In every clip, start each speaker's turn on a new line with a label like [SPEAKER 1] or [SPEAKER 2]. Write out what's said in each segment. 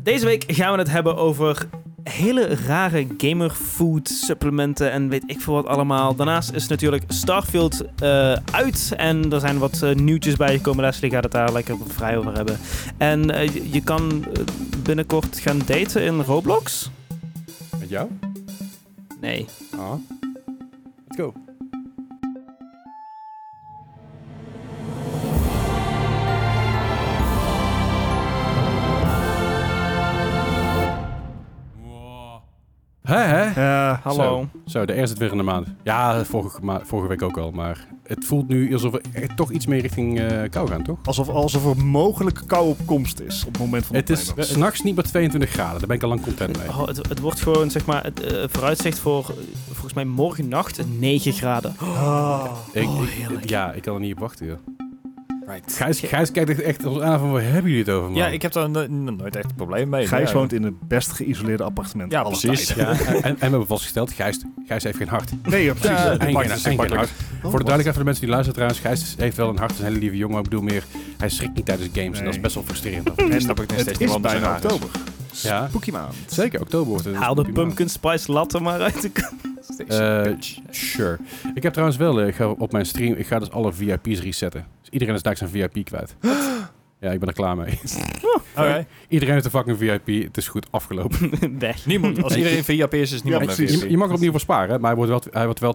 [SPEAKER 1] Deze week gaan we het hebben over hele rare gamerfood supplementen en weet ik veel wat allemaal. Daarnaast is natuurlijk Starfield eh, uit en er zijn wat eh, nieuwtjes bijgekomen. Leslie gaat het daar lekker vrij over hebben. En eh, je- je kan eh, binnenkort gaan daten in Roblox?
[SPEAKER 2] Met jou?
[SPEAKER 1] Nee.
[SPEAKER 2] Ah. Let's go. Hè, hè?
[SPEAKER 3] Eh,
[SPEAKER 1] hallo.
[SPEAKER 2] Zo, de eerste weer in de maand. Ja, vorige, ma- vorige week ook al, maar het voelt nu alsof we echt toch iets meer richting eh, kou gaan, toch?
[SPEAKER 3] Alsof, alsof er mogelijke kou op komst is op het moment van
[SPEAKER 2] Het
[SPEAKER 3] de
[SPEAKER 2] is
[SPEAKER 3] opnames.
[SPEAKER 2] s'nachts niet meer 22 graden, daar ben ik al lang content mee.
[SPEAKER 1] Oh, het, het wordt gewoon, zeg maar, het eh, vooruitzicht voor eh, volgens mij morgen nacht 9 graden.
[SPEAKER 3] Ah.
[SPEAKER 2] Ik,
[SPEAKER 1] Oh,
[SPEAKER 2] ik-
[SPEAKER 1] heerlijk.
[SPEAKER 2] ja, ik kan er niet op wachten, joh.
[SPEAKER 4] Right.
[SPEAKER 2] Gijs, Gijs kijkt echt- echt ons aan van, waar hebben jullie het over, man?
[SPEAKER 4] Ja, ik heb daar no- no- nooit echt een probleem mee.
[SPEAKER 3] Gijs
[SPEAKER 4] Ja.
[SPEAKER 3] woont in het best geïsoleerde appartement.
[SPEAKER 4] Ja,
[SPEAKER 3] aller
[SPEAKER 4] precies.
[SPEAKER 3] tijden.
[SPEAKER 2] Ja, en, en we hebben vastgesteld, Gijs, Gijs heeft geen hart.
[SPEAKER 3] Nee, ja, precies.
[SPEAKER 4] Ja,
[SPEAKER 3] Dat
[SPEAKER 2] En geen-
[SPEAKER 3] maakt
[SPEAKER 2] en
[SPEAKER 3] het
[SPEAKER 2] geen
[SPEAKER 3] een stuk
[SPEAKER 2] hart.
[SPEAKER 3] makkelijker.
[SPEAKER 2] Voor de duidelijkheid van de mensen die luisteren trouwens, Gijs heeft wel een hart, is een hele lieve jongen. Ik bedoel meer, hij schrikt niet tijdens games en dat is
[SPEAKER 3] Nee.
[SPEAKER 2] best wel frustrerend.
[SPEAKER 4] En snap ik nog
[SPEAKER 3] Het
[SPEAKER 4] steeds niet
[SPEAKER 3] is
[SPEAKER 4] waarom dat
[SPEAKER 3] bijna
[SPEAKER 4] zo raar is.
[SPEAKER 3] oktober.
[SPEAKER 2] Ja.
[SPEAKER 3] Spooky maand.
[SPEAKER 2] Zeker, oktober wordt het.
[SPEAKER 1] Haal de
[SPEAKER 2] Prima.
[SPEAKER 1] pumpkin spice latte maar uit de kast.
[SPEAKER 2] Eh, sure. Ik heb trouwens wel, eh, ik ga op mijn stream, ik ga dus alle VIP's resetten. Dus iedereen is daar zijn VIP kwijt. Ja, ik ben er klaar mee.
[SPEAKER 4] Oké.
[SPEAKER 2] Iedereen heeft een fucking VIP, het is goed afgelopen.
[SPEAKER 1] Weg.
[SPEAKER 4] Niemand. Als iedereen VIP is, is niemand
[SPEAKER 3] Ja,
[SPEAKER 4] meer
[SPEAKER 3] precies.
[SPEAKER 2] Je, je
[SPEAKER 4] VIP.
[SPEAKER 2] mag er opnieuw voor sparen, hè, maar hij wordt wel, hij wordt wel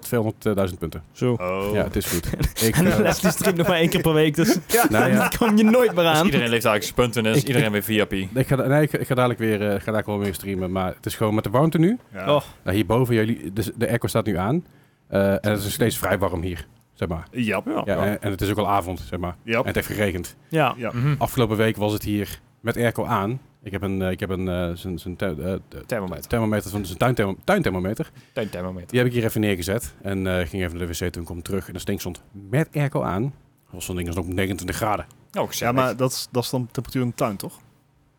[SPEAKER 2] 200.000 punten.
[SPEAKER 1] Zo.
[SPEAKER 4] Oh.
[SPEAKER 2] Ja, het is goed. Ik,
[SPEAKER 1] En
[SPEAKER 2] eh,
[SPEAKER 1] Leslie streamt nog maar één keer per week, dus
[SPEAKER 2] nou ja,
[SPEAKER 1] daar kom je nooit meer
[SPEAKER 4] Dus
[SPEAKER 1] aan.
[SPEAKER 4] iedereen leeft eigenlijk zijn punten en is
[SPEAKER 2] Ik-
[SPEAKER 4] iedereen weer VIP.
[SPEAKER 2] Ik ga, nee, ik, ik ga dadelijk weer, eh, ga dadelijk wel weer streamen, maar het is gewoon met de warmte nu.
[SPEAKER 3] Ja.
[SPEAKER 1] Oh.
[SPEAKER 2] Nou, hierboven, jullie, de, de airco staat nu aan eh, en het is nog steeds vrij warm hier, zeg maar.
[SPEAKER 3] Ja. Ja.
[SPEAKER 2] Ja, en, en het is ook al avond, zeg maar.
[SPEAKER 3] Ja.
[SPEAKER 2] En het heeft geregend.
[SPEAKER 1] Ja.
[SPEAKER 3] Ja.
[SPEAKER 2] Afgelopen week was het hier met airco aan. Ik heb een, eh, ik heb een eh, zo'n- zo'n tu- eh, de-
[SPEAKER 4] Thermometer.
[SPEAKER 2] thermometer, van- zo'n tuinthermo- tuinthermometer.
[SPEAKER 4] Tuin thermometer.
[SPEAKER 2] Die heb ik hier even neergezet en eh, ging even naar de wc toen kwam ik terug en de stink stond met airco aan. Was zo'n ding was nog 29 graden.
[SPEAKER 4] Oh, gezellig.
[SPEAKER 3] Ja, maar dat is, dat is dan temperatuur in de tuin, toch?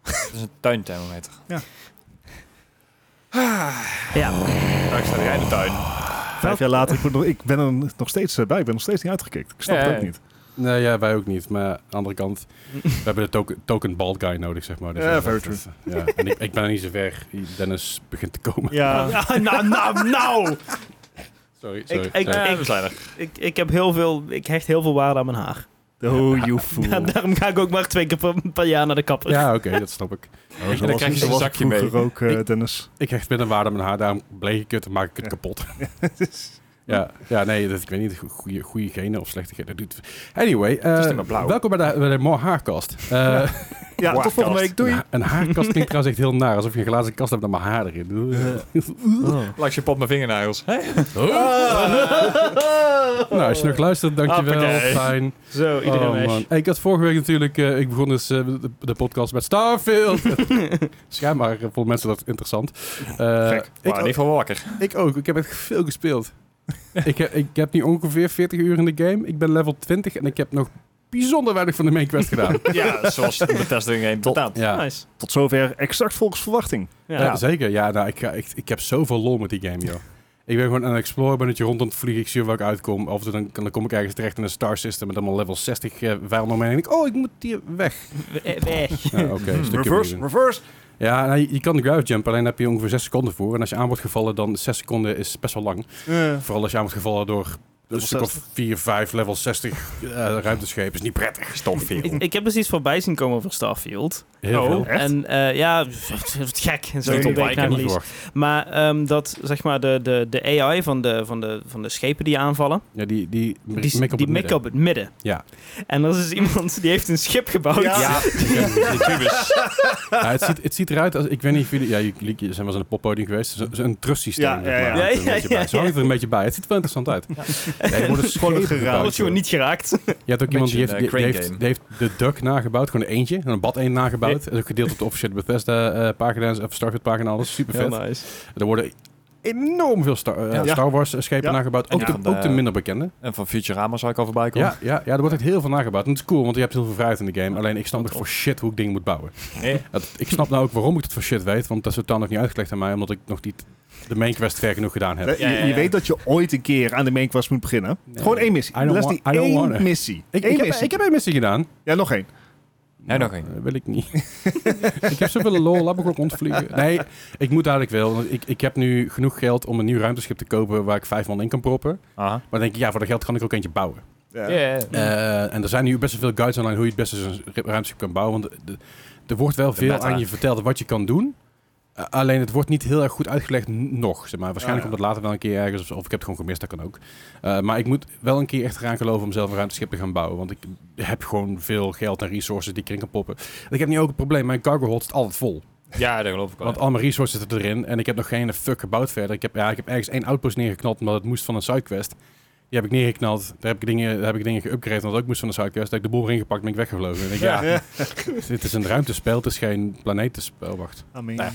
[SPEAKER 4] Het is een tuinthermometer.
[SPEAKER 1] Ja.
[SPEAKER 4] Daar staat jij in de tuin.
[SPEAKER 3] Vijf jaar later, ik, moet nog, ik ben er nog steeds eh, bij. Ik ben nog steeds niet uitgekikt. Ik snap
[SPEAKER 4] Ja,
[SPEAKER 3] het
[SPEAKER 4] ja.
[SPEAKER 3] ook niet.
[SPEAKER 2] Nee, ja, wij ook niet. Maar aan de andere kant, we hebben de token, token bald guy nodig, zeg maar. Dus
[SPEAKER 3] Ja,
[SPEAKER 2] dat-
[SPEAKER 3] very
[SPEAKER 2] dat- Ja. En ik, ik ben er niet zo ver. Dennis begint te komen.
[SPEAKER 3] Ja.
[SPEAKER 1] Ah, nou, nou, nou!
[SPEAKER 2] Sorry, sorry.
[SPEAKER 1] ik-
[SPEAKER 2] sorry.
[SPEAKER 4] Ja,
[SPEAKER 1] ik-
[SPEAKER 4] we zijn er.
[SPEAKER 1] Ik, ik heb heel veel, ik hecht heel veel waarde aan mijn haar.
[SPEAKER 3] Oh, you fool.
[SPEAKER 1] Ja, daarom ga ik ook maar twee keer per, per jaar naar de kapper.
[SPEAKER 2] ja, oké, dat snap ik.
[SPEAKER 3] Zo
[SPEAKER 4] dan
[SPEAKER 3] was-
[SPEAKER 4] krijg je
[SPEAKER 3] zo
[SPEAKER 4] zo'n
[SPEAKER 3] was
[SPEAKER 4] zakje
[SPEAKER 3] ik
[SPEAKER 4] mee.
[SPEAKER 3] vroeger ook, eh, Dennis.
[SPEAKER 2] Ik hecht met een waarde aan mijn haar, daarom bleek ik het en maak ik het
[SPEAKER 3] Ja.
[SPEAKER 2] kapot. ja, ja, nee, dat, ik weet niet, goede, goede genen of slechte genen. dat doet- Anyway, eh,
[SPEAKER 4] is niet meer blauw.
[SPEAKER 2] welkom bij de, bij de More Haarkast. Eh,
[SPEAKER 3] Ja, tot volgende week. Doei.
[SPEAKER 2] een, een haarkast klinkt trouwens echt heel naar, alsof je een glazen kast hebt met mijn haar erin.
[SPEAKER 4] Langs je Ah. pot mijn vingernagels. Hè?
[SPEAKER 2] Nou, als je nog luistert, dankjewel.
[SPEAKER 4] Hoppakee.
[SPEAKER 2] Fijn.
[SPEAKER 1] Zo, iedereen
[SPEAKER 2] Oh,
[SPEAKER 1] weg.
[SPEAKER 2] man. Hey, ik had vorige week natuurlijk, eh, ik begon dus eh, de, de podcast met Starfield. Schijnbaar eh, vonden mensen dat interessant. Eh,
[SPEAKER 3] Gek.
[SPEAKER 2] ik,
[SPEAKER 4] Maar niet van wakker.
[SPEAKER 2] ik ook, ik heb echt veel gespeeld. ik, heb, ik heb nu ongeveer 40 uur in de game. Ik ben level 20 en ik heb nog bijzonder weinig van de main quest gedaan.
[SPEAKER 4] Ja, zoals de testding heen betaalt.
[SPEAKER 2] ja.
[SPEAKER 1] Nice.
[SPEAKER 3] Tot zover exact volgens verwachting.
[SPEAKER 1] Ja.
[SPEAKER 2] Ja, zeker. Ja, nou, ik, ga, ik, ik heb zoveel lol met die game, joh. Ik ben gewoon aan het exploren, ben het je rond aan het vliegen, ik zie waar ik uitkom. Of dan, dan kom ik ergens terecht in een star system met allemaal level 60 eh vijanden om me heen. En ik, oh, ik moet hier weg.
[SPEAKER 1] We- eh, Weg.
[SPEAKER 2] Ja, Oké,
[SPEAKER 4] Hmm.
[SPEAKER 2] een stukje
[SPEAKER 3] Reverse,
[SPEAKER 2] omheen.
[SPEAKER 3] reverse.
[SPEAKER 2] Ja, nou, je, je kan de ground jump, alleen daar heb je ongeveer 6 seconden voor. En als je aan wordt gevallen, dan 6 seconden is best wel lang.
[SPEAKER 3] Eh,
[SPEAKER 2] Vooral als je aan wordt gevallen door een
[SPEAKER 3] Level
[SPEAKER 2] stuk of 4, 5, level 60 eh ruimteschepen. Is niet prettig.
[SPEAKER 4] Stom
[SPEAKER 1] Ik,
[SPEAKER 4] veel.
[SPEAKER 1] ik heb dus iets voorbij zien komen over Starfield.
[SPEAKER 2] Heel
[SPEAKER 4] Oh.
[SPEAKER 2] veel.
[SPEAKER 3] Echt?
[SPEAKER 1] En eh, ja, wat gek. En zo
[SPEAKER 4] Niet
[SPEAKER 1] die
[SPEAKER 4] op
[SPEAKER 1] week
[SPEAKER 4] like,
[SPEAKER 1] na
[SPEAKER 2] heb niet
[SPEAKER 1] release.
[SPEAKER 2] verwacht.
[SPEAKER 1] Maar ehm, dat, zeg maar, de, de, de AI van de, van, de, van de schepen die aanvallen,
[SPEAKER 2] Ja, die, die, die,
[SPEAKER 1] die,
[SPEAKER 2] make-up
[SPEAKER 1] die
[SPEAKER 2] op het
[SPEAKER 1] mikken op het midden.
[SPEAKER 2] Ja.
[SPEAKER 1] En dat is dus iemand die heeft een schip gebouwd.
[SPEAKER 3] Ja.
[SPEAKER 2] Ja,
[SPEAKER 4] Die kubus.
[SPEAKER 2] Ja, het, ziet, het ziet eruit als... Ik weet niet of jullie... Ja, jullie jullie zijn wel eens aan een poppodium geweest. Zo- zo- Een trustsysteem.
[SPEAKER 3] Ja, ja, ja.
[SPEAKER 2] Zeg maar, hangt er
[SPEAKER 1] Ja, ja,
[SPEAKER 2] een beetje bij. Ze hangt er een beetje bij. Het ziet er wel interessant uit. Ja, er worden schepen
[SPEAKER 3] geraamd.
[SPEAKER 2] gebouwd,
[SPEAKER 1] Wordt gewoon
[SPEAKER 2] joh.
[SPEAKER 1] niet geraakt.
[SPEAKER 2] Je hebt ook iemand die
[SPEAKER 4] Beetje
[SPEAKER 2] heeft,
[SPEAKER 4] een,
[SPEAKER 2] die,
[SPEAKER 4] eh, crane
[SPEAKER 2] heeft,
[SPEAKER 4] game.
[SPEAKER 2] die heeft de duck nagebouwd. Gewoon eentje. En een bad eend nagebouwd. Dat is ook gedeeld op de officiële Bethesda eh, pagina. Of Starfield pagina. Alles super vet.
[SPEAKER 1] nice.
[SPEAKER 2] Er worden enorm veel Star, eh,
[SPEAKER 4] Ja.
[SPEAKER 2] Star Wars schepen
[SPEAKER 3] Ja.
[SPEAKER 2] nagebouwd. Ook,
[SPEAKER 4] Ja,
[SPEAKER 2] de,
[SPEAKER 4] van de-
[SPEAKER 2] ook de minder bekende.
[SPEAKER 4] En van Futurama zou ik al voorbij komen.
[SPEAKER 2] Ja, ja, ja, er wordt echt heel veel nagebouwd. En het is cool, want je hebt heel veel vrijheid in de game. Alleen ik snap nog voor shit hoe ik dingen moet bouwen.
[SPEAKER 4] Nee.
[SPEAKER 2] Dat- ik snap nou ook waarom ik het voor shit weet, want dat is totaal nog niet uitgelegd aan mij, omdat ik nog niet de main quest ver genoeg gedaan heb.
[SPEAKER 3] je,
[SPEAKER 4] ja, ja.
[SPEAKER 3] je weet dat je ooit een keer aan de main quest moet beginnen.
[SPEAKER 2] Nee.
[SPEAKER 3] Gewoon één missie.
[SPEAKER 2] I don't
[SPEAKER 3] Les
[SPEAKER 2] wa-
[SPEAKER 3] die
[SPEAKER 2] I don't
[SPEAKER 3] één
[SPEAKER 2] wanna.
[SPEAKER 3] missie.
[SPEAKER 2] Ik,
[SPEAKER 3] Eén
[SPEAKER 2] ik, heb,
[SPEAKER 3] missie.
[SPEAKER 2] ik heb één missie gedaan.
[SPEAKER 3] Ja, nog één.
[SPEAKER 4] Nee, nog één.
[SPEAKER 2] Eh, wil ik niet. ik heb zoveel lol, laat me gewoon rondvliegen. Nee, ik moet eigenlijk wel. want Ik, ik heb nu genoeg geld om een nieuw ruimteschip te kopen waar ik vijf man in kan proppen. Maar
[SPEAKER 4] Aha.
[SPEAKER 2] dan denk ik, ja, voor dat geld kan ik ook eentje bouwen.
[SPEAKER 3] Ja.
[SPEAKER 2] Eh, en er zijn nu best wel veel guides online hoe je het beste zo'n ru- ruimteschip kan bouwen. Want de- er wordt wel veel
[SPEAKER 4] meta.
[SPEAKER 2] aan je verteld wat je kan doen. Eh, alleen het wordt niet heel erg goed uitgelegd n- nog. Zeg maar. Waarschijnlijk
[SPEAKER 3] Ah,
[SPEAKER 2] komt
[SPEAKER 3] ja.
[SPEAKER 2] het later wel een keer ergens. Of, of ik heb het gewoon gemist, dat kan ook. Eh, maar ik moet wel een keer echt eraan geloven om zelf een ruimteschip te gaan bouwen. Want ik heb gewoon veel geld en resources die ik erin kan poppen. Ik heb nu ook een probleem. Mijn cargo hold is altijd vol.
[SPEAKER 4] Ja, dat geloof ik wel.
[SPEAKER 2] Want al mijn resources zitten erin. En ik heb nog geen fuck gebouwd verder. Ik heb, ja, ik heb ergens één outpost neergeknald, omdat het moest van een sidequest. Die heb ik neergeknald. Daar heb ik dingen, daar heb ik dingen geüpgraded, omdat het ook moest van een sidequest. Daar heb ik de boel erin gepakt en ben ik weggevlogen. En ik, ja, dit is een ruimtespel, het is geen planetenspel. Wacht.
[SPEAKER 3] I mean,
[SPEAKER 2] Nou.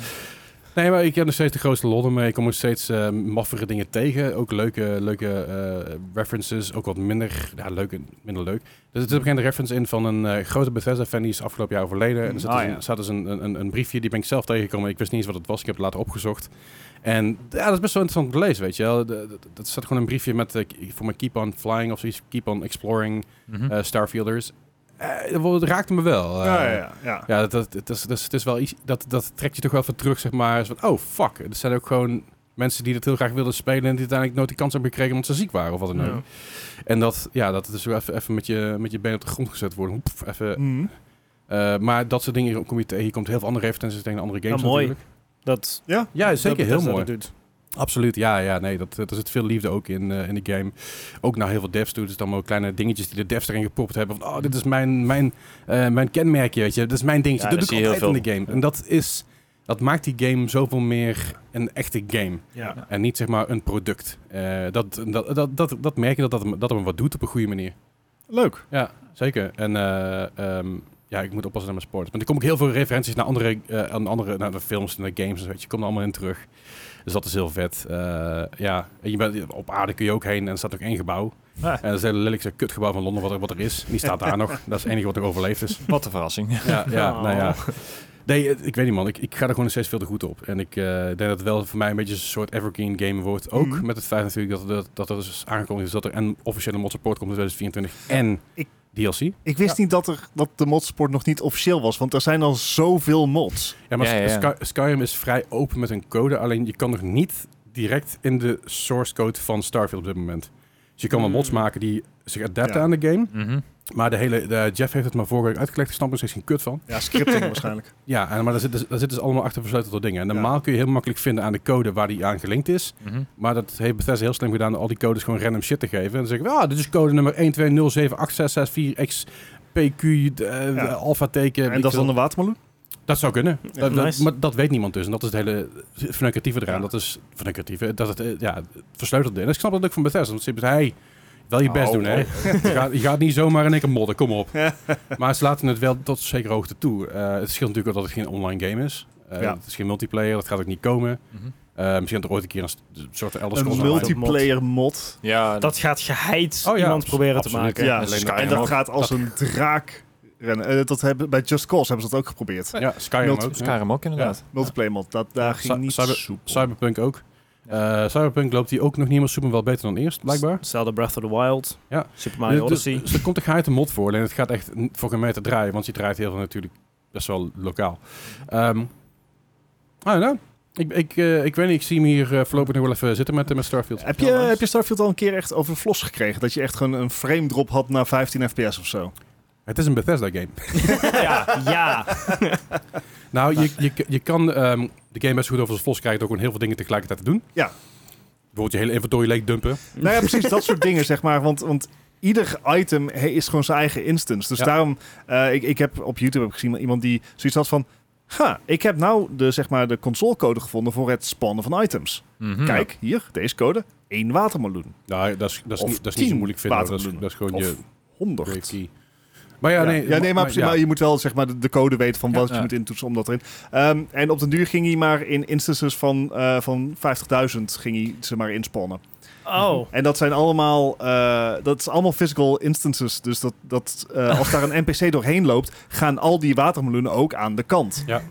[SPEAKER 2] Nee, maar ik heb nog steeds de grootste lol ermee. Ik kom nog steeds eh maffere dingen tegen. Ook leuke, leuke eh, references. Ook wat minder, ja, leuk en minder leuk. Dus er zit op een gegeven moment een reference in van een eh, grote Bethesda-fan die is afgelopen jaar overleden. En er zat,
[SPEAKER 4] Ah,
[SPEAKER 2] dus
[SPEAKER 4] ja.
[SPEAKER 2] een, zat dus een, een- een, een briefje, die ben ik zelf tegengekomen. Ik wist niet eens wat het was, ik heb het later opgezocht. En ja, dat is best wel interessant om te lezen, weet je wel. De- de- Dat zat gewoon een briefje met, eh, voor mijn keep on flying of zoiets, keep on exploring
[SPEAKER 4] Mhm.
[SPEAKER 2] eh, Starfielders. Eh, het raakte me wel. Eh,
[SPEAKER 3] ja, ja, ja.
[SPEAKER 2] ja, dat, dat, dat, is, dat, is, het is wel iets, dat, dat trekt je toch wel van terug, zeg maar. Zo van, oh, fuck. Er zijn ook gewoon mensen die dat heel graag wilden spelen... en die uiteindelijk nooit de kans hebben gekregen omdat ze ziek waren of wat dan ook.
[SPEAKER 1] Ja.
[SPEAKER 2] En dat, ja, dat het dus wel even, even met, je, met je been op de grond gezet worden. Hoep, even,
[SPEAKER 3] Mhm.
[SPEAKER 2] eh, maar dat soort dingen kom je tegen. Je komt heel veel andere references tegen andere games
[SPEAKER 1] Ja, mooi.
[SPEAKER 2] natuurlijk.
[SPEAKER 1] Dat,
[SPEAKER 2] Ja,
[SPEAKER 1] dat
[SPEAKER 2] zeker heel
[SPEAKER 1] Bethesda
[SPEAKER 2] mooi.
[SPEAKER 1] dat doet.
[SPEAKER 2] Absoluut, ja, ja, nee, dat, er zit veel liefde ook in, eh, in de game. Ook naar heel veel devs toe, dus dan wel kleine dingetjes die de devs erin gepropt hebben. Van, oh, dit is mijn, mijn, eh, mijn kenmerkje, weet je, dit is mijn dingetje.
[SPEAKER 4] Ja,
[SPEAKER 2] dat
[SPEAKER 4] dat
[SPEAKER 2] doe ik
[SPEAKER 4] zie je
[SPEAKER 2] altijd
[SPEAKER 4] heel
[SPEAKER 2] in de game. En dat is, dat maakt die game zoveel meer een echte game.
[SPEAKER 3] Ja.
[SPEAKER 2] En niet, zeg maar, een product. Eh, dat, dat, dat, dat, dat merk je dat dat, hem- dat hem wat doet op een goede manier.
[SPEAKER 3] Leuk.
[SPEAKER 2] Ja, zeker. En eh, ehm, ja, ik moet oppassen naar mijn sports. Maar er kom ik heel veel referenties naar andere, eh, aan andere naar de films en de games en zo. Weet je, komt er allemaal in terug. Dus dat is heel vet. Eh, ja, en je bent, op aarde kun je ook heen en er staat ook één gebouw.
[SPEAKER 4] Ah.
[SPEAKER 2] En dat is een hele lelijk zo'n kutgebouw van Londen wat er, wat er is. En die staat daar nog. Dat is het enige wat er overleefd is.
[SPEAKER 4] Wat een verrassing.
[SPEAKER 2] Ja, ja
[SPEAKER 1] Oh.
[SPEAKER 2] nou ja. Nee, eh, ik weet niet man. Ik, ik ga er gewoon nog steeds veel te goed op. En ik eh, denk dat het wel voor mij een beetje een soort evergreen game wordt. Ook
[SPEAKER 3] Mhm.
[SPEAKER 2] met het feit natuurlijk dat, dat, dat er dus aangekondigd is dat er en officiële mod support komt in 2024 en
[SPEAKER 3] Ik-
[SPEAKER 2] DLC.
[SPEAKER 3] Ik wist
[SPEAKER 1] Ja.
[SPEAKER 3] niet dat, er, dat de modsport nog niet officieel was, want er zijn al zoveel mods.
[SPEAKER 2] Ja, maar
[SPEAKER 4] Ja, ja, ja.
[SPEAKER 2] Sky- Skyrim is vrij open met een code. Alleen je kan nog niet direct in de source code van Starfield op dit moment. Dus je kan wel
[SPEAKER 1] Hmm.
[SPEAKER 2] mods maken die zich adapten
[SPEAKER 3] Ja.
[SPEAKER 2] aan de game.
[SPEAKER 4] Mhm.
[SPEAKER 2] Maar de hele, de- Jeff heeft het maar vorige week uitgelegd. Ik snap er steeds geen kut van.
[SPEAKER 3] Ja, scripting waarschijnlijk.
[SPEAKER 2] Ja, en, maar daar zitten daar zit dus allemaal achter versleutelde dingen. En
[SPEAKER 3] Ja.
[SPEAKER 2] normaal kun je heel makkelijk vinden aan de code waar die aan gelinkt is.
[SPEAKER 4] Mhm.
[SPEAKER 2] Maar dat heeft Bethesda heel slim gedaan. door Al die codes gewoon random shit te geven. En dan zeggen we, ah, dit is code nummer 1207864XPQ, eh,
[SPEAKER 3] Ja.
[SPEAKER 2] alpha teken.
[SPEAKER 3] En dat is dan een watermeloen?
[SPEAKER 2] Dat zou kunnen.
[SPEAKER 3] Ja,
[SPEAKER 2] dat, dat-
[SPEAKER 1] nice.
[SPEAKER 2] maar dat weet niemand dus. En dat is het hele verneukeratieve eraan.
[SPEAKER 3] Ja.
[SPEAKER 2] Dat is verneukeratieve. Dat het eh, ja, het versleutelde. En ik snap dat ook van Bethesda. Want ze hebben hey, wel je best
[SPEAKER 4] Oh,
[SPEAKER 2] doen, hè. Je, gaat, je gaat niet zomaar in één keer modden. Kom op. maar ze laten het wel tot op zekere hoogte toe. Eh, het scheelt natuurlijk wel dat het geen online game is. Eh,
[SPEAKER 3] Ja.
[SPEAKER 2] Het is geen multiplayer. Dat gaat ook niet komen.
[SPEAKER 4] Mhm.
[SPEAKER 2] Eh, misschien dat er ooit een keer een st- soort Elder
[SPEAKER 3] Een
[SPEAKER 2] Scrolls online-
[SPEAKER 3] multiplayer mod.
[SPEAKER 4] Ja,
[SPEAKER 1] Dat gaat geheid
[SPEAKER 2] Oh ja,
[SPEAKER 1] iemand proberen
[SPEAKER 2] absoluut.
[SPEAKER 1] te maken.
[SPEAKER 3] Ja,
[SPEAKER 4] Alleen
[SPEAKER 3] Skyrim.
[SPEAKER 4] dat
[SPEAKER 3] en
[SPEAKER 4] kan
[SPEAKER 3] dat
[SPEAKER 4] ook.
[SPEAKER 3] gaat als een draak rennen. Eh, dat hebben, bij Just Cause hebben ze dat ook geprobeerd.
[SPEAKER 2] Ja, Skyrim
[SPEAKER 3] Multi-
[SPEAKER 2] ook. ja.
[SPEAKER 4] Skyrim ook inderdaad.
[SPEAKER 3] Multiplayer mod, dat, daar ging
[SPEAKER 2] Cy-
[SPEAKER 3] niet
[SPEAKER 2] cyber-
[SPEAKER 3] soepel.
[SPEAKER 2] Cyberpunk ook. Eh, Cyberpunk loopt die ook nog niet helemaal super, maar wel beter dan eerst, blijkbaar.
[SPEAKER 1] Zelda Breath of the Wild.
[SPEAKER 2] Ja.
[SPEAKER 1] Super Mario
[SPEAKER 2] Dus-
[SPEAKER 1] Odyssey.
[SPEAKER 2] Dus, dus er komt een geheid een mod voor. En het gaat echt n- voor geen meter draaien. Want je draait heel veel natuurlijk best wel lokaal. Ehm ah, nou. Ik, ik, eh, ik weet niet, ik zie hem hier eh, voorlopig nog wel even zitten met, met Starfield.
[SPEAKER 3] Heb je, heb je Starfield al een keer echt over de flos gekregen? Dat je echt gewoon een frame drop had na 15 fps of zo?
[SPEAKER 2] Het is een Bethesda game.
[SPEAKER 1] ja, ja.
[SPEAKER 2] Nou, je, je, je kan ehm, de game best goed over zijn vlos krijgen door gewoon heel veel dingen tegelijkertijd te doen.
[SPEAKER 3] Ja.
[SPEAKER 2] Bijvoorbeeld je hele inventory leeg dumpen.
[SPEAKER 3] Nou ja, precies dat soort dingen, zeg maar. Want, want ieder item he- is gewoon zijn eigen instance. Dus
[SPEAKER 2] Ja.
[SPEAKER 3] daarom, eh, ik, ik heb op YouTube heb ik gezien iemand die zoiets had van... Ha, ik heb nou de, zeg maar, de consolecode gevonden voor het spannen van items.
[SPEAKER 4] Mhm.
[SPEAKER 3] Kijk, hier, deze code. één watermeloen.
[SPEAKER 2] Nou, dat is, dat is,
[SPEAKER 3] Of
[SPEAKER 2] niet, dat is niet zo
[SPEAKER 3] tien
[SPEAKER 2] moeilijk vinden. hoor. Dat is, dat
[SPEAKER 3] waterbloemen.
[SPEAKER 2] is gewoon
[SPEAKER 3] Of
[SPEAKER 2] je
[SPEAKER 3] 100.
[SPEAKER 2] brave key. Maar ja, nee.
[SPEAKER 3] ja, nee, maar, precies,
[SPEAKER 2] ja.
[SPEAKER 3] maar je moet wel zeg maar, de, de code weten van
[SPEAKER 4] Ja,
[SPEAKER 3] wat je
[SPEAKER 4] ja.
[SPEAKER 3] moet intoetsen om dat erin. Ehm, en op den duur ging hij maar in instances van, eh, van 50.000 ging hij ze maar inspannen.
[SPEAKER 1] Oh.
[SPEAKER 3] En dat zijn allemaal, eh, dat is allemaal physical instances. Dus dat, dat, eh, als daar een NPC doorheen loopt, gaan al die watermeloenen ook aan de kant.
[SPEAKER 2] Ja.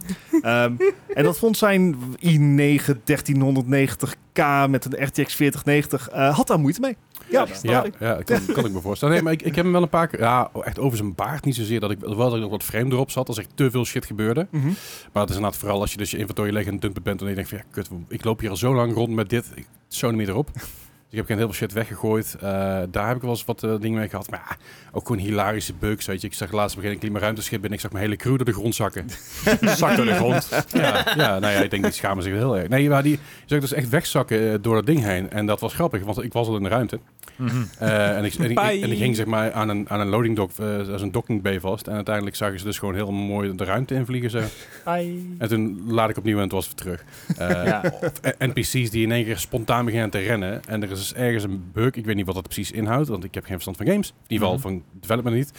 [SPEAKER 3] Ehm, en dat vond zijn i9 1390K met een RTX 4090, eh, had daar moeite mee. Ja,
[SPEAKER 2] Ja, ja dat kan, kan ik me voorstellen. Nee, maar ik, ik heb hem wel een paar keer... Ja, echt over zijn baard niet zozeer. Dat ik, wel dat ik nog wat frame erop zat als er te veel shit gebeurde.
[SPEAKER 3] Mhm.
[SPEAKER 2] Maar het is inderdaad vooral als je dus je inventory leeg en dumpen bent. En je denkt van, ja, kut, ik loop hier al zo lang rond met dit. Ik zoon niet erop. Dus ik heb geen heel veel shit weggegooid. Eh, daar heb ik wel eens wat eh, dingen mee gehad. Maar ja, ook gewoon hilarische bugs, weet je. Ik zag laatst begin een klimaatruimteschip binnen. Ik zag mijn hele crew door de grond zakken.
[SPEAKER 4] Zak door de grond.
[SPEAKER 2] ja, ja, nou ja, ik denk, die schamen zich wel heel erg. Nee, maar die zag ik dus echt wegzakken eh, door dat ding heen. En dat was grappig, want ik was al in de ruimte. Eh, en, ik, en, ik,
[SPEAKER 4] Mhm. Bye.
[SPEAKER 2] en ik ging zeg maar aan een, aan een loading dock, eh, als een docking bay vast. En uiteindelijk zagen ze dus gewoon heel mooi de ruimte invliegen. Zo. En toen laad ik opnieuw en toen was het weer terug. Eh,
[SPEAKER 4] Ja.
[SPEAKER 2] eh, NPC's die in één keer spontaan beginnen te rennen. En er is dus ergens een bug. Ik weet niet wat dat precies inhoudt, want ik heb geen verstand van games. In ieder geval
[SPEAKER 4] Mhm.
[SPEAKER 2] van development niet.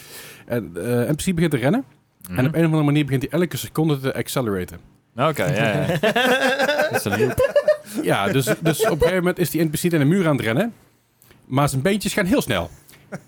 [SPEAKER 2] En eh, NPC begint te rennen.
[SPEAKER 4] Mhm.
[SPEAKER 2] En op een of andere manier begint hij elke seconde te accelereren.
[SPEAKER 4] Nou, Oké, ja, ja. Dat is een loop.
[SPEAKER 2] Ja, dus, dus op een gegeven moment is die NPC in de muur aan het rennen. Maar zijn beentjes gaan heel snel.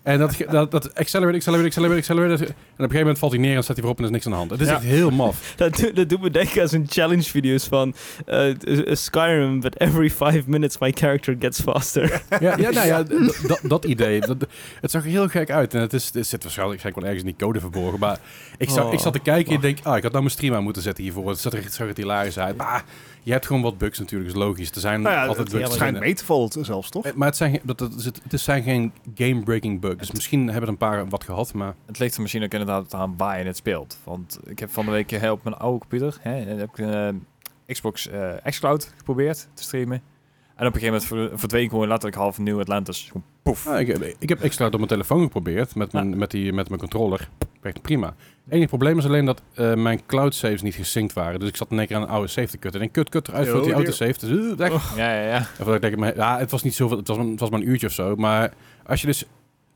[SPEAKER 2] En dat, ge- dat, dat accelerate, accelerate, accelerate, accelerate. En op een gegeven moment valt hij neer en staat hij voorop en er is niks aan de hand. Het is
[SPEAKER 4] Ja.
[SPEAKER 2] echt heel maf.
[SPEAKER 1] Dat, doet- dat doet me denken aan zijn challenge video's van eh, eh, Skyrim, but every five minutes my character gets faster.
[SPEAKER 2] Ja, ja, nou ja, d- dat- dat idee. Dat, het zag er heel gek uit. En het, is, het zit waarschijnlijk waarschijnlijk wel ergens in die code verborgen. Maar ik, zag,
[SPEAKER 1] Oh.
[SPEAKER 2] ik zat te kijken en ik denk, ah, ik had nou mijn stream aan moeten zetten hiervoor. Het zag er, het zag er hilarisch uit. Maar je hebt gewoon wat bugs natuurlijk, is logisch. Er zijn
[SPEAKER 3] Nou ja,
[SPEAKER 2] altijd
[SPEAKER 3] het,
[SPEAKER 2] bugs.
[SPEAKER 3] het schijnt mee te vallen t- zelfs, toch?
[SPEAKER 2] Eh, Maar het zijn, geen- dat, dat, is het, het zijn geen game-breaking bugs. Dus misschien hebben er een paar wat gehad, maar...
[SPEAKER 4] Het ligt er misschien ook inderdaad aan waar je het speelt. Want ik heb van de week eh, op mijn oude computer hè, en heb ik een eh, Xbox eh, xCloud geprobeerd te streamen. En op een gegeven moment ver- verdween gewoon letterlijk half nieuw Atlantis. Gewoon poef.
[SPEAKER 2] Nou, ik, heb- ik heb extra door mijn telefoon geprobeerd met mijn, met die, met mijn controller. Werkt prima. Het enige probleem is alleen dat eh, mijn cloud saves niet gesynct waren. Dus ik zat in één keer aan een oude save te kutten. En ik kut, kut eruit
[SPEAKER 3] Oh,
[SPEAKER 2] voor die
[SPEAKER 3] dear. Oh.
[SPEAKER 2] oude save. Dus, uh, weg.
[SPEAKER 4] Ja, ja, ja.
[SPEAKER 2] En voordat ik denk, maar- ja, het was niet zoveel. Het was, maar- het was maar een uurtje of zo. Maar als je dus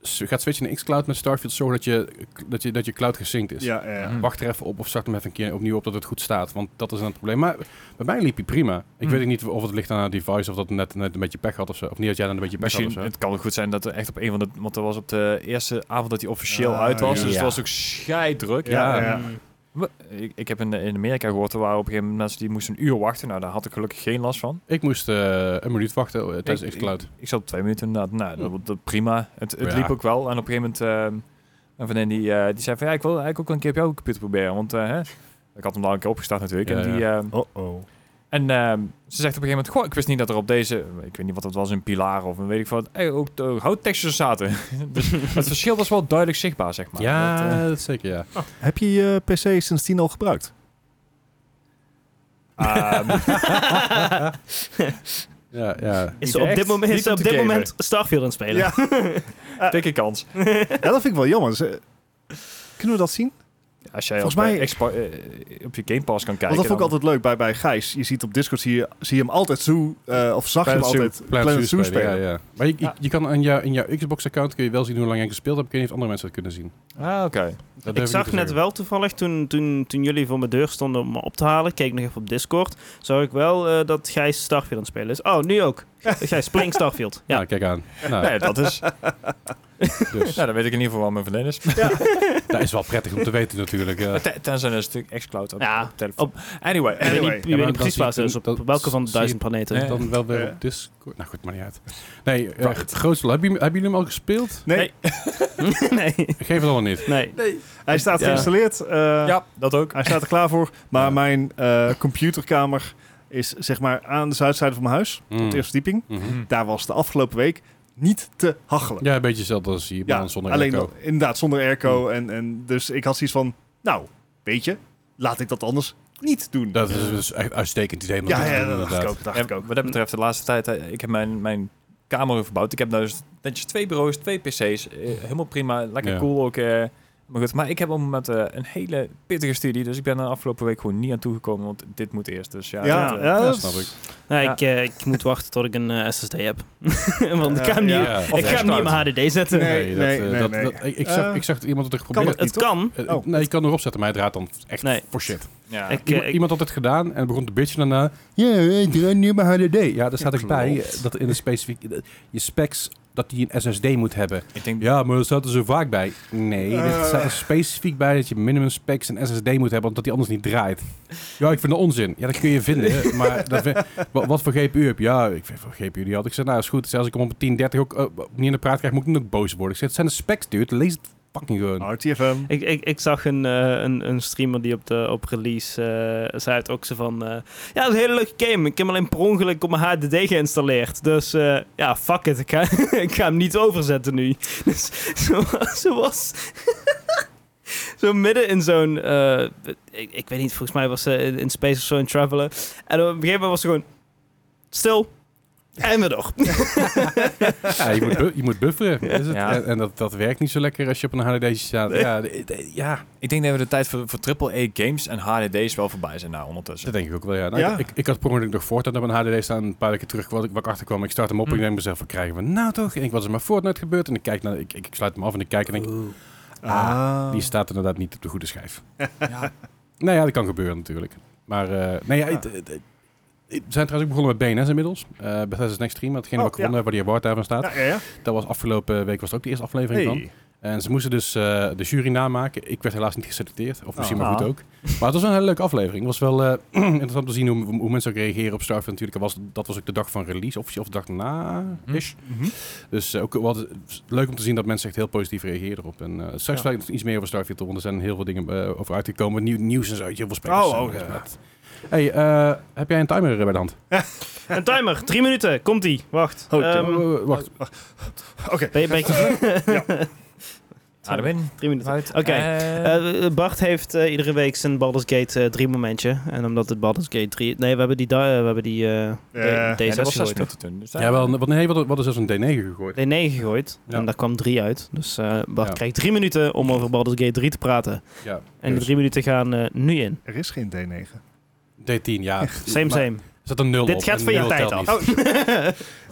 [SPEAKER 2] s- gaat switchen naar xCloud met Starfield, zorg dat je, dat je, dat je cloud gesynct is.
[SPEAKER 3] Ja, ja.
[SPEAKER 4] Mhm.
[SPEAKER 2] Wacht er even op of start hem even een keer opnieuw op dat het goed staat. Want dat is dan het probleem. Maar bij mij liep hij prima. Ik
[SPEAKER 3] Mm.
[SPEAKER 4] Hm.
[SPEAKER 2] weet niet of het ligt aan het device of dat net, net een beetje pech had of zo. Of niet dat jij dan een beetje pech had
[SPEAKER 4] Misschien,
[SPEAKER 2] of zo.
[SPEAKER 4] het kan ook goed zijn dat er echt op een van de... Want dat was op de eerste avond dat hij officieel
[SPEAKER 3] Ah,
[SPEAKER 4] uit was.
[SPEAKER 2] ja.
[SPEAKER 4] Dus het was ook scheidruk.
[SPEAKER 3] Ja, ja.
[SPEAKER 4] We- Ik, ik heb in, in Amerika gehoord, er waren op een gegeven moment mensen die moesten een uur wachten. Nou, daar had ik gelukkig geen last van.
[SPEAKER 2] Ik moest eh, een minuut wachten eh, tijdens
[SPEAKER 4] Ik-
[SPEAKER 2] xCloud.
[SPEAKER 4] Ik zat op twee minuten inderdaad. Nou, dat, dat prima. Het, het
[SPEAKER 2] Ja.
[SPEAKER 4] liep ook wel. En op een gegeven moment... ehm, een vriendin die, eh, die zei van... Ja, ik wil eigenlijk ook wel een keer op jouw computer proberen. Want eh, hè, ik had hem daar een keer opgestart natuurlijk.
[SPEAKER 2] Ja,
[SPEAKER 4] en die, ehm,
[SPEAKER 3] Oh-oh.
[SPEAKER 4] en ehm, ze zegt op een gegeven moment... Goh, ik wist niet dat er op deze... Ik weet niet wat het was, een pilaar of een weet ik wat... eh, ook de houttekstjes zaten. dus het verschil was wel duidelijk zichtbaar, zeg maar. Dat, eh,
[SPEAKER 2] dat zeker, ja.
[SPEAKER 3] Heb je je PC sindsdien al gebruikt?
[SPEAKER 4] ehm,
[SPEAKER 2] ja, ja.
[SPEAKER 1] Is
[SPEAKER 4] Niet
[SPEAKER 1] ze op
[SPEAKER 4] echt.
[SPEAKER 1] dit moment, is
[SPEAKER 4] Niet
[SPEAKER 1] ze
[SPEAKER 4] om
[SPEAKER 1] op
[SPEAKER 4] te
[SPEAKER 1] dit moment
[SPEAKER 4] gamen.
[SPEAKER 1] Starfield aan het spelen.
[SPEAKER 3] Ja.
[SPEAKER 4] ah, dikke kans.
[SPEAKER 3] ja, dat vind ik wel jammer. Ze- Kunnen we dat zien?
[SPEAKER 4] Als jij
[SPEAKER 3] Volgens
[SPEAKER 4] op, eh,
[SPEAKER 3] mij-
[SPEAKER 4] Expo- eh, op je Game Pass kan kijken...
[SPEAKER 3] Want dat vond ik
[SPEAKER 4] dan-
[SPEAKER 3] altijd leuk bij, bij Gijs. Je ziet op Discord, zie je, zie je hem altijd zo, eh, of zag je hem
[SPEAKER 4] Planet Zoo.
[SPEAKER 3] altijd
[SPEAKER 2] Planet Zoo spelen,
[SPEAKER 3] spelen.
[SPEAKER 2] Ja, ja. Maar je, je-
[SPEAKER 4] Ja.
[SPEAKER 2] je kan aan jou, in jouw Xbox-account kun je wel zien hoe lang jij gespeeld hebt. Ik weet niet of andere mensen dat kunnen zien.
[SPEAKER 4] Ah, oké.
[SPEAKER 2] Dat durf
[SPEAKER 1] Ik
[SPEAKER 2] niet
[SPEAKER 1] zag
[SPEAKER 2] te
[SPEAKER 1] net
[SPEAKER 2] zeggen.
[SPEAKER 1] wel toevallig, toen, toen, toen jullie voor mijn deur stonden om me op te halen, keek ik nog even op Discord, zag ik wel eh, dat Gijs Starfield aan het spelen is. Oh, nu ook. Gijs, Playing Starfield. Ja.
[SPEAKER 2] Nou, kijk aan. Nou,
[SPEAKER 4] Nee, dat is...
[SPEAKER 2] dus.
[SPEAKER 4] Nou, dan weet ik in ieder geval waar mijn vriendin is.
[SPEAKER 2] dat is wel prettig om te weten natuurlijk. ja.
[SPEAKER 4] Ten- Tenzij er een stuk xCloud op,
[SPEAKER 1] Ja,
[SPEAKER 4] op telefoon. anyway,
[SPEAKER 1] Ik weet
[SPEAKER 3] Anyway.
[SPEAKER 1] niet,
[SPEAKER 2] Ja,
[SPEAKER 1] je weet
[SPEAKER 2] maar
[SPEAKER 1] niet
[SPEAKER 2] dan
[SPEAKER 1] precies
[SPEAKER 2] zie
[SPEAKER 1] waar
[SPEAKER 2] je
[SPEAKER 1] ze is, op
[SPEAKER 2] toen- dat
[SPEAKER 1] welke van de
[SPEAKER 2] zie je-
[SPEAKER 1] duizend planeten.
[SPEAKER 4] Nee.
[SPEAKER 2] Dan wel weer
[SPEAKER 3] Ja.
[SPEAKER 2] op Discord. Nou goed, maar niet uit. Nee, eh, het grootste. Hebben jullie, hebben jullie hem al gespeeld?
[SPEAKER 3] Nee,
[SPEAKER 1] Nee. nee,
[SPEAKER 2] Ik geef het allemaal niet.
[SPEAKER 1] nee.
[SPEAKER 3] hij staat
[SPEAKER 4] Ja.
[SPEAKER 3] geïnstalleerd. eh,
[SPEAKER 4] ja, dat ook.
[SPEAKER 3] Hij staat er klaar voor. Maar
[SPEAKER 2] Ja.
[SPEAKER 3] mijn eh, computerkamer is zeg maar aan de zuidzijde van mijn huis. Op
[SPEAKER 2] Mm.
[SPEAKER 3] de eerste dieping.
[SPEAKER 2] Mhm.
[SPEAKER 3] Daar was de afgelopen week niet te hachelen.
[SPEAKER 2] Ja, een beetje hetzelfde als hier, maar dan zonder
[SPEAKER 3] alleen
[SPEAKER 2] echo.
[SPEAKER 3] dan- inderdaad zonder airco. En, en dus ik had zoiets van, nou, weet je, laat ik dat anders niet doen.
[SPEAKER 2] Dat is dus echt uitstekend idee. om
[SPEAKER 3] ja,
[SPEAKER 2] dat te
[SPEAKER 3] ja,
[SPEAKER 2] doen,
[SPEAKER 3] dat dacht ik
[SPEAKER 2] inderdaad.
[SPEAKER 3] ook. Dacht ik
[SPEAKER 4] En
[SPEAKER 3] ook.
[SPEAKER 4] Wat dat betreft, de laatste tijd, eh, ik heb mijn, mijn kamer verbouwd. Ik heb nou dus netjes twee bureaus, twee pc's. eh, helemaal prima, lekker
[SPEAKER 2] Ja.
[SPEAKER 4] cool ook. eh, maar goed, maar ik heb op het moment eh, een hele pittige studie. Dus ik ben er afgelopen week gewoon niet aan toegekomen. Want dit moet eerst. Dus ja,
[SPEAKER 3] Ja,
[SPEAKER 4] dat, eh,
[SPEAKER 3] ja,
[SPEAKER 2] Ja,
[SPEAKER 3] dat
[SPEAKER 2] snap ik.
[SPEAKER 1] Nou,
[SPEAKER 4] Ja.
[SPEAKER 1] ik, eh, ik moet wachten tot ik een eh, SSD heb. Want ik
[SPEAKER 3] Ja,
[SPEAKER 1] ga hem niet,
[SPEAKER 3] ja.
[SPEAKER 2] Ja.
[SPEAKER 1] ik ga hem niet in mijn HDD zetten.
[SPEAKER 3] Nee,
[SPEAKER 2] dat,
[SPEAKER 3] nee,
[SPEAKER 2] eh,
[SPEAKER 3] nee,
[SPEAKER 2] dat-
[SPEAKER 3] nee.
[SPEAKER 2] dat- ik- Ik zag,
[SPEAKER 3] Eh,
[SPEAKER 2] ik zag iemand het
[SPEAKER 1] Kan
[SPEAKER 2] er geprobeerd.
[SPEAKER 1] het, het kan.
[SPEAKER 2] Eh,
[SPEAKER 3] Oh.
[SPEAKER 2] Nee, je kan erop zetten, maar hij draait dan echt
[SPEAKER 1] Nee.
[SPEAKER 2] voor shit.
[SPEAKER 4] Ja.
[SPEAKER 1] Ik, eh,
[SPEAKER 2] Iemand,
[SPEAKER 1] ik-
[SPEAKER 2] iemand had het gedaan en begon te bitchen daarna. Ja, eh, ik draai nu mijn HDD. Ja, daar staat ook bij eh,
[SPEAKER 4] Klopt.
[SPEAKER 2] dat in de specifieke... dat Je specs, dat die een SSD moet hebben.
[SPEAKER 4] ik denk,
[SPEAKER 2] Ja, maar dat staat er zo vaak bij. Nee,
[SPEAKER 3] Eh.
[SPEAKER 2] er staat er specifiek bij dat je minimum specs en SSD moet hebben, omdat die anders niet draait. Ja, ik vind dat onzin. Ja, dat kun je vinden. maar dat vind- wa- wat voor GPU heb je? Ja, ik vind voor GPU die had. Ik zei, nou is goed. Zelfs als ik hem op een 1030 ook eh, niet in de praat krijg, moet ik dan ook boos worden. Ik zeg, het zijn de specs, dude. Lees het fucking
[SPEAKER 3] Oh.
[SPEAKER 2] gewoon.
[SPEAKER 3] RTFM.
[SPEAKER 1] Ik, ik, ik zag een, eh, een, een streamer die op, de, op release eh, zei het ook zo van... eh, ja, dat is een hele leuke game. Ik heb hem alleen per ongeluk op mijn HDD geïnstalleerd. Dus eh, ja, fuck it. Ik ga, ik ga hem niet overzetten nu. Dus zo, zo was... Zo midden in zo'n, eh, ik, ik weet niet, volgens mij was ze in, in Space of zo in Traveler. En op een gegeven moment was ze gewoon stil en weer door.
[SPEAKER 2] Ja, je moet, bu- je moet bufferen. Is het?
[SPEAKER 4] Ja.
[SPEAKER 2] En, en dat, dat werkt niet zo lekker als je op een HDD staat. Ja, de- de- ja,
[SPEAKER 4] ik denk dat we de tijd voor, voor AAA games en HDD's wel voorbij zijn nou ondertussen.
[SPEAKER 2] dat denk ik ook wel. Ja. Nou,
[SPEAKER 3] Ja.
[SPEAKER 2] Ik, ik had per ongeluk nog Fortnite op mijn HDD staan. Een paar weken terug wat ik, wat ik achterkwam. Ik start hem op en ik
[SPEAKER 1] Mm.
[SPEAKER 2] denk mezelf, wat krijgen we nou toch? En ik, wat is er met Fortnite gebeurd? En ik, kijk naar, ik, ik, ik sluit hem af en ik kijk en denk,
[SPEAKER 3] Ah.
[SPEAKER 2] die staat inderdaad niet op de goede schijf.
[SPEAKER 4] Ja.
[SPEAKER 2] Nou ja, dat kan gebeuren natuurlijk. Maar eh nee, ja, het- het- het- we zijn trouwens ook begonnen met BNS inmiddels. Eh Bethesda's Next Stream, hetgene
[SPEAKER 3] Oh,
[SPEAKER 2] wat ik gewonnen heb, waar die award daarvan staat.
[SPEAKER 3] Ja, ja, ja.
[SPEAKER 2] Dat was afgelopen week was het ook de eerste aflevering van.
[SPEAKER 3] Hey.
[SPEAKER 2] En ze moesten dus eh, de jury namaken. Ik werd helaas niet geselecteerd. Of misschien
[SPEAKER 4] Ah.
[SPEAKER 1] Oh.
[SPEAKER 2] maar goed
[SPEAKER 4] Ah.
[SPEAKER 2] ook. Maar het was wel een hele leuke aflevering. Het was wel eh, interessant om te zien hoe, hoe mensen ook reageren op Starfield. Natuurlijk, er was, dat was ook de dag van release. Of, of de dag na
[SPEAKER 4] Hm?
[SPEAKER 2] is. Dus eh, ook wat, leuk om te zien dat mensen echt heel positief reageren erop. En eh straks
[SPEAKER 3] Ja.
[SPEAKER 2] wil ik nog iets meer over Starfield. Want er zijn heel veel dingen eh, over uitgekomen. Nieuw, nieuws en zo. Heel veel spelers.
[SPEAKER 3] Oh, oh,
[SPEAKER 2] zijn, eh,
[SPEAKER 3] ja.
[SPEAKER 2] met- Hey, eh, heb jij een timer bij de hand?
[SPEAKER 1] Een timer, drie minuten, komt ie. Wacht.
[SPEAKER 3] Oh,
[SPEAKER 1] Ehm,
[SPEAKER 2] Oh, wacht.
[SPEAKER 3] Oké.
[SPEAKER 1] ben je, ben je-
[SPEAKER 4] Adem in,
[SPEAKER 1] Drie minuten.
[SPEAKER 4] uit.
[SPEAKER 1] Oké.
[SPEAKER 4] Eh,
[SPEAKER 1] Eh, Bart heeft eh, iedere week zijn Baldur's Gate 3 momentje. En omdat het Baldur's Gate 3... Nee, we hebben die, da- eh, we hebben die eh,
[SPEAKER 3] Ja,
[SPEAKER 1] D-
[SPEAKER 4] ja, dat
[SPEAKER 1] D6
[SPEAKER 4] was zes
[SPEAKER 1] gegooid. toch?
[SPEAKER 4] minuten toen. Dus
[SPEAKER 1] eh?
[SPEAKER 2] Ja, wel, wat, nee, wat, wat is zelfs een D9 gegooid?
[SPEAKER 1] D9 gegooid.
[SPEAKER 2] Ja.
[SPEAKER 1] En daar kwam 3 uit. Dus eh, Bart
[SPEAKER 2] Ja.
[SPEAKER 1] krijgt 3 minuten om over Baldur's Gate 3 te praten. En
[SPEAKER 2] Ja, dus
[SPEAKER 1] die 3 minuten gaan eh, nu in.
[SPEAKER 3] Er is geen D9.
[SPEAKER 2] D10, ja.
[SPEAKER 1] Same,
[SPEAKER 2] Maar-
[SPEAKER 1] same.
[SPEAKER 2] Er Zat een nul
[SPEAKER 1] Dit
[SPEAKER 2] op.
[SPEAKER 1] gaat
[SPEAKER 2] en
[SPEAKER 1] van je
[SPEAKER 2] nul
[SPEAKER 1] tijd
[SPEAKER 2] telt
[SPEAKER 1] af.
[SPEAKER 2] niet.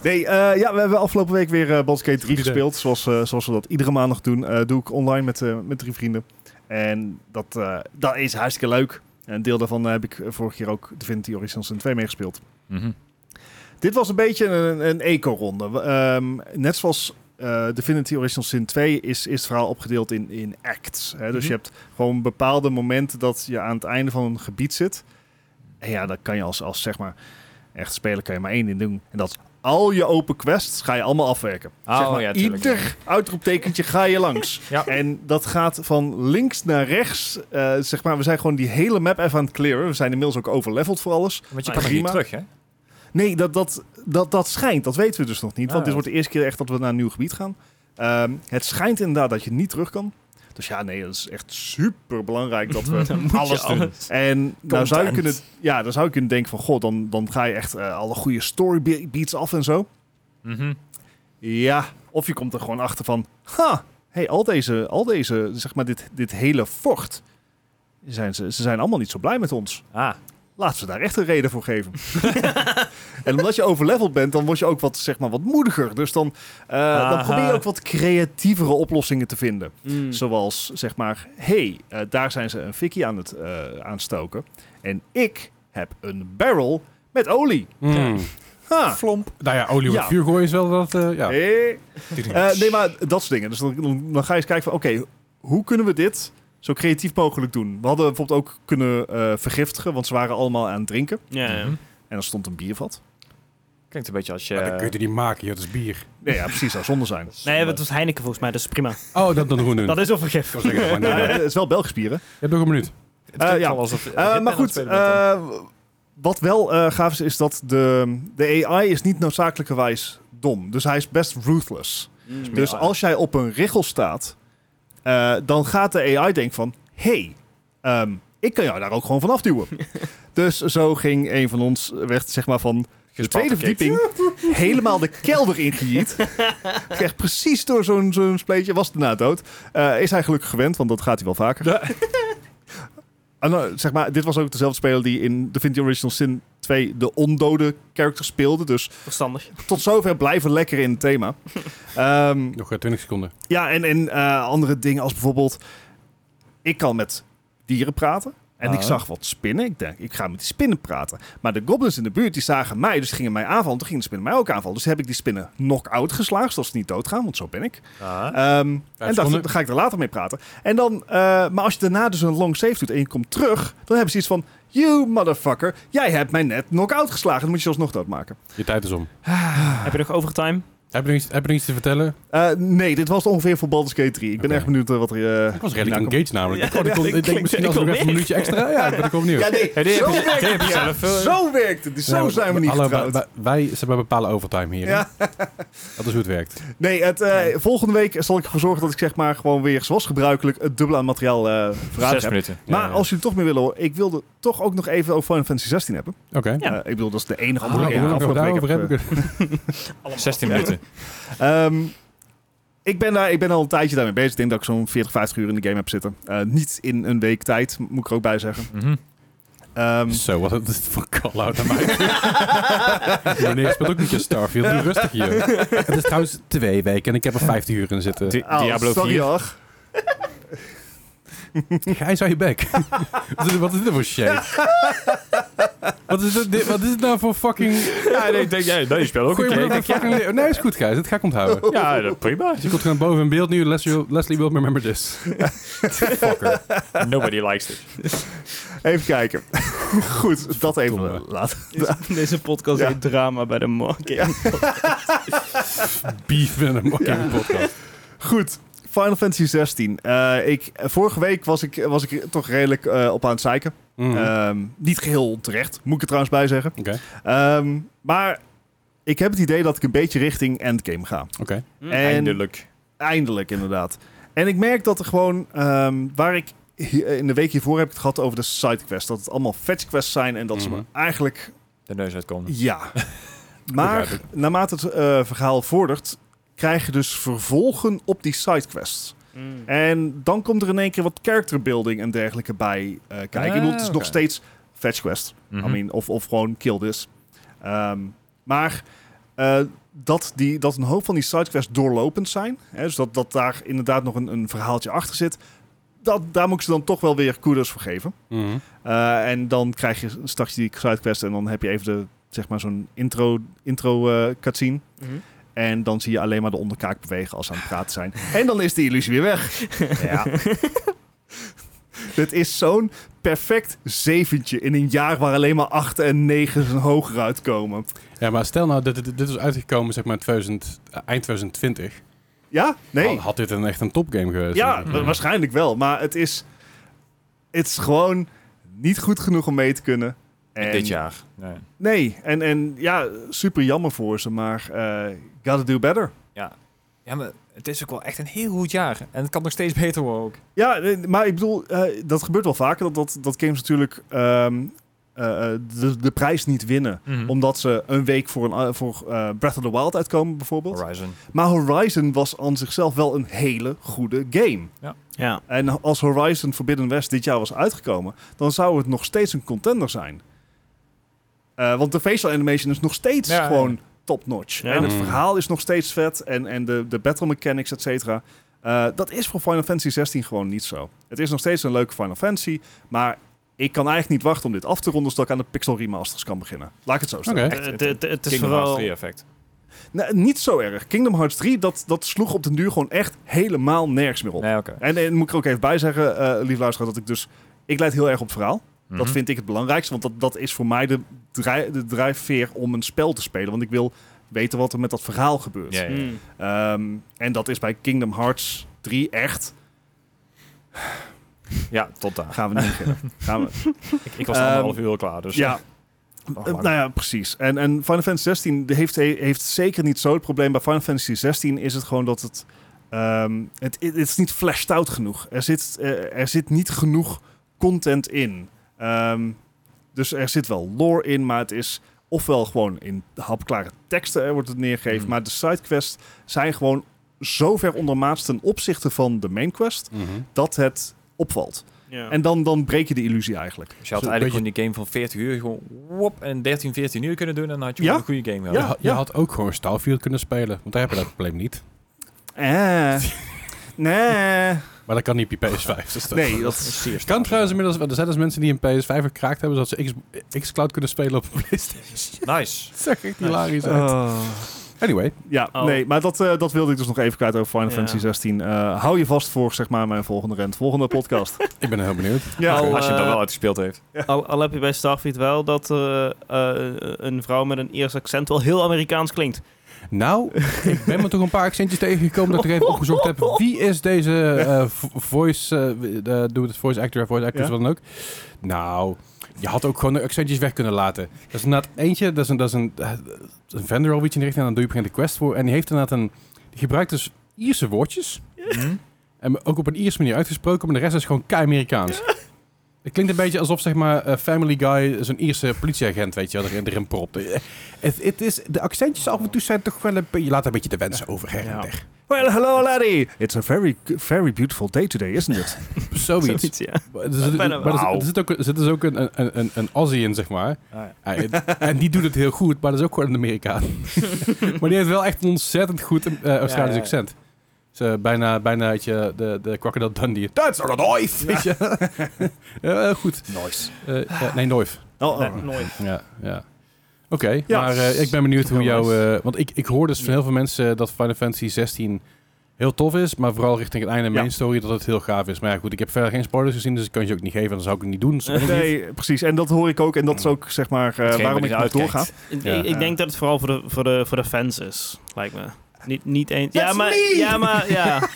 [SPEAKER 3] Nee, eh, ja, we hebben afgelopen week weer eh Baldur's Gate 3
[SPEAKER 2] Goed idee.
[SPEAKER 3] gespeeld. Zoals, eh, zoals we dat iedere maandag doen. Eh, doe ik online met, eh, met drie vrienden. En dat, eh, dat is hartstikke leuk. En een deel daarvan eh, heb ik eh, vorig jaar ook Divinity Original Sin 2 meegespeeld.
[SPEAKER 4] Mhm.
[SPEAKER 3] Dit was een beetje een, een eco-ronde. We- ehm, net zoals eh, Divinity Original Sin 2 is, is het verhaal opgedeeld in, in acts. Hè? Dus
[SPEAKER 1] Mhm.
[SPEAKER 3] je hebt gewoon bepaalde momenten dat je aan het einde van een gebied zit. En ja, dat kan je als, als zeg maar echt speler kan je maar één ding doen. En dat is al je open quests ga je allemaal afwerken.
[SPEAKER 4] Oh,
[SPEAKER 3] Zeg maar,
[SPEAKER 4] ja, tuurlijk.
[SPEAKER 3] ieder uitroeptekentje ga je langs.
[SPEAKER 4] Ja.
[SPEAKER 3] En dat gaat van links naar rechts. Eh, zeg maar, we zijn gewoon die hele map even aan het clearen. We zijn inmiddels ook overleveld voor alles.
[SPEAKER 4] Want je
[SPEAKER 1] Ah,
[SPEAKER 4] kan nog niet
[SPEAKER 3] prima.
[SPEAKER 4] terug, hè?
[SPEAKER 3] Nee, dat, dat, dat, dat schijnt. Dat weten we dus nog niet. Want
[SPEAKER 4] Ah,
[SPEAKER 3] dit
[SPEAKER 4] ja.
[SPEAKER 3] wordt de eerste keer echt dat we naar een nieuw gebied gaan. Ehm, het schijnt inderdaad dat je niet terug kan. Dus ja, nee, dat is echt super belangrijk dat we
[SPEAKER 1] Dan moet je
[SPEAKER 3] alles doen.
[SPEAKER 1] alles.
[SPEAKER 3] En nou zou, je
[SPEAKER 4] Content.
[SPEAKER 3] kunnen, ja, dan zou je kunnen denken van... God, dan, dan ga je echt eh, alle goede story be- beats af en zo.
[SPEAKER 4] Mhm.
[SPEAKER 3] Ja, of je komt er gewoon achter van... Ha, hey, al deze, al deze zeg maar dit, dit hele vocht... Zijn ze, ze zijn allemaal niet zo blij met ons.
[SPEAKER 4] Ah,
[SPEAKER 3] Laten ze daar echt een reden voor geven. en omdat je overleveld bent, dan word je ook wat, zeg maar, wat moediger. Dus dan, eh, dan
[SPEAKER 1] Aha.
[SPEAKER 3] probeer je ook wat creatievere oplossingen te vinden.
[SPEAKER 1] Mm.
[SPEAKER 3] Zoals, zeg maar, hey, eh, daar zijn ze een fikkie aan het eh, aanstoken. En ik heb een barrel met olie.
[SPEAKER 1] Oh.
[SPEAKER 2] Mm.
[SPEAKER 3] Ha.
[SPEAKER 4] flomp.
[SPEAKER 2] Nou ja, olie op
[SPEAKER 3] Ja.
[SPEAKER 2] vuur gooien is wel dat... eh, ja.
[SPEAKER 3] Hey. Eh, nee, maar dat soort dingen. Dus dan, dan, dan ga je eens kijken van, oké, hoe kunnen we dit zo creatief mogelijk doen? We hadden bijvoorbeeld ook kunnen eh, vergiftigen, want ze waren allemaal aan het drinken.
[SPEAKER 1] Ja, ja.
[SPEAKER 4] Mhm.
[SPEAKER 3] En er stond een biervat.
[SPEAKER 4] Klinkt een beetje als je...
[SPEAKER 2] Maar dan kun je het niet maken, joh, dat is bier.
[SPEAKER 3] Nee, ja, precies, zou zonde zijn.
[SPEAKER 1] Nee, het was Heineken volgens mij, dus prima.
[SPEAKER 2] Oh, dat dan groen.
[SPEAKER 1] Dat is wel
[SPEAKER 2] Ik
[SPEAKER 1] vergif.
[SPEAKER 2] wou zeggen, maar nee, nee.
[SPEAKER 3] Ja, het is wel Belgisch bieren.
[SPEAKER 2] Je hebt nog een minuut.
[SPEAKER 4] Het klinkt
[SPEAKER 3] Eh, ja.
[SPEAKER 4] wel alsof je
[SPEAKER 3] Eh,
[SPEAKER 4] Hitman
[SPEAKER 3] maar
[SPEAKER 4] aan het
[SPEAKER 3] goed,
[SPEAKER 4] spelen bent dan.
[SPEAKER 3] eh, wat wel eh, gaaf is, is dat de, de AI is niet noodzakelijkerwijs dom. Dus hij is best ruthless.
[SPEAKER 4] eh,
[SPEAKER 3] Dus
[SPEAKER 4] Mm. Ja.
[SPEAKER 3] als jij op een richel staat, eh, dan gaat de AI denken van... hey, ehm, ik kan jou daar ook gewoon van afduwen. dus zo ging een van ons weg, zeg maar, van de tweede verdieping helemaal de kelder ingejiet. Echt precies door zo'n zo'n spleetje. Was daarna dood. Eh, is hij gelukkig gewend, want dat gaat hij wel vaker. En, eh, zeg maar, dit was ook dezelfde speler die in Divinity Original Sin 2 de ondode character speelde. Dus
[SPEAKER 1] Verstandig.
[SPEAKER 3] tot zover blijven lekker in het thema. Ehm,
[SPEAKER 2] Nog eh, 20 seconden.
[SPEAKER 3] ja, en, en eh, andere dingen als bijvoorbeeld... Ik kan met dieren praten. En ik
[SPEAKER 4] Ah.
[SPEAKER 3] zag wat spinnen. Ik denk, ik ga met die spinnen praten. Maar de goblins in de buurt, die zagen mij, dus die gingen mij aanvallen. Toen gingen de spinnen mij ook aanvallen. Dus heb ik die spinnen knock-out geslagen, zodat ze niet doodgaan, want zo ben ik.
[SPEAKER 2] Ah.
[SPEAKER 4] Ah.
[SPEAKER 3] Ehm, en dacht,
[SPEAKER 2] seconden.
[SPEAKER 3] dan ga ik er later mee praten. En dan, eh, maar als je daarna dus een long save doet en je komt terug, dan hebben ze iets van... You motherfucker, jij hebt mij net knock-out geslagen. Dan moet je zelfs nog doodmaken.
[SPEAKER 2] Je tijd is om.
[SPEAKER 1] Heb je nog overtime?
[SPEAKER 2] Heb je nog iets, heb je nog iets te vertellen?
[SPEAKER 3] Eh, nee, dit was ongeveer voor Baldur's Gate 3. Ik ben
[SPEAKER 2] Oké.
[SPEAKER 3] echt benieuwd eh, wat er... eh,
[SPEAKER 2] Ik was
[SPEAKER 3] hierna
[SPEAKER 2] redelijk
[SPEAKER 3] komt.
[SPEAKER 2] engaged namelijk.
[SPEAKER 1] Ja,
[SPEAKER 2] ik, dacht, oh,
[SPEAKER 1] ja,
[SPEAKER 2] ik, kon- ik denk
[SPEAKER 1] klinkt-
[SPEAKER 2] misschien als ik nog
[SPEAKER 1] klinkt
[SPEAKER 2] even een minuutje extra. Ja, ben ik wel benieuwd.
[SPEAKER 3] Ja, nee,
[SPEAKER 4] Ja, die
[SPEAKER 3] zo,
[SPEAKER 4] heb je- die
[SPEAKER 3] werkt
[SPEAKER 4] heb
[SPEAKER 3] het,
[SPEAKER 4] je
[SPEAKER 3] ja.
[SPEAKER 4] zelf, eh.
[SPEAKER 3] zo werkt het. Dus zo
[SPEAKER 2] Ja,
[SPEAKER 3] zijn we niet
[SPEAKER 2] hallo,
[SPEAKER 3] getrouwd.
[SPEAKER 2] wij- Wij, wij- wij bepalen overtime hier. hè?
[SPEAKER 3] Ja.
[SPEAKER 2] Dat is hoe het werkt.
[SPEAKER 3] Nee, het, eh, volgende week zal ik ervoor zorgen dat ik zeg maar gewoon weer zoals gebruikelijk het dubbele aan materiaal eh voorraad
[SPEAKER 4] Zes
[SPEAKER 3] heb.
[SPEAKER 4] minuten.
[SPEAKER 2] Ja,
[SPEAKER 3] Maar
[SPEAKER 2] ja.
[SPEAKER 3] als jullie toch meer willen horen, ik wilde toch ook nog even over Final Fantasy 16 hebben.
[SPEAKER 2] Oké.
[SPEAKER 1] Ja.
[SPEAKER 3] Eh, ik bedoel, dat is de enige
[SPEAKER 2] Ah,
[SPEAKER 3] andere
[SPEAKER 2] hoe
[SPEAKER 3] game die
[SPEAKER 2] lang
[SPEAKER 3] ik
[SPEAKER 2] we
[SPEAKER 3] afgelopen week
[SPEAKER 2] daarover
[SPEAKER 3] heb,
[SPEAKER 2] hebben?
[SPEAKER 4] 16 minuten.
[SPEAKER 3] eh, ehm, ik ben, daar, ik ben al een tijdje daarmee bezig. Ik denk dat ik zo'n 40, 50 uur in de game heb zitten. Eh, niet in een week tijd, moet ik er ook bij zeggen.
[SPEAKER 4] Mhm.
[SPEAKER 3] Ehm,
[SPEAKER 2] Zo, wat is het voor call-out aan mij? Meneer speelt ook niet je Starfield. Doe rustig hier. Het is trouwens twee weken en ik heb er 50 uur in zitten.
[SPEAKER 4] Di-
[SPEAKER 3] oh,
[SPEAKER 4] Diablo
[SPEAKER 3] sorry
[SPEAKER 4] 4.
[SPEAKER 3] hoor.
[SPEAKER 2] Hij zou je bek. wat is dit- wat is dit voor shit? wat, is dit, dit- wat is dit nou voor fucking... nou
[SPEAKER 4] Ja, nee, ik denk, ja, nee, je speelt ook een
[SPEAKER 2] Goeie
[SPEAKER 4] keer. Ik denk,
[SPEAKER 2] motherfucking- Nee, is goed, Gijs. Dit ga ik onthouden.
[SPEAKER 4] ja, dat- prima.
[SPEAKER 2] Je komt gewoon boven in beeld nu. Leslie, Leslie will remember this. Fucker.
[SPEAKER 4] Nobody likes it.
[SPEAKER 3] Even kijken. Goed, dat even
[SPEAKER 2] Verdomme.
[SPEAKER 3] laten.
[SPEAKER 1] Deze, deze podcast
[SPEAKER 3] Ja.
[SPEAKER 1] heet Drama bij de Market.
[SPEAKER 2] Beef in een fucking podcast.
[SPEAKER 3] Goed. Final Fantasy 16. Eh, ik, vorige week was ik, was ik er toch redelijk eh, op aan het zeiken.
[SPEAKER 2] Mhm.
[SPEAKER 3] Ehm, niet geheel terecht, moet ik er trouwens bij zeggen.
[SPEAKER 2] Oké, oké.
[SPEAKER 3] Ehm, maar ik heb het idee dat ik een beetje richting endgame ga. En-
[SPEAKER 4] Eindelijk.
[SPEAKER 3] Eindelijk, inderdaad. En ik merk dat er gewoon, ehm, waar ik hi- in de week hiervoor heb ik het gehad over de sidequests. Dat het allemaal fetchquests zijn en dat ze
[SPEAKER 2] Mhm.
[SPEAKER 3] me eigenlijk,
[SPEAKER 4] De neus uitkomen.
[SPEAKER 3] ja. maar
[SPEAKER 2] Begrijp
[SPEAKER 3] naarmate het eh, verhaal vordert, krijg je dus vervolgen op die sidequests.
[SPEAKER 1] Mm.
[SPEAKER 3] En dan komt er in één keer wat character building en dergelijke bij eh, kijken. Ik bedoel, het is
[SPEAKER 4] Ah,
[SPEAKER 3] nog
[SPEAKER 4] oké.
[SPEAKER 3] steeds fetch quest.
[SPEAKER 4] Mhm.
[SPEAKER 3] I mean, of, of gewoon kill this. Ehm, maar eh, dat, die, dat een hoop van die sidequests doorlopend zijn, hè, dus dat, dat daar inderdaad nog een, een verhaaltje achter zit, dat, daar moet ik ze dan toch wel weer kudos voor geven.
[SPEAKER 2] Mhm.
[SPEAKER 3] Eh, en dan krijg je straks die sidequest en dan heb je even de, zeg maar zo'n intro, intro eh, cutscene.
[SPEAKER 1] Mhm.
[SPEAKER 3] En dan zie je alleen maar de onderkaak bewegen als ze aan het praten zijn. En dan is de illusie weer weg. ja. Dit is zo'n perfect zeventje in een jaar waar alleen maar achten en negen hoger uitkomen.
[SPEAKER 2] Ja, maar stel nou dat dit, dit is uitgekomen zeg maar in 2000, eh, eind 2020.
[SPEAKER 3] Ja? Nee.
[SPEAKER 4] Oh,
[SPEAKER 2] Had, had dit een, echt een topgame geweest?
[SPEAKER 3] ja,
[SPEAKER 2] Mhm.
[SPEAKER 3] wa- waarschijnlijk wel. Maar het is, het is gewoon niet goed genoeg om mee te kunnen. En-
[SPEAKER 4] Dit jaar. Nee.
[SPEAKER 3] Nee, en, en ja, super jammer voor ze, maar eh gotta do better.
[SPEAKER 4] Ja, maar het is ook wel echt een heel goed jaar. En het kan nog steeds beter worden ook.
[SPEAKER 3] Ja, eh, maar ik bedoel, eh, dat gebeurt wel vaker, dat, dat, dat games natuurlijk ehm, eh, eh, de, de prijs niet winnen.
[SPEAKER 4] Mhm.
[SPEAKER 3] Omdat ze een week voor, een, a- voor eh, Breath of the Wild uitkomen bijvoorbeeld.
[SPEAKER 4] Horizon.
[SPEAKER 3] Maar Horizon was aan zichzelf wel een hele goede game.
[SPEAKER 1] Ja.
[SPEAKER 3] En als Horizon Forbidden West dit jaar was uitgekomen, dan zou het nog steeds een contender zijn. Eh, want de facial animation is nog steeds
[SPEAKER 4] Ja, ja.
[SPEAKER 3] gewoon top-notch.
[SPEAKER 1] Ja.
[SPEAKER 3] En het
[SPEAKER 2] Mm.
[SPEAKER 3] verhaal is nog steeds vet. En, en de, de battle mechanics, et cetera. Eh, dat is voor Final Fantasy 16 gewoon niet zo. Het is nog steeds een leuke Final Fantasy. Maar ik kan eigenlijk niet wachten om dit af te ronden... zodat ik aan de pixel remasters kan beginnen. Laat ik het zo stellen.
[SPEAKER 2] Oké.
[SPEAKER 1] Eh, het- het- Het is
[SPEAKER 4] Kingdom Hearts
[SPEAKER 1] vooral...
[SPEAKER 4] 3 effect.
[SPEAKER 3] Nee, niet zo erg. Kingdom Hearts 3, dat, dat sloeg op den duur gewoon echt helemaal nergens meer op.
[SPEAKER 4] Nee, oké.
[SPEAKER 3] En, en moet ik er ook even bij zeggen, eh lieve luisteraar, dat ik dus... Ik leid heel erg op verhaal.
[SPEAKER 4] Mhm.
[SPEAKER 3] Dat vind ik het belangrijkste, want dat, dat is voor mij de, drij- de drijfveer om een spel te spelen. Want ik wil weten wat er met dat verhaal gebeurt.
[SPEAKER 4] Ja, ja, ja.
[SPEAKER 1] Mm.
[SPEAKER 3] Ehm, en dat is bij Kingdom Hearts 3 echt.
[SPEAKER 4] Ja, tot daar.
[SPEAKER 3] Gaan we niet beginnen. Gaan we.
[SPEAKER 4] Ik, ik was
[SPEAKER 3] Ehm,
[SPEAKER 4] anderhalf uur al klaar, dus...
[SPEAKER 3] Ja,
[SPEAKER 4] nog
[SPEAKER 3] Eh,
[SPEAKER 4] lang.
[SPEAKER 3] nou ja, precies. En, en Final Fantasy 16 heeft, heeft zeker niet zo het probleem. Bij Final Fantasy 16 is het gewoon dat het. ehm, het, het is niet flashed out genoeg. Er zit, eh, er zit niet genoeg content in. Ehm, dus er zit wel lore in, maar het is ofwel gewoon in hapklare teksten eh, wordt het neergegeven.
[SPEAKER 4] Mm.
[SPEAKER 3] Maar de sidequests zijn gewoon zo ver ondermaats ten opzichte van de main quest
[SPEAKER 2] Mhm.
[SPEAKER 3] dat het opvalt.
[SPEAKER 1] Ja.
[SPEAKER 3] En dan, dan breek je de illusie eigenlijk.
[SPEAKER 4] Dus je had
[SPEAKER 2] Zo,
[SPEAKER 4] eigenlijk gewoon die game van 40 uur gewoon wop, en 13, 14 uur kunnen doen en dan had je
[SPEAKER 3] Ja.
[SPEAKER 4] gewoon een goede game gehad.
[SPEAKER 2] Je, ha- je
[SPEAKER 3] ja.
[SPEAKER 2] had ook gewoon Starfield kunnen spelen, want daar heb je dat probleem niet.
[SPEAKER 3] Eh. Nee.
[SPEAKER 2] Maar dat kan niet op je PS5. Dus dat
[SPEAKER 3] Nee, dat
[SPEAKER 4] is
[SPEAKER 3] is...
[SPEAKER 4] zeer
[SPEAKER 2] kan
[SPEAKER 4] standaard.
[SPEAKER 2] trouwens inmiddels, wel. er zijn dus mensen die een PS5 gekraakt hebben, zodat ze X, xCloud kunnen spelen op een PlayStation.
[SPEAKER 4] Nice.
[SPEAKER 2] Dat zag echt hilarisch uit.
[SPEAKER 3] Oh.
[SPEAKER 2] Anyway,
[SPEAKER 3] Ja,
[SPEAKER 1] Oh.
[SPEAKER 3] nee, maar dat, eh, dat wilde ik dus nog even kwijt over Final
[SPEAKER 1] Ja.
[SPEAKER 3] Fantasy 16. Eh, hou je vast voor, zeg maar, mijn volgende rent. Volgende podcast.
[SPEAKER 2] ik ben heel benieuwd.
[SPEAKER 3] ja.
[SPEAKER 1] Oh,
[SPEAKER 4] Als je het dan
[SPEAKER 1] eh,
[SPEAKER 4] wel uitgespeeld heeft.
[SPEAKER 1] Al, al heb je bij Starfleet wel dat eh, eh, een vrouw met een Iers accent wel heel Amerikaans klinkt.
[SPEAKER 2] Nou, ik ben me toch een paar accentjes tegengekomen dat ik even opgezocht heb. Wie is deze eh, vo- voice, eh, eh, doe het voice actor, voice actress,
[SPEAKER 3] Ja?
[SPEAKER 2] wat dan ook? Nou, je had ook gewoon de accentjes weg kunnen laten. Dat is inderdaad eentje, dat is een, dat is een, eh, een vendor of iets in de richting. En dan doe je op een gegeven moment de quest voor. En die heeft inderdaad een, die gebruikt dus Ierse woordjes.
[SPEAKER 4] Hm?
[SPEAKER 2] En ook op een Ierse manier uitgesproken, maar de rest is gewoon kei-Amerikaans. Het klinkt een beetje alsof, zeg maar, eh, Family Guy zo'n Ierse politieagent, weet je wel, erin, erin propt. Eh, Het, het is, de accentjes af en toe zijn toch wel een beetje... Je laat een beetje de wensen over her en
[SPEAKER 3] Ja.
[SPEAKER 2] der.
[SPEAKER 3] Well, hello, laddie. It's a very, very beautiful day today, isn't it?
[SPEAKER 2] Zoiets.
[SPEAKER 1] Zoiets, ja.
[SPEAKER 2] Maar er zit-
[SPEAKER 1] Bijna wel.
[SPEAKER 2] maar er zit-
[SPEAKER 3] Wauw.
[SPEAKER 2] er zit ook- er zit dus ook een, een, een, een Aussie in, zeg maar.
[SPEAKER 4] Ah, ja.
[SPEAKER 2] Ah, het- en die doet het heel goed, maar dat is ook gewoon een Amerikaan. maar die heeft wel echt een ontzettend goed eh, Australisch
[SPEAKER 4] Ja, ja, ja.
[SPEAKER 2] accent. Dus, eh, bijna, bijna weet je, de, de Crocodile Dundee. That's not a knife! Weet je? Ja, heel goed.
[SPEAKER 3] Nice.
[SPEAKER 2] Eh, ja, nee, Noif.
[SPEAKER 3] Oh, oh.
[SPEAKER 1] Nee, nooit.
[SPEAKER 2] Ja, ja. Oké,
[SPEAKER 3] Ja.
[SPEAKER 2] maar eh, ik ben benieuwd hoe
[SPEAKER 4] Heel
[SPEAKER 2] jouw...
[SPEAKER 4] nice.
[SPEAKER 2] eh, want ik, ik hoor dus van heel veel mensen dat Final Fantasy 16 heel tof is, maar vooral richting het einde
[SPEAKER 3] Ja.
[SPEAKER 2] main story dat het heel gaaf is. Maar ja, goed, ik heb verder geen spoilers gezien, dus ik kan je ook niet geven. Dan zou ik het niet doen. Dus ik weet niet.
[SPEAKER 3] Nee, precies. En dat hoor ik ook. En dat is ook, zeg maar, eh,
[SPEAKER 4] Hetgeen
[SPEAKER 3] waarom
[SPEAKER 4] waar
[SPEAKER 3] ik
[SPEAKER 4] je
[SPEAKER 3] nog
[SPEAKER 4] uitkijkt.
[SPEAKER 3] doorga.
[SPEAKER 1] Ik,
[SPEAKER 2] Ja.
[SPEAKER 1] ik- ik denk dat het vooral voor de, voor de, voor de fans is, lijkt me. Niet, niet eens. Ja,
[SPEAKER 3] That's
[SPEAKER 1] maar.
[SPEAKER 3] me!
[SPEAKER 1] Ja, maar. Ja.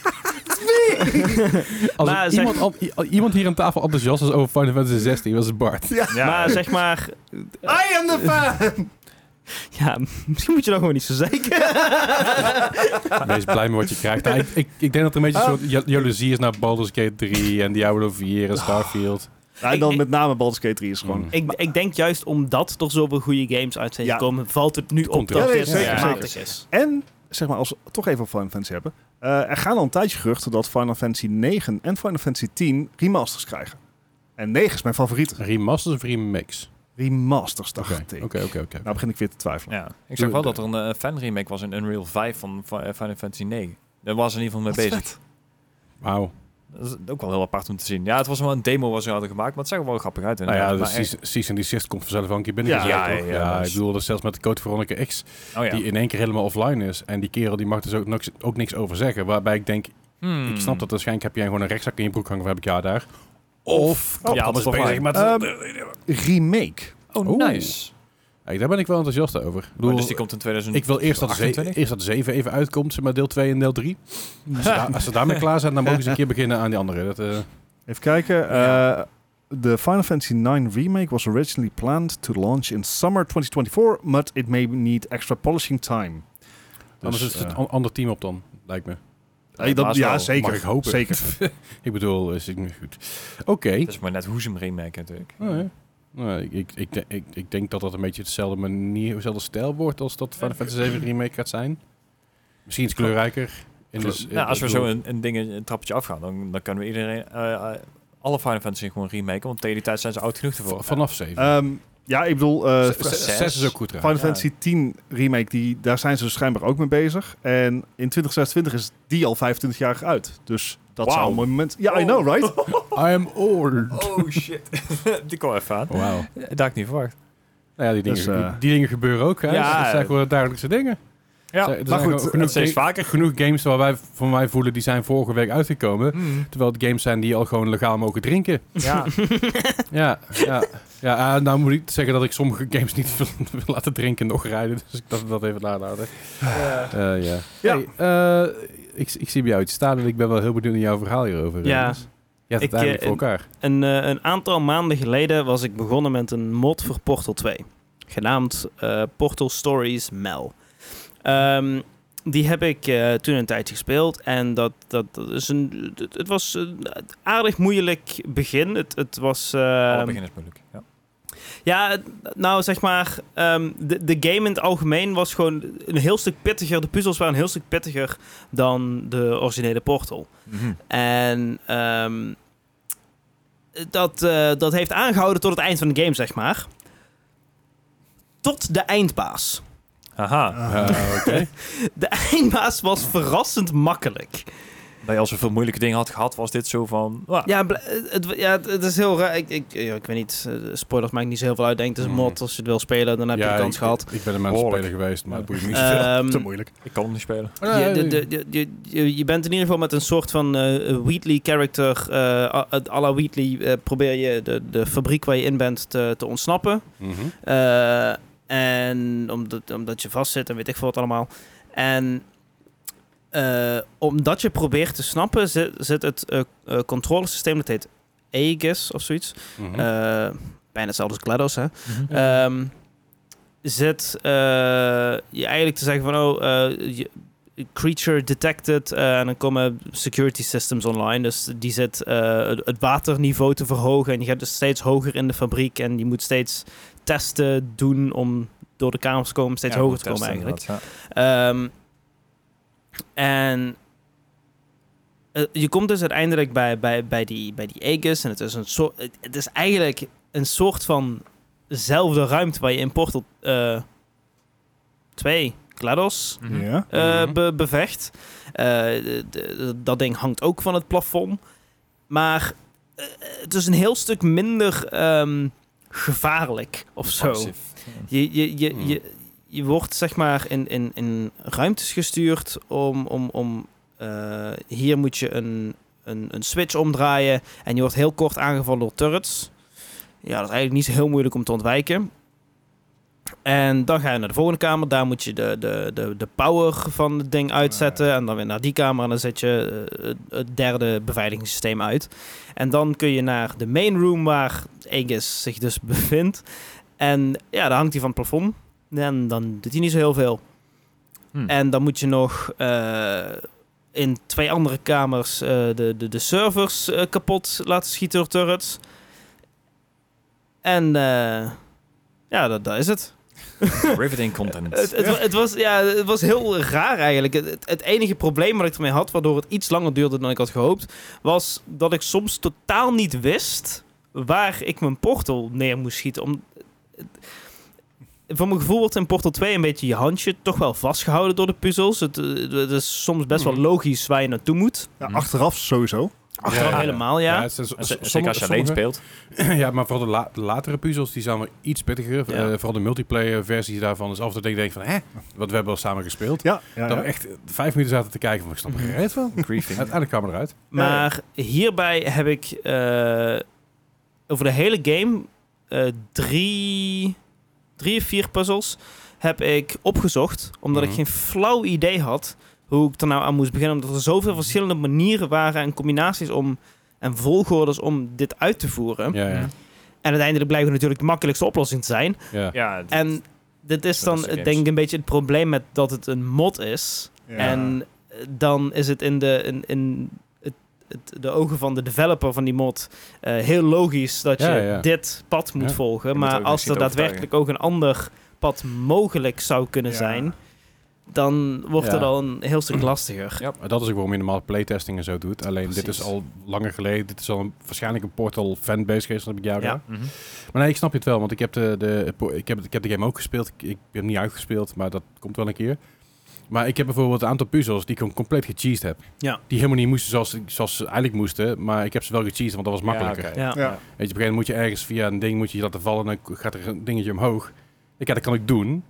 [SPEAKER 2] Als
[SPEAKER 1] Maar
[SPEAKER 2] er
[SPEAKER 1] zeg-
[SPEAKER 2] iemand, al- i- al- iemand hier aan tafel enthousiast was over Final Fantasy 16, was het Bart.
[SPEAKER 4] Ja,
[SPEAKER 1] maar zeg maar.
[SPEAKER 3] I am the fan!
[SPEAKER 1] Ja, misschien moet je dat gewoon niet zo zeker.
[SPEAKER 2] Wees blij met wat je krijgt. Nou, ik, ik, ik denk dat er een beetje
[SPEAKER 3] Ah.
[SPEAKER 2] een soort jal- jaloezie is naar Baldur's Gate 3 en Diablo 4
[SPEAKER 3] Ah.
[SPEAKER 2] en Starfield.
[SPEAKER 3] Nou, en
[SPEAKER 1] Ik-
[SPEAKER 3] dan
[SPEAKER 1] ik-
[SPEAKER 3] met name Baldur's Gate 3 is gewoon...
[SPEAKER 2] Mm.
[SPEAKER 1] ik, ik denk juist omdat er zoveel goede games uit zijn
[SPEAKER 3] Ja.
[SPEAKER 1] gekomen, valt het nu op
[SPEAKER 2] Komt
[SPEAKER 1] dat
[SPEAKER 3] wel. Ja,
[SPEAKER 1] dit
[SPEAKER 3] nee, zeker,
[SPEAKER 1] matig is.
[SPEAKER 3] En, zeg maar, als we toch even op Final Fantasy hebben. eh, er gaan al een tijdje geruchten dat Final Fantasy 9 en Final Fantasy 10 remasters krijgen. En 9 is mijn favoriete.
[SPEAKER 2] Remasters of remakes?
[SPEAKER 3] Remasters, dacht
[SPEAKER 2] Oké,
[SPEAKER 3] ik.
[SPEAKER 2] oké, oké, oké.
[SPEAKER 3] Nou begin ik weer te twijfelen.
[SPEAKER 4] Ja, ik zag wel dat er een eh, fan remake was in Unreal 5 van Fi- eh, Final Fantasy 9. Daar was er in ieder geval mee bezig.
[SPEAKER 2] Wauw.
[SPEAKER 4] Dat is ook wel heel apart om te zien. Ja, het was wel een demo wat ze hadden gemaakt, maar het zag er wel grappig uit.
[SPEAKER 2] Nou ja,
[SPEAKER 4] inderdaad.
[SPEAKER 2] de
[SPEAKER 4] Maar eh,
[SPEAKER 2] cease- cease and desist komt vanzelf wel een keer binnen.
[SPEAKER 3] Ja,
[SPEAKER 2] Ja, ja,
[SPEAKER 4] ja, ja, dat
[SPEAKER 2] ik
[SPEAKER 4] is-
[SPEAKER 2] bedoel, dat zelfs met de code Veronica X,
[SPEAKER 4] echt- oh, ja.
[SPEAKER 2] die in één keer helemaal offline is. En die kerel die mag dus ook niks, ook niks over zeggen. Waarbij ik denk,
[SPEAKER 4] Hmm.
[SPEAKER 2] ik snap dat waarschijnlijk heb jij gewoon een rechtzak in je broek hangen of heb ik ja daar. Of,
[SPEAKER 4] Oh,
[SPEAKER 2] ja, anders
[SPEAKER 4] dat is wel
[SPEAKER 2] bezig
[SPEAKER 4] fijn.
[SPEAKER 2] met...
[SPEAKER 3] Ehm, Remake.
[SPEAKER 4] Oh,
[SPEAKER 2] Oeh.
[SPEAKER 4] nice.
[SPEAKER 2] Kijk, daar ben ik wel enthousiast over. Ik, bedoel,
[SPEAKER 4] Maar dus die komt in 2000.
[SPEAKER 2] ik wil eerst dat, ze,
[SPEAKER 4] 28?
[SPEAKER 2] eerst dat 7 even uitkomt, zeg maar deel 2 en deel 3. Als ze, da- als ze daarmee klaar zijn, dan mogen ze een keer beginnen aan die andere. Dat,
[SPEAKER 4] Dus,
[SPEAKER 2] eh,
[SPEAKER 3] Even kijken. eh, De Final Fantasy IX remake was originally planned to launch in summer 2024, but it may need extra polishing time.
[SPEAKER 2] anders is het
[SPEAKER 3] eh,
[SPEAKER 2] een an- ander team op dan, lijkt me.
[SPEAKER 3] eh, dat-
[SPEAKER 4] baas
[SPEAKER 3] ja,
[SPEAKER 4] wel,
[SPEAKER 3] zeker.
[SPEAKER 2] mag ik hopen.
[SPEAKER 3] Zeker.
[SPEAKER 2] Ik bedoel, is het niet goed. Oké.
[SPEAKER 4] Het is maar net hoe ze hem remake natuurlijk.
[SPEAKER 2] Nou ja. Nou, ik, ik, ik, de- ik, ik denk dat dat een beetje dezelfde manier, dezelfde stijl wordt als dat Final Fantasy 7 remake gaat zijn. Misschien iets kleurrijker. En dus,
[SPEAKER 4] nou, als we
[SPEAKER 2] ik
[SPEAKER 4] zo
[SPEAKER 2] bedoel-
[SPEAKER 4] een, een ding een trappetje afgaan, dan, dan kunnen we iedereen eh, eh, alle Final Fantasy gewoon remaken, want tegen die tijd zijn ze oud genoeg ervoor.
[SPEAKER 2] v- vanaf 7.
[SPEAKER 3] Ehm, ja, ik bedoel, eh,
[SPEAKER 2] Z- z-
[SPEAKER 4] Eh, zes.
[SPEAKER 2] 6 is ook goed
[SPEAKER 3] Final
[SPEAKER 2] trouwens.
[SPEAKER 3] Fantasy X remake, die, daar zijn ze dus schijnbaar ook mee bezig. En in 2026 is die al 25 jaar uit. Dus dat
[SPEAKER 4] Wauw.
[SPEAKER 3] zou een mooi moment... Ja, I know, right?
[SPEAKER 2] I am old.
[SPEAKER 4] Oh shit. die kwam even aan.
[SPEAKER 2] Wauw. Nou
[SPEAKER 4] Dat had ik niet verwacht. Nou
[SPEAKER 2] ja, die dingen,
[SPEAKER 3] Dus, eh,
[SPEAKER 2] die, die dingen gebeuren ook. Hè? Dus
[SPEAKER 4] Ja. eh,
[SPEAKER 2] dat zijn gewoon dagelijkse dingen.
[SPEAKER 4] Ja, eh,
[SPEAKER 2] Zijn- er
[SPEAKER 3] maar
[SPEAKER 2] zijn
[SPEAKER 3] goed,
[SPEAKER 2] gewoon genoeg,
[SPEAKER 4] steeds
[SPEAKER 2] ga-
[SPEAKER 4] vaker.
[SPEAKER 2] genoeg games waar wij van mij voelen, die zijn vorige week uitgekomen. Terwijl het games zijn die al gewoon legaal mogen drinken.
[SPEAKER 4] Hmm. Ja,
[SPEAKER 2] Ja, ja. ja eh, nou moet ik zeggen dat ik sommige games niet wil, wil laten drinken nog rijden. Dus ik dacht dat even laten. Ja. ja.
[SPEAKER 3] Ja.
[SPEAKER 2] Hey, eh, ik, ik zie bij jou iets staan en ik ben wel heel benieuwd naar jouw verhaal hierover.
[SPEAKER 1] Ja.
[SPEAKER 2] Jonas. Je hebt
[SPEAKER 1] Ik,
[SPEAKER 2] het eigenlijk
[SPEAKER 1] eh,
[SPEAKER 2] voor elkaar.
[SPEAKER 1] Een, eh, een aantal maanden geleden was ik begonnen met een mod voor Portal 2. Genaamd eh, Portal Stories Mel. Ehm, die heb ik eh, toen een tijdje gespeeld. En dat, dat, dat is een, het, het was een aardig moeilijk begin. Het, het was... ehm,
[SPEAKER 4] alle begin is moeilijk. Ja.
[SPEAKER 1] ja, het- nou zeg maar, ehm, de, de game in het algemeen was gewoon een heel stuk pittiger. De puzzels waren een heel stuk pittiger dan de originele Portal.
[SPEAKER 4] mhm.
[SPEAKER 1] En ehm, dat, eh, dat heeft aangehouden tot het eind van de game, zeg maar. Tot de eindbaas.
[SPEAKER 4] Aha.
[SPEAKER 2] Eh, Oké.
[SPEAKER 1] Ah, De eindbaas was verrassend makkelijk.
[SPEAKER 4] Dat je al zoveel moeilijke dingen had gehad, was dit zo van... "Ah,
[SPEAKER 1] Ja, bl- eh, het, ja, het- het is heel raar. Ik, ik, ja, ik weet niet, eh, spoilers maakt niet zo heel veel uit. Ik Denk, het is een
[SPEAKER 4] Nee.
[SPEAKER 1] mod. Als je het wil spelen, dan heb je
[SPEAKER 2] Hmm. Ja,
[SPEAKER 1] de kans
[SPEAKER 2] ik-
[SPEAKER 1] gehad.
[SPEAKER 2] Ik ben een mensen
[SPEAKER 4] Behoorlijk.
[SPEAKER 2] speler geweest, maar het boeit me niet.
[SPEAKER 1] Ehm,
[SPEAKER 3] Te moeilijk.
[SPEAKER 4] ik kan hem niet spelen.
[SPEAKER 2] Oh,
[SPEAKER 1] je, de- de- de- je- je, je bent in ieder geval met een soort van eh Wheatley-character, eh à à la Wheatley, eh, probeer je de, de fabriek waar je in bent te, te ontsnappen.
[SPEAKER 2] Mhm.
[SPEAKER 1] Eh, en omdat, omdat je vastzit en weet ik veel wat allemaal. En eh, omdat je probeert te snappen, zit, zit het eh eh, controlesysteem, dat heet Aegis of zoiets.
[SPEAKER 2] Mhm.
[SPEAKER 1] Eh, bijna hetzelfde als GLaDOS, hè.
[SPEAKER 4] Mhm.
[SPEAKER 1] Ehm, zit eh, je eigenlijk te zeggen van, oh, eh, je- creature detected. eh, en dan komen security systems online. Dus die zit eh, het- het waterniveau te verhogen. En je gaat dus steeds hoger in de fabriek. En je moet steeds testen doen om door de kamers te komen, steeds
[SPEAKER 4] Ja,
[SPEAKER 1] hoger
[SPEAKER 4] goed
[SPEAKER 1] te komen
[SPEAKER 4] testen,
[SPEAKER 1] eigenlijk.
[SPEAKER 4] inderdaad, ja.
[SPEAKER 1] Ehm, en eh, je komt dus uiteindelijk bij, bij, bij die, bij die Aegis. En het is, een soort, het- het is eigenlijk een soort van zelfde ruimte waar je in Portal eh 2 GLaDOS
[SPEAKER 4] Mhm.
[SPEAKER 3] Ja.
[SPEAKER 1] eh,
[SPEAKER 2] Mhm.
[SPEAKER 1] be- bevecht. Eh, de- de- dat ding hangt ook van het plafond. Maar eh, het is een heel stuk minder ehm, gevaarlijk of zo.
[SPEAKER 4] Passief.
[SPEAKER 1] Je, je, je,
[SPEAKER 2] Hmm.
[SPEAKER 1] je, je wordt zeg maar in, in, in ruimtes gestuurd om. om, om eh, hier moet je een, een, een switch omdraaien. En je wordt heel kort aangevallen door turrets. Ja, dat is eigenlijk niet zo heel moeilijk om te ontwijken. En dan ga je naar de volgende kamer. Daar moet je de, de, de, de power van het ding uitzetten. En dan weer naar die kamer. En dan zet je eh, het- het derde beveiligingssysteem uit. En dan kun je naar de main room waar Aegis zich dus bevindt. En ja, daar hangt hij van het plafond. En dan doet hij niet zo heel veel.
[SPEAKER 4] Hm.
[SPEAKER 1] En dan moet je nog eh, in twee andere kamers eh, de, de, de servers eh, kapot laten schieten door turrets. En eh, ja, dat, dat is het.
[SPEAKER 4] Riveting content.
[SPEAKER 1] Het, het, wa- het, was, ja, het was heel raar eigenlijk. Het, het- het enige probleem wat ik ermee had, waardoor het iets langer duurde dan ik had gehoopt, was dat ik soms totaal niet wist waar ik mijn portal neer moest schieten. Om, van mijn gevoel wordt in Portal 2 een beetje je handje toch wel vastgehouden door de puzzels. Het, eh, het is soms best wel
[SPEAKER 2] Hmm.
[SPEAKER 1] logisch waar je naartoe moet.
[SPEAKER 3] Ja, achteraf sowieso.
[SPEAKER 1] Achteraf
[SPEAKER 2] Ja.
[SPEAKER 1] helemaal, ja.
[SPEAKER 2] het zijn zo-
[SPEAKER 4] En
[SPEAKER 2] so-
[SPEAKER 4] ze- Zeker
[SPEAKER 2] sommige-
[SPEAKER 4] als je alleen
[SPEAKER 2] sommige-
[SPEAKER 4] speelt.
[SPEAKER 2] Ja, maar vooral de, la- de latere puzzels die zijn wel iets pittiger.
[SPEAKER 1] Ja.
[SPEAKER 2] Eh, vooral de multiplayer versie daarvan is af en toe dat ik denk van, hè, wat we hebben al samen gespeeld.
[SPEAKER 3] Ja, ja,
[SPEAKER 2] Dat
[SPEAKER 3] ja.
[SPEAKER 2] we echt eh, vijf minuten zaten te kijken van, ik snap er geen reet van.
[SPEAKER 4] Griefing.
[SPEAKER 2] Uiteindelijk kwamen we eruit.
[SPEAKER 1] Maar hierbij heb ik eh, over de hele game eh, drie, drie of vier puzzels heb ik opgezocht. Omdat
[SPEAKER 2] Mhm.
[SPEAKER 1] ik geen flauw idee had hoe ik er nou aan moest beginnen. Omdat er zoveel verschillende manieren waren en combinaties om en volgordes om dit uit te voeren.
[SPEAKER 2] Ja, ja.
[SPEAKER 1] En uiteindelijk blijkt het natuurlijk de makkelijkste oplossing te zijn.
[SPEAKER 2] ja.
[SPEAKER 4] Ja, het-
[SPEAKER 1] En dit is
[SPEAKER 4] Dat
[SPEAKER 1] dan
[SPEAKER 4] is de
[SPEAKER 1] eh,
[SPEAKER 4] games.
[SPEAKER 1] denk ik een beetje het probleem met dat het een mod is.
[SPEAKER 3] Ja.
[SPEAKER 1] En eh, dan is het in de, in, in het, het- de ogen van de developer van die mod eh, heel logisch dat je
[SPEAKER 2] Ja, ja.
[SPEAKER 1] dit pad moet
[SPEAKER 2] Ja.
[SPEAKER 1] volgen.
[SPEAKER 4] moet
[SPEAKER 1] maar
[SPEAKER 4] ook
[SPEAKER 1] als
[SPEAKER 4] zien
[SPEAKER 1] er
[SPEAKER 4] te overtuigen.
[SPEAKER 1] daadwerkelijk ook een ander pad mogelijk zou kunnen
[SPEAKER 3] Ja.
[SPEAKER 1] zijn, dan wordt
[SPEAKER 2] Ja.
[SPEAKER 1] het al een heel stuk lastiger.
[SPEAKER 2] Maar Dat is ook waarom je normaal playtesting en zo doet. Alleen dit
[SPEAKER 1] Precies.
[SPEAKER 2] is al langer geleden. Dit is al een, waarschijnlijk een Portal fanbase geweest, dat heb ik jou
[SPEAKER 1] Ja.
[SPEAKER 2] gedaan.
[SPEAKER 4] Mhm.
[SPEAKER 2] Maar nee, ik snap je het wel, want ik heb de, de, ik heb, ik heb de game ook gespeeld. Ik, ik heb hem niet uitgespeeld, maar dat komt wel een keer. Maar ik heb bijvoorbeeld een aantal puzzels die ik gewoon compleet gecheesed heb.
[SPEAKER 1] Ja.
[SPEAKER 2] Die helemaal niet moesten zoals, zoals ze eigenlijk moesten, maar ik heb ze wel gecheesed, want dat was makkelijker.
[SPEAKER 4] Ja, oké.
[SPEAKER 1] Ja.
[SPEAKER 2] Weet
[SPEAKER 3] Ja.
[SPEAKER 4] Ja.
[SPEAKER 2] je, op een gegeven moment moet je ergens via een ding moet je je laten vallen en dan gaat er een dingetje omhoog. Ik, ja, dat kan ik doen,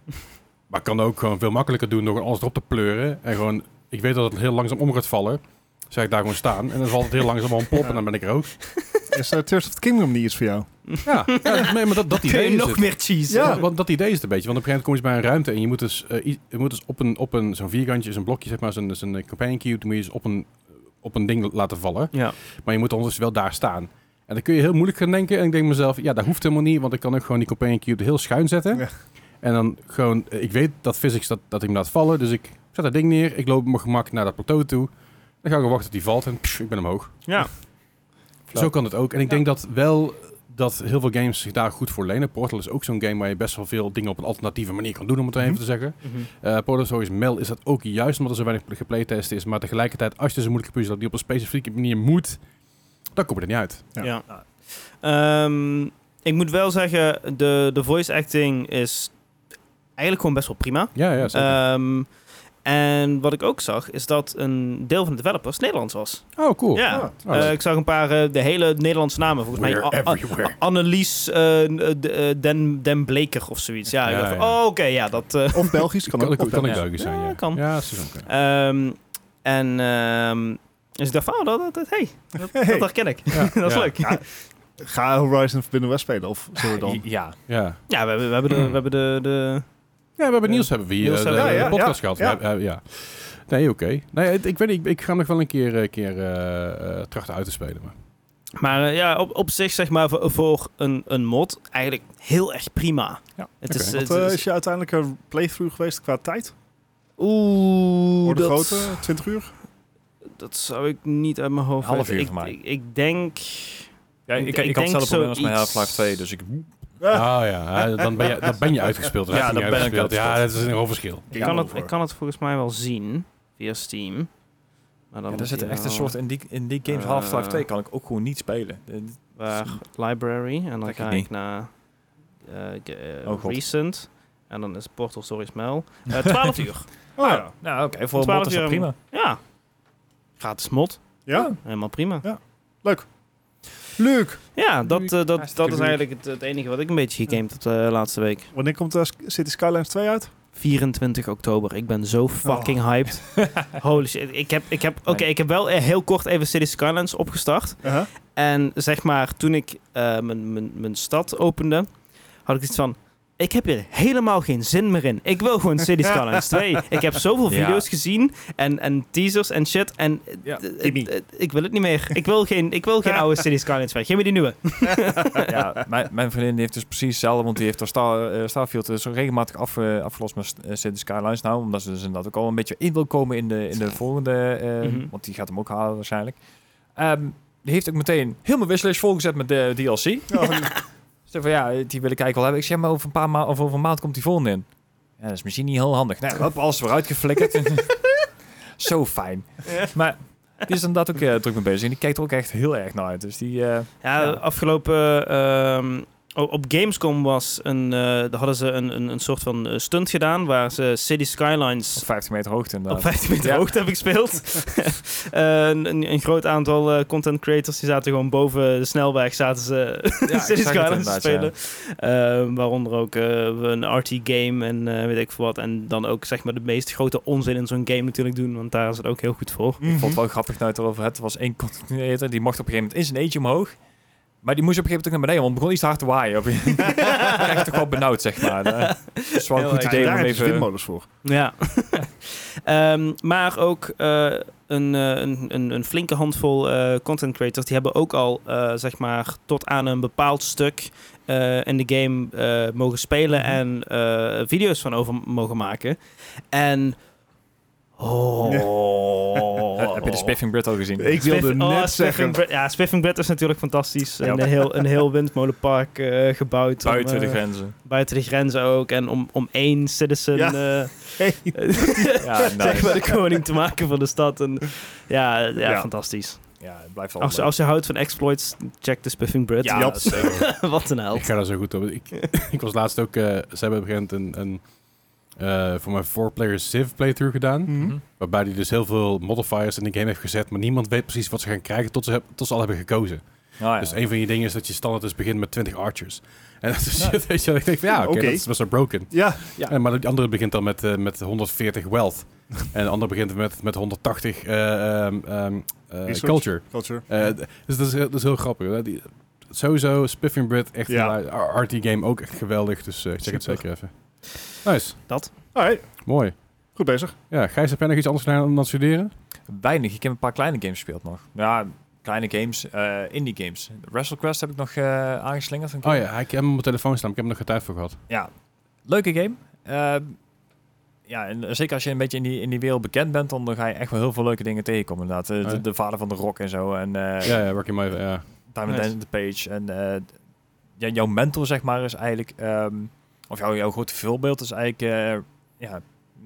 [SPEAKER 2] maar ik kan ook gewoon veel makkelijker doen door gewoon alles erop te pleuren. En gewoon, ik weet dat het heel langzaam om gaat vallen, dus ga ik daar gewoon staan en dan valt het heel langzaam om plop en dan ben ik er ook.
[SPEAKER 3] Is eh, Tears of the Kingdom niet iets voor jou?
[SPEAKER 2] Ja, ja, nee, maar dat, dat
[SPEAKER 1] Kun
[SPEAKER 2] idee
[SPEAKER 1] je
[SPEAKER 2] is
[SPEAKER 1] nog
[SPEAKER 2] het.
[SPEAKER 1] meer cheese?
[SPEAKER 2] Ja, eh, want dat idee is het een beetje. Want op een gegeven moment kom je bij een ruimte en je moet dus, eh, i- je moet dus op een, op een zo'n vierkantje, zo'n blokje, zeg maar, zo'n zo'n eh, companion cube, die moet je dus op een, op een ding laten vallen.
[SPEAKER 1] Ja.
[SPEAKER 2] Maar je moet ondertussen wel daar staan. En dan kun je heel moeilijk gaan denken. En ik denk mezelf, ja, dat hoeft helemaal niet, want ik kan ook gewoon die companion cube heel schuin zetten.
[SPEAKER 3] Ja.
[SPEAKER 2] En dan gewoon, eh, ik weet dat physics dat, dat ik hem laat vallen, dus ik zet dat ding neer, ik loop op mijn gemak naar dat plateau toe. Dan ga ik gewoon wachten tot hij valt en pff, ik ben omhoog.
[SPEAKER 1] Ja.
[SPEAKER 2] Zo kan het ook. En ik denk dat wel dat heel veel games zich daar goed voor lenen. Portal is ook zo'n game waar je best wel veel dingen op een alternatieve manier kan doen, om het even te zeggen.
[SPEAKER 1] Mhm.
[SPEAKER 2] Eh Portal Stories Mel is dat ook juist omdat er zo weinig geplaytest is. Maar tegelijkertijd, als je zo'n moeilijke puzzel hebt die op een specifieke manier moet, dan kom je er niet uit.
[SPEAKER 3] Ja.
[SPEAKER 1] Ja. Ehm, ik moet wel zeggen, de, de voice acting is eigenlijk gewoon best wel prima.
[SPEAKER 2] Ja, ja, zeker.
[SPEAKER 1] Ehm, En wat ik ook zag, is dat een deel van de developers Nederlands was.
[SPEAKER 2] Oh, cool.
[SPEAKER 1] Ja.
[SPEAKER 2] Ah,
[SPEAKER 1] Eh,
[SPEAKER 2] nice.
[SPEAKER 1] ik zag een paar, eh, de hele Nederlandse namen. Volgens mij
[SPEAKER 2] We're
[SPEAKER 1] A- A-
[SPEAKER 2] everywhere.
[SPEAKER 1] Annelies eh, n- eh, de- eh, Den, Den Bleker of zoiets. Ja, ik
[SPEAKER 2] Ja,
[SPEAKER 1] dacht van,
[SPEAKER 2] ja.
[SPEAKER 1] oh, oké, ja, dat... eh,
[SPEAKER 3] Of Belgisch kan
[SPEAKER 2] kan
[SPEAKER 3] ook.
[SPEAKER 2] ook,
[SPEAKER 3] of
[SPEAKER 2] kan ook
[SPEAKER 3] Belgisch.
[SPEAKER 2] Belgisch zijn,
[SPEAKER 1] Ja,
[SPEAKER 2] ja.
[SPEAKER 1] kan.
[SPEAKER 2] Ja, dat zou kunnen.
[SPEAKER 1] ehm, en ehm, dus ik dacht van, oh, dat, dat, dat- hey, dat, dat herken ik. dat is
[SPEAKER 2] Ja.
[SPEAKER 1] leuk.
[SPEAKER 3] Ja. Ga Horizon Forbidden West spelen, of zullen we dan?
[SPEAKER 4] Ja.
[SPEAKER 2] Ja.
[SPEAKER 1] Ja, we, hebben- we hebben de... We hebben de, de
[SPEAKER 2] Ja, we hebben Niels hebben we hier
[SPEAKER 1] Niels
[SPEAKER 2] eh, de,
[SPEAKER 1] hebben we,
[SPEAKER 2] de
[SPEAKER 3] ja,
[SPEAKER 2] podcast
[SPEAKER 3] ja,
[SPEAKER 2] gehad.
[SPEAKER 3] ja.
[SPEAKER 2] We hebben- eh, ja. Nee, oké. Nee, het- ik weet niet, ik, ik ga hem nog wel een keer, eh, keer eh, eh, trachten uit te spelen. Maar.
[SPEAKER 1] maar eh, ja, op, op zich zeg maar voor, voor een, een mod eigenlijk heel erg prima.
[SPEAKER 4] Ja.
[SPEAKER 1] Het is,
[SPEAKER 2] Oké.
[SPEAKER 1] het
[SPEAKER 3] Wat eh,
[SPEAKER 1] is-
[SPEAKER 3] is je uiteindelijke playthrough geweest qua tijd?
[SPEAKER 1] Oeh,
[SPEAKER 3] Voor de
[SPEAKER 1] dat,
[SPEAKER 3] grote, 20 uur?
[SPEAKER 1] dat zou ik niet uit mijn hoofd
[SPEAKER 4] Half
[SPEAKER 1] weten.
[SPEAKER 4] uur
[SPEAKER 1] ik,
[SPEAKER 4] gemaakt.
[SPEAKER 1] ik, ik denk...
[SPEAKER 4] ja ik,
[SPEAKER 1] Ik-
[SPEAKER 4] ik,
[SPEAKER 1] ik
[SPEAKER 4] had
[SPEAKER 1] denk
[SPEAKER 4] hetzelfde probleem als mijn
[SPEAKER 1] zoiets-
[SPEAKER 4] Half-Life 2, dus ik...
[SPEAKER 2] Ah ja, eh, dan ben je, dan ben je uitgespeeld.
[SPEAKER 4] Ja,
[SPEAKER 2] heb je
[SPEAKER 4] dan
[SPEAKER 2] niet
[SPEAKER 4] ben ik
[SPEAKER 2] uitgespeeld. Ja, dat
[SPEAKER 4] uitgespeeld.
[SPEAKER 2] is een groot verschil.
[SPEAKER 1] Ik kan, het, ik kan het volgens mij wel zien via Steam. Maar dan
[SPEAKER 4] Ja,
[SPEAKER 1] moet
[SPEAKER 4] daar zit
[SPEAKER 1] die
[SPEAKER 4] echt een
[SPEAKER 1] wel
[SPEAKER 4] soort... In die, in die games
[SPEAKER 1] Eh.
[SPEAKER 4] Half-Life 2 kan ik ook gewoon niet spelen. Eh,
[SPEAKER 1] waar library en dan
[SPEAKER 4] Trek ik
[SPEAKER 1] ga ik
[SPEAKER 4] niet.
[SPEAKER 1] naar eh, ge- eh,
[SPEAKER 4] Oh, God.
[SPEAKER 1] recent. En dan is Portal Stories Mail. Eh 12 uur.
[SPEAKER 3] Oh, ja.
[SPEAKER 4] Nou, oké, voor een
[SPEAKER 1] 12
[SPEAKER 4] mod is dat
[SPEAKER 1] uur.
[SPEAKER 4] prima.
[SPEAKER 1] Ja. Gratis mod.
[SPEAKER 3] ja?
[SPEAKER 1] Helemaal prima.
[SPEAKER 3] Leuk!
[SPEAKER 1] Ja, dat, eh, dat,
[SPEAKER 2] Hartstikke
[SPEAKER 1] dat is
[SPEAKER 2] leuk.
[SPEAKER 1] eigenlijk het, het enige wat ik een beetje gegamed heb eh, de laatste week.
[SPEAKER 3] Wanneer komt eh, City Skylines 2 uit?
[SPEAKER 1] 24 oktober. Ik ben zo fucking hyped. Holy shit. Ik heb, ik heb, oké,
[SPEAKER 4] Oh. Nee.
[SPEAKER 1] ik heb wel eh, heel kort even City Skylines opgestart.
[SPEAKER 3] Uh-huh.
[SPEAKER 1] En zeg maar, toen ik eh, mijn, mijn, mijn stad opende, had ik iets van... Ik heb hier helemaal geen zin meer in. Ik wil gewoon Cities Skylines 2. Ik heb zoveel
[SPEAKER 4] Ja.
[SPEAKER 1] video's gezien en, en teasers en shit. En eh,
[SPEAKER 4] Ja,
[SPEAKER 1] eh,
[SPEAKER 3] die niet.
[SPEAKER 1] eh, ik wil het niet meer. Ik wil geen, ik wil geen oude Cities Skylines meer. Geef me die nieuwe.
[SPEAKER 4] ja, mijn, mijn vriendin die heeft dus precies hetzelfde, want die heeft haar Star, eh, Starfield eh, zo regelmatig af, eh, afgelost met eh, Cities Skylines nou, omdat ze dus inderdaad ook al een beetje in wil komen in de, in de volgende, eh,
[SPEAKER 1] Mhm.
[SPEAKER 4] want die gaat hem ook halen waarschijnlijk. Ehm, die heeft ook meteen heel mijn wishlist volgezet met de DLC.
[SPEAKER 1] Oh,
[SPEAKER 4] Ze zei van ja, die wil ik eigenlijk wel hebben. Ik zeg maar over een paar maanden of over een maand komt die volgende in. Ja, dat is misschien niet heel handig. Nou, hop, alles eruit geflikkerd. Zo fijn. Maar die is inderdaad ook eh, druk mee bezig. En die kijkt er ook echt heel erg naar uit. Dus die... eh,
[SPEAKER 1] Ja,
[SPEAKER 4] Ja.
[SPEAKER 1] afgelopen... ehm, o- op Gamescom was een, eh, daar hadden ze een, een, een soort van eh, stunt gedaan... waar ze City Skylines
[SPEAKER 4] Op 50 meter hoogte
[SPEAKER 1] Op
[SPEAKER 4] inderdaad.
[SPEAKER 1] 15 meter
[SPEAKER 4] Ja.
[SPEAKER 1] hoogte heb ik gespeeld. Eh, een, een- een groot aantal eh, content creators die zaten gewoon boven de snelweg zaten ze
[SPEAKER 4] Ja, ik
[SPEAKER 1] Cities
[SPEAKER 4] zag het
[SPEAKER 1] Skylines te
[SPEAKER 4] inderdaad,
[SPEAKER 1] spelen. Eh, waaronder ook eh, een RT-game en eh, weet ik veel wat. En dan ook zeg maar de meest grote onzin in zo'n game natuurlijk doen, want daar is het ook heel goed voor.
[SPEAKER 4] Ik vond het wel grappig nou het erover had. Er was één continuator, die mocht op een gegeven moment in zijn eentje omhoog. Maar die moest op een gegeven moment ook naar beneden, want het begon iets te hard te waaien. Op je. krijg je toch wel benauwd, zeg maar. Dat is wel een
[SPEAKER 1] Heel
[SPEAKER 4] goed
[SPEAKER 1] erg.
[SPEAKER 4] idee om
[SPEAKER 3] daar
[SPEAKER 4] hem
[SPEAKER 3] hebben ze
[SPEAKER 4] even... Oh,
[SPEAKER 3] windmolens voor.
[SPEAKER 1] Ja. Ehm, maar ook eh, een, eh, een, een, een flinke handvol eh, content creators... die hebben ook al, eh, zeg maar, tot aan een bepaald stuk eh, in de game eh, mogen spelen...
[SPEAKER 4] Mhm.
[SPEAKER 1] en eh, video's van over mogen maken. En... Oh.
[SPEAKER 4] Heb je de Spiffing Brit al gezien?
[SPEAKER 3] Ik wilde
[SPEAKER 1] Spiff-
[SPEAKER 3] net
[SPEAKER 1] oh,
[SPEAKER 3] zeggen...
[SPEAKER 1] Spiffing Brit- ja, Spiffing Brit is natuurlijk fantastisch.
[SPEAKER 4] Ja.
[SPEAKER 1] En Een, heel, een heel windmolenpark eh, gebouwd. om,
[SPEAKER 4] Buiten de
[SPEAKER 1] eh,
[SPEAKER 4] grenzen.
[SPEAKER 1] buiten de grenzen ook. En om, om één citizen...
[SPEAKER 3] Ja.
[SPEAKER 1] eh,
[SPEAKER 3] Hey.
[SPEAKER 4] Ja,
[SPEAKER 1] zeg maar
[SPEAKER 4] nice.
[SPEAKER 1] de koning te maken van de stad. En, ja, ja,
[SPEAKER 3] Ja.
[SPEAKER 1] fantastisch.
[SPEAKER 4] ja het blijft wel
[SPEAKER 1] Als,
[SPEAKER 4] Oh, leuk.
[SPEAKER 1] als je houdt van exploits, check de Spiffing Brit.
[SPEAKER 4] Ja, dat is zeker.
[SPEAKER 1] Wat een held.
[SPEAKER 2] Ik ga daar zo goed op. Ik, ik was laatst ook, eh, ze hebben op een gegeven moment een, een eh, voor mijn four-player Civ playthrough gedaan.
[SPEAKER 1] Hm?
[SPEAKER 3] Hm?
[SPEAKER 4] Mhm.
[SPEAKER 2] Waarbij die dus heel veel modifiers in de game heeft gezet, maar niemand weet precies wat ze gaan krijgen tot ze, heb- tot ze al hebben gekozen.
[SPEAKER 4] Ah, ja.
[SPEAKER 2] Dus een van die dingen is dat je standaard dus begint met 20 archers. En dat is
[SPEAKER 4] Ja.
[SPEAKER 2] shit, weet je wel. Ik denk van ja, oké,
[SPEAKER 3] Oké.
[SPEAKER 2] dat is best wel broken.
[SPEAKER 3] Ja,
[SPEAKER 4] Ja.
[SPEAKER 2] En, maar die andere begint dan met, eh, met 140 wealth. en de andere begint met, met 180 eh, ehm, ehm, eh,
[SPEAKER 3] Research.
[SPEAKER 2] culture.
[SPEAKER 3] culture.
[SPEAKER 2] Eh, d- dus dat is, heel- dat is heel grappig. Hè? Die, sowieso, Spiffing Brit, echt
[SPEAKER 3] Ja.
[SPEAKER 2] een la- RT game ook echt geweldig. Dus eh, check het
[SPEAKER 3] Super.
[SPEAKER 2] zeker even. Nice,
[SPEAKER 3] Alright,
[SPEAKER 2] mooi.
[SPEAKER 3] goed bezig.
[SPEAKER 2] Ja, Gijs, heb jij nog iets anders gedaan dan, dan studeren?
[SPEAKER 4] Weinig. Ik heb een paar kleine games gespeeld nog. Ja, kleine games. eh, indie games. WrestleQuest heb ik nog eh aangeslingerd. Een keer.
[SPEAKER 2] Oh ja, ik heb hem op mijn telefoon staan, maar ik heb er nog geen tijd voor gehad.
[SPEAKER 4] Ja, leuke game. Ehm, ja, en zeker als je een beetje in die, in die wereld bekend bent, dan ga je echt wel heel veel leuke dingen tegenkomen inderdaad. Eh,
[SPEAKER 2] Oh Ja.
[SPEAKER 4] De, de vader van de rock en zo. En eh
[SPEAKER 2] ja, ja, Rocky Maivia, ja.
[SPEAKER 4] Diamond
[SPEAKER 1] Nice.
[SPEAKER 4] and the Page. En eh, ja, jouw mentor, zeg maar, is eigenlijk... ehm, of jouw, jouw grote voorbeeld is eigenlijk... eh, ja,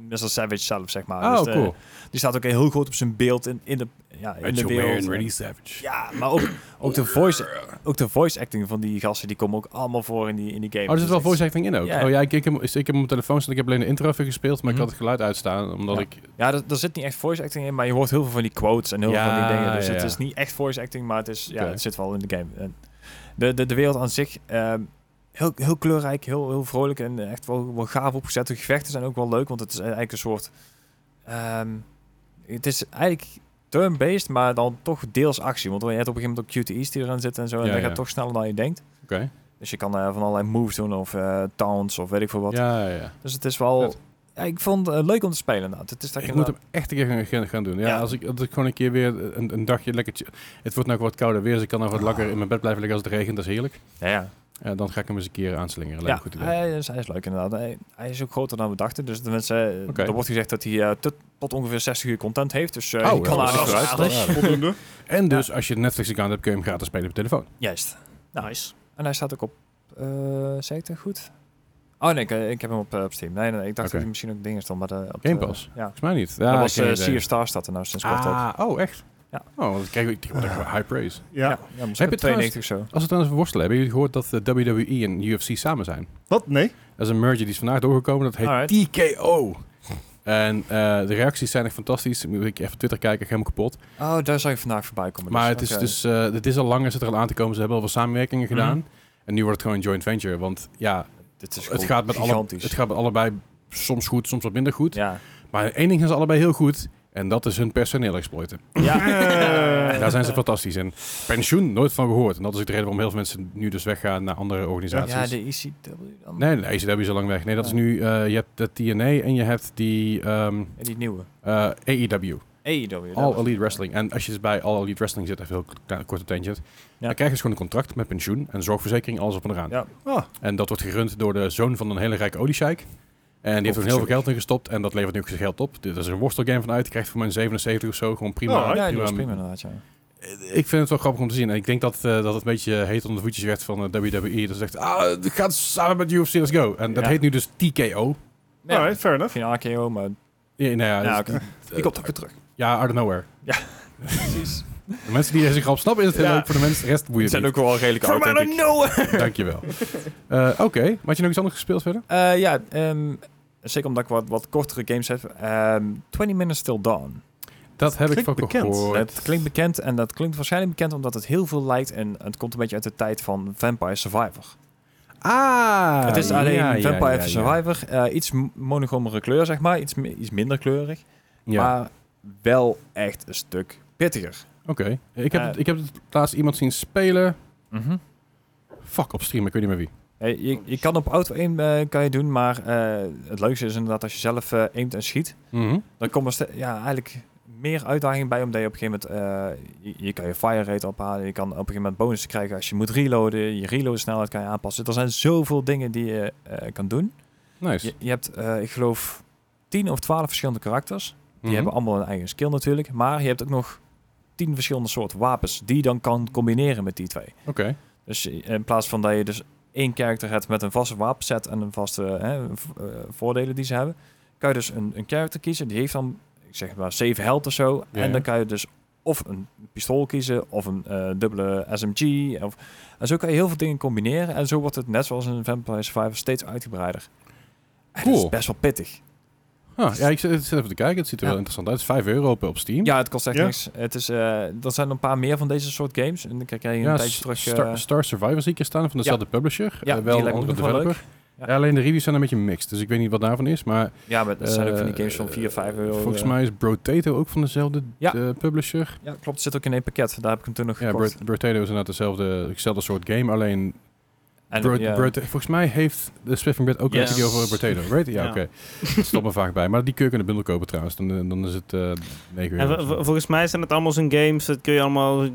[SPEAKER 4] Mr. Savage zelf, zeg maar.
[SPEAKER 2] Oh,
[SPEAKER 4] Dus, eh,
[SPEAKER 2] cool.
[SPEAKER 4] die staat ook heel groot op zijn beeld in, in de, ja, in de wereld. eh,
[SPEAKER 2] Savage.
[SPEAKER 4] Ja, maar ook, ook, de voice, ook de voice acting van die gasten, die komen ook allemaal voor in die, in die game.
[SPEAKER 2] Oh, er zit wel
[SPEAKER 4] Dus
[SPEAKER 2] voice acting in ook.
[SPEAKER 4] Ja.
[SPEAKER 2] Oh ja, ik, ik, heb, ik heb op mijn telefoon staan. Ik heb alleen de intro even gespeeld, maar
[SPEAKER 4] Mhm.
[SPEAKER 2] ik had het geluid uitstaan. Omdat
[SPEAKER 4] Ja.
[SPEAKER 2] ik...
[SPEAKER 4] Ja, er, er zit niet echt voice acting in, maar je hoort heel veel van die quotes en heel veel van
[SPEAKER 2] Ja,
[SPEAKER 4] die dingen. Dus
[SPEAKER 2] ja,
[SPEAKER 4] het
[SPEAKER 2] ja.
[SPEAKER 4] is niet echt voice acting, maar het, is,
[SPEAKER 2] Oké.
[SPEAKER 4] ja, het zit wel in de game. En de, de, de wereld aan zich, ehm, heel, heel kleurrijk, heel, heel vrolijk en echt wel, wel gaaf opgezet. De gevechten zijn ook wel leuk, want het is eigenlijk een soort... ehm, het is eigenlijk turn-based, maar dan toch deels actie. Want je hebt op een gegeven moment ook QTE's die eraan zitten en zo. En
[SPEAKER 2] Ja,
[SPEAKER 4] dat
[SPEAKER 2] ja.
[SPEAKER 4] gaat toch sneller dan je denkt.
[SPEAKER 2] Oké.
[SPEAKER 4] Dus je kan eh, van allerlei moves doen of eh, towns of weet ik veel wat.
[SPEAKER 2] Ja, ja, ja.
[SPEAKER 4] Dus het is wel...
[SPEAKER 2] Vet.
[SPEAKER 4] Ja, ik vond het eh, leuk om te spelen inderdaad. Het is dat je
[SPEAKER 2] Ik moet
[SPEAKER 4] inderdaad-
[SPEAKER 2] hem echt een keer gaan- gaan, gaan doen. Ja,
[SPEAKER 4] Ja.
[SPEAKER 2] Als, ik, als ik gewoon een keer weer een, een dagje lekker... chill- Het wordt nou ook wat kouder weer, dus ik kan
[SPEAKER 4] Ah.
[SPEAKER 2] nog wat langer in mijn bed blijven liggen als het regent. Dat is heerlijk.
[SPEAKER 4] Ja, ja.
[SPEAKER 2] Eh, dan ga ik hem eens een keer aanslingeren. Lijkt
[SPEAKER 4] Ja,
[SPEAKER 2] me goed idee.
[SPEAKER 4] hij is, hij is leuk inderdaad. Hij, hij is ook groter dan we dachten. Dus de mensen, eh,
[SPEAKER 2] Oké.
[SPEAKER 4] er wordt gezegd dat hij eh, tot, tot ongeveer 60 uur content heeft. Dus eh
[SPEAKER 2] Oh,
[SPEAKER 4] je
[SPEAKER 2] dat
[SPEAKER 4] kan
[SPEAKER 2] is
[SPEAKER 4] aardig
[SPEAKER 2] wel
[SPEAKER 4] vooruit.
[SPEAKER 2] aardig.
[SPEAKER 3] Voldoende.
[SPEAKER 4] Eh,
[SPEAKER 2] En dus, als je een Netflix-account hebt, kun je hem gratis spelen op je telefoon.
[SPEAKER 4] Juist. Nou,
[SPEAKER 1] Nice.
[SPEAKER 4] en hij staat ook op... eh zei ik dat goed? Oh nee, ik, eh, ik heb hem op, eh, op Steam. Nee, nee, ik dacht
[SPEAKER 2] Oké.
[SPEAKER 4] dat hij misschien ook dingen stond. Maar de, op de-
[SPEAKER 2] Game Pass?
[SPEAKER 4] ja.
[SPEAKER 2] Volgens mij niet. Ja,
[SPEAKER 4] dat was
[SPEAKER 2] geen
[SPEAKER 4] eh
[SPEAKER 2] idee.
[SPEAKER 4] Sea of Stars staat er nou sinds kort ook.
[SPEAKER 2] Ah, oh echt?
[SPEAKER 4] Ja. Ah.
[SPEAKER 2] Oh, dan krijg ik wat echt high praise.
[SPEAKER 3] Ja.
[SPEAKER 4] ja moest
[SPEAKER 2] Heb
[SPEAKER 4] ik op
[SPEAKER 2] je trouwens-
[SPEAKER 4] 92 of zo.
[SPEAKER 2] Als we trouwens over worstelen, hebben jullie gehoord dat eh, de WWE E en UFC samen zijn?
[SPEAKER 3] Wat? Nee?
[SPEAKER 2] Dat is een merger die is vandaag doorgekomen, dat heet
[SPEAKER 4] Alright.
[SPEAKER 2] TKO. En eh, de reacties zijn echt fantastisch. Moet ik even Twitter kijken, ik ga helemaal kapot.
[SPEAKER 4] Oh, daar zou ik vandaag voorbij komen.
[SPEAKER 2] Maar
[SPEAKER 4] dus,
[SPEAKER 2] het is
[SPEAKER 4] oké.
[SPEAKER 2] dus, eh, het is al langer zit er al aan te komen. Ze hebben al wat
[SPEAKER 4] Mhm.
[SPEAKER 2] samenwerkingen gedaan. En nu wordt het gewoon een joint venture. Want ja,
[SPEAKER 4] Dit is
[SPEAKER 2] het gaat, met alle,
[SPEAKER 4] gigantisch.
[SPEAKER 2] het gaat met allebei soms goed, soms wat minder goed.
[SPEAKER 4] Ja.
[SPEAKER 2] Maar één ding gaan ze allebei heel goed. En dat is hun personeel exploiten.
[SPEAKER 4] Ja.
[SPEAKER 2] Daar zijn ze fantastisch in. Pensioen, nooit van gehoord. En dat is ook de reden waarom heel veel mensen nu dus weggaan naar andere organisaties.
[SPEAKER 4] ja, de ECW dan.
[SPEAKER 2] Nee, nee, AEW is al lang weg. Nee, dat is
[SPEAKER 4] Ja.
[SPEAKER 2] nu... eh, je hebt de TNA en je hebt die ehm,
[SPEAKER 4] En die nieuwe.
[SPEAKER 2] eh, AEW.
[SPEAKER 4] AEW. E dat
[SPEAKER 2] All
[SPEAKER 4] was-
[SPEAKER 2] Elite Wrestling. En als je dus bij All Elite Wrestling zit, even heel klein, kort op tentje, dan krijg je dus gewoon een contract met pensioen en zorgverzekering, alles op en eraan.
[SPEAKER 4] Ja.
[SPEAKER 3] Ah.
[SPEAKER 2] En dat wordt gerund door de zoon van een hele rijke oliesjeik. En die heeft er heel veel geld in gestopt en dat levert nu ook zijn geld op. Dit is een worstelgame vanuit. Je krijgt voor mijn 77 of zo gewoon prima. Eh,
[SPEAKER 3] Oh,
[SPEAKER 4] Ja, die was prima inderdaad, ja.
[SPEAKER 2] Ik vind het wel grappig om te zien. En ik denk dat, eh, dat het een beetje heet onder de voetjes werd van eh, WWE. Dat ze zegt, ah, het gaat samen met UFC, let's go. En dat
[SPEAKER 4] Ja.
[SPEAKER 2] heet nu dus TKO.
[SPEAKER 4] Ja,
[SPEAKER 3] Alright, fair enough.
[SPEAKER 4] Geen RKO, maar
[SPEAKER 2] Ja, nou ja,
[SPEAKER 4] Ja,
[SPEAKER 2] dus-
[SPEAKER 4] oké.
[SPEAKER 2] Die komt
[SPEAKER 4] ook weer terug.
[SPEAKER 2] ja, out of nowhere.
[SPEAKER 4] Precies.
[SPEAKER 2] De mensen die deze grap snappen is het heel
[SPEAKER 1] Ja.
[SPEAKER 2] leuk. Voor de mensen, de rest boeit
[SPEAKER 4] Het
[SPEAKER 2] het
[SPEAKER 4] zijn
[SPEAKER 2] niet.
[SPEAKER 4] ook wel redelijk
[SPEAKER 1] From out of
[SPEAKER 4] authentiek.
[SPEAKER 1] nowhere!
[SPEAKER 2] Dankjewel. Eh Oké, maar had je nog iets anders gespeeld verder?
[SPEAKER 4] Eh, ja, ehm, zeker omdat ik wat, wat kortere games heb. Ehm 20 Minutes Till Dawn.
[SPEAKER 2] Dat heb
[SPEAKER 3] Klinkt
[SPEAKER 2] ik van
[SPEAKER 3] bekend.
[SPEAKER 2] gehoord.
[SPEAKER 4] Dat klinkt bekend en dat klinkt waarschijnlijk bekend omdat het heel veel lijkt en het komt een beetje uit de tijd van Vampire Survivor.
[SPEAKER 2] Ah!
[SPEAKER 4] het is alleen
[SPEAKER 2] ja, ja,
[SPEAKER 4] Vampire
[SPEAKER 2] ja, ja.
[SPEAKER 4] Survivor, eh, iets m- monochromere kleur zeg maar, iets, mi- iets minder kleurig,
[SPEAKER 2] Ja,
[SPEAKER 4] maar wel echt een stuk pittiger.
[SPEAKER 2] oké. Ik, heb
[SPEAKER 4] Eh.
[SPEAKER 2] het- ik heb het laatst iemand zien spelen. Fuck, op stream, ik weet niet meer wie.
[SPEAKER 4] Eh, je, je kan op auto aim eh, kan je doen, maar eh, het leukste is inderdaad als je zelf eh aimt en schiet.
[SPEAKER 2] Mhm.
[SPEAKER 4] dan komt er ste- ja, eigenlijk meer uitdaging bij, omdat je op een gegeven moment, eh, je, je kan je fire rate ophalen, je kan op een gegeven moment bonussen krijgen als je moet reloaden, je reload snelheid kan je aanpassen. Er zijn zoveel dingen die je eh, kan doen.
[SPEAKER 2] Nice.
[SPEAKER 4] Je, je hebt, eh, ik geloof, 10 of 12 verschillende karakters. Die
[SPEAKER 2] Mhm.
[SPEAKER 4] hebben allemaal een eigen skill natuurlijk, maar je hebt ook nog 10 verschillende soorten wapens die je dan kan combineren met die twee.
[SPEAKER 2] Oké.
[SPEAKER 4] Dus je- in plaats van dat je dus één karakter hebt met een vaste wapenset en een vaste hè, v- eh, voordelen die ze hebben, kan je dus een, een karakter kiezen. Die heeft dan, ik zeg maar, 7 health of zo.
[SPEAKER 2] Ja,
[SPEAKER 4] en
[SPEAKER 2] ja.
[SPEAKER 4] dan kan je dus of een pistool kiezen of een eh, dubbele SMG. Of, en zo kan je heel veel dingen combineren. En zo wordt het net zoals in Vampire Survivor steeds uitgebreider. En dat
[SPEAKER 2] Cool.
[SPEAKER 4] is best wel pittig.
[SPEAKER 2] Ah, ja, ik zit, ik zit even te kijken. Het ziet er
[SPEAKER 4] Ja.
[SPEAKER 2] wel interessant uit. Het is 5 euro op, op Steam.
[SPEAKER 4] Ja, het kost echt
[SPEAKER 3] Ja.
[SPEAKER 4] niks. Het is, eh er zijn een paar meer van deze soort games. En dan krijg je een
[SPEAKER 2] Ja,
[SPEAKER 4] tijdje
[SPEAKER 2] S-
[SPEAKER 4] terug... eh,
[SPEAKER 2] Star, Star Survivor zie ik hier staan van dezelfde publisher.
[SPEAKER 4] Ja,
[SPEAKER 2] Eh,
[SPEAKER 4] die
[SPEAKER 2] wel een
[SPEAKER 4] lijkt me
[SPEAKER 2] andere
[SPEAKER 4] ook nog wel
[SPEAKER 2] developer.
[SPEAKER 4] leuk.
[SPEAKER 2] Ja, alleen de reviews zijn een beetje mixed, dus ik weet niet wat daarvan is. Maar
[SPEAKER 4] ja, maar dat zijn ook van die
[SPEAKER 2] eh,
[SPEAKER 4] games van 4, 5 euro.
[SPEAKER 2] Volgens
[SPEAKER 4] eh.
[SPEAKER 2] mij is Brotato ook van dezelfde
[SPEAKER 4] Ja.
[SPEAKER 2] eh, publisher.
[SPEAKER 4] Ja, klopt. Het zit ook in één pakket. Daar heb ik hem toen nog
[SPEAKER 2] Ja,
[SPEAKER 4] gekocht.
[SPEAKER 2] Bro- Brotato is inderdaad dezelfde, hetzelfde soort game. Alleen
[SPEAKER 4] en,
[SPEAKER 2] Bro-
[SPEAKER 4] ja,
[SPEAKER 2] Brota- volgens mij heeft de Swiffing Bread ook
[SPEAKER 1] Yes.
[SPEAKER 2] een video over Brotato. Right? Ja,
[SPEAKER 1] Ja.
[SPEAKER 2] oké. Dat Stop me vaak bij. Maar die kun je ook in de bundel kopen trouwens. Dan, eh, dan is het eh 9
[SPEAKER 1] En
[SPEAKER 2] euro.
[SPEAKER 1] vo-
[SPEAKER 2] of
[SPEAKER 1] vo-
[SPEAKER 2] zo.
[SPEAKER 1] volgens mij zijn het allemaal zijn games. Dat kun je allemaal...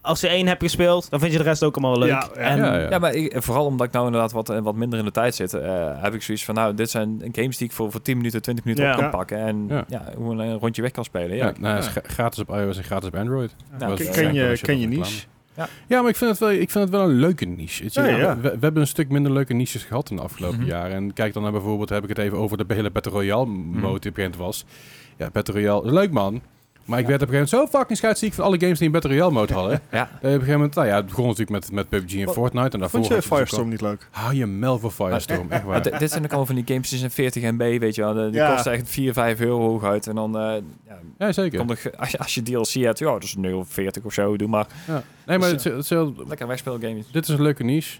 [SPEAKER 1] Als je één hebt gespeeld, dan vind je de rest ook allemaal leuk.
[SPEAKER 3] Ja, ja.
[SPEAKER 1] En-
[SPEAKER 2] Ja, ja.
[SPEAKER 4] ja, maar ik- vooral omdat ik nou inderdaad wat, eh, wat minder in de tijd zit, eh, heb ik zoiets van, nou, dit zijn games die ik voor, voor 10 minuten, 20 minuten
[SPEAKER 1] Ja.
[SPEAKER 4] op kan
[SPEAKER 3] Ja.
[SPEAKER 4] pakken. En ja.
[SPEAKER 2] Ja.
[SPEAKER 4] hoe een rondje weg kan spelen.
[SPEAKER 2] Ja,
[SPEAKER 4] Ja,
[SPEAKER 2] nou, het is
[SPEAKER 3] Ja.
[SPEAKER 2] gra- gratis op iOS en gratis op Android.
[SPEAKER 4] Ja,
[SPEAKER 2] Dat
[SPEAKER 3] Ken-
[SPEAKER 2] is
[SPEAKER 3] ken
[SPEAKER 2] eigenlijk
[SPEAKER 3] je,
[SPEAKER 2] wel
[SPEAKER 3] ken je
[SPEAKER 2] reclame.
[SPEAKER 3] niche?
[SPEAKER 4] Ja.
[SPEAKER 2] ja, maar ik vind, het wel, ik vind het wel een leuke niche. Het is-
[SPEAKER 3] Ja, ja.
[SPEAKER 2] We, we hebben een stuk minder leuke niches gehad in de afgelopen
[SPEAKER 4] Mhm.
[SPEAKER 2] jaren. En kijk dan naar bijvoorbeeld, heb ik het even over de hele Battle Royale mode die op een gegeven moment was. Ja, Battle Royale, leuk man. Maar ik werd op een gegeven moment zo fucking scheidsziek van alle games die een Battle Royale mode hadden.
[SPEAKER 4] Ja.
[SPEAKER 2] Dat je op een gegeven moment, nou ja, het begon natuurlijk met, met PUBG en
[SPEAKER 3] Wat-
[SPEAKER 2] Fortnite. En daarvoor
[SPEAKER 3] Vond je
[SPEAKER 2] had dus ook
[SPEAKER 3] Firestorm niet leuk?
[SPEAKER 2] al- Hou je mel voor Firestorm, echt
[SPEAKER 4] Maar
[SPEAKER 2] waar.
[SPEAKER 4] dit- dit zijn ook allemaal van die games die zijn 40 MB, weet je wel. De- Die
[SPEAKER 3] Ja.
[SPEAKER 4] kosten echt 4, 5 euro hooguit. En dan eh, ja,
[SPEAKER 2] Ja, zeker.
[SPEAKER 4] komt er, ge- als, je, als je DLC hebt, ja, dat is een euro 40 of zo. Doe maar.
[SPEAKER 2] Nee, maar
[SPEAKER 4] Dus,
[SPEAKER 2] het, is- het is-
[SPEAKER 4] Lekker wegspeelgames.
[SPEAKER 2] dit is een leuke niche.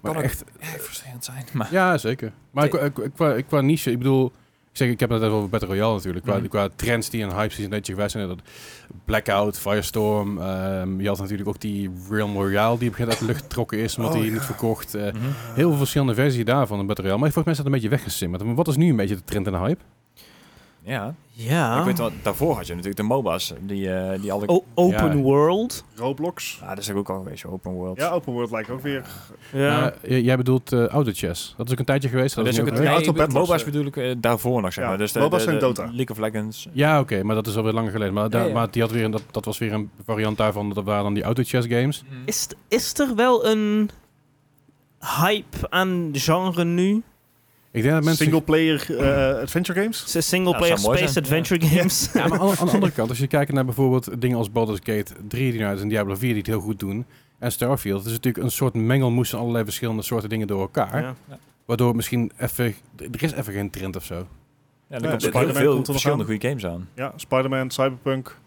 [SPEAKER 2] Maar
[SPEAKER 4] Kan ook-
[SPEAKER 2] echt,
[SPEAKER 4] Ja, frustrerend zijn. Maar
[SPEAKER 2] Ja, zeker. Maar qua, qua, qua niche, ik bedoel... Ik, zeg, ik heb het net over Battle Royale natuurlijk. Qua,
[SPEAKER 4] Mhm.
[SPEAKER 2] qua trends die en hypes die een beetje geweest zijn. Dat Blackout, Firestorm. ehm, je had natuurlijk ook die Realm Royale die op een gegeven moment uit de lucht getrokken is. Omdat
[SPEAKER 3] Oh,
[SPEAKER 2] die
[SPEAKER 3] ja.
[SPEAKER 2] niet verkocht. eh, heel veel verschillende versies daarvan in Battle Royale. Maar volgens mij is dat een beetje weggesimmerd. Maar wat is nu een beetje de trend en de hype?
[SPEAKER 4] ja,
[SPEAKER 1] Ja.
[SPEAKER 4] ik weet
[SPEAKER 2] Ah.
[SPEAKER 4] wel, daarvoor had je natuurlijk de MOBA's. Die, eh, die
[SPEAKER 2] Oh.
[SPEAKER 4] alle...
[SPEAKER 1] O- open
[SPEAKER 2] Ja.
[SPEAKER 1] world.
[SPEAKER 3] Roblox?
[SPEAKER 4] Ah, dat is ook al een beetje open world.
[SPEAKER 3] Ja, Open World lijkt ook weer.
[SPEAKER 1] Ja.
[SPEAKER 4] Nou,
[SPEAKER 2] Eh, j- jij bedoelt eh Auto Chess. Dat is ook een tijdje geweest.
[SPEAKER 4] Dat
[SPEAKER 2] is
[SPEAKER 4] is
[SPEAKER 2] nu
[SPEAKER 4] ook
[SPEAKER 2] ook
[SPEAKER 4] het,
[SPEAKER 2] weer-
[SPEAKER 3] Ja,
[SPEAKER 4] nee,
[SPEAKER 3] Auto Battles,
[SPEAKER 4] MOBA's
[SPEAKER 3] eh.
[SPEAKER 4] bedoel ik eh, daarvoor nog, zeg
[SPEAKER 3] Ja,
[SPEAKER 4] maar. Dus de,
[SPEAKER 3] MOBA's
[SPEAKER 4] de-
[SPEAKER 3] en
[SPEAKER 4] de
[SPEAKER 3] Dota.
[SPEAKER 4] League of Legends.
[SPEAKER 2] Ja, oké, maar dat is alweer lang geleden. Maar, daar-
[SPEAKER 4] Ja, ja.
[SPEAKER 2] maar die had weer een, dat, dat was weer een variant daarvan. Dat waren dan die Auto Chess games.
[SPEAKER 1] Is, is er wel een hype aan genre nu?
[SPEAKER 2] Ik denk dat mensen
[SPEAKER 3] Single player eh, adventure games?
[SPEAKER 1] S- Single player
[SPEAKER 4] zou mooi
[SPEAKER 1] space
[SPEAKER 4] zijn.
[SPEAKER 1] adventure games.
[SPEAKER 2] Ja, maar aan, aan de andere kant, als je kijkt naar bijvoorbeeld dingen als Baldur's Gate 3 die nou uit en Diablo 4 die het heel goed doen. En Starfield, het is natuurlijk een soort mengelmoes van allerlei verschillende soorten dingen door elkaar.
[SPEAKER 1] Ja.
[SPEAKER 2] Waardoor het misschien even, er is even geen trend of zo.
[SPEAKER 4] Ja,
[SPEAKER 3] Ja,
[SPEAKER 4] er komt heel
[SPEAKER 3] Spider-Man komt er
[SPEAKER 4] veel
[SPEAKER 3] nog
[SPEAKER 4] verschillende
[SPEAKER 3] aan.
[SPEAKER 4] goede games aan.
[SPEAKER 3] Ja, Spider-Man, Cyberpunk.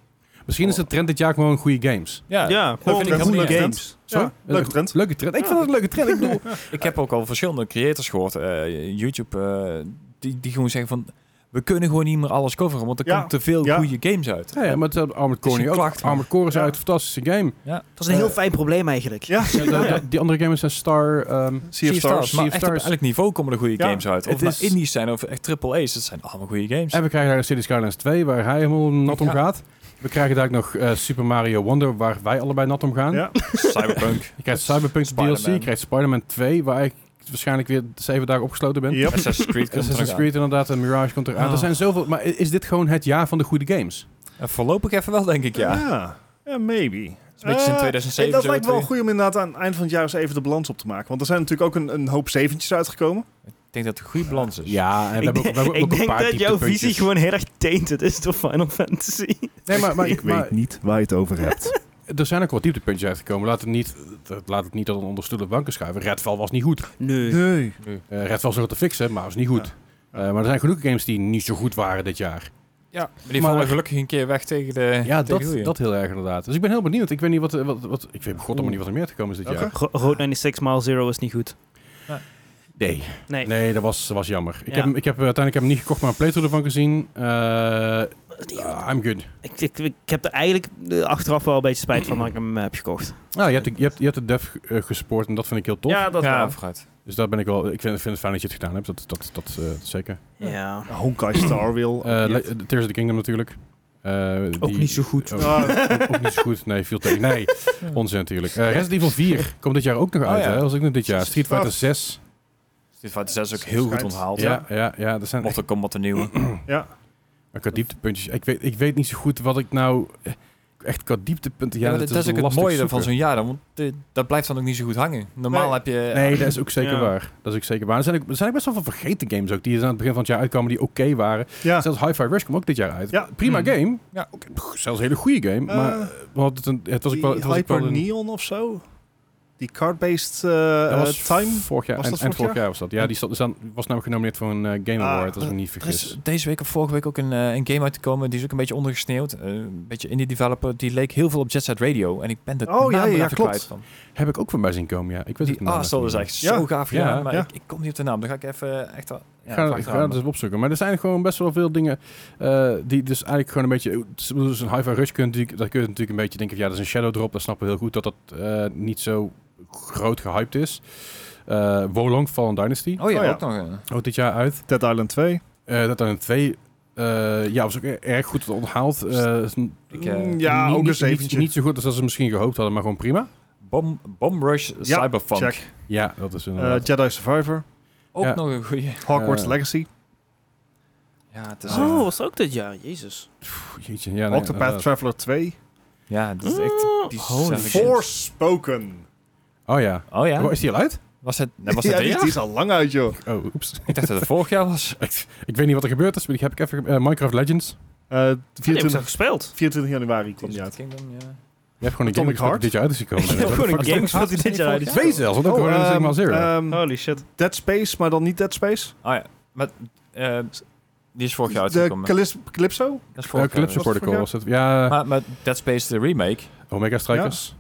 [SPEAKER 2] Misschien is de trend dit jaar gewoon goede games.
[SPEAKER 4] Ja,
[SPEAKER 1] Ja,
[SPEAKER 4] dat vind ik helemaal niet
[SPEAKER 3] leuke
[SPEAKER 4] eens.
[SPEAKER 3] trend.
[SPEAKER 2] Zo?
[SPEAKER 3] Ja, leuke trend.
[SPEAKER 2] Leuke trend. Ik
[SPEAKER 3] Ja.
[SPEAKER 2] vind het een leuke trend. Ik bedoel,
[SPEAKER 4] Ik heb ook al verschillende creators gehoord, eh, YouTube, eh, die, die gewoon zeggen van... We kunnen gewoon niet meer alles coveren, want er
[SPEAKER 3] Ja.
[SPEAKER 4] komt te veel
[SPEAKER 3] Ja.
[SPEAKER 4] goede games uit.
[SPEAKER 2] ja, ja, maar het eh, Armored
[SPEAKER 4] Het is
[SPEAKER 2] Core
[SPEAKER 4] een
[SPEAKER 2] nu ook.
[SPEAKER 4] klacht, man.
[SPEAKER 2] Armored Core is
[SPEAKER 3] Ja.
[SPEAKER 2] uit, fantastische game.
[SPEAKER 4] Ja.
[SPEAKER 1] Dat is een heel fijn probleem eigenlijk.
[SPEAKER 3] Ja,
[SPEAKER 2] Ja, de- de- die andere games zijn Star... ehm,
[SPEAKER 3] Sea of Stars.
[SPEAKER 4] Maar
[SPEAKER 2] Sea of
[SPEAKER 4] echt op
[SPEAKER 2] Stars.
[SPEAKER 4] elk niveau komen er goede
[SPEAKER 3] Ja,
[SPEAKER 4] games uit.
[SPEAKER 2] het
[SPEAKER 4] Of het
[SPEAKER 2] is-
[SPEAKER 4] indies zijn of echt triple A's. Dat zijn allemaal goede games.
[SPEAKER 2] en we krijgen daar City Skylines 2, waar hij helemaal nat om
[SPEAKER 4] Ja.
[SPEAKER 2] gaat. We krijgen daar ook nog eh, Super Mario Wonder, waar wij allebei nat om gaan.
[SPEAKER 3] Ja.
[SPEAKER 4] Cyberpunk.
[SPEAKER 2] Je krijgt Cyberpunk
[SPEAKER 4] Spider-Man.
[SPEAKER 2] DLC, je krijgt Spider-Man 2, waar ik waarschijnlijk weer zeven dagen opgesloten ben.
[SPEAKER 3] Yep.
[SPEAKER 4] Assassin's Creed komt er nog
[SPEAKER 2] Assassin's
[SPEAKER 4] aan.
[SPEAKER 2] Creed inderdaad en Mirage komt eraan.
[SPEAKER 1] Ah.
[SPEAKER 2] Er zijn zoveel, maar i- is dit gewoon het jaar van de goede games?
[SPEAKER 4] Eh, voorlopig even wel, denk ik, ja. Het
[SPEAKER 3] Ja, Ah, Ja, maybe.
[SPEAKER 4] is een beetje sinds
[SPEAKER 3] Eh,
[SPEAKER 4] 2007
[SPEAKER 3] dat
[SPEAKER 4] zo
[SPEAKER 3] lijkt wel
[SPEAKER 4] twee-
[SPEAKER 3] goed om inderdaad aan het eind van het jaar eens even de balans op te maken. Want er zijn natuurlijk ook een, een hoop zeventjes uitgekomen.
[SPEAKER 4] Ik denk dat het een goede balans is.
[SPEAKER 2] Ja, en we
[SPEAKER 1] Dus Ik,
[SPEAKER 2] hebben ook, we
[SPEAKER 1] denk-
[SPEAKER 2] hebben ook
[SPEAKER 1] ik
[SPEAKER 2] een
[SPEAKER 1] denk
[SPEAKER 2] paar
[SPEAKER 1] dat jouw
[SPEAKER 2] dieptepuntjes.
[SPEAKER 1] visie gewoon heel erg tainted is door Final Fantasy.
[SPEAKER 2] Nee, maar, maar, maar
[SPEAKER 3] niet waar je het over hebt.
[SPEAKER 2] er zijn ook wat dieptepuntjes uitgekomen. Laat het niet, dat- laat het niet dat onder stoelen en banken schuiven. Redfall was niet goed.
[SPEAKER 1] Nee.
[SPEAKER 3] nee.
[SPEAKER 2] Eh, Redfall is wel te fixen, maar was niet goed.
[SPEAKER 3] Ja.
[SPEAKER 2] Eh, maar er zijn genoeg games die niet zo goed waren dit jaar.
[SPEAKER 4] Ja, maar die
[SPEAKER 2] Maar-
[SPEAKER 4] vallen gelukkig een keer weg tegen de
[SPEAKER 2] Ja,
[SPEAKER 4] tegen
[SPEAKER 2] dat,
[SPEAKER 4] de
[SPEAKER 2] dat heel erg inderdaad. Dus ik ben heel benieuwd. Ik weet niet wat, eh, wat, wat ik weet god helemaal niet wat er meer te komen is dit
[SPEAKER 3] Oké.
[SPEAKER 2] jaar.
[SPEAKER 1] Ro- Road 96 Mile Zero is niet goed.
[SPEAKER 2] Nee.
[SPEAKER 1] Nee.
[SPEAKER 2] Nee, dat was, dat was jammer. Ik
[SPEAKER 1] Ja.
[SPEAKER 2] heb, hem- ik heb eh, uiteindelijk heb hem niet gekocht, maar een playthrough ervan gezien. Eh, ah, I'm good.
[SPEAKER 1] Ik, ik, ik heb er eigenlijk eh, achteraf wel een beetje spijt van dat ik hem heb gekocht.
[SPEAKER 2] Nou, je hebt, de- je hebt, je hebt de dev eh, gesupport en dat vind ik heel tof.
[SPEAKER 1] dat
[SPEAKER 4] Ja, vooruit.
[SPEAKER 2] Dus daar ben ik wel... Ik vind, vind het fijn dat je het gedaan hebt. Dat, dat, dat eh, zeker.
[SPEAKER 1] Ja.
[SPEAKER 3] Honkai Star Rail.
[SPEAKER 2] Eh, Le- Tears of the Kingdom natuurlijk. Eh,
[SPEAKER 1] Ook niet zo goed.
[SPEAKER 2] Oh,
[SPEAKER 3] Ah.
[SPEAKER 2] ook, ook niet zo goed. Nee, viel tegen. Nee, onzin natuurlijk. Eh, Resident Evil 4 komt dit jaar ook nog
[SPEAKER 4] Oh,
[SPEAKER 2] uit.
[SPEAKER 4] ja.
[SPEAKER 2] hè? Dat was ook nog dit jaar. Street Fighter 6.
[SPEAKER 4] Street Fighter 6 is dus ook heel goed
[SPEAKER 3] Schijnt.
[SPEAKER 4] onthaald.
[SPEAKER 2] Ja, ja, ja. Er zijn
[SPEAKER 4] Mocht er komen wat een nieuwe.
[SPEAKER 2] Maar qua dieptepuntjes, ik weet, ik weet niet zo goed wat ik nou eh, echt qua dieptepunten. Ja,
[SPEAKER 4] Ja, maar
[SPEAKER 2] dat,
[SPEAKER 4] dat, is ook het
[SPEAKER 2] lastig
[SPEAKER 4] mooie
[SPEAKER 2] zoeken.
[SPEAKER 4] van zo'n jaar, dan, want eh, dat blijft dan ook niet zo goed hangen. Normaal
[SPEAKER 3] Nee.
[SPEAKER 4] heb je...
[SPEAKER 2] Nee, dat is ook zeker
[SPEAKER 1] Ja.
[SPEAKER 2] waar. Dat is ook zeker waar. Er zijn, ook, er zijn ook best wel veel vergeten games ook die dus aan het begin van het jaar uitkwamen die oké waren.
[SPEAKER 3] Ja.
[SPEAKER 2] Zelfs Hi-Fi Rush kwam ook dit jaar uit.
[SPEAKER 3] Ja.
[SPEAKER 2] Prima
[SPEAKER 4] Hmm.
[SPEAKER 2] game.
[SPEAKER 4] Ja.
[SPEAKER 2] Ook, pff, zelfs een hele goede game.
[SPEAKER 3] Eh,
[SPEAKER 2] maar eh, we hadden het, een- het was ook wel... Het was ook wel
[SPEAKER 3] Hyper
[SPEAKER 2] een-
[SPEAKER 3] Neon of zo? Die card-based eh,
[SPEAKER 2] dat
[SPEAKER 3] eh,
[SPEAKER 2] was
[SPEAKER 3] time?
[SPEAKER 2] Vorig jaar,
[SPEAKER 3] Was
[SPEAKER 2] en
[SPEAKER 3] dat
[SPEAKER 2] eind
[SPEAKER 3] vorig
[SPEAKER 2] vorig jaar was dat. Ja, die stond- staan- was namelijk genomineerd voor een eh, Game
[SPEAKER 3] Ah,
[SPEAKER 2] Award, als ik me niet
[SPEAKER 4] Er
[SPEAKER 2] vergis.
[SPEAKER 4] is deze week of vorige week ook een, eh, een game uitgekomen. Die is ook een beetje ondergesneeuwd. Eh, een beetje indie developer. Die leek heel veel op Jet Set Radio. En ik ben de
[SPEAKER 3] Oh, ja,
[SPEAKER 4] naam er
[SPEAKER 3] ja,
[SPEAKER 4] even
[SPEAKER 3] klopt.
[SPEAKER 4] kwijt van.
[SPEAKER 2] Heb ik ook voorbij zien komen, ja. Ik weet het
[SPEAKER 4] Die
[SPEAKER 2] niet.
[SPEAKER 4] Arsenal is echt
[SPEAKER 3] Ja.
[SPEAKER 4] zo gaaf gedaan.
[SPEAKER 2] Ja.
[SPEAKER 4] maar
[SPEAKER 3] Ja.
[SPEAKER 4] Ik, ik kom niet op de naam. Dan ga ik even eh, echt... wel- Ja,
[SPEAKER 2] ik ga,
[SPEAKER 4] vaak
[SPEAKER 2] ik ga
[SPEAKER 4] raden.
[SPEAKER 2] het eens opzoeken. Maar er zijn gewoon best wel veel dingen eh, die dus eigenlijk gewoon een beetje... Dus een hi-fi rush kun je, natuurlijk- daar kun je natuurlijk een beetje denken van... Ja, dat is een shadow drop. Dat snappen we heel goed dat dat eh, niet zo groot gehyped is. Eh Wolong Fallen Dynasty.
[SPEAKER 4] Oh ja,
[SPEAKER 3] Oh, ja.
[SPEAKER 4] ook nog een.
[SPEAKER 2] Ook dit jaar uit.
[SPEAKER 3] Dead Island 2.
[SPEAKER 2] Eh, dat dan een twee... eh, ja, was ook er- erg goed onthaald. Eh, is n-
[SPEAKER 4] Ik, eh,
[SPEAKER 3] Mm, ja,
[SPEAKER 2] niet-
[SPEAKER 3] ook
[SPEAKER 2] niet-
[SPEAKER 3] een
[SPEAKER 2] niet-
[SPEAKER 3] zeventje.
[SPEAKER 2] Niet zo goed als dat ze misschien gehoopt hadden, maar gewoon prima.
[SPEAKER 4] Bom, Bomb Rush Cyberpunk.
[SPEAKER 3] check.
[SPEAKER 2] Ja, dat is
[SPEAKER 3] Eh,
[SPEAKER 2] inderdaad...
[SPEAKER 3] Jedi Survivor.
[SPEAKER 4] Ook
[SPEAKER 2] Ja.
[SPEAKER 4] nog een goede.
[SPEAKER 3] Hogwarts
[SPEAKER 2] Eh,
[SPEAKER 3] Legacy.
[SPEAKER 4] Ja, het is echt-
[SPEAKER 2] Oh.
[SPEAKER 1] Oh, was dat ook dit jaar? Jezus.
[SPEAKER 2] Pff, jeetje, ja, nee,
[SPEAKER 3] Octopath
[SPEAKER 2] inderdaad.
[SPEAKER 3] Traveler 2.
[SPEAKER 4] ja, dat is echt...
[SPEAKER 1] Ah,
[SPEAKER 2] Mm.
[SPEAKER 4] die
[SPEAKER 1] Holy
[SPEAKER 4] zijn-
[SPEAKER 3] Forspoken.
[SPEAKER 2] Oh ja.
[SPEAKER 4] Oh ja,
[SPEAKER 2] Oh, is die al uit?
[SPEAKER 4] was het, nou, was
[SPEAKER 3] Ja,
[SPEAKER 4] het
[SPEAKER 3] die, die
[SPEAKER 4] dit jaar?
[SPEAKER 3] is al lang uit, joh.
[SPEAKER 2] Oh, oeps.
[SPEAKER 4] Ik dacht dat het vorig jaar was.
[SPEAKER 2] ik, ik weet niet wat er gebeurd is, maar die heb ik even... ge- eh, Minecraft Legends.
[SPEAKER 3] Eh,
[SPEAKER 1] Die hebben ze
[SPEAKER 3] 24,
[SPEAKER 1] gespeeld.
[SPEAKER 3] 24 januari kwam
[SPEAKER 4] Dus
[SPEAKER 3] die uit.
[SPEAKER 4] Kingdom, ja.
[SPEAKER 2] Je hebt gewoon een
[SPEAKER 3] Atomic
[SPEAKER 2] game gespeeld
[SPEAKER 3] Heart?
[SPEAKER 2] die dit jaar uit is gekomen.
[SPEAKER 1] Ja, gewoon een
[SPEAKER 2] Fuck,
[SPEAKER 1] game gespeeld die
[SPEAKER 2] Atomic
[SPEAKER 1] dit jaar uit is.
[SPEAKER 2] Heart? Twee zelfs, want ook gewoon een
[SPEAKER 3] ehm,
[SPEAKER 2] Sigma Zero.
[SPEAKER 3] ehm,
[SPEAKER 1] Holy shit.
[SPEAKER 3] Dead Space, maar dan niet Dead Space.
[SPEAKER 4] Oh ja, maar eh, die is vorig jaar
[SPEAKER 3] de
[SPEAKER 4] uitgekomen.
[SPEAKER 3] Calis- Calypso?
[SPEAKER 4] Dat is
[SPEAKER 2] Ja,
[SPEAKER 4] vorig jaar.
[SPEAKER 2] Calypso
[SPEAKER 3] was het
[SPEAKER 2] Protocol was het. Ja,
[SPEAKER 4] Maar, maar Dead Space, de remake.
[SPEAKER 2] Omega Strikers.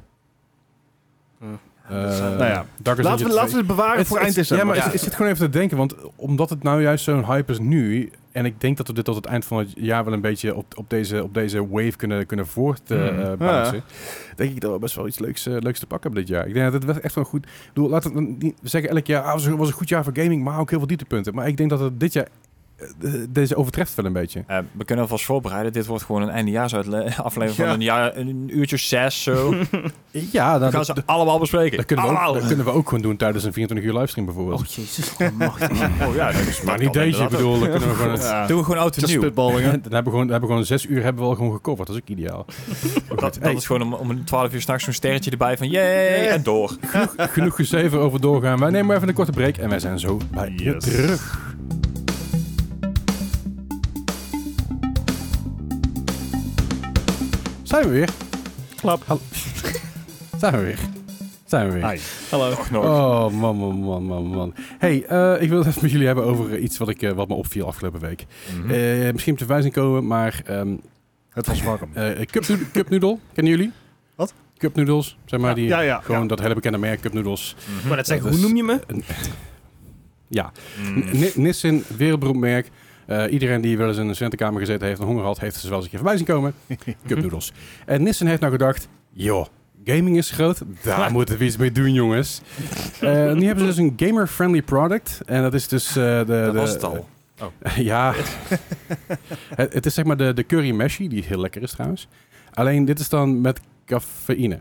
[SPEAKER 3] Ja.
[SPEAKER 2] Eh,
[SPEAKER 3] Nou ja.
[SPEAKER 2] Darker
[SPEAKER 3] Laten we,
[SPEAKER 2] Zero
[SPEAKER 3] laten we het bewaren
[SPEAKER 2] Het-
[SPEAKER 3] Ah, voor
[SPEAKER 2] het-
[SPEAKER 3] eind december.
[SPEAKER 2] Ja, maar
[SPEAKER 4] Ja.
[SPEAKER 2] ik ik zit gewoon even te denken, want omdat het nou juist zo'n hype is nu, en ik denk dat we dit tot het eind van het jaar wel een beetje op, op, deze, op deze wave kunnen, kunnen
[SPEAKER 4] Hmm.
[SPEAKER 2] voortbouwen, denk ik dat we best wel iets leuks, eh, leuks te pakken hebben dit jaar. Ik denk dat het wel echt wel goed... Ik bedoel, laten we niet zeggen elk jaar, ah, was, was een goed jaar voor gaming, maar ook heel veel dieptepunten. Maar ik denk dat het dit jaar, eh, de- deze overtreft wel een beetje.
[SPEAKER 4] Eh, we kunnen alvast voorbereiden. Dit wordt gewoon een eindejaarsaflevering
[SPEAKER 3] Ja.
[SPEAKER 4] van een, jaar, een uurtje zes zo.
[SPEAKER 2] Ja,
[SPEAKER 4] We
[SPEAKER 2] dat,
[SPEAKER 4] gaan
[SPEAKER 2] Nou, dat,
[SPEAKER 4] ze allemaal bespreken.
[SPEAKER 2] dat kunnen we ook,
[SPEAKER 4] Allemaal.
[SPEAKER 2] dat kunnen we ook gewoon doen tijdens een 24 uur livestream bijvoorbeeld.
[SPEAKER 1] Oh jezus, oh, machtig.
[SPEAKER 4] Oh ja, dat is
[SPEAKER 2] maar niet deze, ik bedoel, dan kunnen we gewoon... het-
[SPEAKER 3] Ja.
[SPEAKER 4] Doen we gewoon oud en
[SPEAKER 3] Just
[SPEAKER 4] nieuw.
[SPEAKER 3] spitballing, hè?
[SPEAKER 2] Dan hebben we gewoon, dan hebben we gewoon zes uur hebben we al gewoon gecoverd. Dat is ook ideaal.
[SPEAKER 4] Dat,
[SPEAKER 2] Goed,
[SPEAKER 4] dat
[SPEAKER 2] hey,
[SPEAKER 4] is gewoon om, om 12 uur s'nachts zo'n sterretje erbij van yay en door.
[SPEAKER 2] genoeg gezeven over doorgaan. Wij nemen even een korte break en wij zijn zo bij je
[SPEAKER 3] Yes.
[SPEAKER 2] terug. Zijn we weer?
[SPEAKER 1] Klap.
[SPEAKER 2] Hallo. Zijn we weer? Zijn we weer?
[SPEAKER 3] Ai.
[SPEAKER 1] Hallo.
[SPEAKER 4] Nog nooit.
[SPEAKER 2] Oh, man, man, man, man, man. Hey, eh, ik wil het even met jullie hebben over eh, iets wat, ik, eh, wat me opviel afgelopen week.
[SPEAKER 4] Mhm.
[SPEAKER 2] Eh, misschien moet je wijzing komen, maar ehm
[SPEAKER 3] Het was warm.
[SPEAKER 2] eh cup, noed- cup noodle, kennen jullie?
[SPEAKER 3] Wat?
[SPEAKER 2] Cup noodles, zeg maar, die,
[SPEAKER 3] ja, ja.
[SPEAKER 2] gewoon
[SPEAKER 3] ja.
[SPEAKER 2] dat hele bekende merk cup noodles.
[SPEAKER 4] Mhm.
[SPEAKER 1] Maar dat zeggen,
[SPEAKER 2] Dat
[SPEAKER 1] hoe
[SPEAKER 2] is-
[SPEAKER 1] noem je me?
[SPEAKER 2] Ja,
[SPEAKER 4] Mhm.
[SPEAKER 2] N- Nissin, wereldberoemd merk. Eh, iedereen die wel eens in een studentenkamer gezeten heeft en honger had, heeft ze wel eens een keer voorbij zien komen. Cup noodles. En Nissin heeft nou gedacht, joh, gaming is groot, daar moeten we iets mee doen, jongens. Eh, nu hebben ze dus een gamer-friendly product. En dat is dus eh, de...
[SPEAKER 4] Dat
[SPEAKER 2] de-
[SPEAKER 4] was het al.
[SPEAKER 2] ja. het, het is zeg maar de, de curry meshi, die heel lekker is trouwens. Alleen dit is dan met cafeïne.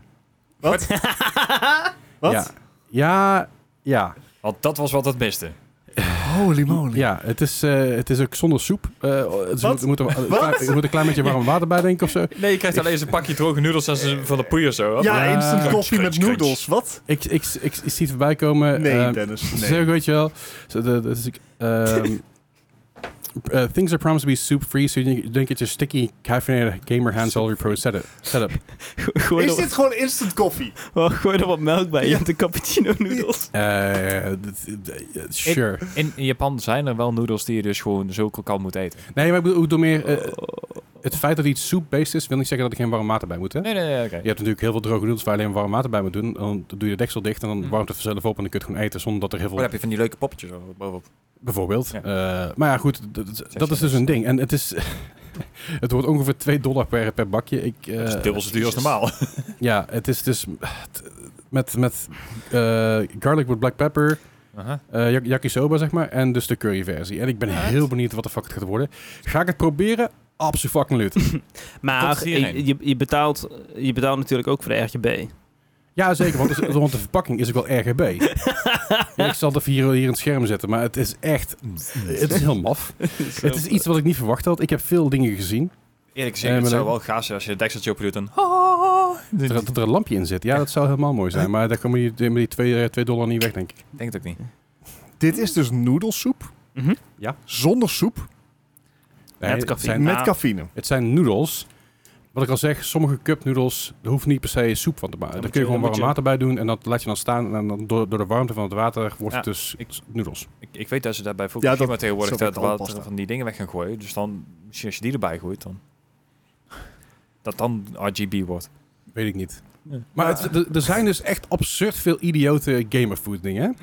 [SPEAKER 3] Wat? Wat?
[SPEAKER 2] Ja, ja. ja.
[SPEAKER 4] Want dat was wat het miste.
[SPEAKER 3] Holy moly.
[SPEAKER 2] Ja, het is, eh, het is ook zonder soep. Eh, het is-
[SPEAKER 3] Wat?
[SPEAKER 2] we moeten- we- we moeten een klein beetje warm water bij denken of zo.
[SPEAKER 4] Nee, je krijgt alleen eens een pakje droge noedels en ze van de poeier zo.
[SPEAKER 3] Ja,
[SPEAKER 2] Ja.
[SPEAKER 3] instant koffie
[SPEAKER 4] Crunch,
[SPEAKER 3] met
[SPEAKER 4] crunch.
[SPEAKER 3] noedels. Wat?
[SPEAKER 2] Ik, ik, ik, ik zie het voorbij komen.
[SPEAKER 3] Nee,
[SPEAKER 2] Ehm,
[SPEAKER 3] Dennis.
[SPEAKER 2] Ze
[SPEAKER 3] Nee.
[SPEAKER 2] zeggen, weet je wel. zo de- dat is ik, ehm, eh, things are promised to be soup free, so you don't get your sticky caffeinated gamer hands all your pro setup. setup.
[SPEAKER 1] Gooi
[SPEAKER 3] Is
[SPEAKER 1] er,
[SPEAKER 3] dit gewoon instant koffie?
[SPEAKER 1] wel, gooi er wat melk bij, je hebt een cappuccino noedels.
[SPEAKER 2] Eh, d- d- eh, sure.
[SPEAKER 4] In, in Japan zijn er wel noedels die je dus gewoon zo kan moet eten.
[SPEAKER 2] Nee, maar ik bedoel, ik bedoel meer eh, het feit dat iets soep-based is, wil niet zeggen dat er geen warm water bij moet. Hè?
[SPEAKER 4] Nee, nee, nee, oké.
[SPEAKER 2] Je hebt natuurlijk heel veel droge noedels waar je alleen warm water bij moet doen. Dan doe je de deksel dicht en dan
[SPEAKER 3] Mm.
[SPEAKER 4] Hm.
[SPEAKER 2] warmt het vanzelf op en dan kun je het gewoon eten zonder dat er heel
[SPEAKER 4] Oh, Dan
[SPEAKER 2] veel...
[SPEAKER 4] heb je van die leuke poppetjes zo bovenop.
[SPEAKER 2] Bijvoorbeeld.
[SPEAKER 4] Ja.
[SPEAKER 2] Eh, maar ja, goed, d- d- dat is dus een ding. En het is... het wordt ongeveer 2 dollar per, per bakje. Ik, eh,
[SPEAKER 4] Dat is dubbel zo duur als
[SPEAKER 2] jezus.
[SPEAKER 4] normaal.
[SPEAKER 2] Ja, het is dus t- met, met eh, garlic with black pepper,
[SPEAKER 4] Aha.
[SPEAKER 2] eh, yak- yakisoba zeg maar, en dus de curry versie. En ik ben heel benieuwd wat de fuck het gaat worden. Ga ik het proberen? Absoluut.
[SPEAKER 4] Tot
[SPEAKER 1] Maar
[SPEAKER 4] hierheen.
[SPEAKER 1] je, je- je, betaalt, je betaalt natuurlijk ook voor de RGB.
[SPEAKER 2] ja, zeker, want, het is- want de verpakking is ook wel RGB. Ja, ik zal het even hier, hier in het scherm zetten, maar het is echt... Het is heel maf. Mm. Het is iets wat ik niet verwacht had. Ik heb veel dingen gezien.
[SPEAKER 4] Eerlijk
[SPEAKER 2] Eh,
[SPEAKER 4] gezegd, het
[SPEAKER 2] maar
[SPEAKER 4] zou
[SPEAKER 2] dan-
[SPEAKER 4] wel gaaf zijn als je het dekseltje op doet en...
[SPEAKER 2] Dat er, dat er een lampje in zit. Ja, dat zou helemaal mooi zijn. Maar daar komen die, die- die 2 eh, dollar niet weg, denk ik.
[SPEAKER 4] Ik denk het ook niet.
[SPEAKER 3] Dit is dus noedelsoep.
[SPEAKER 1] Mhm.
[SPEAKER 3] Zonder soep.
[SPEAKER 1] Met
[SPEAKER 2] het,
[SPEAKER 1] cafeïne.
[SPEAKER 2] zijn,
[SPEAKER 1] Nou.
[SPEAKER 4] Ah.
[SPEAKER 3] Met cafeïne.
[SPEAKER 2] het zijn noedels. Wat ik al zeg, sommige cup noedels, daar hoeft niet per se soep van te maken. Daar
[SPEAKER 4] Dan moet
[SPEAKER 2] kun je
[SPEAKER 4] je-
[SPEAKER 2] gewoon
[SPEAKER 4] dan
[SPEAKER 2] warm
[SPEAKER 4] moet
[SPEAKER 2] water bij doen en dat laat je dan staan. En dan door, door de warmte van het water wordt
[SPEAKER 4] Ja,
[SPEAKER 2] het dus
[SPEAKER 4] ik-
[SPEAKER 2] s- noedels.
[SPEAKER 4] Ik, ik weet dat ze daarbij Fukushima
[SPEAKER 3] dat-
[SPEAKER 4] tegenwoordig
[SPEAKER 3] zo
[SPEAKER 4] dat
[SPEAKER 3] wordt het
[SPEAKER 4] water
[SPEAKER 3] aanpast,
[SPEAKER 4] van die dingen weg gaan gooien. Dus dan, misschien als je die erbij gooit, dan... Dat dan RGB wordt.
[SPEAKER 2] Weet ik niet.
[SPEAKER 4] Nee.
[SPEAKER 2] Maar het- d- er zijn dus echt absurd veel idiote gamerfood dingen. hè?
[SPEAKER 4] Mhm.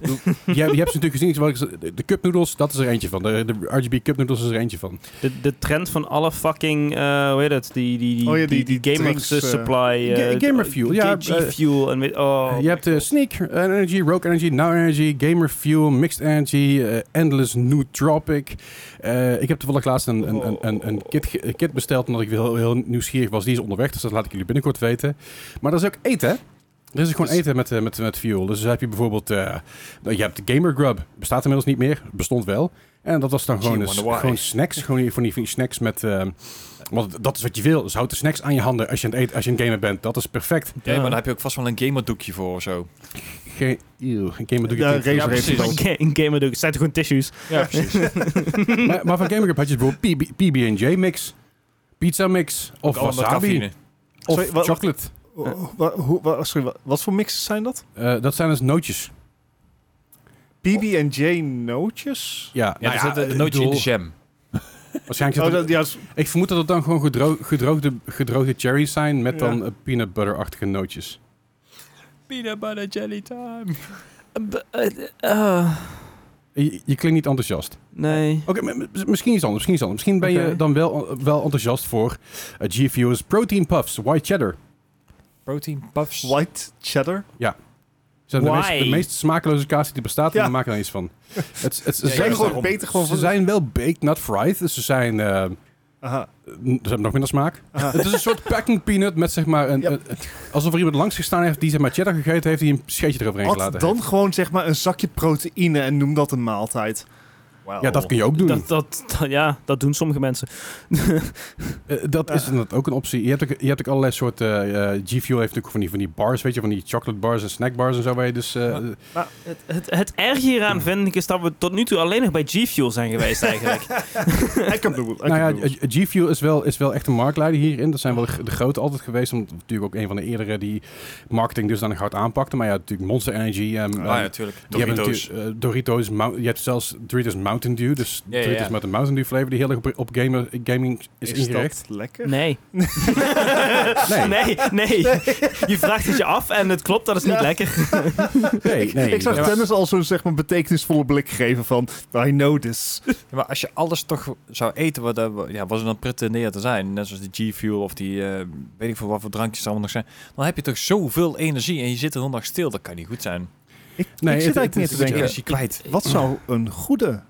[SPEAKER 2] Ik bedoel, Je, je hebt ze natuurlijk gezien. zoals ik ze- De de cup noedels, dat is er eentje van. De, de RGB cup noedels is er eentje van.
[SPEAKER 1] De, de trend van alle fucking, eh, hoe heet het, die, die, die,
[SPEAKER 3] Oh ja, die-
[SPEAKER 1] die,
[SPEAKER 3] die
[SPEAKER 1] gamers
[SPEAKER 3] drinks, eh,
[SPEAKER 1] supply. eh,
[SPEAKER 2] Ga- gamer fuel, ja,
[SPEAKER 1] KG
[SPEAKER 2] eh,
[SPEAKER 1] fuel en weet, oh.
[SPEAKER 2] je hebt eh, Sneak eh, Energy, Rogue Energy, Now Energy, Gamer Fuel, Mixed Energy, eh, Endless Nootropic. Eh ik heb toevallig laatst een, een, een, een, een kit, ge- een kit besteld omdat ik heel, heel nieuwsgierig was. Die is onderweg, dus dat laat ik jullie binnenkort weten. Maar dat is ook eten, hè? Dit is gewoon eten met, eh, met, met fuel. Dus heb je bijvoorbeeld... eh, nou, je hebt de Gamer Grub. Bestaat inmiddels niet meer. Bestond wel. En dat was dan
[SPEAKER 4] Gee,
[SPEAKER 2] gewoon, een,
[SPEAKER 4] wonder why.
[SPEAKER 2] gewoon snacks. Gewoon die- van die, van die snacks met... eh, want dat is wat je wil. Dus houd de snacks aan je handen als je aan het eten, als je een gamer bent. Dat is perfect.
[SPEAKER 4] Ja, maar daar heb je ook vast wel een gamerdoekje voor of zo.
[SPEAKER 2] Geen, eeuw, geen gamer doe je
[SPEAKER 3] Ja,
[SPEAKER 2] niet.
[SPEAKER 3] Razer
[SPEAKER 4] Ja,
[SPEAKER 3] heeft
[SPEAKER 4] precies.
[SPEAKER 3] het al.
[SPEAKER 1] Een ga- Een gamer doet. Het zijn toch gewoon tissues.
[SPEAKER 4] Ja, precies.
[SPEAKER 2] maar, maar van Gamer Grub had je bijvoorbeeld PB- PB&J mix. Pizza mix. Of wasabi. Of
[SPEAKER 3] Sorry, wa-
[SPEAKER 2] chocolate.
[SPEAKER 3] Oh, wa- hoe- wa- sorry, wa- wat voor mixes zijn dat?
[SPEAKER 2] Eh, dat zijn dus nootjes.
[SPEAKER 3] PB&J nootjes?
[SPEAKER 2] Ja,
[SPEAKER 4] Ja,
[SPEAKER 2] nou
[SPEAKER 4] er
[SPEAKER 2] ja,
[SPEAKER 4] zit een
[SPEAKER 2] ik
[SPEAKER 4] nootje in
[SPEAKER 2] bedoel,
[SPEAKER 4] de jam.
[SPEAKER 2] Waarschijnlijk
[SPEAKER 3] eh,
[SPEAKER 2] zit
[SPEAKER 3] Oh,
[SPEAKER 2] er-
[SPEAKER 3] dat, ja, s-
[SPEAKER 2] Ik vermoed dat het dan gewoon gedro- gedroogde, gedroogde cherries zijn met
[SPEAKER 3] Ja.
[SPEAKER 2] dan eh, peanut butter-achtige nootjes.
[SPEAKER 4] Peanut butter jelly time.
[SPEAKER 2] Je, je klinkt niet enthousiast.
[SPEAKER 1] nee.
[SPEAKER 2] Oké, maar- maar misschien iets anders, misschien iets anders. Misschien ben
[SPEAKER 1] Oké.
[SPEAKER 2] je dan wel, wel enthousiast voor eh, GFU's Protein Puffs, White Cheddar.
[SPEAKER 4] Protein puffs.
[SPEAKER 3] white cheddar.
[SPEAKER 2] Ze zijn de
[SPEAKER 1] Why?
[SPEAKER 2] meest, de meest smakeloze kaas die er bestaat en
[SPEAKER 3] Ja.
[SPEAKER 2] we maken er iets van. het, het, ze
[SPEAKER 4] Ja,
[SPEAKER 2] zijn,
[SPEAKER 3] zijn
[SPEAKER 4] juist
[SPEAKER 3] gewoon
[SPEAKER 4] daarom.
[SPEAKER 3] beter gewoon
[SPEAKER 2] ze
[SPEAKER 3] van...
[SPEAKER 2] zijn wel baked, not fried. Dus ze, zijn, eh, n-
[SPEAKER 3] Aha.
[SPEAKER 2] ze hebben nog minder smaak.
[SPEAKER 3] Aha.
[SPEAKER 2] Het is een soort packing peanut met zeg maar... Een,
[SPEAKER 3] Ja.
[SPEAKER 2] een- alsof er iemand langs gestaan heeft die zeg maar cheddar gegeten heeft... die een scheetje eroverheen
[SPEAKER 3] Had
[SPEAKER 2] gelaten
[SPEAKER 3] dan
[SPEAKER 2] heeft.
[SPEAKER 3] gewoon zeg maar een zakje proteïne en noem dat een maaltijd.
[SPEAKER 2] Ja, dat kun je ook doen.
[SPEAKER 1] Dat, dat, dat- ja, dat doen sommige mensen.
[SPEAKER 2] Eh, dat is inderdaad ook een optie. Je hebt ook, je hebt ook allerlei soorten... eh, eh, G Fuel heeft natuurlijk van die, van die bars, weet je... van die chocolate bars en snack bars en zo... waar je dus... eh, eh,
[SPEAKER 3] Nou,
[SPEAKER 1] Het, het, het erg hieraan vind ik is dat we tot nu toe alleen nog bij G-Fuel zijn geweest eigenlijk.
[SPEAKER 3] Ik heb bedoeld.
[SPEAKER 2] nou ja, eh, G Fuel is wel, is wel echt een marktleider hierin. Dat zijn wel de gr- de grote altijd geweest. Omdat het natuurlijk ook een van de eerdere die marketing dus dan hard aanpakte. Maar ja, natuurlijk Monster Energy... ehm,
[SPEAKER 4] Ah,
[SPEAKER 2] ehm,
[SPEAKER 4] ja, natuurlijk.
[SPEAKER 2] die hebben
[SPEAKER 4] Doritos.
[SPEAKER 2] natuurlijk, eh, Doritos, Mou- je hebt zelfs Doritos Mountain Dew, dus
[SPEAKER 4] Ja, ja,
[SPEAKER 2] Doritos
[SPEAKER 4] ja.
[SPEAKER 2] met een Mountain Dew flavor die heel erg op, op gamer, gaming is, ingericht.
[SPEAKER 3] dat lekker?
[SPEAKER 1] Nee.
[SPEAKER 2] Nee.
[SPEAKER 1] nee. nee. Je vraagt het je af en het klopt, dat is niet
[SPEAKER 3] Ja.
[SPEAKER 1] lekker.
[SPEAKER 2] Nee, nee.
[SPEAKER 3] ik zag
[SPEAKER 2] dat-
[SPEAKER 3] Dennis al zo'n zeg maar, betekenisvolle blik geven van... I know this.
[SPEAKER 4] Ja, maar als je alles toch zou eten wat, er- ja, wat ze dan pretenderen te zijn, net zoals die G-Fuel of die eh, weet ik veel wat voor drankjes er allemaal nog zijn, dan heb je toch zoveel energie en je zit er heel dag stil. Dat kan niet goed zijn.
[SPEAKER 2] nee,
[SPEAKER 3] ik zit eigenlijk meer
[SPEAKER 2] het-
[SPEAKER 3] te
[SPEAKER 2] het-
[SPEAKER 4] Je bent
[SPEAKER 3] denken.
[SPEAKER 4] energie kwijt.
[SPEAKER 3] Wat zou een goede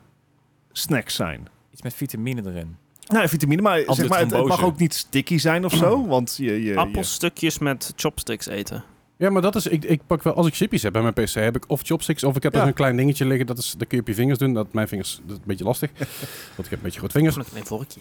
[SPEAKER 3] snack zijn?
[SPEAKER 4] Iets met vitamine erin.
[SPEAKER 3] Nou, vitamine, maar, zeg maar het, het mag
[SPEAKER 4] trombose.
[SPEAKER 3] ook niet sticky zijn of
[SPEAKER 2] Mm.
[SPEAKER 3] zo. Want je, je, je-
[SPEAKER 1] Appelstukjes met chopsticks eten.
[SPEAKER 2] Ja, maar dat is, ik, ik pak wel, als ik chippies heb bij mijn PC, heb ik of chopsticks of ik heb
[SPEAKER 3] Ja.
[SPEAKER 2] er een klein dingetje liggen, dat, is, dat kun je op je vingers doen. Dat, mijn vingers, dat is een beetje lastig, want ik heb een beetje grote vingers.
[SPEAKER 1] Of met mijn vorkje.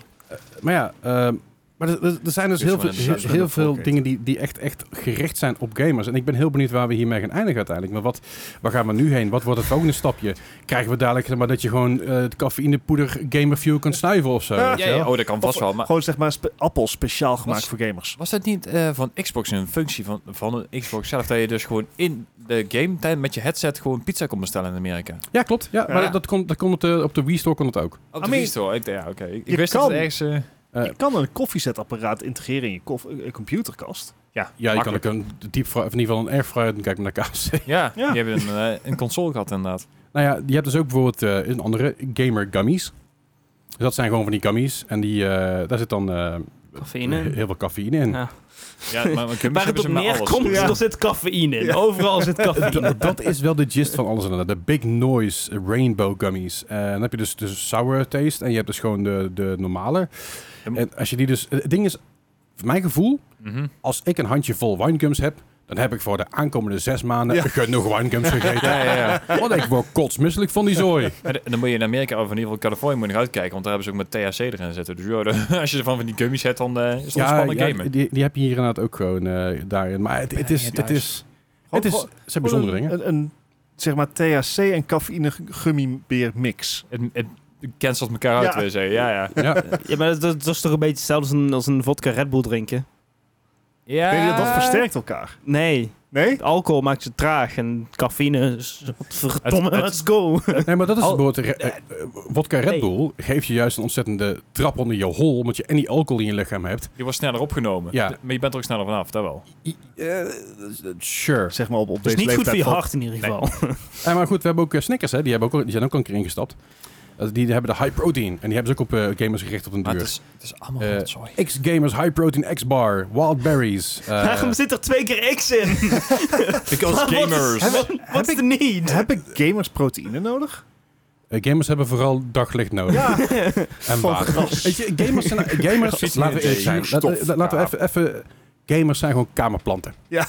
[SPEAKER 2] Maar ja, ehm, maar er, er- er zijn dus
[SPEAKER 4] Dus
[SPEAKER 2] heel
[SPEAKER 4] gewoon
[SPEAKER 2] veel,
[SPEAKER 4] een
[SPEAKER 2] heel,
[SPEAKER 4] zuip-
[SPEAKER 2] heel
[SPEAKER 4] een
[SPEAKER 2] veel
[SPEAKER 4] volk
[SPEAKER 2] dingen die, die echt, echt gericht zijn op gamers. En ik ben heel benieuwd waar we hiermee gaan eindigen uiteindelijk. Maar wat, waar gaan we nu heen? Wat wordt het volgende stapje? Krijgen we dadelijk zeg maar, dat je gewoon eh, het cafeïnepoeder gamerfuel kan snuiven of zo?
[SPEAKER 3] Ja,
[SPEAKER 2] weet je
[SPEAKER 4] Ja,
[SPEAKER 2] wel?
[SPEAKER 4] ja, oh, dat kan vast wel. Maar
[SPEAKER 3] Gewoon zeg maar spe- appels speciaal gemaakt
[SPEAKER 4] Was-
[SPEAKER 3] voor gamers.
[SPEAKER 4] was dat niet eh, van Xbox een functie van, van de Xbox zelf, dat je dus gewoon in de game tijd met je headset gewoon pizza kon bestellen in Amerika?
[SPEAKER 2] Ja, klopt. Ja, maar
[SPEAKER 4] Ja.
[SPEAKER 2] dat kon, dat kon op, de, op de Wii Store kon dat ook.
[SPEAKER 4] Op
[SPEAKER 3] I
[SPEAKER 4] de
[SPEAKER 3] mean,
[SPEAKER 4] Wii Store. Ik, ja, oké. Ik, ik
[SPEAKER 3] je
[SPEAKER 4] wist
[SPEAKER 3] kan.
[SPEAKER 4] dat het ergens... eh,
[SPEAKER 2] eh,
[SPEAKER 3] je kan een koffiezetapparaat integreren in je koff- eh, computerkast.
[SPEAKER 2] Ja, je kan ook
[SPEAKER 4] Makkelijk.
[SPEAKER 2] een diepvra of in ieder geval een airfryer en kijk maar naar kaas.
[SPEAKER 4] ja,
[SPEAKER 3] Ja.
[SPEAKER 4] die hebben een, eh, een console gehad inderdaad.
[SPEAKER 2] Nou ja, je hebt dus ook bijvoorbeeld eh, een andere gamer gummies. Dus dat zijn gewoon van die gummies. En die, eh, daar zit dan eh,
[SPEAKER 1] Cafeïne.
[SPEAKER 2] heel veel cafeïne in.
[SPEAKER 1] Ja.
[SPEAKER 4] Ja, maar, maar
[SPEAKER 1] Waar nou het op neerkomt,
[SPEAKER 3] Ja.
[SPEAKER 1] er zit cafeïne in.
[SPEAKER 3] Ja.
[SPEAKER 1] Overal zit cafeïne.
[SPEAKER 2] Dat, dat is wel de gist van alles inderdaad. De Big Noise eh, Rainbow Gummies. Eh, dan heb je dus de sour taste en je hebt dus gewoon de, de normale.
[SPEAKER 4] Ja, maar-
[SPEAKER 2] En als je die dus... Het ding is, voor mijn gevoel,
[SPEAKER 4] Mhm.
[SPEAKER 2] als ik een handjevol winegums heb... dan heb ik voor de aankomende zes maanden
[SPEAKER 3] Ja.
[SPEAKER 2] genoeg winegums gegeten.
[SPEAKER 4] Ja, ja, ja.
[SPEAKER 2] Want ik word kotsmisselijk van die zooi.
[SPEAKER 4] En dan- dan moet je in Amerika, of in ieder geval Californië, moet je nog uitkijken. Want daar hebben ze ook met THC erin zitten. Dus joh, dan- als je ervan van die gummies hebt, dan eh, is het een spannende gamen.
[SPEAKER 2] die, die heb je hier inderdaad ook gewoon eh, daarin. Maar het, het is... Het is
[SPEAKER 3] Gewoon-
[SPEAKER 2] het is,
[SPEAKER 3] gewoon-
[SPEAKER 2] het zijn bijzondere dingen.
[SPEAKER 3] Een, een, zeg maar THC en cafeïne gummibeer mix.
[SPEAKER 4] Het, het cancelt elkaar uit,
[SPEAKER 3] Ja.
[SPEAKER 4] wil je zeggen. Ja, ja.
[SPEAKER 2] Ja,
[SPEAKER 1] Ja, maar dat, dat is toch een beetje hetzelfde als een, als een vodka Red Bull drinken?
[SPEAKER 4] ja.
[SPEAKER 3] Weet je, dat versterkt elkaar.
[SPEAKER 1] Nee,
[SPEAKER 3] Nee?
[SPEAKER 1] alcohol maakt je traag en cafeïne is... Verdomme,
[SPEAKER 4] Het- het-
[SPEAKER 1] let's go.
[SPEAKER 2] nee, maar dat is
[SPEAKER 1] Al-
[SPEAKER 2] bijvoorbeeld... eh, eh, Wodka Red
[SPEAKER 1] Nee.
[SPEAKER 2] Bull geeft je juist een ontzettende trap onder je hol... omdat je en die alcohol in je lichaam hebt.
[SPEAKER 4] Je wordt sneller opgenomen.
[SPEAKER 2] Ja.
[SPEAKER 4] Maar je bent er ook sneller vanaf, dat wel.
[SPEAKER 2] sure.
[SPEAKER 3] Zeg maar op, op
[SPEAKER 1] Dus
[SPEAKER 3] deze
[SPEAKER 1] niet goed voor je
[SPEAKER 3] leeftijd
[SPEAKER 1] hart in ieder geval.
[SPEAKER 2] Ja, maar goed, we hebben ook eh, Snickers, hè? Die, hebben ook, al- die zijn ook al een keer ingestapt. Eh, die hebben de high protein. En die hebben ze ook op eh, gamers gericht op een
[SPEAKER 4] Maar het
[SPEAKER 2] duur.
[SPEAKER 4] is, het is allemaal
[SPEAKER 2] Eh,
[SPEAKER 4] sorry.
[SPEAKER 2] X-Gamers, High Protein X-Bar, Wild Berries. eh,
[SPEAKER 1] Waarom zit er twee keer X in?
[SPEAKER 4] Because gamers.
[SPEAKER 1] Wat is- wat is de need?
[SPEAKER 3] van- Heb ik gamers proteïne nodig?
[SPEAKER 2] eh, gamers hebben vooral daglicht nodig. en
[SPEAKER 3] Van
[SPEAKER 2] water. Weet je, gamers zijn... Gamers,
[SPEAKER 4] Precies,
[SPEAKER 2] laten we
[SPEAKER 4] nee,
[SPEAKER 2] eerlijk zijn.
[SPEAKER 4] zuurstof,
[SPEAKER 2] Laten, we- laten we even, even... Gamers zijn gewoon kamerplanten.
[SPEAKER 3] Ja.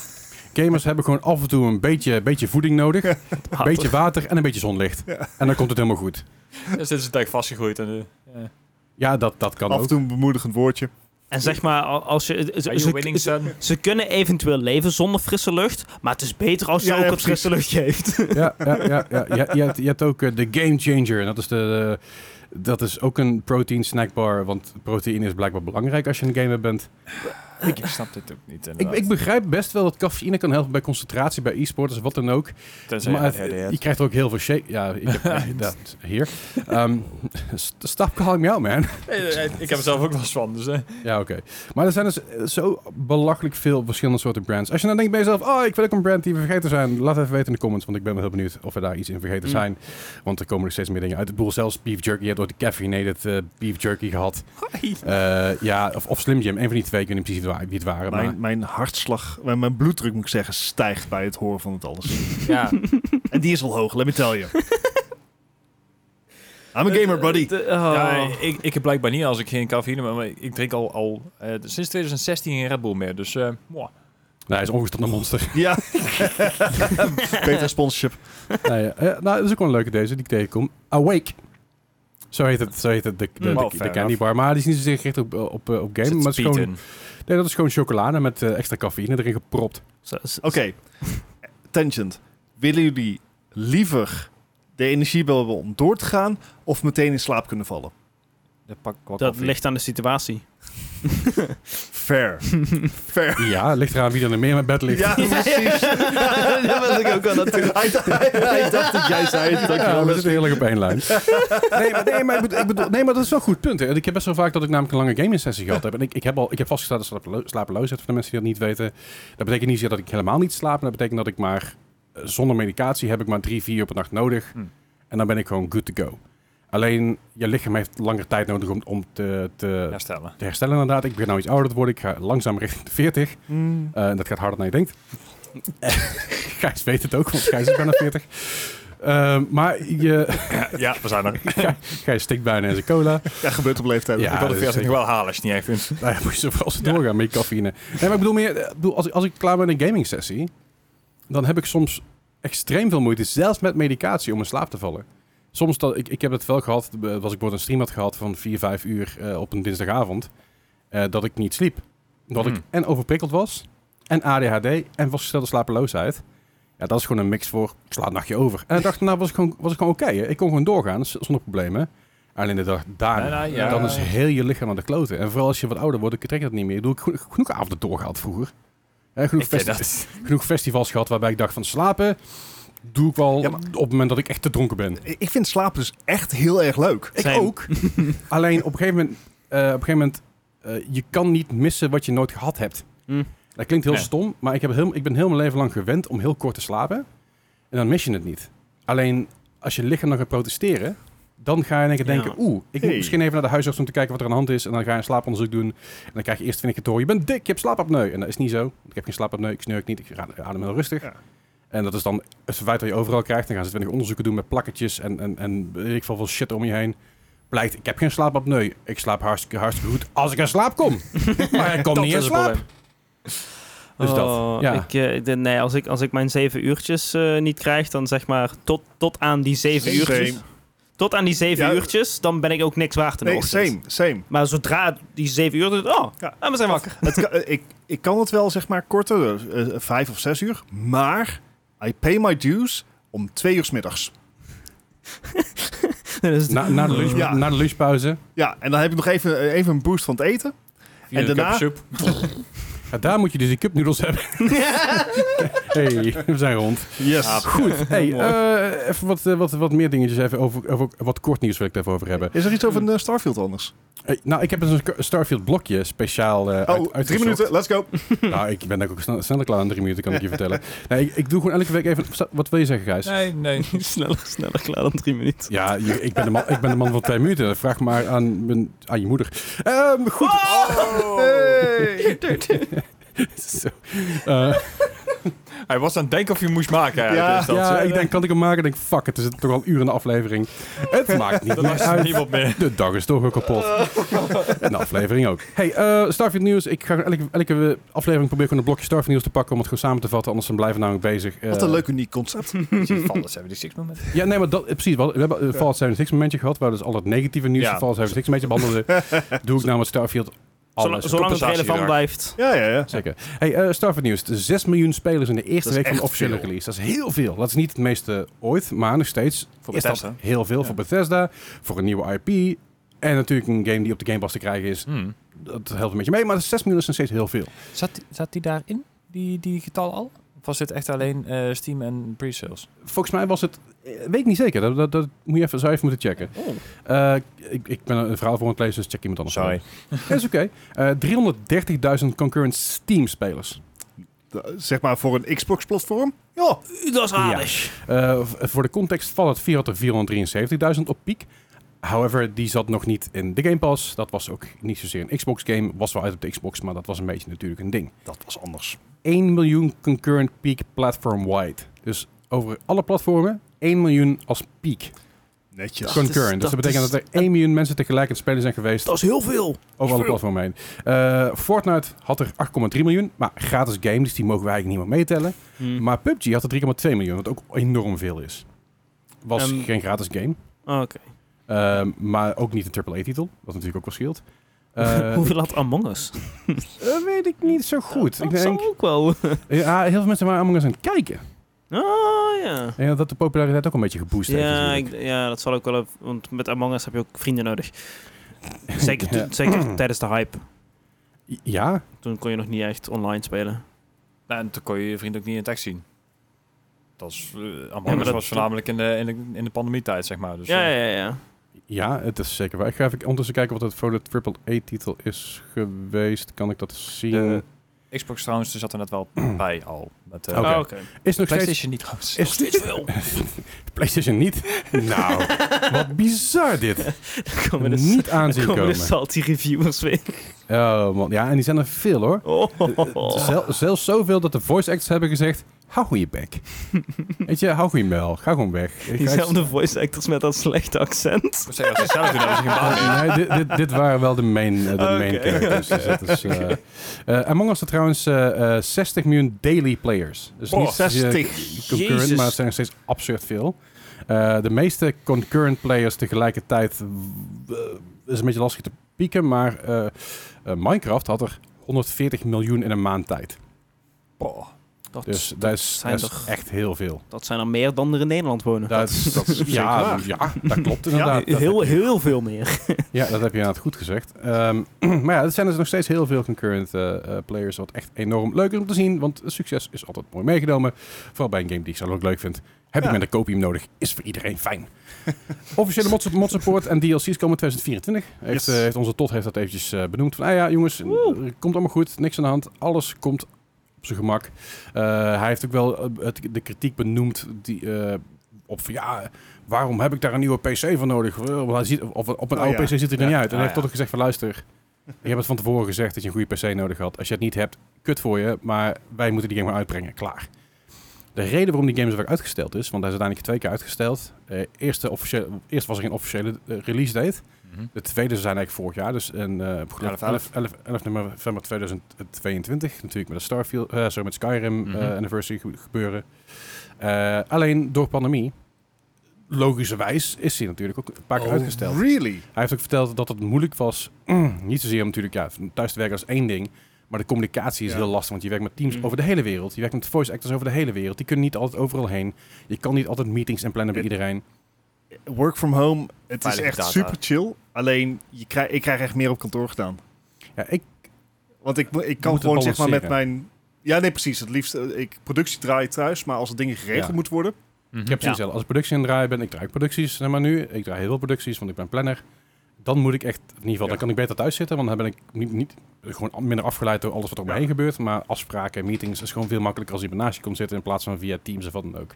[SPEAKER 2] gamers hebben gewoon af en toe een beetje, beetje voeding nodig. Een beetje water en een beetje zonlicht. En dan komt het helemaal goed.
[SPEAKER 4] Dus dit is een tijd vastgegroeid. En, eh,
[SPEAKER 2] Ja, dat, dat kan
[SPEAKER 3] Af en
[SPEAKER 2] ook.
[SPEAKER 3] toe een bemoedigend woordje.
[SPEAKER 1] En zeg maar, al- als je... Ze,
[SPEAKER 4] are
[SPEAKER 1] ze-
[SPEAKER 4] you winning,
[SPEAKER 1] ze-
[SPEAKER 4] son?
[SPEAKER 1] ze kunnen eventueel leven zonder frisse lucht, maar het is beter als je
[SPEAKER 3] Ja,
[SPEAKER 1] ook
[SPEAKER 3] ja,
[SPEAKER 1] wat frisse lucht geeft.
[SPEAKER 2] Ja, ja, ja, ja. Je, je, hebt, je hebt ook eh, de Game Changer. En dat is, de, eh, dat is ook een protein snackbar. Want proteïne is blijkbaar belangrijk als je een gamer bent.
[SPEAKER 4] ik snap dit ook niet.
[SPEAKER 2] Ik, ik begrijp best wel dat cafeïne kan helpen bij concentratie, bij e-sporters, wat dan ook. maar het- je krijgt er ook heel veel shake. Ja, ik heb, dat, hier. Ehm st- stop calling me out, man.
[SPEAKER 4] ik heb er zelf ook wel eens van. Dus, eh.
[SPEAKER 2] Ja, oké. Maar er zijn dus eh, zo belachelijk veel verschillende soorten brands. Als je dan denkt bij jezelf, oh, ik wil ook een brand die we vergeten zijn. Laat even weten in de comments, want ik ben wel heel benieuwd of we daar iets in vergeten
[SPEAKER 1] Mm.
[SPEAKER 2] zijn. Want er komen nog steeds meer dingen uit. Ik bedoel, zelfs beef jerky. Je hebt ooit de caffeinated eh, beef jerky gehad. Eh, ja, of, of Slim Jim. Een van die twee. Ik weet niet precies wa- wie het waren. Maar,
[SPEAKER 3] Mijn, mijn hartslag, mijn, mijn bloeddruk moet ik zeggen, stijgt bij het horen van het alles.
[SPEAKER 4] ja.
[SPEAKER 3] en die is al hoog, let me tell you. I'm a gamer, buddy.
[SPEAKER 1] De- oh.
[SPEAKER 4] Ja, ik, ik heb blijkbaar niet als ik geen cafeïne maar- maar ik, ik drink al, al eh, sinds 2016 geen Red Bull meer. Dus eh, mwah.
[SPEAKER 2] Nee, hij is ongestopt een monster.
[SPEAKER 3] Ja. Beter sponsorship.
[SPEAKER 2] nee, eh, nou, dat is ook wel een leuke deze die ik tegenkom. Awake. Zo heet het, zo heet het de, de,
[SPEAKER 1] Mm.
[SPEAKER 2] de-
[SPEAKER 4] Oh,
[SPEAKER 2] de
[SPEAKER 4] fair
[SPEAKER 2] candy bar. Maar die is niet zozeer gericht op, op, op game.
[SPEAKER 4] zit
[SPEAKER 2] Maar het is
[SPEAKER 4] speed
[SPEAKER 2] gewoon,
[SPEAKER 4] in.
[SPEAKER 2] nee, dat is gewoon chocolade met eh, extra cafeïne erin gepropt.
[SPEAKER 1] Zo- zo-
[SPEAKER 3] Oké, tangent. Willen jullie liever de energie wel hebben om door te gaan of meteen in slaap kunnen vallen?
[SPEAKER 4] Ja, pak, pak
[SPEAKER 1] Dat
[SPEAKER 4] koffie.
[SPEAKER 1] ligt aan de situatie.
[SPEAKER 3] Fair. Fair.
[SPEAKER 2] Ja, ligt eraan wie er nog meer met bed ligt.
[SPEAKER 3] Ja, precies.
[SPEAKER 1] dat was ik ook al natuurlijk.
[SPEAKER 3] Hij dacht, hij dacht dat jij zei het.
[SPEAKER 2] Ja,
[SPEAKER 3] Dankjewel.
[SPEAKER 2] we zitten heel erg op één lijn. Nee, maar, nee, maar, ik bedoel- ik bedoel- nee, maar dat is wel een goed punt. Hè. Ik heb best wel vaak dat ik namelijk een lange gaming-sessie gehad heb. En ik, ik heb, al, ik heb vastgesteld dat slapelo- slapeloosheid, voor de mensen die dat niet weten. Dat betekent niet zozeer dat ik helemaal niet slaap. maar Dat betekent dat ik maar eh, zonder medicatie heb ik maar drie, vier op een nacht nodig.
[SPEAKER 4] Hm.
[SPEAKER 2] En dan ben ik gewoon good to go. Alleen, je lichaam heeft langer tijd nodig om, om te, te,
[SPEAKER 4] Ja, stellen.
[SPEAKER 2] te herstellen inderdaad. Ik ben nou iets ouder te worden. Ik ga langzaam richting de 40.
[SPEAKER 3] Mm.
[SPEAKER 2] Eh, en dat gaat harder dan je denkt. Gijs weet het ook, want Gijs is bijna 40. Ehm, maar je,
[SPEAKER 4] Ja, we zijn er.
[SPEAKER 2] Gijs stikt bijna in zijn cola.
[SPEAKER 3] Ja, gebeurt op leeftijd.
[SPEAKER 2] Ja,
[SPEAKER 4] ik wil de
[SPEAKER 2] dus
[SPEAKER 4] 40
[SPEAKER 2] ik-
[SPEAKER 4] nog wel halen als je het niet echt vindt.
[SPEAKER 2] Nou ja, moet je zoveel als doorgaan met je cafeïne. Nee, maar ik bedoel meer, eh, ik bedoel, als, ik- als ik klaar ben met een gaming sessie, dan heb ik soms extreem veel moeite, zelfs met medicatie, om in slaap te vallen. Soms, dat, ik, ik heb het wel gehad, eh, als ik bijvoorbeeld een stream had gehad van 4, 5 uur eh, op een dinsdagavond, eh, dat ik niet sliep. Omdat ik
[SPEAKER 4] Hmm.
[SPEAKER 2] en overprikkeld was, en ADHD, en vastgestelde slapeloosheid. Ja, dat is gewoon een mix voor, ik sla een nachtje over. En de dag daarna was ik gewoon, was ik gewoon oké. hè. ik kon gewoon doorgaan, z- zonder problemen. Alleen de dag daarna,
[SPEAKER 4] Nee, nee, ja.
[SPEAKER 2] dan is heel je lichaam aan de kloten. En vooral als je wat ouder wordt, ik trek dat niet meer. Ik bedoel, Ik heb genoeg, genoeg avonden doorgehaald vroeger. Ja, genoeg,
[SPEAKER 4] Ik vind
[SPEAKER 2] festi-
[SPEAKER 4] dat.
[SPEAKER 2] genoeg festivals gehad waarbij ik dacht van slapen doe ik wel
[SPEAKER 3] Ja, maar-
[SPEAKER 2] op het moment dat ik echt te dronken ben.
[SPEAKER 3] Ik vind slapen dus echt heel erg leuk.
[SPEAKER 1] Zijn-
[SPEAKER 2] ook. Alleen op een gegeven moment, eh, op een gegeven moment eh, je kan niet missen wat je nooit gehad hebt.
[SPEAKER 1] Mm.
[SPEAKER 2] Dat klinkt heel
[SPEAKER 4] Nee.
[SPEAKER 2] stom, maar ik, heb heel, ik ben heel mijn leven lang gewend om heel kort te slapen. En dan mis je het niet. Alleen als je lichaam dan gaat protesteren, dan ga je in één keer
[SPEAKER 1] Ja.
[SPEAKER 2] denken... Oeh, ik moet
[SPEAKER 3] Hey.
[SPEAKER 2] misschien even naar de huisarts om te kijken wat er aan de hand is. En dan ga je een slaaponderzoek doen. En dan krijg je eerst vind ik het hoor, je bent dik, je hebt slaapapneu. En dat is niet zo. Ik heb geen slaapapneu, ik snurk niet, ik ra- adem heel rustig.
[SPEAKER 3] Ja.
[SPEAKER 2] En dat is dan het verwijt dat je overal krijgt. Dan gaan ze twintig onderzoeken doen met plakketjes en, en, en weet ik veel, veel shit om je heen. Blijkt, ik heb geen slaapapneu. Ik slaap hartstikke, hartstikke goed als ik in slaap kom. maar ik kom
[SPEAKER 4] Dat
[SPEAKER 2] niet in
[SPEAKER 4] is het
[SPEAKER 2] slaap.
[SPEAKER 4] probleem.
[SPEAKER 2] Dus dat,
[SPEAKER 1] Oh,
[SPEAKER 2] ja.
[SPEAKER 1] ik, eh, de- nee, als ik, als ik mijn zeven uurtjes eh, niet krijg, dan zeg maar tot, tot aan die zeven
[SPEAKER 3] Same.
[SPEAKER 1] uurtjes. Tot aan die zeven
[SPEAKER 3] Ja.
[SPEAKER 1] uurtjes, dan ben ik ook niks waard in de
[SPEAKER 3] Nee,
[SPEAKER 1] ochtend.
[SPEAKER 3] same, same.
[SPEAKER 1] Maar zodra die zeven uur... Oh,
[SPEAKER 3] Ja.
[SPEAKER 1] ah, we zijn wakker.
[SPEAKER 3] Het kan- eh, ik, ik kan het wel, zeg maar, korter, eh, eh, vijf of zes uur. Maar I pay my dues om twee uur 's middags.
[SPEAKER 1] Dat is-
[SPEAKER 2] Na, na, de lunch,
[SPEAKER 3] Ja.
[SPEAKER 2] na de lunchpauze.
[SPEAKER 3] Ja, en dan heb ik nog even, eh, even een boost van het eten.
[SPEAKER 4] Vier
[SPEAKER 3] daarna-
[SPEAKER 4] cup soep.
[SPEAKER 2] Ja, daar moet je dus die cupnoedels hebben. hey, we zijn rond.
[SPEAKER 3] Yes.
[SPEAKER 4] Ah,
[SPEAKER 2] Goed, hey, eh, even wat, eh, wat, wat meer dingetjes. Even over, over, wat kort nieuws wil ik daarover hebben.
[SPEAKER 3] Is er iets over een eh, Starfield anders?
[SPEAKER 2] Hey, nou, ik heb dus een Sc- Starfield blokje speciaal eh uit,
[SPEAKER 3] Oh, drie
[SPEAKER 2] uitgezocht.
[SPEAKER 3] minuten, let's go.
[SPEAKER 2] Nou, ik ben daar ook snel, sneller klaar in drie minuten, kan ik je vertellen. Nee, ik, ik doe gewoon elke week even... Wat wil je zeggen, Gijs?
[SPEAKER 4] Nee, nee.
[SPEAKER 1] sneller, sneller klaar dan drie minuten.
[SPEAKER 2] Ja, je- ik ben, de man, ik ben de man van twee minuten. Vraag maar aan, mijn, aan je moeder. Ehm, goed.
[SPEAKER 3] Hey.
[SPEAKER 2] Zo. Eh,
[SPEAKER 4] Hij was aan het denken of je hem moest maken. eigenlijk,
[SPEAKER 3] Ja.
[SPEAKER 4] is dat.
[SPEAKER 2] Ja,
[SPEAKER 4] Eh,
[SPEAKER 2] ik denk, kan ik hem maken? Ik denk, fuck, het is toch al een uur in de aflevering. Het maakt niet
[SPEAKER 4] Dat
[SPEAKER 2] meer
[SPEAKER 4] was
[SPEAKER 2] uit.
[SPEAKER 4] niemand meer.
[SPEAKER 2] De dag is toch weer kapot. En de aflevering ook. Hey, eh, Starfield Nieuws. Ik ga elke, elke eh, aflevering proberen gewoon een blokje Starfield Nieuws te pakken om het gewoon samen te vatten. Anders dan blijven we namelijk bezig. Eh,
[SPEAKER 3] Wat een leuk uniek concept.
[SPEAKER 4] Vallen 76 moment.
[SPEAKER 2] Ja, nee, maar dat, eh, precies. We hadden- we hebben eh, Fallout 76 momentje gehad. Waar dus al het negatieve nieuws
[SPEAKER 4] Ja.
[SPEAKER 2] van Fallout 76 een beetje behandelde. Doe ik nou met Starfield
[SPEAKER 1] Zolang,
[SPEAKER 2] alles.
[SPEAKER 1] zolang het
[SPEAKER 4] compensatie
[SPEAKER 1] relevant
[SPEAKER 4] daar.
[SPEAKER 1] blijft.
[SPEAKER 3] Ja, ja, ja.
[SPEAKER 2] Zeker. Hey, eh, Starfield nieuws. De 6 miljoen spelers in de eerste
[SPEAKER 3] Dat is
[SPEAKER 2] week van de
[SPEAKER 3] echt
[SPEAKER 2] officiële
[SPEAKER 3] veel.
[SPEAKER 2] release. Dat is heel veel. Dat is niet het meeste ooit, maar nog steeds
[SPEAKER 4] Voor
[SPEAKER 2] is dat
[SPEAKER 4] Bethesda.
[SPEAKER 2] heel veel
[SPEAKER 4] Ja.
[SPEAKER 2] voor Bethesda, voor een nieuwe IP. En natuurlijk een game die op de Game Pass te krijgen is.
[SPEAKER 4] Hmm.
[SPEAKER 2] Dat helpt een beetje mee, maar 6 miljoen is nog steeds heel veel.
[SPEAKER 4] Zat, zat die daarin, die, die getal al? Of was dit echt alleen eh, Steam en pre-sales?
[SPEAKER 2] Volgens mij was het... eh, Weet ik niet zeker. Dat, dat, dat moet je even, zou je even moeten checken.
[SPEAKER 4] Oh.
[SPEAKER 2] Eh, ik, ik ben een verhaal voor aan het lezen, dus check iemand anders.
[SPEAKER 4] Sorry.
[SPEAKER 2] Dat is oké. Eh, 330.000 concurrent Steam-spelers.
[SPEAKER 3] D- Zeg maar voor een Xbox-platform. Ja.
[SPEAKER 1] Dat is
[SPEAKER 2] Ja.
[SPEAKER 1] aardig.
[SPEAKER 2] Eh, v- voor de context Fallout 4 had er 473.000 op piek. However, die zat nog niet in de Game Pass. Dat was ook niet zozeer een Xbox-game. Was wel uit op de Xbox, maar dat was een beetje natuurlijk een ding.
[SPEAKER 3] Dat was anders.
[SPEAKER 2] 1 miljoen concurrent peak platform-wide. Dus over alle platformen 1 miljoen als peak
[SPEAKER 3] Netjes.
[SPEAKER 1] Kon-
[SPEAKER 2] concurrent.
[SPEAKER 1] is-
[SPEAKER 2] dus dat
[SPEAKER 1] dat
[SPEAKER 2] betekent
[SPEAKER 1] is-
[SPEAKER 2] dat er 1 miljoen mensen tegelijk aan het spelen zijn geweest
[SPEAKER 1] Dat is heel veel.
[SPEAKER 2] over alle
[SPEAKER 1] veel.
[SPEAKER 2] platformen heen. Eh, Fortnite had er 8,3 miljoen, maar gratis game, dus die mogen we eigenlijk niet meer meetellen.
[SPEAKER 1] Hm.
[SPEAKER 2] Maar PUBG had er 3,2 miljoen, wat ook enorm veel is. Was
[SPEAKER 1] Ehm,
[SPEAKER 2] geen gratis game.
[SPEAKER 1] Oké.
[SPEAKER 2] Ehm, maar ook niet een AAA-titel, wat natuurlijk ook wel scheelt. Eh,
[SPEAKER 1] Hoeveel had Among Us?
[SPEAKER 2] dat weet ik niet zo goed.
[SPEAKER 1] dat
[SPEAKER 2] Ik denk,
[SPEAKER 1] zou ook wel.
[SPEAKER 2] ja, heel veel mensen waren Among Us aan het kijken.
[SPEAKER 1] ah, ja.
[SPEAKER 2] En dat de populariteit ook een beetje geboost heeft.
[SPEAKER 1] Ja,
[SPEAKER 2] natuurlijk.
[SPEAKER 1] ik, ja, dat zal ook wel. even- Want met Among Us heb je ook vrienden nodig. Zeker,
[SPEAKER 2] Ja.
[SPEAKER 1] zeker tijdens de hype.
[SPEAKER 2] ja,
[SPEAKER 1] Toen kon je nog niet echt online spelen.
[SPEAKER 4] Nou, en toen kon je je vriend ook niet in tekst zien. Dat is, eh, Among
[SPEAKER 1] maar
[SPEAKER 4] Us
[SPEAKER 1] dat-
[SPEAKER 4] was voornamelijk in de, in de, in de pandemietijd, zeg maar. Dus,
[SPEAKER 1] ja,
[SPEAKER 4] eh,
[SPEAKER 1] ja, ja, ja.
[SPEAKER 2] ja, het is zeker waar. Ik ga even ondertussen kijken wat het voor de AAA-titel is geweest. Kan ik dat zien?
[SPEAKER 4] eh, De Xbox trouwens, er zat er net wel bij al. Met, eh,
[SPEAKER 2] Oké.
[SPEAKER 1] Ah,
[SPEAKER 2] is nog steeds...
[SPEAKER 4] PlayStation niet trouwens.
[SPEAKER 2] Is steeds veel. PlayStation niet? Nou, wat bizar dit.
[SPEAKER 1] Dan komen de,
[SPEAKER 2] Niet aanzien
[SPEAKER 1] komen de
[SPEAKER 2] komen.
[SPEAKER 1] salty reviewers weer.
[SPEAKER 2] Oh man, ja, en die zijn er veel hoor.
[SPEAKER 1] Oh,
[SPEAKER 2] Zel- zelfs zoveel dat de voice actors hebben gezegd: hou gewoon je bek. Weet je, hou gewoon je muil. Ga gewoon weg. Ik ga iets-
[SPEAKER 1] Diezelfde voice actors met dat slechte accent.
[SPEAKER 4] Ik moet zeggen, als ze zelf doen, hebben ze geen baan meer.
[SPEAKER 2] Nee, dit, dit, dit waren wel de main, eh, de main
[SPEAKER 1] Ah. Oké.
[SPEAKER 2] characters. Dus dat is, eh, eh, Among Us had trouwens eh, eh, 60 miljoen daily players. Dus
[SPEAKER 3] Oh,
[SPEAKER 2] niet zozeer
[SPEAKER 3] 60.
[SPEAKER 2] concurrent,
[SPEAKER 1] Jezus.
[SPEAKER 2] maar het zijn nog steeds absurd veel. Eh, de meeste concurrent players tegelijkertijd eh, is een beetje lastig te pieken, maar eh, eh, Minecraft had er 140 miljoen in een maand tijd.
[SPEAKER 4] Boah.
[SPEAKER 1] Dat,
[SPEAKER 2] Dus dat is,
[SPEAKER 1] zijn
[SPEAKER 2] dat is
[SPEAKER 1] toch-
[SPEAKER 2] echt heel veel.
[SPEAKER 1] dat zijn er meer dan er in Nederland wonen.
[SPEAKER 2] Dat, is- dat is ja,
[SPEAKER 3] zeker
[SPEAKER 2] ja, dat klopt inderdaad. Ja,
[SPEAKER 1] heel, heel veel meer. Dus,
[SPEAKER 2] ja, dat heb je inderdaad goed gezegd. Ehm, maar ja, er zijn dus nog steeds heel veel concurrent eh, eh, players. Wat echt enorm leuk is om te zien. Want succes is altijd mooi meegenomen. Vooral bij een game die ik zelf ook leuk vind. Heb
[SPEAKER 3] Ja.
[SPEAKER 2] ik met een kopium nodig, is voor iedereen fijn. Officiële mod, mod support en DLC's komen in 2024. Heeft,
[SPEAKER 3] Yes.
[SPEAKER 2] eh, heeft onze tot heeft dat eventjes eh, benoemd. Van, ah ja, jongens, het komt allemaal goed. Niks aan de hand. Alles komt op zijn gemak. Eh, hij heeft ook wel eh, het, de kritiek benoemd die, eh, op van ja, waarom heb ik daar een nieuwe PC voor nodig? Want hij ziet, of op een
[SPEAKER 3] Ah,
[SPEAKER 2] oude
[SPEAKER 3] ja.
[SPEAKER 2] PC ziet het er
[SPEAKER 4] Ja.
[SPEAKER 2] niet uit. En hij
[SPEAKER 4] Ah,
[SPEAKER 2] heeft
[SPEAKER 4] ja.
[SPEAKER 2] tot ook gezegd van luister, je hebt het van tevoren gezegd dat je een goede PC nodig had. Als je het niet hebt, kut voor je, maar wij moeten die game maar uitbrengen. Klaar. De reden waarom die game zo vaak uitgesteld is, want hij is uiteindelijk twee keer uitgesteld. Eh, eerste officiële, eerst was er geen officiële eh, release date. De tweede zijn eigenlijk vorig jaar, dus en, eh, op 11,
[SPEAKER 4] 11,
[SPEAKER 2] 11, 11 november 2022. Natuurlijk met de Starfield, eh, sorry, met Skyrim eh,
[SPEAKER 4] Mhm.
[SPEAKER 2] Anniversary ge- gebeuren. Eh, alleen door pandemie, logischerwijs, is hij natuurlijk ook een paar keer
[SPEAKER 4] Oh,
[SPEAKER 2] uitgesteld.
[SPEAKER 3] Oh, Really?
[SPEAKER 2] Hij heeft ook verteld dat het moeilijk was. niet zozeer om natuurlijk ja, thuis te werken als één ding. Maar de communicatie is
[SPEAKER 3] Ja.
[SPEAKER 2] heel lastig. Want je werkt met teams
[SPEAKER 1] Mm.
[SPEAKER 2] over de hele wereld. Je werkt met voice actors over de hele wereld. Die kunnen niet altijd overal heen. Je kan niet altijd meetings en plannen bij
[SPEAKER 3] Ja.
[SPEAKER 2] iedereen.
[SPEAKER 3] Work from home. Het is
[SPEAKER 4] Veilige
[SPEAKER 3] echt
[SPEAKER 4] data.
[SPEAKER 3] super chill. Alleen, je krijg, ik krijg echt meer op kantoor gedaan.
[SPEAKER 2] Ja, ik,
[SPEAKER 3] Want ik, mo- ik
[SPEAKER 2] moet
[SPEAKER 3] kan
[SPEAKER 2] het
[SPEAKER 3] gewoon zeg maar met
[SPEAKER 2] balanceren.
[SPEAKER 3] mijn... Ja, nee, precies. Het liefst, eh, ik, productie draai ik thuis, maar als er dingen geregeld
[SPEAKER 2] Ja.
[SPEAKER 3] moeten worden... Mm.
[SPEAKER 2] ik heb zoiets zelf. Als ik productie aan het draaien ben, ik draai ook producties. Zeg maar nu, ik draai heel veel producties, want ik ben planner. Dan moet ik echt, in ieder geval,
[SPEAKER 3] Ja.
[SPEAKER 2] dan kan ik beter thuis zitten. Want dan ben ik niet, niet gewoon minder afgeleid door alles wat er om me
[SPEAKER 3] Ja.
[SPEAKER 2] heen gebeurt. Maar afspraken en meetings is gewoon veel makkelijker als iemand naast je komt zitten. In plaats van via teams of wat dan ook.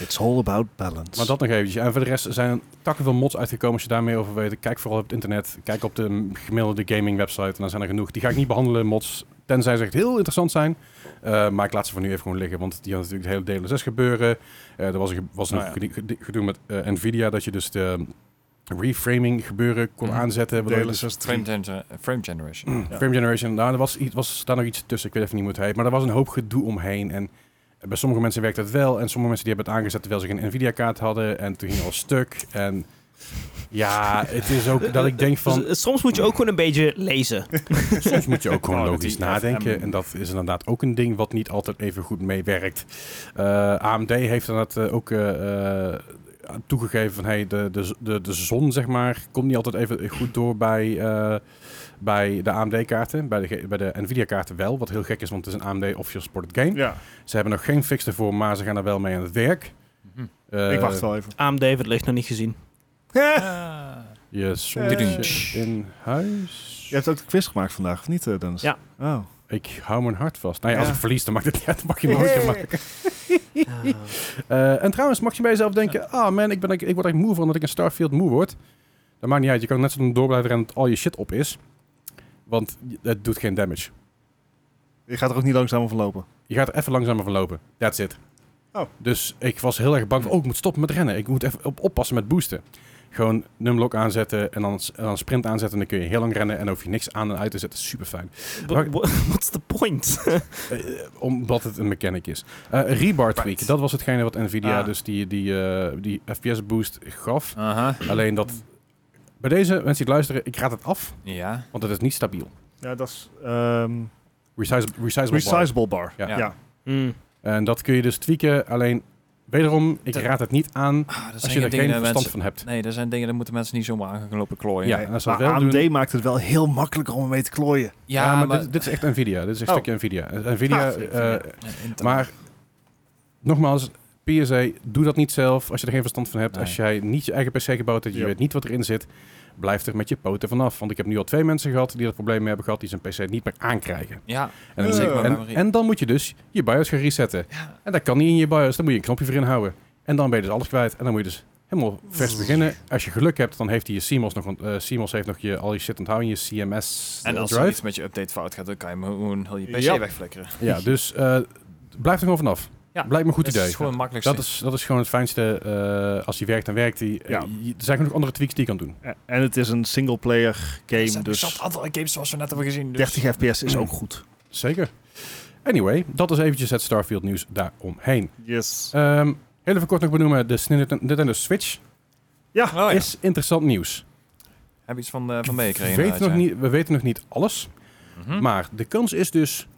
[SPEAKER 3] It's all about balance.
[SPEAKER 2] Maar dat nog eventjes. En voor de rest zijn takken veel mods uitgekomen. Als je daar meer over weet, kijk vooral op het internet. Kijk op de gemiddelde gaming website. En dan zijn er genoeg. Die ga ik niet behandelen. Mods, Tenzij ze echt heel interessant zijn. Eh, maar ik laat ze voor nu even gewoon liggen. Want die had natuurlijk het hele DLSS gebeuren. Eh, er was, een ge- was nog
[SPEAKER 4] Nou ja.
[SPEAKER 2] gedi- gedi- gedoe met eh, Nvidia dat je dus de eh, reframing gebeuren kon
[SPEAKER 4] Mhm.
[SPEAKER 2] aanzetten. waardoor je dus-
[SPEAKER 3] DLSS
[SPEAKER 4] Frame, gener- frame generation.
[SPEAKER 2] Mm, Frame Generation, nou, er was, iets, was daar nog iets tussen. Ik weet even niet hoe het heet. Maar er was een hoop gedoe omheen. En eh, bij sommige mensen werkt het wel. En sommige mensen die hebben het aangezet terwijl ze geen Nvidia-kaart hadden. En toen ging het al stuk. En ja, het is ook dat ik denk van...
[SPEAKER 1] Dus, eh, soms moet je ook gewoon een beetje lezen.
[SPEAKER 2] Soms moet je ook gewoon
[SPEAKER 4] Oh, dat
[SPEAKER 2] logisch
[SPEAKER 4] die
[SPEAKER 2] nadenken.
[SPEAKER 3] ehm,
[SPEAKER 4] FM.
[SPEAKER 2] En dat is inderdaad ook een ding wat niet altijd even goed meewerkt. Eh, AMD heeft inderdaad eh, ook eh, eh, toegegeven van... Hey, de, de, de, de zon, zeg maar, komt niet altijd even goed door bij, eh, bij de AMD-kaarten. Bij de, ge- bij de NVIDIA-kaarten wel, wat heel gek is, want het is een AMD official supported game.
[SPEAKER 3] Ja,
[SPEAKER 2] Ze hebben nog geen fix ervoor, maar ze gaan er wel mee aan het werk.
[SPEAKER 4] Mhm.
[SPEAKER 2] Eh,
[SPEAKER 3] ik wacht wel even.
[SPEAKER 1] AMD heeft het licht nog niet gezien.
[SPEAKER 4] Ah.
[SPEAKER 2] Eh, Je zonnetje in huis.
[SPEAKER 3] Je hebt ook de quiz gemaakt vandaag, of niet, eh, Dennis?
[SPEAKER 1] Ja.
[SPEAKER 3] Oh.
[SPEAKER 2] Ik hou mijn hart vast. Nou ja, als
[SPEAKER 3] Ja.
[SPEAKER 2] ik verlies, dan maakt het niet uit. Dan mag je me nooit maken. Eh, en trouwens, mag je bij jezelf denken: ah man, ik, ben, ik, ik word echt moe van dat ik in Starfield moe word. Dat maakt niet uit. Je kan net zo lang door blijven rennen dat al je shit op is. Want het doet geen damage.
[SPEAKER 3] Je gaat er ook niet langzaam van lopen.
[SPEAKER 2] Je gaat er even langzamer van lopen. That's it.
[SPEAKER 3] Oh.
[SPEAKER 2] Dus ik was heel erg bang van, oh, ik moet stoppen met rennen. Ik moet even op, oppassen met boosten. Gewoon numlock aanzetten en dan, s- en dan sprint aanzetten. En dan kun je heel lang rennen en dan hoef je niks aan en uit te zetten. Super fijn.
[SPEAKER 1] Wa- wa- What's the point?
[SPEAKER 2] omdat het een mechanic is. Eh rebar tweak,
[SPEAKER 4] Right.
[SPEAKER 2] dat was hetgene wat Nvidia
[SPEAKER 4] Ah.
[SPEAKER 2] dus die, die, eh, die FPS boost gaf.
[SPEAKER 4] Aha.
[SPEAKER 2] Alleen dat... Bij deze mensen die het luisteren, ik raad het af,
[SPEAKER 4] Ja.
[SPEAKER 2] want het is niet stabiel.
[SPEAKER 3] Ja, dat is ehm
[SPEAKER 2] Resize, resizable bar.
[SPEAKER 3] resizable bar.
[SPEAKER 2] Ja.
[SPEAKER 3] Ja.
[SPEAKER 1] Hmm.
[SPEAKER 2] En dat kun je dus tweaken, alleen wederom, ik
[SPEAKER 4] Dat-
[SPEAKER 2] raad het niet aan
[SPEAKER 4] Ah, dat
[SPEAKER 2] als
[SPEAKER 4] zijn
[SPEAKER 2] je er
[SPEAKER 4] dingen
[SPEAKER 2] geen
[SPEAKER 4] dat
[SPEAKER 2] verstand
[SPEAKER 4] mensen...
[SPEAKER 2] van hebt.
[SPEAKER 4] Nee, dat zijn dingen daar moeten mensen niet zomaar aan gaan lopen klooien.
[SPEAKER 2] Ja,
[SPEAKER 3] Nee,
[SPEAKER 2] en als ze dat
[SPEAKER 3] maar
[SPEAKER 2] wel
[SPEAKER 3] AMD
[SPEAKER 2] doen-
[SPEAKER 3] maakt het wel heel makkelijk om ermee te klooien.
[SPEAKER 2] Ja, maar, dit, dit is echt Nvidia. Dit is echt
[SPEAKER 3] Oh.
[SPEAKER 2] stukje Nvidia. Eh, Nvidia,
[SPEAKER 3] Ah,
[SPEAKER 2] eh,
[SPEAKER 4] Nee, internet.
[SPEAKER 2] maar nogmaals, PSA, doe dat niet zelf als je er geen verstand van hebt.
[SPEAKER 4] Nee.
[SPEAKER 2] Als jij niet je eigen PC gebouwd hebt, je
[SPEAKER 3] Yep.
[SPEAKER 2] weet niet wat erin zit, blijf er met je poten vanaf. Want ik heb nu al twee mensen gehad die dat probleem mee hebben gehad, die zijn PC niet meer aankrijgen.
[SPEAKER 4] Ja.
[SPEAKER 2] En,
[SPEAKER 3] Eh.
[SPEAKER 2] dan,
[SPEAKER 3] Zeker
[SPEAKER 4] met
[SPEAKER 2] en,
[SPEAKER 4] memory.
[SPEAKER 2] en dan moet je dus je BIOS gaan resetten.
[SPEAKER 4] Ja.
[SPEAKER 2] En dat kan niet in je BIOS, dan moet je een knopje voor inhouden. En dan ben je dus alles kwijt. En dan moet je dus helemaal vers beginnen. Als je geluk hebt, dan heeft hij je CMOS nog, want eh, CMOS heeft nog je, al je shit onthouden, je CMS
[SPEAKER 4] En als er
[SPEAKER 2] drive.
[SPEAKER 4] iets met je update fout gaat, dan kan je hem gewoon heel je PC
[SPEAKER 3] Ja.
[SPEAKER 4] wegflikkeren.
[SPEAKER 2] Ja, dus eh, blijf er gewoon vanaf.
[SPEAKER 4] Ja,
[SPEAKER 2] Blijkt me een goed
[SPEAKER 4] dat
[SPEAKER 2] idee.
[SPEAKER 4] is gewoon het makkelijkste.
[SPEAKER 2] dat, is, dat is gewoon het fijnste. eh, als hij werkt, dan werkt hij.
[SPEAKER 3] Ja.
[SPEAKER 2] Eh, je- er zijn genoeg andere tweaks die je kan doen.
[SPEAKER 3] Eh, En het is een single player
[SPEAKER 4] Er
[SPEAKER 3] game,
[SPEAKER 4] zijn zat
[SPEAKER 3] dus
[SPEAKER 4] andere games zoals we net hebben gezien. Dus.
[SPEAKER 3] 30 fps is ook goed.
[SPEAKER 2] Zeker. Anyway, dat is eventjes het Starfield nieuws daaromheen.
[SPEAKER 3] Yes.
[SPEAKER 2] Ehm heel even kort nog benoemen. De Nintendo- Nintendo Switch
[SPEAKER 4] Oh, ja.
[SPEAKER 2] is interessant nieuws.
[SPEAKER 4] Heb je iets van, eh van meegekregen?
[SPEAKER 2] We weten nog
[SPEAKER 4] inderdaad, ja.
[SPEAKER 2] niet, we weten nog niet alles.
[SPEAKER 4] Mhm.
[SPEAKER 2] Maar de kans is dus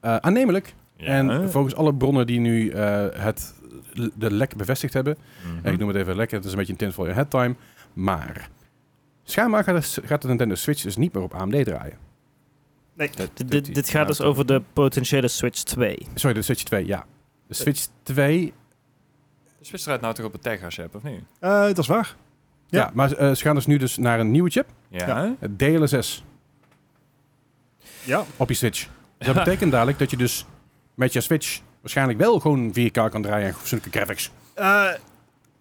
[SPEAKER 2] eh, aannemelijk.
[SPEAKER 4] Ja.
[SPEAKER 2] En volgens alle bronnen die nu eh, het, de lek bevestigd hebben,
[SPEAKER 4] Mhm.
[SPEAKER 2] Ik noem het even lekker, het is een beetje een tint voor je head time. Maar schijnbaar gaat de, gaat de Nintendo Switch dus niet meer op AMD draaien.
[SPEAKER 4] Dat
[SPEAKER 1] Dit-
[SPEAKER 4] doet
[SPEAKER 1] Dit,
[SPEAKER 4] hij.
[SPEAKER 1] dit gaat dus
[SPEAKER 4] Nou,
[SPEAKER 1] over de potentiële Switch 2.
[SPEAKER 2] Sorry, de Switch 2, ja. De Switch 2,
[SPEAKER 4] De Switch rijdt nou toch op een tech als je hebt, of niet?
[SPEAKER 3] Eh, dat is waar.
[SPEAKER 2] ja.
[SPEAKER 3] Ja.
[SPEAKER 2] maar eh, ze gaan dus nu dus naar een nieuwe chip,
[SPEAKER 4] Ja.
[SPEAKER 2] het DLSS,
[SPEAKER 3] Ja.
[SPEAKER 2] op je Switch. Dat betekent dadelijk dat je dus met je Switch waarschijnlijk wel gewoon 4K kan draaien en fatsoenlijke graphics.
[SPEAKER 3] Eh,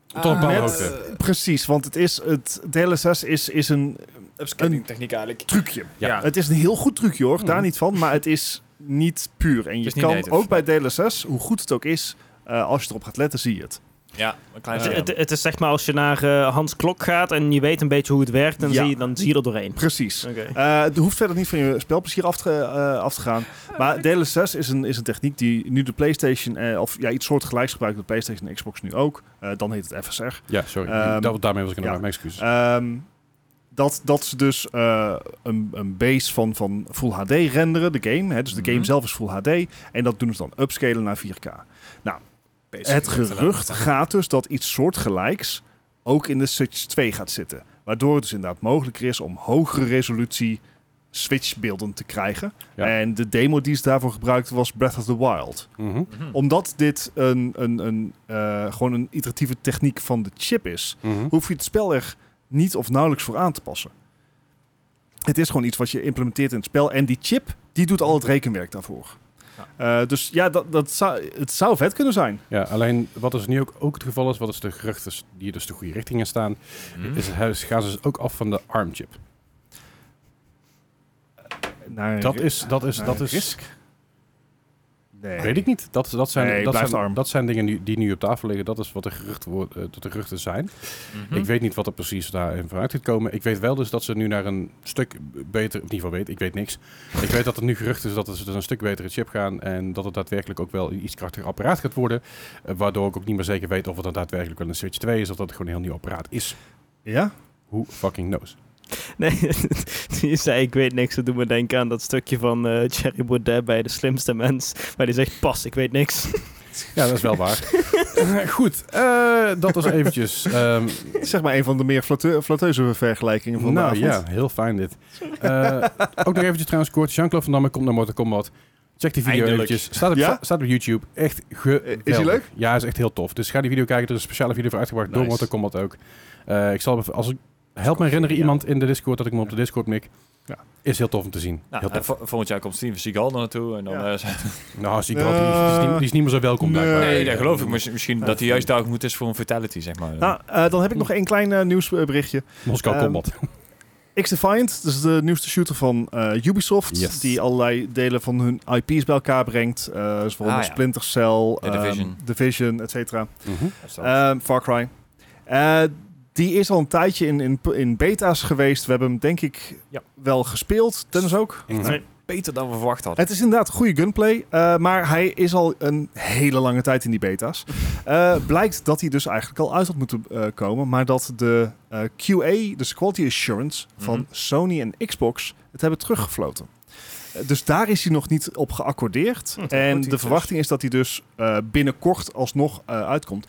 [SPEAKER 2] Tot een bepaalde
[SPEAKER 3] met- eh,
[SPEAKER 2] hoogte.
[SPEAKER 3] precies, want het is het DLSS is, is een
[SPEAKER 4] Upscaling techniek eigenlijk.
[SPEAKER 3] trucje.
[SPEAKER 2] Ja.
[SPEAKER 4] Ja.
[SPEAKER 3] Het is een heel goed trucje hoor,
[SPEAKER 2] Mhm.
[SPEAKER 3] daar niet van, maar het is niet puur. En je
[SPEAKER 4] is niet
[SPEAKER 3] kan
[SPEAKER 4] native.
[SPEAKER 3] ook bij DLSS, hoe goed het ook is, eh, als je erop gaat letten, zie je het.
[SPEAKER 4] Ah, Ja, een klein
[SPEAKER 1] Het-
[SPEAKER 4] scherm.
[SPEAKER 1] Eh, het, het is zeg maar als je naar eh, Hans Klok gaat en je weet een beetje hoe het werkt, dan,
[SPEAKER 3] Ja.
[SPEAKER 1] zie, je, dan zie je er doorheen.
[SPEAKER 3] Precies.
[SPEAKER 1] Oké.
[SPEAKER 3] Eh, het hoeft verder niet van je spelplezier af te, eh, af te gaan. Maar DLSS is een, is een techniek die nu de PlayStation, eh, of ja, iets soortgelijks gebruikt de PlayStation en Xbox nu ook. Eh, dan heet het FSR.
[SPEAKER 2] Ja, sorry.
[SPEAKER 3] Ehm,
[SPEAKER 2] dat, daarmee was ik aan
[SPEAKER 3] ja.
[SPEAKER 2] het maken, mijn excuses.
[SPEAKER 3] Ehm, dat, dat ze dus eh, een, een base van, van Full HD renderen, de game. Hè, dus de game
[SPEAKER 4] Mhm.
[SPEAKER 3] zelf is Full HD. En dat doen ze dan upscalen naar 4K. Het gerucht gaat dus dat iets soortgelijks ook in de Switch 2 gaat zitten. Waardoor het dus inderdaad mogelijk is om hogere resolutie Switch-beelden te krijgen.
[SPEAKER 2] Ja.
[SPEAKER 3] En de demo die ze daarvoor gebruikten was Breath of the Wild.
[SPEAKER 2] Mhm.
[SPEAKER 4] Mhm.
[SPEAKER 3] Omdat dit een, een, een, eh, gewoon een iteratieve techniek van de chip is
[SPEAKER 2] Mhm.
[SPEAKER 3] hoef je het spel er niet of nauwelijks voor aan te passen. Het is gewoon iets wat je implementeert in het spel. En die chip, die doet al het rekenwerk daarvoor. Eh, dus ja, dat, dat zou, het zou vet kunnen zijn.
[SPEAKER 2] Ja, alleen wat dus nu ook, ook het geval is, wat is de geruchten die dus de goede richting in staan,
[SPEAKER 4] Mhm.
[SPEAKER 2] is het, gaan ze dus ook af van de ARM-chip.
[SPEAKER 3] naar
[SPEAKER 2] Dat
[SPEAKER 3] ri-
[SPEAKER 2] is, dat is,
[SPEAKER 3] naar
[SPEAKER 2] dat is,
[SPEAKER 3] risk? Nee.
[SPEAKER 2] weet ik niet. Dat, dat, zijn,
[SPEAKER 3] Nee,
[SPEAKER 2] dat,
[SPEAKER 3] blijft
[SPEAKER 2] zijn,
[SPEAKER 3] arm.
[SPEAKER 2] dat zijn dingen die, die nu op tafel liggen. Dat is wat de geruchten, wo- eh, dat de geruchten zijn.
[SPEAKER 4] Mhm.
[SPEAKER 2] Ik weet niet wat er precies daarin vooruit gaat komen. Ik weet wel dus dat ze nu naar een stuk beter... Of in ieder geval weet, ik weet niks. ik weet dat er nu gerucht is dat ze naar een stuk betere chip gaan. En dat het daadwerkelijk ook wel een iets krachtiger apparaat gaat worden. Eh, waardoor ik ook niet meer zeker weet of het dan daadwerkelijk wel een Switch 2 is. Of dat het gewoon een heel nieuw apparaat is.
[SPEAKER 3] Ja?
[SPEAKER 2] Who fucking knows?
[SPEAKER 1] Nee, die zei ik weet niks. Dat doet me denken aan dat stukje van eh Thierry Baudet bij De Slimste Mens. Waar die zegt, pas, ik weet niks.
[SPEAKER 2] Ja, dat is wel waar. Eh, Goed, eh, dat was eventjes... ehm,
[SPEAKER 3] Zeg maar een van de meer flatte- flatteuze vergelijkingen van
[SPEAKER 2] nou
[SPEAKER 3] de avond.
[SPEAKER 2] ja, heel fijn dit. Eh, ook nog eventjes trouwens kort. Jean-Claude Van Damme komt naar Mortal Kombat. Check die video
[SPEAKER 4] Eindelijk.
[SPEAKER 2] eventjes. Staat op,
[SPEAKER 3] Ja?
[SPEAKER 2] staat op YouTube. Echt geweldig.
[SPEAKER 3] Is die leuk?
[SPEAKER 2] Ja, is echt heel tof. Dus ga die video kijken. Er is een speciale video voor uitgebracht door
[SPEAKER 3] Nice.
[SPEAKER 2] Mortal Kombat ook. Eh, ik zal, hem even- als ik, help me herinneren
[SPEAKER 4] geniaal.
[SPEAKER 2] iemand in de Discord dat ik hem op de Discord mik.
[SPEAKER 3] Ja.
[SPEAKER 2] Is heel tof om te zien. heel
[SPEAKER 4] Nou, en
[SPEAKER 2] tof.
[SPEAKER 4] vol- volgend jaar komt Steven Seagal er naartoe. En dan,
[SPEAKER 3] Ja.
[SPEAKER 4] eh, zijn-
[SPEAKER 2] Nou, zie ik wel, die, is- die is niet, die is niet meer zo welkom
[SPEAKER 3] Nee.
[SPEAKER 2] blijkbaar.
[SPEAKER 4] nee, dat
[SPEAKER 2] Eh,
[SPEAKER 4] geloof ik. Misschien, misschien dat hij juist daar moet is voor een fatality, zeg maar.
[SPEAKER 3] Nou, eh, dan heb ik nog één klein eh, nieuwsberichtje.
[SPEAKER 2] Moskou
[SPEAKER 3] Ehm,
[SPEAKER 2] Kombat.
[SPEAKER 3] X-Defiant, dat is de nieuwste shooter van eh, Ubisoft,
[SPEAKER 2] Yes.
[SPEAKER 3] die allerlei delen van hun IP's bij elkaar brengt. eh zoals
[SPEAKER 4] Ah, ja.
[SPEAKER 3] Splinter Cell,
[SPEAKER 4] The
[SPEAKER 3] ehm,
[SPEAKER 4] Division.
[SPEAKER 3] Division, et cetera.
[SPEAKER 2] Mhm.
[SPEAKER 3] Ehm, Far Cry. Eh, die is al een tijdje in, in, in beta's geweest. We hebben hem denk ik
[SPEAKER 4] Ja.
[SPEAKER 3] wel gespeeld. Dennis ook.
[SPEAKER 2] Mhm.
[SPEAKER 1] Nee.
[SPEAKER 4] beter dan we verwacht hadden.
[SPEAKER 3] Het is inderdaad goede gunplay, eh, maar hij is al een hele lange tijd in die beta's. Eh, blijkt dat hij dus eigenlijk al uit had moeten eh, komen, maar dat de eh, QA, dus Quality Assurance, van
[SPEAKER 4] Mhm.
[SPEAKER 3] Sony en Xbox het hebben teruggefloten. Eh, Dus daar is hij nog niet op geaccordeerd.
[SPEAKER 1] Hm, dat
[SPEAKER 3] en
[SPEAKER 1] moet
[SPEAKER 3] de
[SPEAKER 1] hij dus.
[SPEAKER 3] verwachting is dat hij dus eh, binnenkort alsnog eh, uitkomt.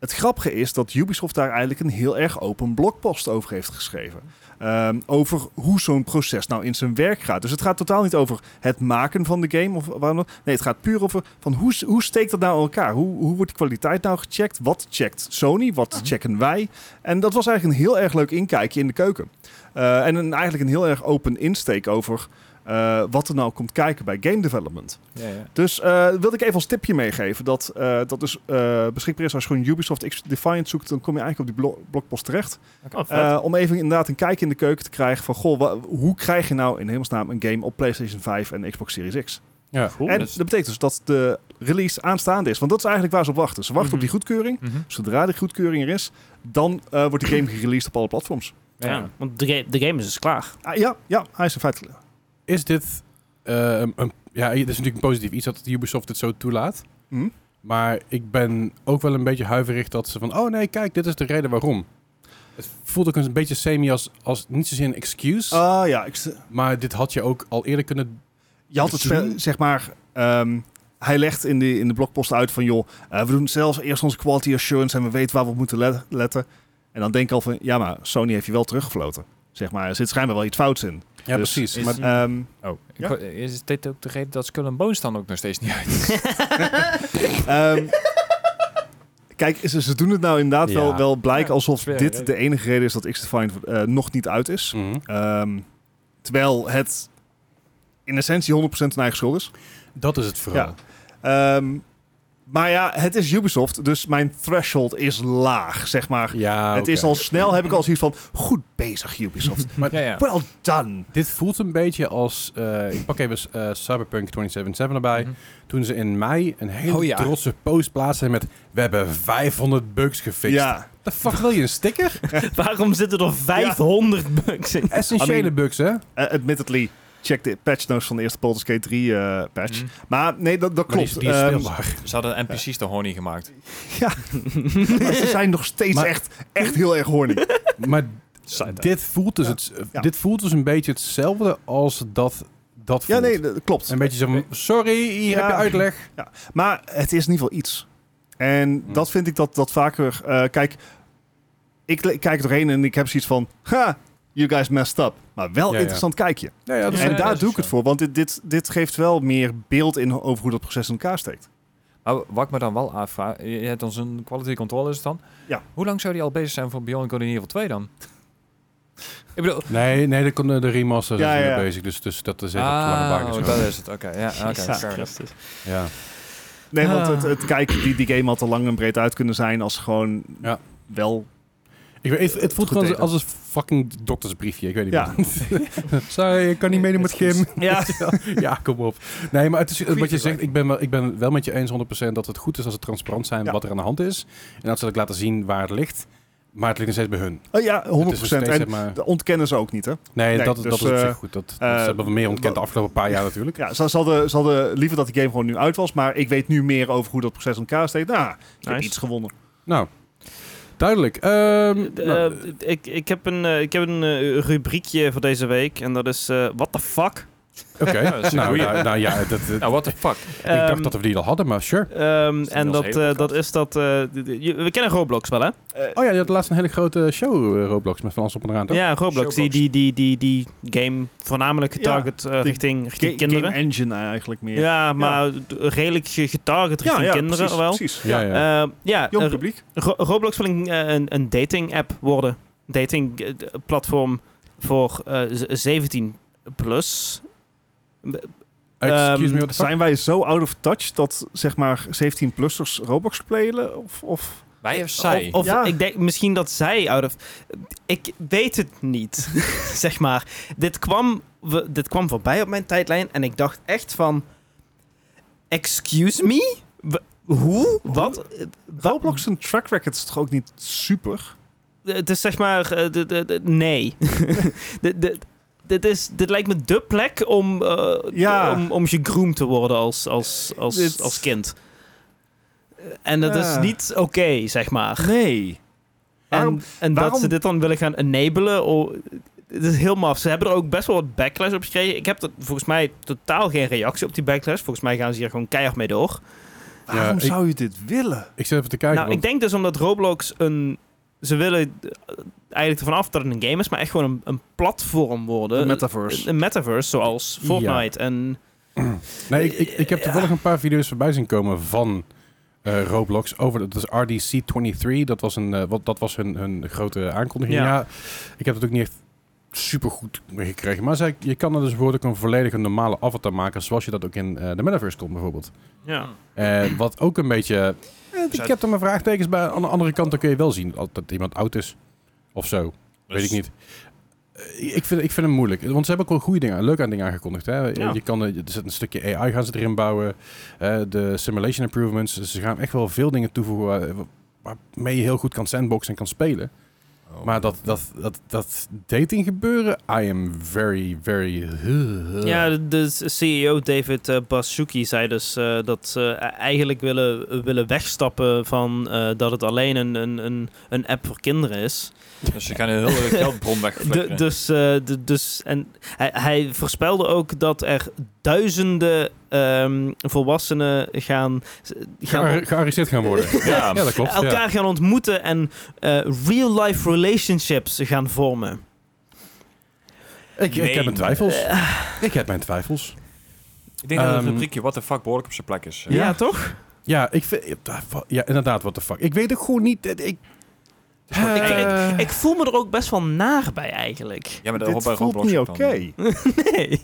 [SPEAKER 3] Het grappige is dat Ubisoft daar eigenlijk een heel erg open blogpost over heeft geschreven. Ehm, over hoe zo'n proces nou in zijn werk gaat. Dus het gaat totaal niet over het maken van de game. Of waarom dan- nee, het gaat puur over van hoe, hoe steekt dat nou in elkaar? Hoe, hoe wordt de kwaliteit nou gecheckt? Wat checkt Sony? Wat checken wij? En dat was eigenlijk een heel erg leuk inkijkje in de keuken. Eh, en een, eigenlijk een heel erg open insteek over eh, wat er nou komt kijken bij game development.
[SPEAKER 4] Ja, ja.
[SPEAKER 3] Dus eh wilde ik even als tipje meegeven dat eh, dat dus eh, beschikbaar is als je gewoon Ubisoft X Defiant zoekt, dan kom je eigenlijk op die blo- blogpost terecht.
[SPEAKER 1] Oh, vet.
[SPEAKER 3] Eh, om even inderdaad een kijkje in de keuken te krijgen van, goh, wa- hoe krijg je nou in hemelsnaam een game op PlayStation 5 en Xbox Series X?
[SPEAKER 2] Ja.
[SPEAKER 3] en
[SPEAKER 4] dat is-
[SPEAKER 3] dat betekent dus dat de release aanstaande is, want dat is eigenlijk waar ze op wachten. Ze wachten
[SPEAKER 4] Mhm.
[SPEAKER 3] op die goedkeuring. Zodra die goedkeuring er is, dan eh, wordt de game gereleased op alle platforms.
[SPEAKER 1] ja. Want de, ga- de game is dus klaar.
[SPEAKER 3] Ah, ja, ja, hij is in feite...
[SPEAKER 2] Is dit... eh, een- een- ja, dit is natuurlijk een positief iets dat Ubisoft het zo toelaat.
[SPEAKER 3] Hm?
[SPEAKER 2] Maar ik ben ook wel een beetje huiverig dat ze van... Oh nee, kijk, dit is de reden waarom. Het voelt ook een beetje semi als, als niet zozeer een excuse.
[SPEAKER 3] Ah ja, ik, s-
[SPEAKER 2] maar dit had je ook al eerder kunnen...
[SPEAKER 3] je had het spel, zeg maar. ehm, hij legt in de, in de blogpost uit van joh, eh, we doen zelfs eerst onze quality assurance en we weten waar we op moeten let- letten. En dan denk ik al van ja, maar Sony heeft je wel teruggefloten. Zeg maar, er zit schijnbaar wel iets fouts in.
[SPEAKER 2] Ja,
[SPEAKER 3] Dus
[SPEAKER 2] precies.
[SPEAKER 4] is-
[SPEAKER 2] maar,
[SPEAKER 3] Ehm,
[SPEAKER 4] Oh, ik
[SPEAKER 3] Ja.
[SPEAKER 4] wou- is dit ook de reden dat Skull and Bones dan ook nog steeds niet uit is?
[SPEAKER 3] ehm, kijk, ze, ze doen het nou inderdaad
[SPEAKER 2] Ja.
[SPEAKER 3] wel, wel blijken
[SPEAKER 4] Ja,
[SPEAKER 3] alsof
[SPEAKER 4] fair,
[SPEAKER 3] dit
[SPEAKER 4] ja.
[SPEAKER 3] de enige reden is dat X-Defined eh, nog niet uit is.
[SPEAKER 2] Mhm.
[SPEAKER 3] Ehm, terwijl het in essentie 100% hun eigen schuld is.
[SPEAKER 2] Dat is het vooral.
[SPEAKER 3] Ja. Ehm, maar ja, het is Ubisoft, dus mijn threshold is laag, zeg maar.
[SPEAKER 2] Ja,
[SPEAKER 3] het
[SPEAKER 2] oké.
[SPEAKER 3] is al snel, heb ik al zoiets van, goed bezig Ubisoft.
[SPEAKER 2] Maar
[SPEAKER 4] ja, ja.
[SPEAKER 3] Well done.
[SPEAKER 2] dit voelt een beetje als... eh, ik pak even eh, Cyberpunk 2077 erbij.
[SPEAKER 4] Mhm.
[SPEAKER 2] Toen ze in mei een hele
[SPEAKER 4] Oh, ja.
[SPEAKER 2] trotse post plaatsten met... We hebben 500 bugs gefixt.
[SPEAKER 3] Ja,
[SPEAKER 2] The fuck, wil je een sticker?
[SPEAKER 1] Waarom zitten er 500 bucks in?
[SPEAKER 2] Essentiële
[SPEAKER 3] I mean-
[SPEAKER 2] bugs, hè?
[SPEAKER 3] eh, admittedly, check de patch notes van de eerste Baldur's Gate 3 eh, patch.
[SPEAKER 4] Mhm.
[SPEAKER 3] Maar nee, dat, dat
[SPEAKER 2] Mm. Maar die is-
[SPEAKER 3] klopt.
[SPEAKER 2] die is
[SPEAKER 3] Ehm,
[SPEAKER 2] speelbaar.
[SPEAKER 4] Ze hadden NPC's te horny gemaakt.
[SPEAKER 3] maar ze zijn nog steeds
[SPEAKER 2] Maar-
[SPEAKER 3] echt, echt heel erg horny.
[SPEAKER 2] Maar
[SPEAKER 4] Side
[SPEAKER 2] Dit voelt, dus
[SPEAKER 3] Ja.
[SPEAKER 2] het,
[SPEAKER 3] Ja.
[SPEAKER 2] dit voelt dus een beetje hetzelfde als dat, dat
[SPEAKER 3] Ja,
[SPEAKER 2] voelt.
[SPEAKER 3] nee, dat klopt.
[SPEAKER 2] Een beetje zo van, sorry, hier
[SPEAKER 3] Ja.
[SPEAKER 2] heb je uitleg.
[SPEAKER 3] Maar het is in ieder geval iets. En
[SPEAKER 2] Mm.
[SPEAKER 3] dat vind ik dat, dat vaker... eh, kijk, ik le- kijk er doorheen en ik heb zoiets van... Ha, you guys messed up. Maar wel
[SPEAKER 2] Ja, ja.
[SPEAKER 3] interessant kijkje.
[SPEAKER 2] Ja, ja, dat is-
[SPEAKER 4] Ja,
[SPEAKER 3] En
[SPEAKER 4] dat
[SPEAKER 3] daar
[SPEAKER 4] is
[SPEAKER 3] doe ik het
[SPEAKER 4] zo.
[SPEAKER 3] voor, want dit, dit, dit geeft wel meer beeld in over hoe dat proces in elkaar steekt.
[SPEAKER 4] Maar wat ik me dan wel afvraag, je je hebt ons een quality control is het dan?
[SPEAKER 3] Ja.
[SPEAKER 4] Hoe lang zou die al bezig zijn voor Beyond Good and Evil 2 dan? ik bedoel...
[SPEAKER 2] Nee, nee, de, de remaster
[SPEAKER 3] Ja,
[SPEAKER 2] zijn
[SPEAKER 3] ja.
[SPEAKER 2] bezig, dus, dus dat is even op de lange baan
[SPEAKER 4] oh, dat is het. Oké, ja, oké.
[SPEAKER 1] Jezus
[SPEAKER 4] fair enough.
[SPEAKER 1] Christus.
[SPEAKER 2] Ja.
[SPEAKER 3] Nee, want
[SPEAKER 1] Ah.
[SPEAKER 3] het, het kijken, die, die game had al lang en breed uit kunnen zijn als ze gewoon
[SPEAKER 2] Ja.
[SPEAKER 3] wel
[SPEAKER 2] Ik weet, het, het voelt
[SPEAKER 3] Goed
[SPEAKER 2] gewoon
[SPEAKER 3] idee,
[SPEAKER 2] als een fucking doktersbriefje. Ik weet niet
[SPEAKER 3] Ja.
[SPEAKER 2] meer. Sorry, ik kan niet meedoen met Kim.
[SPEAKER 1] Ja.
[SPEAKER 2] ja, kom op. Nee, maar het is, wat je
[SPEAKER 3] Goeie
[SPEAKER 2] zegt, ik ben, wel, ik ben wel met je eens 100% dat het goed is als ze transparant zijn
[SPEAKER 3] Ja.
[SPEAKER 2] wat er aan de hand is. En dat ze dat laten zien waar het ligt. Maar het ligt nog steeds bij hun.
[SPEAKER 3] Oh ja, 100%.
[SPEAKER 2] Het is nog steeds, zeg
[SPEAKER 3] en
[SPEAKER 2] maar-
[SPEAKER 3] dat ontkennen ze ook niet, hè?
[SPEAKER 2] nee,
[SPEAKER 3] nee,
[SPEAKER 2] dat,
[SPEAKER 3] dus,
[SPEAKER 2] dat is op zich
[SPEAKER 3] eh,
[SPEAKER 2] goed. Dat, dat
[SPEAKER 3] eh,
[SPEAKER 2] ze hebben we meer ontkend de
[SPEAKER 3] wat-
[SPEAKER 2] afgelopen paar jaar Ah, natuurlijk.
[SPEAKER 3] Ja, ze, ze hadden, ze hadden liever dat die game gewoon nu uit was, maar ik weet nu meer over hoe dat proces in elkaar steekt. Nou, ik heb
[SPEAKER 1] Nice.
[SPEAKER 3] iets gewonnen.
[SPEAKER 2] Nou, duidelijk. Ehm,
[SPEAKER 1] Eh,
[SPEAKER 2] nou,
[SPEAKER 1] ik, ik heb een, eh, ik heb een eh, rubriekje voor deze week en dat is eh what the fuck.
[SPEAKER 2] Oké,
[SPEAKER 4] dat is een
[SPEAKER 2] nou,
[SPEAKER 4] goeie.
[SPEAKER 2] nou, nou ja, dat, dat-
[SPEAKER 4] Nou, what the fuck?
[SPEAKER 2] ik
[SPEAKER 1] Ehm,
[SPEAKER 2] dacht dat we die al hadden, maar sure.
[SPEAKER 1] ehm,
[SPEAKER 4] Is dat
[SPEAKER 1] en
[SPEAKER 4] ons
[SPEAKER 1] dat,
[SPEAKER 4] hele
[SPEAKER 1] eh,
[SPEAKER 4] podcast?
[SPEAKER 1] dat is dat... eh, d- d- je- we kennen Roblox wel, hè?
[SPEAKER 2] Oh ja, je had laatst een hele grote show, eh, Roblox, met van alles op en eraan. toch?
[SPEAKER 1] Ja, Roblox. Die,
[SPEAKER 4] Showbox.
[SPEAKER 1] die, die, die, die game voornamelijk getarget eh,
[SPEAKER 3] die
[SPEAKER 1] richting, richting
[SPEAKER 3] Ga-
[SPEAKER 1] kinderen.
[SPEAKER 3] Game engine eigenlijk meer.
[SPEAKER 1] Ja, maar d- redelijk ge- getarget
[SPEAKER 3] ja,
[SPEAKER 1] richting
[SPEAKER 3] ja,
[SPEAKER 1] kinderen
[SPEAKER 3] precies,
[SPEAKER 1] wel.
[SPEAKER 3] precies.
[SPEAKER 2] ja,
[SPEAKER 3] Ja.
[SPEAKER 2] ja.
[SPEAKER 1] Eh, ja,
[SPEAKER 3] Jong
[SPEAKER 1] eh,
[SPEAKER 3] publiek.
[SPEAKER 1] Ro- Roblox wil een, eh, een, een dating app worden. Dating eh, d- platform voor eh, z- 17 plus.
[SPEAKER 2] Excuse
[SPEAKER 1] ehm,
[SPEAKER 2] me, what the fuck?
[SPEAKER 3] Zijn wij zo out of touch dat zeg maar 17-plussers Roblox spelen? Of, of...
[SPEAKER 1] Oh,
[SPEAKER 4] Wij of zij?
[SPEAKER 1] Of, of
[SPEAKER 3] Ja.
[SPEAKER 1] ik denk misschien dat zij out of. Ik weet het niet, zeg maar. Dit kwam, we- dit kwam voorbij op mijn tijdlijn en ik dacht echt van. Excuse me? W- hoe? Wat?
[SPEAKER 3] Roblox en track record is toch ook niet super?
[SPEAKER 1] Het is zeg maar. eh, de- de- de- nee. De- de- Dit, is, dit lijkt me dé plek om, eh,
[SPEAKER 3] Ja.
[SPEAKER 1] om, om gegroomd te worden als, als, als,
[SPEAKER 3] Dit-
[SPEAKER 1] als kind. En dat
[SPEAKER 3] Ja.
[SPEAKER 1] is niet oké, zeg maar.
[SPEAKER 3] Nee. Waarom-
[SPEAKER 1] En, en dat
[SPEAKER 3] waarom-
[SPEAKER 1] ze dit dan willen gaan enabelen. oh, het is heel maf. Ze hebben er ook best wel wat backlash op gekregen. Ik heb er volgens mij totaal geen reactie op die backlash. Volgens mij gaan ze hier gewoon keihard mee door.
[SPEAKER 3] Waarom
[SPEAKER 2] ik-
[SPEAKER 3] zou je dit willen?
[SPEAKER 2] Ik zit even te kijken.
[SPEAKER 1] nou, ik
[SPEAKER 2] want-
[SPEAKER 1] denk dus omdat Roblox een. Ze willen eh, eigenlijk ervan af dat het een game is, maar echt gewoon een, een platform worden.
[SPEAKER 3] De metaverse.
[SPEAKER 1] Een, een metaverse, zoals
[SPEAKER 2] Ja.
[SPEAKER 1] Fortnite. En
[SPEAKER 2] Nee, ik, ik, ik
[SPEAKER 1] Eh,
[SPEAKER 2] heb toevallig een paar video's voorbij zien komen van eh, Roblox over dat is RDC23. Dat was, een, eh, wat, dat was hun, hun grote aankondiging.
[SPEAKER 1] Ja.
[SPEAKER 2] Ja. ik heb het ook niet echt super goed gekregen. Maar zei, je kan er dus bijvoorbeeld ook een volledig een normale avatar maken, zoals je dat ook in eh, de metaverse kon bijvoorbeeld.
[SPEAKER 1] ja.
[SPEAKER 2] En wat ook een beetje. eh,
[SPEAKER 4] Dus
[SPEAKER 2] ik
[SPEAKER 4] uit-
[SPEAKER 2] heb er mijn vraagtekens bij. Aan de andere kant dan kun je wel zien dat dat iemand oud is. Of zo. Weet ik niet. Dus- Eh, Ik vind, ik vind hem moeilijk. Want ze hebben ook wel goede dingen, leuke dingen aangekondigd. Hè?
[SPEAKER 1] Ja.
[SPEAKER 2] Je kan, eh, er zit een stukje AI gaan ze erin bouwen. Eh, de simulation improvements. Dus ze gaan echt wel veel dingen toevoegen waar- eh, waarmee je heel goed kan sandboxen en kan spelen.
[SPEAKER 3] Oh.
[SPEAKER 2] Maar dat, dat, dat, dat dating gebeuren, I am very, very... eh,
[SPEAKER 1] Ja, de, de CEO David eh, Baszucki zei dus eh, dat ze e- eigenlijk willen, willen wegstappen van eh, dat het alleen een, een, een, een app voor kinderen is.
[SPEAKER 4] Dus je kan een hele geldbron
[SPEAKER 1] De,
[SPEAKER 4] wegflikkeren.
[SPEAKER 1] dus, eh, de, dus, en hij, hij voorspelde ook dat er duizenden ehm, volwassenen gaan, gaan
[SPEAKER 2] Gear- Gearresteerd gaan worden.
[SPEAKER 4] Ja,
[SPEAKER 2] Ja, dat klopt. ja.
[SPEAKER 1] elkaar gaan ontmoeten en eh, real-life relationships gaan vormen.
[SPEAKER 2] Ik, ik
[SPEAKER 4] Nee.
[SPEAKER 2] heb mijn twijfels.
[SPEAKER 1] Eh.
[SPEAKER 2] ik heb mijn twijfels.
[SPEAKER 4] ik denk dat het
[SPEAKER 2] Ehm,
[SPEAKER 4] rubriekje what the fuck behoorlijk op zijn plek is.
[SPEAKER 1] Ja, toch?
[SPEAKER 2] Ja, ik vind... Ja, inderdaad, what the fuck. Ik weet ook gewoon niet... dat Ik,
[SPEAKER 1] ik,
[SPEAKER 2] Eh.
[SPEAKER 1] ik, ik voel me er ook best wel naar bij eigenlijk.
[SPEAKER 4] Ja, maar dat
[SPEAKER 3] Dit
[SPEAKER 4] hoort bij
[SPEAKER 3] voelt
[SPEAKER 4] Roblox
[SPEAKER 3] niet
[SPEAKER 4] ook
[SPEAKER 3] oké.
[SPEAKER 4] dan.
[SPEAKER 1] Nee.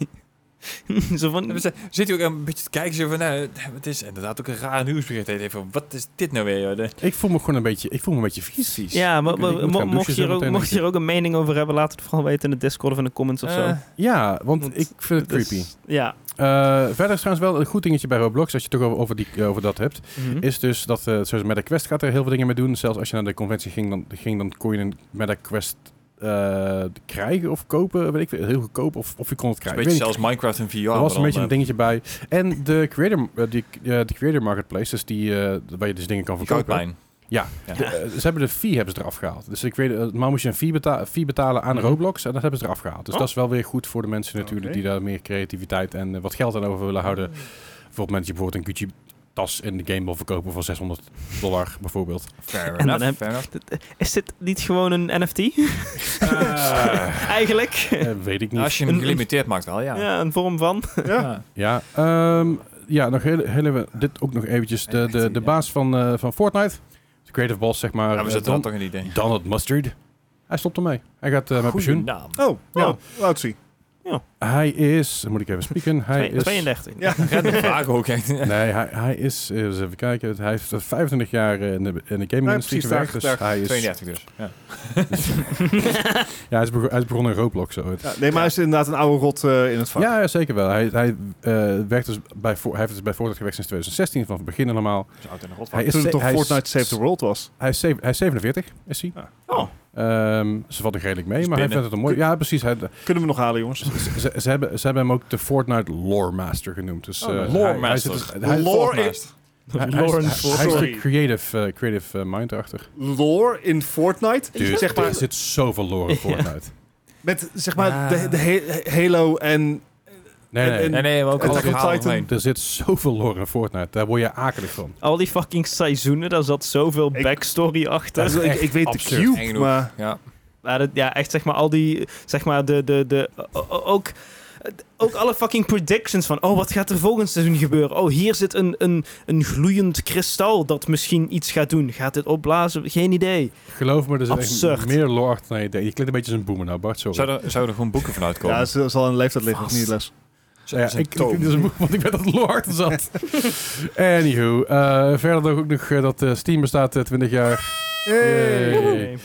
[SPEAKER 1] Zo van,
[SPEAKER 4] Ja, maar ze- Zit hij ook een beetje te kijken, zo van, nou, het is inderdaad ook een raar nieuwsbericht. Hij denkt van, wat is dit nou weer? joh? De-
[SPEAKER 2] ik voel me gewoon een beetje... Ik voel me een beetje vies.
[SPEAKER 1] ja, maar,
[SPEAKER 2] Ik moet
[SPEAKER 1] maar-
[SPEAKER 2] gaan
[SPEAKER 1] mo-
[SPEAKER 2] douchen
[SPEAKER 1] mocht, je er
[SPEAKER 2] zo
[SPEAKER 1] ook,
[SPEAKER 2] meteen,
[SPEAKER 1] mocht je
[SPEAKER 2] denk
[SPEAKER 1] er ook een mening over hebben, laat het vooral weten in de Discord of in de comments of zo.
[SPEAKER 4] Eh,
[SPEAKER 2] Ja, want
[SPEAKER 1] Want
[SPEAKER 2] ik vind het
[SPEAKER 1] Dat is-
[SPEAKER 2] creepy.
[SPEAKER 1] ja.
[SPEAKER 2] Eh, verder is trouwens wel een goed dingetje bij Roblox, als je het toch over, over die, eh, over dat hebt,
[SPEAKER 4] Hm?
[SPEAKER 1] Mhm.
[SPEAKER 2] is dus dat, eh zoals met de Quest gaat er heel veel dingen mee doen. Zelfs als je naar de conventie ging, dan, ging, dan kon je een Meta Quest eh, krijgen of kopen, weet ik veel, heel goedkoop, of, of je kon het
[SPEAKER 4] een
[SPEAKER 2] krijgen.
[SPEAKER 4] beetje
[SPEAKER 2] Weet ik
[SPEAKER 4] zelfs Minecraft en VR.
[SPEAKER 2] Er was
[SPEAKER 4] maar
[SPEAKER 2] een beetje een
[SPEAKER 4] dan, eh,
[SPEAKER 2] dingetje bij. En de creator, eh, die, eh, de creator marketplace, dus die, eh, waar je dus dingen kan
[SPEAKER 4] die
[SPEAKER 2] verkopen.
[SPEAKER 4] koudpijn.
[SPEAKER 2] De, eh, ze hebben de fee hebben ze eraf gehaald. Dus ik weet, eh, normaal moest je een fee, beta- fee betalen aan
[SPEAKER 1] Mhm.
[SPEAKER 2] Roblox en dat hebben ze eraf gehaald. Dus
[SPEAKER 1] Oh.
[SPEAKER 2] dat is wel weer goed voor de mensen natuurlijk
[SPEAKER 3] Oké.
[SPEAKER 2] die daar meer creativiteit en eh, wat geld aan over willen
[SPEAKER 1] Mhm.
[SPEAKER 2] houden. Voor het moment dat je bijvoorbeeld een Gucci tas in de game wil verkopen voor 600 dollar bijvoorbeeld.
[SPEAKER 4] Fair
[SPEAKER 1] dan
[SPEAKER 4] enough,
[SPEAKER 1] heb-
[SPEAKER 4] fair enough.
[SPEAKER 1] Is dit niet gewoon een NFT? Ah. Eigenlijk.
[SPEAKER 2] Eh, weet ik niet.
[SPEAKER 4] Nou, Als je
[SPEAKER 1] Een-
[SPEAKER 4] hem
[SPEAKER 1] een-
[SPEAKER 4] gelimiteerd maakt wel, ja.
[SPEAKER 1] Ja. een vorm van.
[SPEAKER 3] Ja.
[SPEAKER 2] Ja, ehm, ja nog heel, heel even, dit ook nog eventjes. De, de, de baas van, eh, van Fortnite, de creative boss zeg maar,
[SPEAKER 4] Ja, we
[SPEAKER 2] eh,
[SPEAKER 4] zitten
[SPEAKER 2] Don-
[SPEAKER 4] dan toch een idee.
[SPEAKER 2] Donald Mustard. Hij stopt ermee. Hij gaat eh met
[SPEAKER 4] Goeie
[SPEAKER 2] pensioen.
[SPEAKER 4] naam.
[SPEAKER 3] Oh,
[SPEAKER 2] Ja.
[SPEAKER 3] ja. laat zien.
[SPEAKER 2] Hij is, dan moet ik even spieken. Hij
[SPEAKER 1] Twee-
[SPEAKER 2] is,
[SPEAKER 1] 32.
[SPEAKER 3] Ja.
[SPEAKER 4] Gaat de vragen ook echt.
[SPEAKER 2] Nee, hij, hij is, eh, eens even kijken, hij heeft 25 jaar eh, in de, in de gaming-industrie
[SPEAKER 3] precies,
[SPEAKER 2] gewerkt.
[SPEAKER 3] daar-
[SPEAKER 2] Dus
[SPEAKER 3] daar-
[SPEAKER 2] hij is, ja,
[SPEAKER 4] 32 dus. Ja.
[SPEAKER 2] hij is, bego- hij is begonnen in Roblox. Zo. Het-
[SPEAKER 3] Ja, nee, maar hij is inderdaad een oude rot eh, in het vak.
[SPEAKER 2] Ja, zeker wel. Hij, hij, eh, werkt dus bij, Fo- hij heeft dus bij Fortnite gewerkt sinds 2016, vanaf het begin normaal.
[SPEAKER 4] Zo dus oud en rot.
[SPEAKER 2] Hij is,
[SPEAKER 3] Toen
[SPEAKER 2] ze-
[SPEAKER 3] het toch
[SPEAKER 2] hij is-
[SPEAKER 3] Fortnite Save the World was.
[SPEAKER 2] Hij is, zeven- hij is 47, is hij.
[SPEAKER 3] Ah.
[SPEAKER 1] Oh.
[SPEAKER 2] Ehm, ze vallen redelijk mee,
[SPEAKER 4] Is
[SPEAKER 2] maar hij
[SPEAKER 4] binnen.
[SPEAKER 2] vindt het een mooi... Ja, precies. Hij,
[SPEAKER 3] Kunnen we nog halen, jongens?
[SPEAKER 2] ze, ze- ze hebben, ze hebben hem ook de Fortnite Lore Master genoemd. Dus,
[SPEAKER 4] Oh,
[SPEAKER 2] eh,
[SPEAKER 4] Lore
[SPEAKER 2] hij- hij
[SPEAKER 4] Master.
[SPEAKER 2] zit- hij-
[SPEAKER 3] Lore in,
[SPEAKER 2] hij- hij-
[SPEAKER 1] Lore
[SPEAKER 2] hij-
[SPEAKER 1] Master.
[SPEAKER 2] Hij is
[SPEAKER 3] Sorry.
[SPEAKER 2] de creative, eh, creative eh, mind erachter.
[SPEAKER 3] lore in Fortnite?
[SPEAKER 2] Dude,
[SPEAKER 3] zeg maar,
[SPEAKER 2] er zit zoveel lore in Fortnite.
[SPEAKER 3] met zeg maar
[SPEAKER 1] Ja.
[SPEAKER 3] de, de he- Halo en...
[SPEAKER 2] Nee, nee.
[SPEAKER 3] En-
[SPEAKER 4] Nee, nee, maar ook
[SPEAKER 3] En
[SPEAKER 4] alle
[SPEAKER 3] Attack on
[SPEAKER 4] verhalen
[SPEAKER 3] Titan.
[SPEAKER 4] omheen.
[SPEAKER 2] er zit zoveel lore in Fortnite. Daar word je akelig van.
[SPEAKER 1] Al die fucking seizoenen, daar zat zoveel
[SPEAKER 3] Ik-
[SPEAKER 1] backstory achter.
[SPEAKER 2] Dat is
[SPEAKER 3] ik, ik weet
[SPEAKER 2] absurd.
[SPEAKER 3] de
[SPEAKER 4] Eng
[SPEAKER 3] Cube,
[SPEAKER 4] genoeg.
[SPEAKER 3] maar...
[SPEAKER 4] Ja.
[SPEAKER 1] Maar dat- ja, echt zeg maar al die, zeg maar de, de, de, o- o- ook, ook alle fucking predictions van, oh wat gaat er volgend seizoen gebeuren? Oh, hier zit een, een, een gloeiend kristal dat misschien iets gaat doen. Gaat dit opblazen? Geen idee.
[SPEAKER 2] Geloof me, er zit echt
[SPEAKER 1] Absurd.
[SPEAKER 2] meer lore achter dan je denkt. Je klinkt een beetje als een boemer nou, Bart. Sorry.
[SPEAKER 4] Zou er, zou er gewoon boeken vanuit komen?
[SPEAKER 3] Ja, ze zal een leeftijd liggen,
[SPEAKER 4] Vast.
[SPEAKER 3] niet les.
[SPEAKER 2] Nou ja, ik klink dus een boemer, want ik ben dat lore achter zat. Anywho. eh, verder ook nog eh, dat eh, Steam bestaat eh, 20 jaar. Yay.
[SPEAKER 1] Woehoe.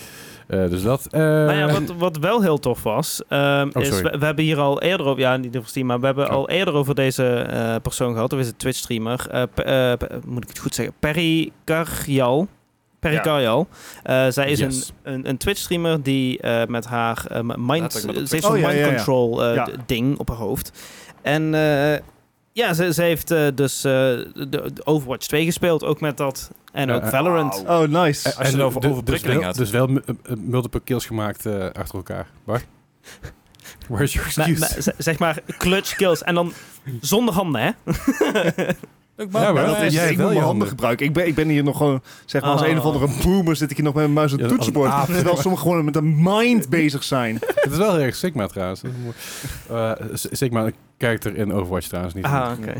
[SPEAKER 2] Eh, dus dat. eh,
[SPEAKER 1] Nou ja, wat, wat wel heel tof was, ehm,
[SPEAKER 2] Oh,
[SPEAKER 1] is
[SPEAKER 2] sorry.
[SPEAKER 1] we, we hebben hier al eerder over, ja, niet over Steam, maar we hebben
[SPEAKER 2] Oh.
[SPEAKER 1] al eerder over deze eh, persoon gehad, of is het Twitch streamer, eh, P- eh, P- moet ik het goed zeggen, Perry Carjal. Perry
[SPEAKER 3] Ja.
[SPEAKER 1] Carjal. Eh, zij is
[SPEAKER 2] Yes.
[SPEAKER 1] een, een, een Twitch streamer die eh, met haar eh, mind,
[SPEAKER 4] Laat ik maar op
[SPEAKER 1] ze heeft
[SPEAKER 3] Oh,
[SPEAKER 1] zo'n
[SPEAKER 3] ja,
[SPEAKER 1] mind
[SPEAKER 3] ja, ja.
[SPEAKER 1] control eh,
[SPEAKER 3] Ja.
[SPEAKER 1] d- ding op haar hoofd. En eh, ja, ze, ze heeft eh, dus eh, de, de Overwatch 2 gespeeld, ook met dat, en
[SPEAKER 2] Ja,
[SPEAKER 1] ook
[SPEAKER 2] eh,
[SPEAKER 1] Valorant.
[SPEAKER 4] wauw.
[SPEAKER 3] Oh, nice.
[SPEAKER 4] Als je het
[SPEAKER 2] en
[SPEAKER 4] over
[SPEAKER 2] de-
[SPEAKER 4] overprikkeling
[SPEAKER 2] dus
[SPEAKER 4] had.
[SPEAKER 2] wel- Dus wel mu- eh, eh, multiple kills gemaakt eh, achter elkaar. Bart? Where's your
[SPEAKER 1] Maar-
[SPEAKER 2] excuse?
[SPEAKER 1] maar, z- zeg maar clutch kills en dan zonder handen, hè?
[SPEAKER 2] Ja, maar
[SPEAKER 3] Ja, dat
[SPEAKER 2] eh,
[SPEAKER 3] is,
[SPEAKER 2] jij wel je
[SPEAKER 3] ik moet mijn handen
[SPEAKER 2] handen.
[SPEAKER 3] gebruiken. Ik ben, ik ben hier nog gewoon, zeg maar, als
[SPEAKER 1] Oh.
[SPEAKER 3] een of andere boomer zit ik hier nog met mijn muis en
[SPEAKER 2] Ja, als een
[SPEAKER 3] toetsenbord.
[SPEAKER 2] aap.
[SPEAKER 3] Terwijl sommigen gewoon met een mind bezig zijn.
[SPEAKER 2] Het is wel heel erg Sigma trouwens. Dat is mooi. Eh, S- Sigma kijkt er in Overwatch trouwens niet.
[SPEAKER 1] Ah,
[SPEAKER 2] Ah.
[SPEAKER 1] oké.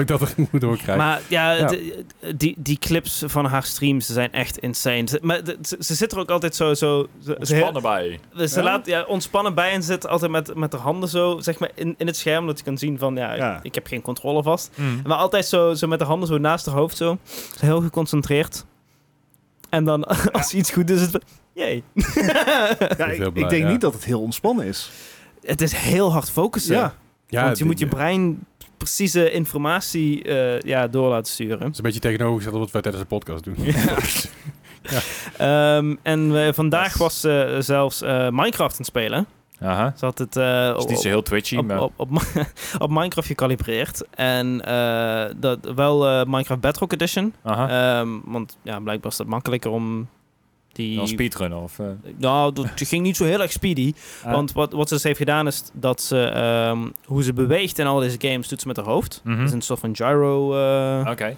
[SPEAKER 2] ik dat er moet doorkrijgen.
[SPEAKER 1] Maar ja,
[SPEAKER 2] Ja.
[SPEAKER 1] de- die, die clips van haar streams zijn echt insane. Ze, maar de- ze, ze zit er ook altijd zo... zo ze,
[SPEAKER 4] Spannen bij.
[SPEAKER 1] Ze, ze
[SPEAKER 3] Ja?
[SPEAKER 1] laat ja, ontspannen bij en ze zit altijd met, met haar handen zo zeg maar, in, in het scherm. Dat je kan zien van, ja,
[SPEAKER 3] Ja.
[SPEAKER 1] ik heb geen controle vast. Maar altijd zo, zo met de handen zo naast haar hoofd zo. Ze Heel geconcentreerd. En dan als iets goed is, het... Jee.
[SPEAKER 3] Ja,
[SPEAKER 2] is
[SPEAKER 3] ik,
[SPEAKER 2] heel
[SPEAKER 3] ik
[SPEAKER 2] blij,
[SPEAKER 3] denk
[SPEAKER 2] ja.
[SPEAKER 3] niet dat het heel ontspannen is.
[SPEAKER 1] Het is heel hard focussen.
[SPEAKER 3] Ja.
[SPEAKER 2] ja,
[SPEAKER 1] Want je
[SPEAKER 2] dit-
[SPEAKER 1] moet je brein precieze informatie eh, ja, door laten sturen.
[SPEAKER 2] Het is een beetje tegenovergesteld op wat wij tijdens de podcast doen.
[SPEAKER 1] Ehm, en eh, vandaag
[SPEAKER 4] Yes.
[SPEAKER 1] was ze zelfs eh, Minecraft aan het spelen.
[SPEAKER 4] Aha.
[SPEAKER 1] Ze had het eh,
[SPEAKER 4] Het is
[SPEAKER 1] op,
[SPEAKER 4] niet zo heel twitchy,
[SPEAKER 1] op,
[SPEAKER 4] maar...
[SPEAKER 1] op, op, op Minecraft gecalibreerd. En eh, dat, wel eh, Minecraft Bedrock Edition.
[SPEAKER 4] Aha.
[SPEAKER 1] Ehm, want ja, blijkbaar is dat makkelijker om die...
[SPEAKER 4] Dan speedrunnen of... eh,
[SPEAKER 1] Nou, dat ging niet zo heel erg speedy.
[SPEAKER 4] ah.
[SPEAKER 1] Want wat, wat ze dus heeft gedaan is dat ze... ehm, hoe ze beweegt in al deze games doet ze met haar hoofd.
[SPEAKER 4] Mhm.
[SPEAKER 1] Dat is een soort van gyro... eh,
[SPEAKER 4] Oké.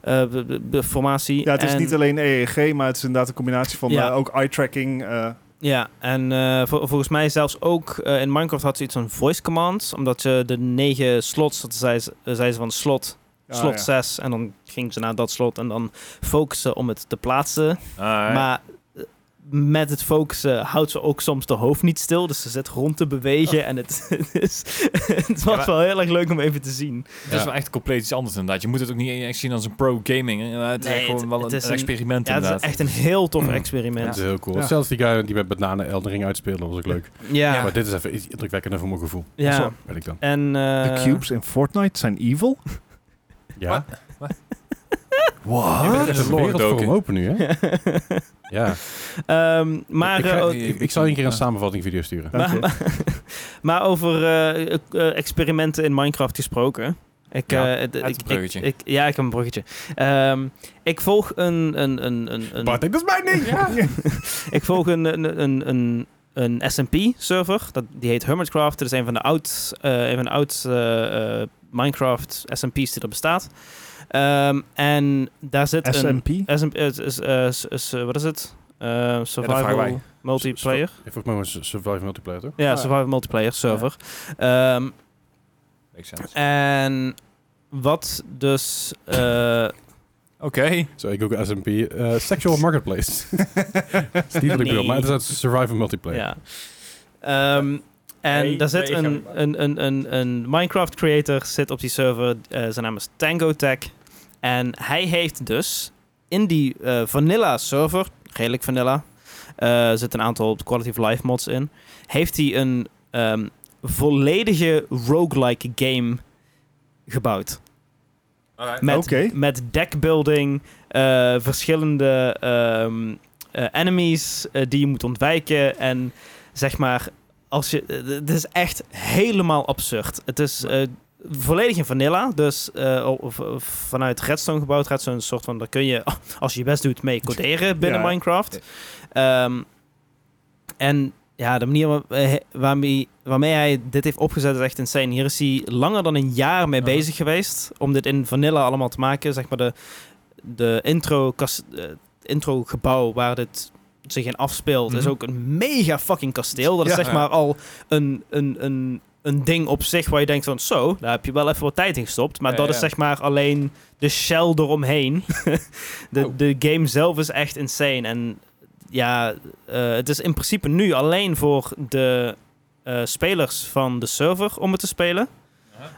[SPEAKER 1] eh, be- be- be- formatie.
[SPEAKER 3] Ja, het is
[SPEAKER 1] En-
[SPEAKER 3] niet alleen EEG, maar het is inderdaad een combinatie van
[SPEAKER 1] Ja.
[SPEAKER 3] eh, ook eye-tracking. eh,
[SPEAKER 1] Ja, en eh, vol- volgens mij zelfs ook eh, in Minecraft had ze iets van voice commands. Omdat je de negen slots, dat zei ze, eh, zei ze van slot,
[SPEAKER 3] ja,
[SPEAKER 1] slot
[SPEAKER 3] Ah, ja.
[SPEAKER 1] 6. En dan ging ze naar dat slot en dan focussen om het te plaatsen.
[SPEAKER 4] Ah,
[SPEAKER 1] Maar eh, met het focussen houdt ze ook soms de hoofd niet stil. Dus ze zit rond te bewegen. En het, het is, het was
[SPEAKER 4] maar-
[SPEAKER 1] wel heel erg leuk om even te zien.
[SPEAKER 4] Het is wel echt compleet iets anders inderdaad. Je moet het ook niet echt zien als een pro-gaming. hè. Het is
[SPEAKER 1] Nee,
[SPEAKER 4] echt gewoon
[SPEAKER 1] het-
[SPEAKER 4] wel
[SPEAKER 1] het
[SPEAKER 4] een,
[SPEAKER 1] is
[SPEAKER 4] een
[SPEAKER 1] een-
[SPEAKER 4] experiment
[SPEAKER 1] Ja, het is
[SPEAKER 4] inderdaad.
[SPEAKER 1] echt een heel tof
[SPEAKER 2] Dat
[SPEAKER 1] experiment.
[SPEAKER 2] is heel cool.
[SPEAKER 3] Ja.
[SPEAKER 2] Zelfs die guy die met bananen Elden Ring uitspeelde, was ook leuk.
[SPEAKER 1] Ja, ja.
[SPEAKER 2] Maar dit is even iets indrukwekkender voor mijn gevoel.
[SPEAKER 3] Zo.
[SPEAKER 2] Weet ik dan.
[SPEAKER 1] En,
[SPEAKER 3] De
[SPEAKER 1] eh,
[SPEAKER 3] cubes in Fortnite zijn evil?
[SPEAKER 2] Ja?
[SPEAKER 4] Je
[SPEAKER 3] What?
[SPEAKER 4] bent
[SPEAKER 2] Het is
[SPEAKER 4] echt
[SPEAKER 2] een
[SPEAKER 4] een lore
[SPEAKER 2] wereld voor
[SPEAKER 4] doken.
[SPEAKER 2] hem open nu, hè? Ja.
[SPEAKER 1] Ehm, maar
[SPEAKER 2] ik, ga-
[SPEAKER 1] eh, ook-
[SPEAKER 2] ik, ik zal je een keer een samenvatting video sturen.
[SPEAKER 3] Dank je.
[SPEAKER 1] Maar, maar, maar over eh, eh, eh, experimenten in Minecraft gesproken. Ik,
[SPEAKER 4] Ja,
[SPEAKER 1] eh, d-
[SPEAKER 4] het
[SPEAKER 1] ik,
[SPEAKER 4] bruggetje.
[SPEAKER 1] Ik, ik- ja, ik heb een bruggetje. Ehm, ik volg een, een, een, een, een-
[SPEAKER 2] Bart, ik- dat is mijn ding!
[SPEAKER 1] ik volg een, een, een, een, een SMP-server. Die heet Hermitcraft. Dat is een van de oud, eh, een van de oud eh, eh, Minecraft SMP's die er bestaat. Ehm, en daar zit een...
[SPEAKER 3] SMP?
[SPEAKER 1] SMP, is, is, eh, is- is, eh, wat is het? Eh,
[SPEAKER 4] vragen
[SPEAKER 1] survival
[SPEAKER 4] wij.
[SPEAKER 1] multiplayer.
[SPEAKER 2] Volgens mij was het Survival Multiplayer, toch?
[SPEAKER 1] Ja,
[SPEAKER 3] Ah.
[SPEAKER 1] survival multiplayer server. Ehm,
[SPEAKER 4] Makes sense.
[SPEAKER 1] En wat dus. eh,
[SPEAKER 4] Oké.
[SPEAKER 2] Zo, ik ook SMP. eh, sexual Marketplace. dat is niet wat ik bedoel, maar het is een Survival Multiplayer.
[SPEAKER 1] ja. Ehm, En
[SPEAKER 5] Nee,
[SPEAKER 1] daar zit
[SPEAKER 5] nee,
[SPEAKER 1] een,
[SPEAKER 5] ga maar.
[SPEAKER 1] een, een, een, een Minecraft creator zit op die server. eh, zijn naam is Tango Tech. En hij heeft dus in die eh, vanilla server, redelijk vanilla, eh zit een aantal quality of life mods in. Heeft hij een ehm, volledige roguelike game gebouwd. Met,
[SPEAKER 3] Oké.
[SPEAKER 1] met deckbuilding, eh, verschillende ehm, eh, enemies eh, die je moet ontwijken. En zeg maar, als je, eh, het is echt helemaal absurd. Het is eh, volledig in vanilla, dus eh, of- of vanuit Redstone gebouwd. Redstone is een soort van, daar kun je, als je je best doet, mee coderen binnen
[SPEAKER 3] Ja.
[SPEAKER 1] Minecraft. Ehm, en ja, de manier waar- eh, waarmee, waarmee hij dit heeft opgezet is echt insane. Hier is hij langer dan een jaar mee
[SPEAKER 5] Ja.
[SPEAKER 1] bezig geweest om dit in vanilla allemaal te maken. Zeg maar de, de intro, kas- eh, intro gebouw waar dit zich in afspeelt is
[SPEAKER 5] Mhm.
[SPEAKER 1] ook een mega fucking kasteel. Dat is
[SPEAKER 3] Ja.
[SPEAKER 1] zeg maar al een, een, een, een ding op zich waar je denkt van zo, daar heb je wel even wat tijd in gestopt. Maar
[SPEAKER 4] Ja,
[SPEAKER 1] dat
[SPEAKER 4] ja.
[SPEAKER 1] is zeg maar alleen de shell eromheen. de,
[SPEAKER 5] Oh.
[SPEAKER 1] de game zelf is echt insane. En ja, eh, het is in principe nu alleen voor de eh, spelers van de server om het te spelen.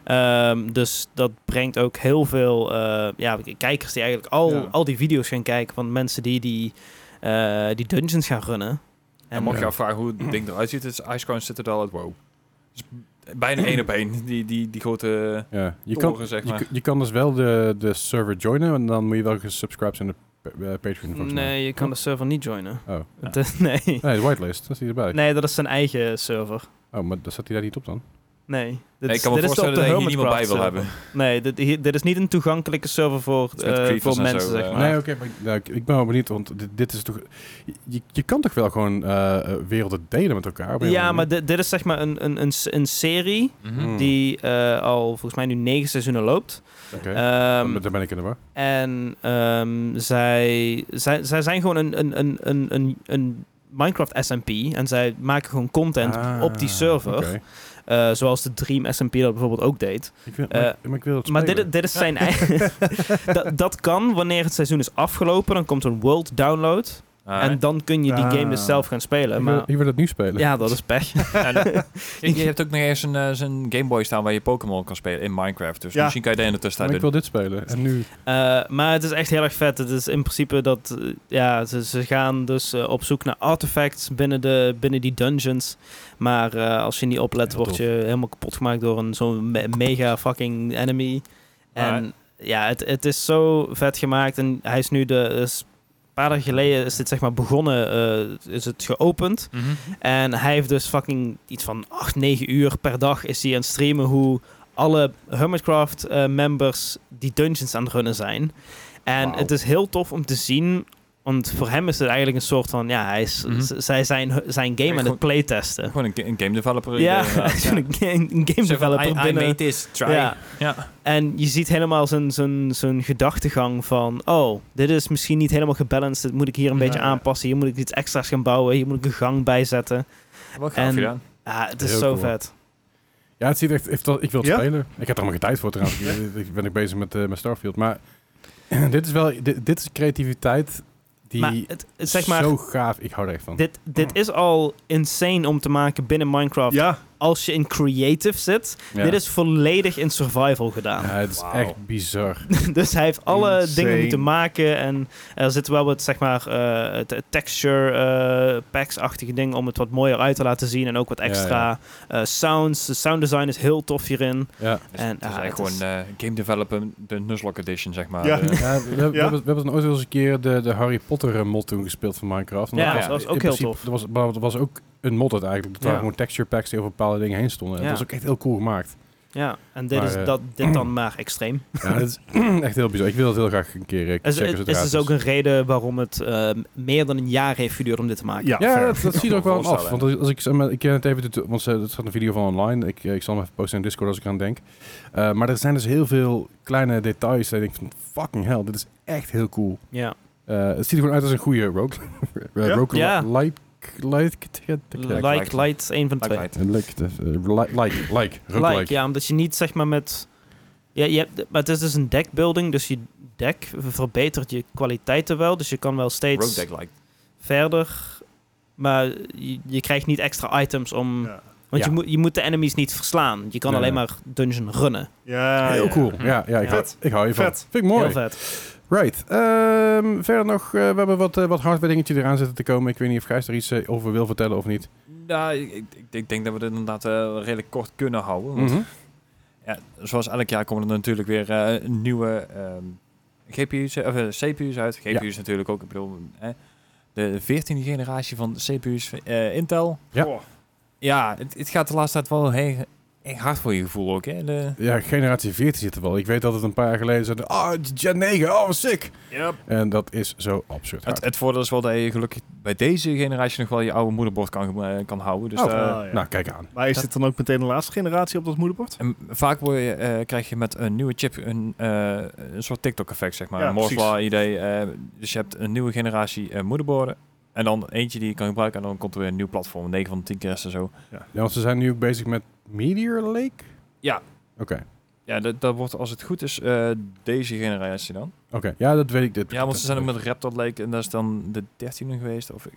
[SPEAKER 1] Ehm, dus dat brengt ook heel veel eh, ja, kijkers die eigenlijk al,
[SPEAKER 2] Ja.
[SPEAKER 1] al die video's gaan kijken van mensen die die, eh, die dungeons gaan runnen.
[SPEAKER 4] En
[SPEAKER 1] ja.
[SPEAKER 4] mocht je afvragen hoe het ding eruit ziet, is Ice Crown Citadel uit WoW. Dus bijna één op één, die, die, die grote...
[SPEAKER 2] Ja, je
[SPEAKER 4] Toren,
[SPEAKER 2] kan,
[SPEAKER 4] zeg
[SPEAKER 2] je,
[SPEAKER 4] maar.
[SPEAKER 2] kan- je kan dus wel de, de server joinen, en dan moet je wel gesubscribed in de pa- eh, Patreon. volgens mij.
[SPEAKER 1] Nee, je kan de server niet joinen.
[SPEAKER 2] Oh.
[SPEAKER 1] Het is- nee.
[SPEAKER 2] Nee, de whitelist, dat is hij erbij.
[SPEAKER 1] nee, dat is zijn eigen server.
[SPEAKER 2] Oh, maar dat zat hij daar niet op dan?
[SPEAKER 1] Nee. Dit
[SPEAKER 4] Nee, ik
[SPEAKER 1] is-
[SPEAKER 4] kan me
[SPEAKER 1] dit is de
[SPEAKER 4] voorstellen dat
[SPEAKER 1] op
[SPEAKER 4] je
[SPEAKER 1] de eh,
[SPEAKER 4] hier niemand bij
[SPEAKER 1] Hermitcraft
[SPEAKER 4] wil
[SPEAKER 1] server.
[SPEAKER 4] hebben.
[SPEAKER 1] Nee, dit, hier- dit is niet een toegankelijke server voor,
[SPEAKER 4] is met
[SPEAKER 1] eh,
[SPEAKER 4] creepers
[SPEAKER 1] voor
[SPEAKER 4] en
[SPEAKER 1] mensen,
[SPEAKER 4] zo,
[SPEAKER 1] zeg
[SPEAKER 4] eh.
[SPEAKER 1] maar.
[SPEAKER 2] Nee, oké, maar ik- nou, ik, ik ben wel benieuwd, want dit, dit is toch... Je, je kan toch wel gewoon eh, eh, werelden delen met elkaar? op een
[SPEAKER 1] ja,
[SPEAKER 2] of andere
[SPEAKER 1] maar dit, dit is zeg maar een, een, een, s- een serie
[SPEAKER 4] Mm.
[SPEAKER 2] Hmm.
[SPEAKER 1] die eh, al volgens mij nu negen seizoenen loopt.
[SPEAKER 2] manier? Oké, Oh,
[SPEAKER 1] Ehm,
[SPEAKER 2] dan- dan ben ik in de war.
[SPEAKER 1] en ehm, zij, zij, zij zijn gewoon een, een, een, een, een, een Minecraft SMP en zij maken gewoon content
[SPEAKER 2] Ah,
[SPEAKER 1] op die server.
[SPEAKER 2] oké.
[SPEAKER 1] Eh, zoals de Dream SMP dat bijvoorbeeld ook deed.
[SPEAKER 2] Ik wil,
[SPEAKER 1] Eh,
[SPEAKER 2] maar, maar ik wil het
[SPEAKER 1] Maar
[SPEAKER 2] spelen.
[SPEAKER 1] dit, dit is zijn eigen. dat, dat kan wanneer het seizoen is afgelopen. Dan komt een world download.
[SPEAKER 4] Ah,
[SPEAKER 1] En dan kun je die
[SPEAKER 3] Ah.
[SPEAKER 1] game dus zelf gaan spelen.
[SPEAKER 2] Ik wil,
[SPEAKER 1] Maar
[SPEAKER 2] ik wil het nu spelen.
[SPEAKER 1] ja, dat is pech.
[SPEAKER 4] je, je hebt ook nog eens een, eh, zo'n Game Boy staan waar je Pokémon kan spelen in Minecraft. Dus
[SPEAKER 3] Ja.
[SPEAKER 4] misschien kan je daar in de tussentijd
[SPEAKER 2] Maar ik
[SPEAKER 4] doen.
[SPEAKER 2] wil dit spelen. En nu...
[SPEAKER 1] Eh, maar het is echt heel erg vet. Het is in principe dat eh, ja, ze, ze gaan dus eh, op zoek naar artefacts binnen, de, binnen die dungeons. Maar eh, als je niet oplet,
[SPEAKER 2] Heel
[SPEAKER 1] word je helemaal kapot gemaakt door een zo'n me- mega fucking enemy. En ja, het, het is zo vet gemaakt. En hij is nu de. is- een paar dagen geleden is dit zeg maar begonnen, eh, is het geopend.
[SPEAKER 4] Mhm.
[SPEAKER 1] En hij heeft dus fucking iets van 8, 9 uur per dag is hij aan het streamen hoe alle Hermitcraft eh, members die dungeons aan het runnen zijn. En
[SPEAKER 2] Wauw.
[SPEAKER 1] het is heel tof om te zien, want voor hem is het eigenlijk een soort van, ja, hij is,
[SPEAKER 4] Mhm.
[SPEAKER 1] z- zij zijn hu- zijn game aan het
[SPEAKER 4] Gewoon-
[SPEAKER 1] playtesten.
[SPEAKER 4] Gewoon een, ga- een game developer.
[SPEAKER 1] Ja,
[SPEAKER 4] idee, inderdaad.
[SPEAKER 1] zo'n ga- een game
[SPEAKER 4] Zo van,
[SPEAKER 1] developer
[SPEAKER 4] I, I
[SPEAKER 1] binnen.
[SPEAKER 4] made this, try.
[SPEAKER 1] Ja.
[SPEAKER 4] Ja.
[SPEAKER 1] En je ziet helemaal zijn, zijn, zijn gedachtegang van... oh, dit is misschien niet helemaal gebalanced. Dit moet ik hier een beetje
[SPEAKER 3] Ja.
[SPEAKER 1] aanpassen. Hier moet ik iets extra's gaan bouwen. Hier moet ik een gang bij zetten.
[SPEAKER 4] Wat
[SPEAKER 1] En-
[SPEAKER 4] gaaf gedaan.
[SPEAKER 1] Ah, het is
[SPEAKER 2] Heel
[SPEAKER 1] zo
[SPEAKER 2] cool.
[SPEAKER 1] vet.
[SPEAKER 2] Ja, het ziet echt... Ik wil het
[SPEAKER 3] Ja?
[SPEAKER 2] spelen. Ik heb er allemaal geen tijd voor trouwens. ik ik ben ook bezig met, eh, met Starfield. Maar dit is wel... Dit, dit is creativiteit die...
[SPEAKER 1] maar het, het- zeg maar,
[SPEAKER 2] Zo gaaf. Ik hou er echt van.
[SPEAKER 1] dit, dit is al insane om te maken binnen Minecraft.
[SPEAKER 3] Ja,
[SPEAKER 1] Als je in creative zit.
[SPEAKER 2] Ja.
[SPEAKER 1] Dit is volledig in survival gedaan.
[SPEAKER 2] Ja, het is
[SPEAKER 4] Wauw.
[SPEAKER 2] echt bizar.
[SPEAKER 1] dus hij heeft alle
[SPEAKER 3] Insane.
[SPEAKER 1] dingen moeten maken. En er zitten wel wat, zeg maar, eh, te- texture eh, packs-achtige dingen om het wat mooier uit te laten zien. En ook wat
[SPEAKER 2] Ja,
[SPEAKER 1] extra eh, sounds. De sound design is heel tof hierin.
[SPEAKER 2] Ja.
[SPEAKER 4] Dus
[SPEAKER 1] En,
[SPEAKER 4] het is
[SPEAKER 1] ah,
[SPEAKER 4] eigenlijk
[SPEAKER 1] het
[SPEAKER 4] gewoon eh, game developer, de Nuzlocke edition, zeg maar. eh,
[SPEAKER 3] Ja.
[SPEAKER 4] De-
[SPEAKER 2] Ja, we, we hebben- we hebben het ooit wel eens een keer de, de Harry Potter eh, mod toen gespeeld van Minecraft. En
[SPEAKER 1] Ja,
[SPEAKER 4] dat
[SPEAKER 1] was
[SPEAKER 2] in
[SPEAKER 1] ook heel tof.
[SPEAKER 2] Er was, maar er was ook een mod uit eigenlijk. Dat waren
[SPEAKER 1] Ja.
[SPEAKER 2] gewoon texture packs die over bepaalde dingen heen stonden. En
[SPEAKER 1] Ja.
[SPEAKER 2] dat was ook echt heel cool gemaakt.
[SPEAKER 1] Ja, en dit,
[SPEAKER 2] Maar,
[SPEAKER 1] is
[SPEAKER 2] eh,
[SPEAKER 1] dat, dit dan maar extreem.
[SPEAKER 2] Ja, dat is echt heel bizar. Ik wil dat heel graag een keer eh,
[SPEAKER 1] Er is,
[SPEAKER 2] checken.
[SPEAKER 1] er is dus ook een reden waarom het eh, meer dan een jaar heeft geduurd om dit te maken.
[SPEAKER 3] ja,
[SPEAKER 2] Ja,
[SPEAKER 3] fair.
[SPEAKER 2] dat, dat zie je er ook wel aan af.
[SPEAKER 4] Voorstellen.
[SPEAKER 2] Want als als ik, zeg maar, ik ken het even, de- want eh, er staat een video van online. Ik, eh, ik zal hem even posten in Discord als ik aan denk. Eh, maar er zijn dus heel veel kleine details. Dat ik denk van fucking hell, dit is echt heel cool.
[SPEAKER 1] Ja.
[SPEAKER 2] Eh, het ziet er gewoon uit als een goede rogue. eh,
[SPEAKER 3] Ja.
[SPEAKER 2] rogue
[SPEAKER 1] Ja.
[SPEAKER 2] Like, like, like, like,
[SPEAKER 1] Like,
[SPEAKER 4] Like-
[SPEAKER 1] light, één van de twee.
[SPEAKER 4] Like,
[SPEAKER 2] eh, like, like, like, like, rogue
[SPEAKER 1] Like,
[SPEAKER 2] like.
[SPEAKER 1] ja, omdat je niet zeg maar met... Ja, je hebt, maar het is dus een deckbuilding, dus je deck verbetert je kwaliteiten wel. Dus je kan wel steeds
[SPEAKER 4] Rogue deck like.
[SPEAKER 1] verder, maar je, je krijgt niet extra items om
[SPEAKER 3] Ja.
[SPEAKER 1] Want
[SPEAKER 2] Ja.
[SPEAKER 1] je, moet, je moet de enemies niet verslaan. Je kan
[SPEAKER 2] Nee,
[SPEAKER 1] alleen
[SPEAKER 2] nee.
[SPEAKER 1] maar dungeon runnen.
[SPEAKER 3] Ja,
[SPEAKER 2] Heel
[SPEAKER 3] ja.
[SPEAKER 2] cool. Ja, ja, ik,
[SPEAKER 3] Vet.
[SPEAKER 2] Hou, ik hou hiervan.
[SPEAKER 3] Vet.
[SPEAKER 2] Vind ik mooi.
[SPEAKER 1] Heel vet.
[SPEAKER 2] Right. Ehm, verder nog, eh, we hebben wat, eh, wat hardware dingetjes eraan zitten te komen. Ik weet niet of Gijs er iets eh, over wil vertellen of niet.
[SPEAKER 4] Nou, ik, ik, ik denk dat we dit inderdaad eh, redelijk kort kunnen houden.
[SPEAKER 3] Mm-hmm.
[SPEAKER 4] Want
[SPEAKER 2] Mhm.
[SPEAKER 4] ja, zoals elk jaar komen er natuurlijk weer eh, nieuwe ehm, GPU's, eh, of eh, CPU's uit. GPU's natuurlijk ook. Ik bedoel, eh, de 14e generatie van CPU's eh, Intel.
[SPEAKER 2] Ja.
[SPEAKER 3] Oh,
[SPEAKER 4] Ja, het, het gaat de laatste tijd wel heel, echt hard voor je gevoel ook. Hè? De,
[SPEAKER 2] Ja, generatie 14 zit er wel. Ik weet dat het een paar jaar geleden zeiden, ah, Gen 9, oh, wat sick. En dat is zo absurd.
[SPEAKER 4] het,
[SPEAKER 2] hard.
[SPEAKER 4] het voordeel is wel dat je gelukkig bij deze generatie nog wel je oude moederbord kan, eh, kan houden. Dus
[SPEAKER 2] Oh.
[SPEAKER 4] eh,
[SPEAKER 3] ah, ja.
[SPEAKER 2] Nou, kijk aan.
[SPEAKER 3] Maar is dit dan ook meteen de laatste generatie op dat moederbord?
[SPEAKER 4] En vaak word je, eh, krijg je met een nieuwe chip een, eh, een soort TikTok-effect, zeg maar.
[SPEAKER 3] Ja,
[SPEAKER 4] een Moore's Law idee. eh, dus je hebt een nieuwe generatie eh, moederborden. En dan eentje die je kan gebruiken. En dan komt er weer een nieuw platform. 9 van de 10 keer is er zo.
[SPEAKER 2] Ja, want ze zijn nu ook bezig met Meteor Lake?
[SPEAKER 4] Ja.
[SPEAKER 2] Oké,
[SPEAKER 4] Ja, dat, dat wordt als het goed is eh, deze generatie dan.
[SPEAKER 2] oké. Ja, dat weet ik. Dit
[SPEAKER 4] Ja, want ze zijn ook met Raptor Lake. En dat is dan de 13e geweest. Of,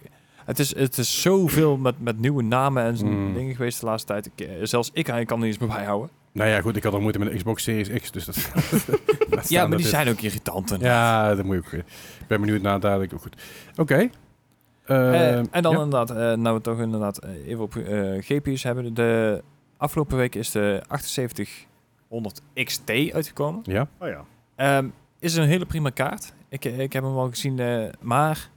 [SPEAKER 4] het, is, het is zoveel met, met nieuwe namen en
[SPEAKER 2] Mm.
[SPEAKER 4] dingen geweest de laatste tijd. Ik, eh, zelfs ik kan er niet eens bij houden.
[SPEAKER 2] Nou ja, goed, ik had al moeite met de Xbox Series X, dus dat... laat
[SPEAKER 4] Ja,
[SPEAKER 2] staan
[SPEAKER 4] maar
[SPEAKER 2] dat
[SPEAKER 4] die
[SPEAKER 2] dit-
[SPEAKER 4] zijn ook irritant. En
[SPEAKER 2] Ja, dat moet je ook weer. Ik ben benieuwd naar dadelijk ook goed. Oké.
[SPEAKER 4] Eh,
[SPEAKER 2] Eh,
[SPEAKER 4] en dan
[SPEAKER 2] ja.
[SPEAKER 4] inderdaad, eh, nou we toch inderdaad eh, even op eh, GPU's hebben. De afgelopen week is de 7800 XT uitgekomen.
[SPEAKER 2] Ja.
[SPEAKER 3] Oh ja.
[SPEAKER 4] Ehm, is een hele prima kaart. Ik, ik heb hem al gezien, eh, maar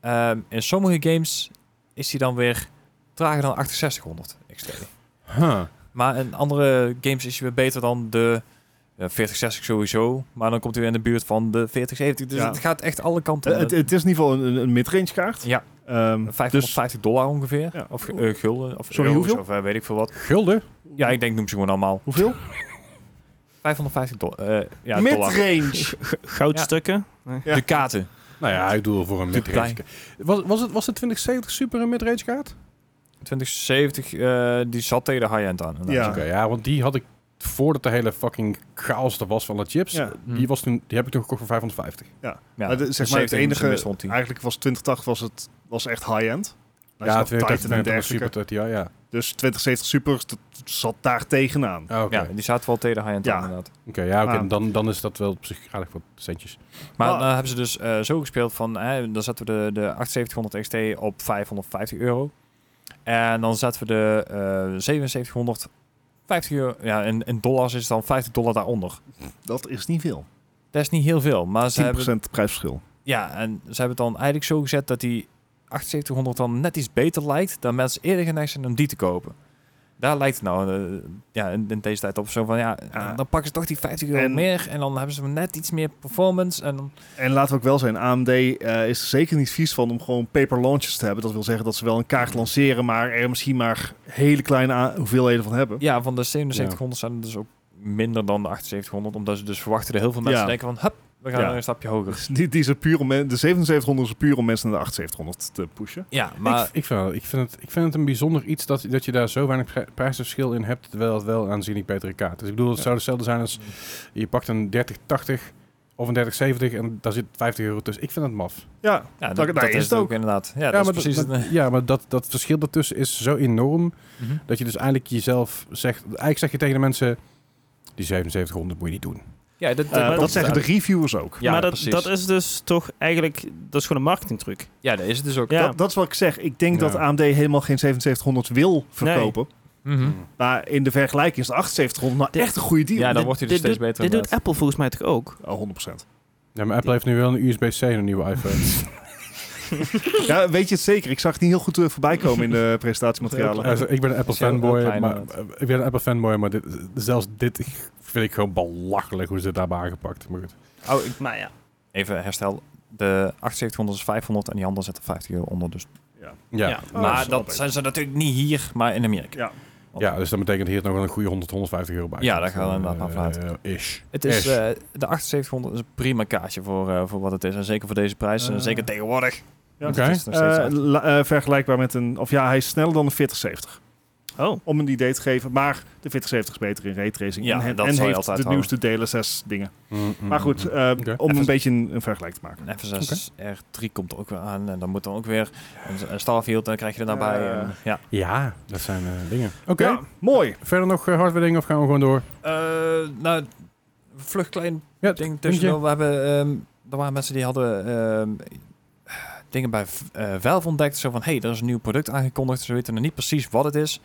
[SPEAKER 4] ehm, in sommige games is hij dan weer trager dan 6800 XT.
[SPEAKER 2] Huh.
[SPEAKER 4] Maar in andere games is hij weer beter dan de ja, 4060 sowieso. Maar dan komt hij weer in de buurt van de 4070. Dus
[SPEAKER 3] Ja.
[SPEAKER 4] het gaat echt alle kanten.
[SPEAKER 3] Eh, het, het is in ieder geval een, een mid-range kaart.
[SPEAKER 4] Ja.
[SPEAKER 3] Ehm, dus,
[SPEAKER 4] 550 dollar ongeveer.
[SPEAKER 3] Ja.
[SPEAKER 4] Of eh, gulden. Of
[SPEAKER 3] Sorry,
[SPEAKER 4] euro's,
[SPEAKER 3] hoeveel?
[SPEAKER 4] Of eh, weet ik veel wat.
[SPEAKER 2] Gulden?
[SPEAKER 4] Ja, ik denk noem ze gewoon allemaal.
[SPEAKER 3] hoeveel?
[SPEAKER 4] 550 dollar. eh ja, dollar.
[SPEAKER 3] mid-range.
[SPEAKER 1] Goudstukken.
[SPEAKER 3] Ja.
[SPEAKER 4] De kaarten.
[SPEAKER 2] Nou ja, ik doe wel voor een
[SPEAKER 4] Te klein.
[SPEAKER 2] midrange. kaart. Was, was, het, was de 2070 Super een midrange kaart?
[SPEAKER 4] 2070, eh, die zat tegen de high-end aan.
[SPEAKER 3] Ja.
[SPEAKER 2] Oké, ja, want die had ik voordat de hele fucking chaos er was van de chips.
[SPEAKER 3] Ja.
[SPEAKER 2] Die, was toen, die heb ik toen gekocht voor 550.
[SPEAKER 4] Ja,
[SPEAKER 3] Maar de- zeg maar, het
[SPEAKER 4] 70 is
[SPEAKER 3] enige- Ah,
[SPEAKER 4] best Dus rond die.
[SPEAKER 3] Eigenlijk was 2080 was het, was echt high-end. Daar
[SPEAKER 2] ja,
[SPEAKER 3] zat
[SPEAKER 2] 2070
[SPEAKER 3] Titan en
[SPEAKER 2] was
[SPEAKER 3] dergelijke.
[SPEAKER 2] Super 30, ja. ja.
[SPEAKER 3] Dus 2070 Super dat zat daar tegenaan.
[SPEAKER 2] Ah, Oké,
[SPEAKER 4] Ja, die zaten wel tegen de high-end
[SPEAKER 3] Ja.
[SPEAKER 4] aan inderdaad.
[SPEAKER 2] Oké, ja, oké,
[SPEAKER 3] Ah.
[SPEAKER 2] dan, dan is dat wel op zich aardig wat centjes.
[SPEAKER 4] Maar
[SPEAKER 3] Ah.
[SPEAKER 4] dan hebben ze dus eh, zo gespeeld van... eh, dan zetten we de, de 7800 XT op 550 euro. En dan zetten we de eh 7700 50 euro... Ja, in, in dollars is het dan 50 dollar daaronder.
[SPEAKER 3] Dat is niet veel. 10%
[SPEAKER 4] Dat is niet heel veel, maar ze hebben...
[SPEAKER 3] prijsverschil.
[SPEAKER 4] Ja, en ze hebben het dan eigenlijk zo gezet dat die 7800 dan net iets beter lijkt dan mensen eerder geneigd zijn om die te kopen. Daar lijkt het nou eh, ja, in, in deze tijd op zo van ja, eh,
[SPEAKER 3] Ja.
[SPEAKER 4] dan pakken ze toch die 50 euro
[SPEAKER 3] En-
[SPEAKER 4] meer en dan hebben ze net iets meer performance. En dan,
[SPEAKER 3] En laten we ook wel zijn, AMD eh, is er zeker niet vies van om gewoon paper launches te hebben. Dat wil zeggen dat ze wel een kaart lanceren, maar er misschien maar hele kleine a- hoeveelheden van hebben.
[SPEAKER 4] ja, van de 7700 zijn er dus ook minder dan de 7800, omdat ze dus verwachten dat heel veel mensen
[SPEAKER 3] Ja.
[SPEAKER 4] denken van hup, we gaan
[SPEAKER 3] Ja.
[SPEAKER 4] weer een stapje hoger.
[SPEAKER 3] Dus die, die is er puur om, men- de 7700 is er puur om mensen naar de 7800 te pushen.
[SPEAKER 4] Ja,
[SPEAKER 2] Maar
[SPEAKER 4] maar
[SPEAKER 2] ik, ik, vind, het- ik, vind het, ik vind het een bijzonder iets dat, dat je daar zo weinig pri- prijsverschil in hebt, terwijl het wel een aanzienlijk betere kaart is. Ik bedoel, het zou hetzelfde zijn als je pakt een 3080 of een 3070 en daar zit 50 euro tussen. Ik vind het maf.
[SPEAKER 3] Ja,
[SPEAKER 4] ja, dat,
[SPEAKER 3] daar- daar
[SPEAKER 4] dat
[SPEAKER 3] is
[SPEAKER 4] is
[SPEAKER 3] het
[SPEAKER 4] het ook,
[SPEAKER 3] ook.
[SPEAKER 4] inderdaad. Ja, dat is
[SPEAKER 2] maar,
[SPEAKER 4] precies
[SPEAKER 2] dat,
[SPEAKER 4] het. eh,
[SPEAKER 2] ja, maar dat, dat verschil daartussen is zo enorm
[SPEAKER 4] mhm.
[SPEAKER 2] dat je dus eigenlijk jezelf zegt, eigenlijk zeg je tegen de mensen, die 7700 moet je niet doen.
[SPEAKER 4] Ja, dat,
[SPEAKER 3] Eh,
[SPEAKER 1] maar
[SPEAKER 3] dat
[SPEAKER 1] dat-
[SPEAKER 3] zeggen de reviewers ook.
[SPEAKER 4] Ja,
[SPEAKER 1] maar dat,
[SPEAKER 4] precies.
[SPEAKER 1] dat is dus toch eigenlijk... Dat is gewoon een marketingtruc.
[SPEAKER 4] ja, dat is het dus ook.
[SPEAKER 1] Ja.
[SPEAKER 3] Dat, dat is wat ik zeg. Ik
[SPEAKER 2] Ja.
[SPEAKER 3] denk dat AMD helemaal geen 7700 wil verkopen.
[SPEAKER 4] Mhm.
[SPEAKER 3] Maar in de vergelijking is de 7800 nou
[SPEAKER 1] De-
[SPEAKER 3] echt een goede deal.
[SPEAKER 4] Ja, dan
[SPEAKER 1] Dit-
[SPEAKER 4] wordt hij dus
[SPEAKER 1] dit
[SPEAKER 4] steeds
[SPEAKER 1] doet-
[SPEAKER 4] beter
[SPEAKER 1] Dit doet
[SPEAKER 4] inderdaad.
[SPEAKER 1] Apple volgens mij toch ook?
[SPEAKER 3] Oh, 100%.
[SPEAKER 2] Ja, maar Apple heeft nu wel een USB-C en een nieuwe iPhone.
[SPEAKER 3] Ja, weet je het zeker? Ik zag het niet heel goed eh, voorbij komen in de presentatiematerialen.
[SPEAKER 2] Ja, Eh, ik ben een Apple
[SPEAKER 4] Heel- heel
[SPEAKER 2] fanboy,
[SPEAKER 4] klein,
[SPEAKER 2] maar, ik ben een Apple fanboy, maar dit, zelfs dit vind ik gewoon belachelijk hoe ze dit hebben aangepakt. Maar goed.
[SPEAKER 4] Oh, ik-
[SPEAKER 1] Maar Nou ja.
[SPEAKER 4] Even herstel. De 7800 is 500 en die andere zet er 50 euro onder. Dus.
[SPEAKER 2] Ja.
[SPEAKER 1] Ja.
[SPEAKER 2] Ja.
[SPEAKER 3] Oh,
[SPEAKER 4] maar
[SPEAKER 3] snap
[SPEAKER 4] dat
[SPEAKER 3] ik.
[SPEAKER 4] zijn ze natuurlijk niet hier, maar in Amerika.
[SPEAKER 3] Ja.
[SPEAKER 2] dus dat betekent hier nog wel een goede 100, 150 euro bij.
[SPEAKER 4] Ja, daar gaan we inderdaad
[SPEAKER 2] Eh,
[SPEAKER 4] maar vanuit.
[SPEAKER 2] eh, ish.
[SPEAKER 4] Het is,
[SPEAKER 2] Ish.
[SPEAKER 4] eh, de 7800 is een prima kaartje voor, eh, voor wat het is. En zeker voor deze prijs.
[SPEAKER 3] Eh.
[SPEAKER 4] en zeker tegenwoordig.
[SPEAKER 3] Ja.
[SPEAKER 2] Oké.
[SPEAKER 4] Het is nog steeds
[SPEAKER 3] Eh,
[SPEAKER 4] uit.
[SPEAKER 3] la- eh, vergelijkbaar met een... Of ja, hij is sneller dan een 4070.
[SPEAKER 1] Oh,
[SPEAKER 3] om een idee te geven. Maar de 4070 is beter in raytracing
[SPEAKER 4] Ja,
[SPEAKER 3] en, he-
[SPEAKER 4] dat
[SPEAKER 3] en
[SPEAKER 4] zal je
[SPEAKER 3] heeft
[SPEAKER 4] altijd
[SPEAKER 3] de
[SPEAKER 4] houden.
[SPEAKER 3] nieuwste DLSS dingen.
[SPEAKER 2] Mm, mm,
[SPEAKER 3] Maar goed,
[SPEAKER 2] mm, mm.
[SPEAKER 3] eh,
[SPEAKER 2] Oké.
[SPEAKER 3] om
[SPEAKER 2] Even-
[SPEAKER 3] een beetje een, een vergelijk te maken.
[SPEAKER 4] En F6 R3 komt er ook weer aan. En dan moet dan ook weer een, een Starfield. En dan krijg je er daarbij.
[SPEAKER 3] Ja.
[SPEAKER 4] en, ja.
[SPEAKER 2] Ja, dat zijn eh, dingen. Oké,
[SPEAKER 3] Ja, mooi.
[SPEAKER 2] verder nog eh, hardware dingen of gaan we gewoon door?
[SPEAKER 4] Eh, nou, vlug klein
[SPEAKER 2] Ja,
[SPEAKER 4] ding
[SPEAKER 2] dingetje.
[SPEAKER 4] tussendoor. We hebben, ehm, er waren mensen die hadden ehm, dingen bij v- eh Valve ontdekt. Zo van, hé, hey, er is een nieuw product aangekondigd. Ze weten nog niet precies wat het is.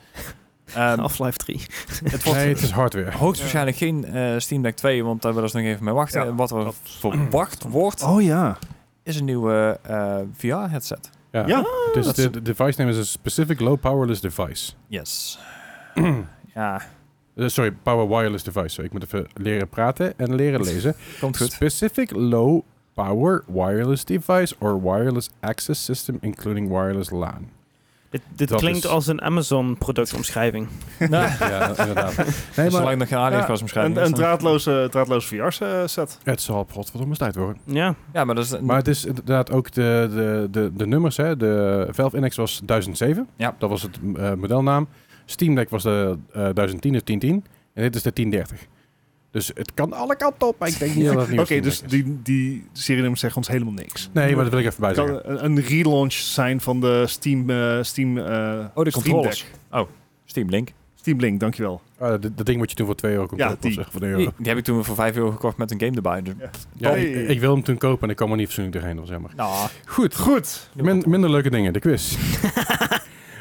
[SPEAKER 4] Ehm,
[SPEAKER 1] Half-Life 3.
[SPEAKER 4] het wordt
[SPEAKER 2] Oh, Nee, het is hardware.
[SPEAKER 4] hoogstwaarschijnlijk geen eh, Steam Deck 2, want daar willen ze nog even mee wachten.
[SPEAKER 3] Ja, Oh.
[SPEAKER 4] en wat er
[SPEAKER 3] dat-
[SPEAKER 4] verwacht wordt,
[SPEAKER 3] Oh ja.
[SPEAKER 4] is een nieuwe eh, VR-headset.
[SPEAKER 2] Ja.
[SPEAKER 3] Ja.
[SPEAKER 2] Dus
[SPEAKER 3] dat
[SPEAKER 2] de,
[SPEAKER 3] is-
[SPEAKER 2] de device name is een specific low powerless device.
[SPEAKER 4] Yes. ja,
[SPEAKER 2] Eh, sorry, power wireless device. Sorry, ik moet even leren praten en leren lezen.
[SPEAKER 4] komt goed.
[SPEAKER 2] Specific low power wireless device or wireless access system including wireless LAN.
[SPEAKER 1] Dit, dit
[SPEAKER 2] Dat
[SPEAKER 1] klinkt
[SPEAKER 2] is-
[SPEAKER 1] als een Amazon-productomschrijving.
[SPEAKER 4] nou,
[SPEAKER 2] ja, inderdaad. Nee, maar
[SPEAKER 4] zolang nog geen AliExpress omschrijving
[SPEAKER 3] Een, een
[SPEAKER 4] is, dan-
[SPEAKER 3] draadloze, draadloze eh, VR-set.
[SPEAKER 2] het zal potverdomme tijd worden.
[SPEAKER 1] Ja,
[SPEAKER 4] Ja, maar dat is...
[SPEAKER 2] Maar het is inderdaad ook de, de, de, de nummers. Hè. De Valve Index was 1007.
[SPEAKER 4] Ja.
[SPEAKER 2] Dat was het eh, modelnaam. Steam Deck was de eh 1010 of 1010. En dit is de 1030. Dus het kan alle kanten op, maar ik denk niet dat het nieuw
[SPEAKER 3] Oké,
[SPEAKER 2] Steam
[SPEAKER 3] dus
[SPEAKER 2] Deck is.
[SPEAKER 3] die, die serienummers zeggen ons helemaal niks.
[SPEAKER 2] Nee, maar dat wil ik even bij
[SPEAKER 3] Het kan
[SPEAKER 2] zeggen.
[SPEAKER 3] een, een relaunch zijn van de Steam... eh, Steam eh,
[SPEAKER 4] oh, de
[SPEAKER 3] Steam
[SPEAKER 4] controllers.
[SPEAKER 3] Deck.
[SPEAKER 4] Oh, Steam Link.
[SPEAKER 3] Steam Link, dankjewel.
[SPEAKER 2] Ah, dat- dat ding moet je toen voor 2 euro kon
[SPEAKER 3] Ja,
[SPEAKER 2] kopen.
[SPEAKER 3] die.
[SPEAKER 2] of zeg, voor een euro.
[SPEAKER 4] Die, die heb ik toen voor 5 euro gekocht met een game erbij. Dus,
[SPEAKER 2] Ja,
[SPEAKER 3] Hey.
[SPEAKER 2] ik, ik wil hem toen kopen en ik kwam er niet fatsoenlijk doorheen. Dat was jammer.
[SPEAKER 4] nou,
[SPEAKER 2] Goed,
[SPEAKER 3] Goed.
[SPEAKER 2] min- minder leuke dingen. De quiz.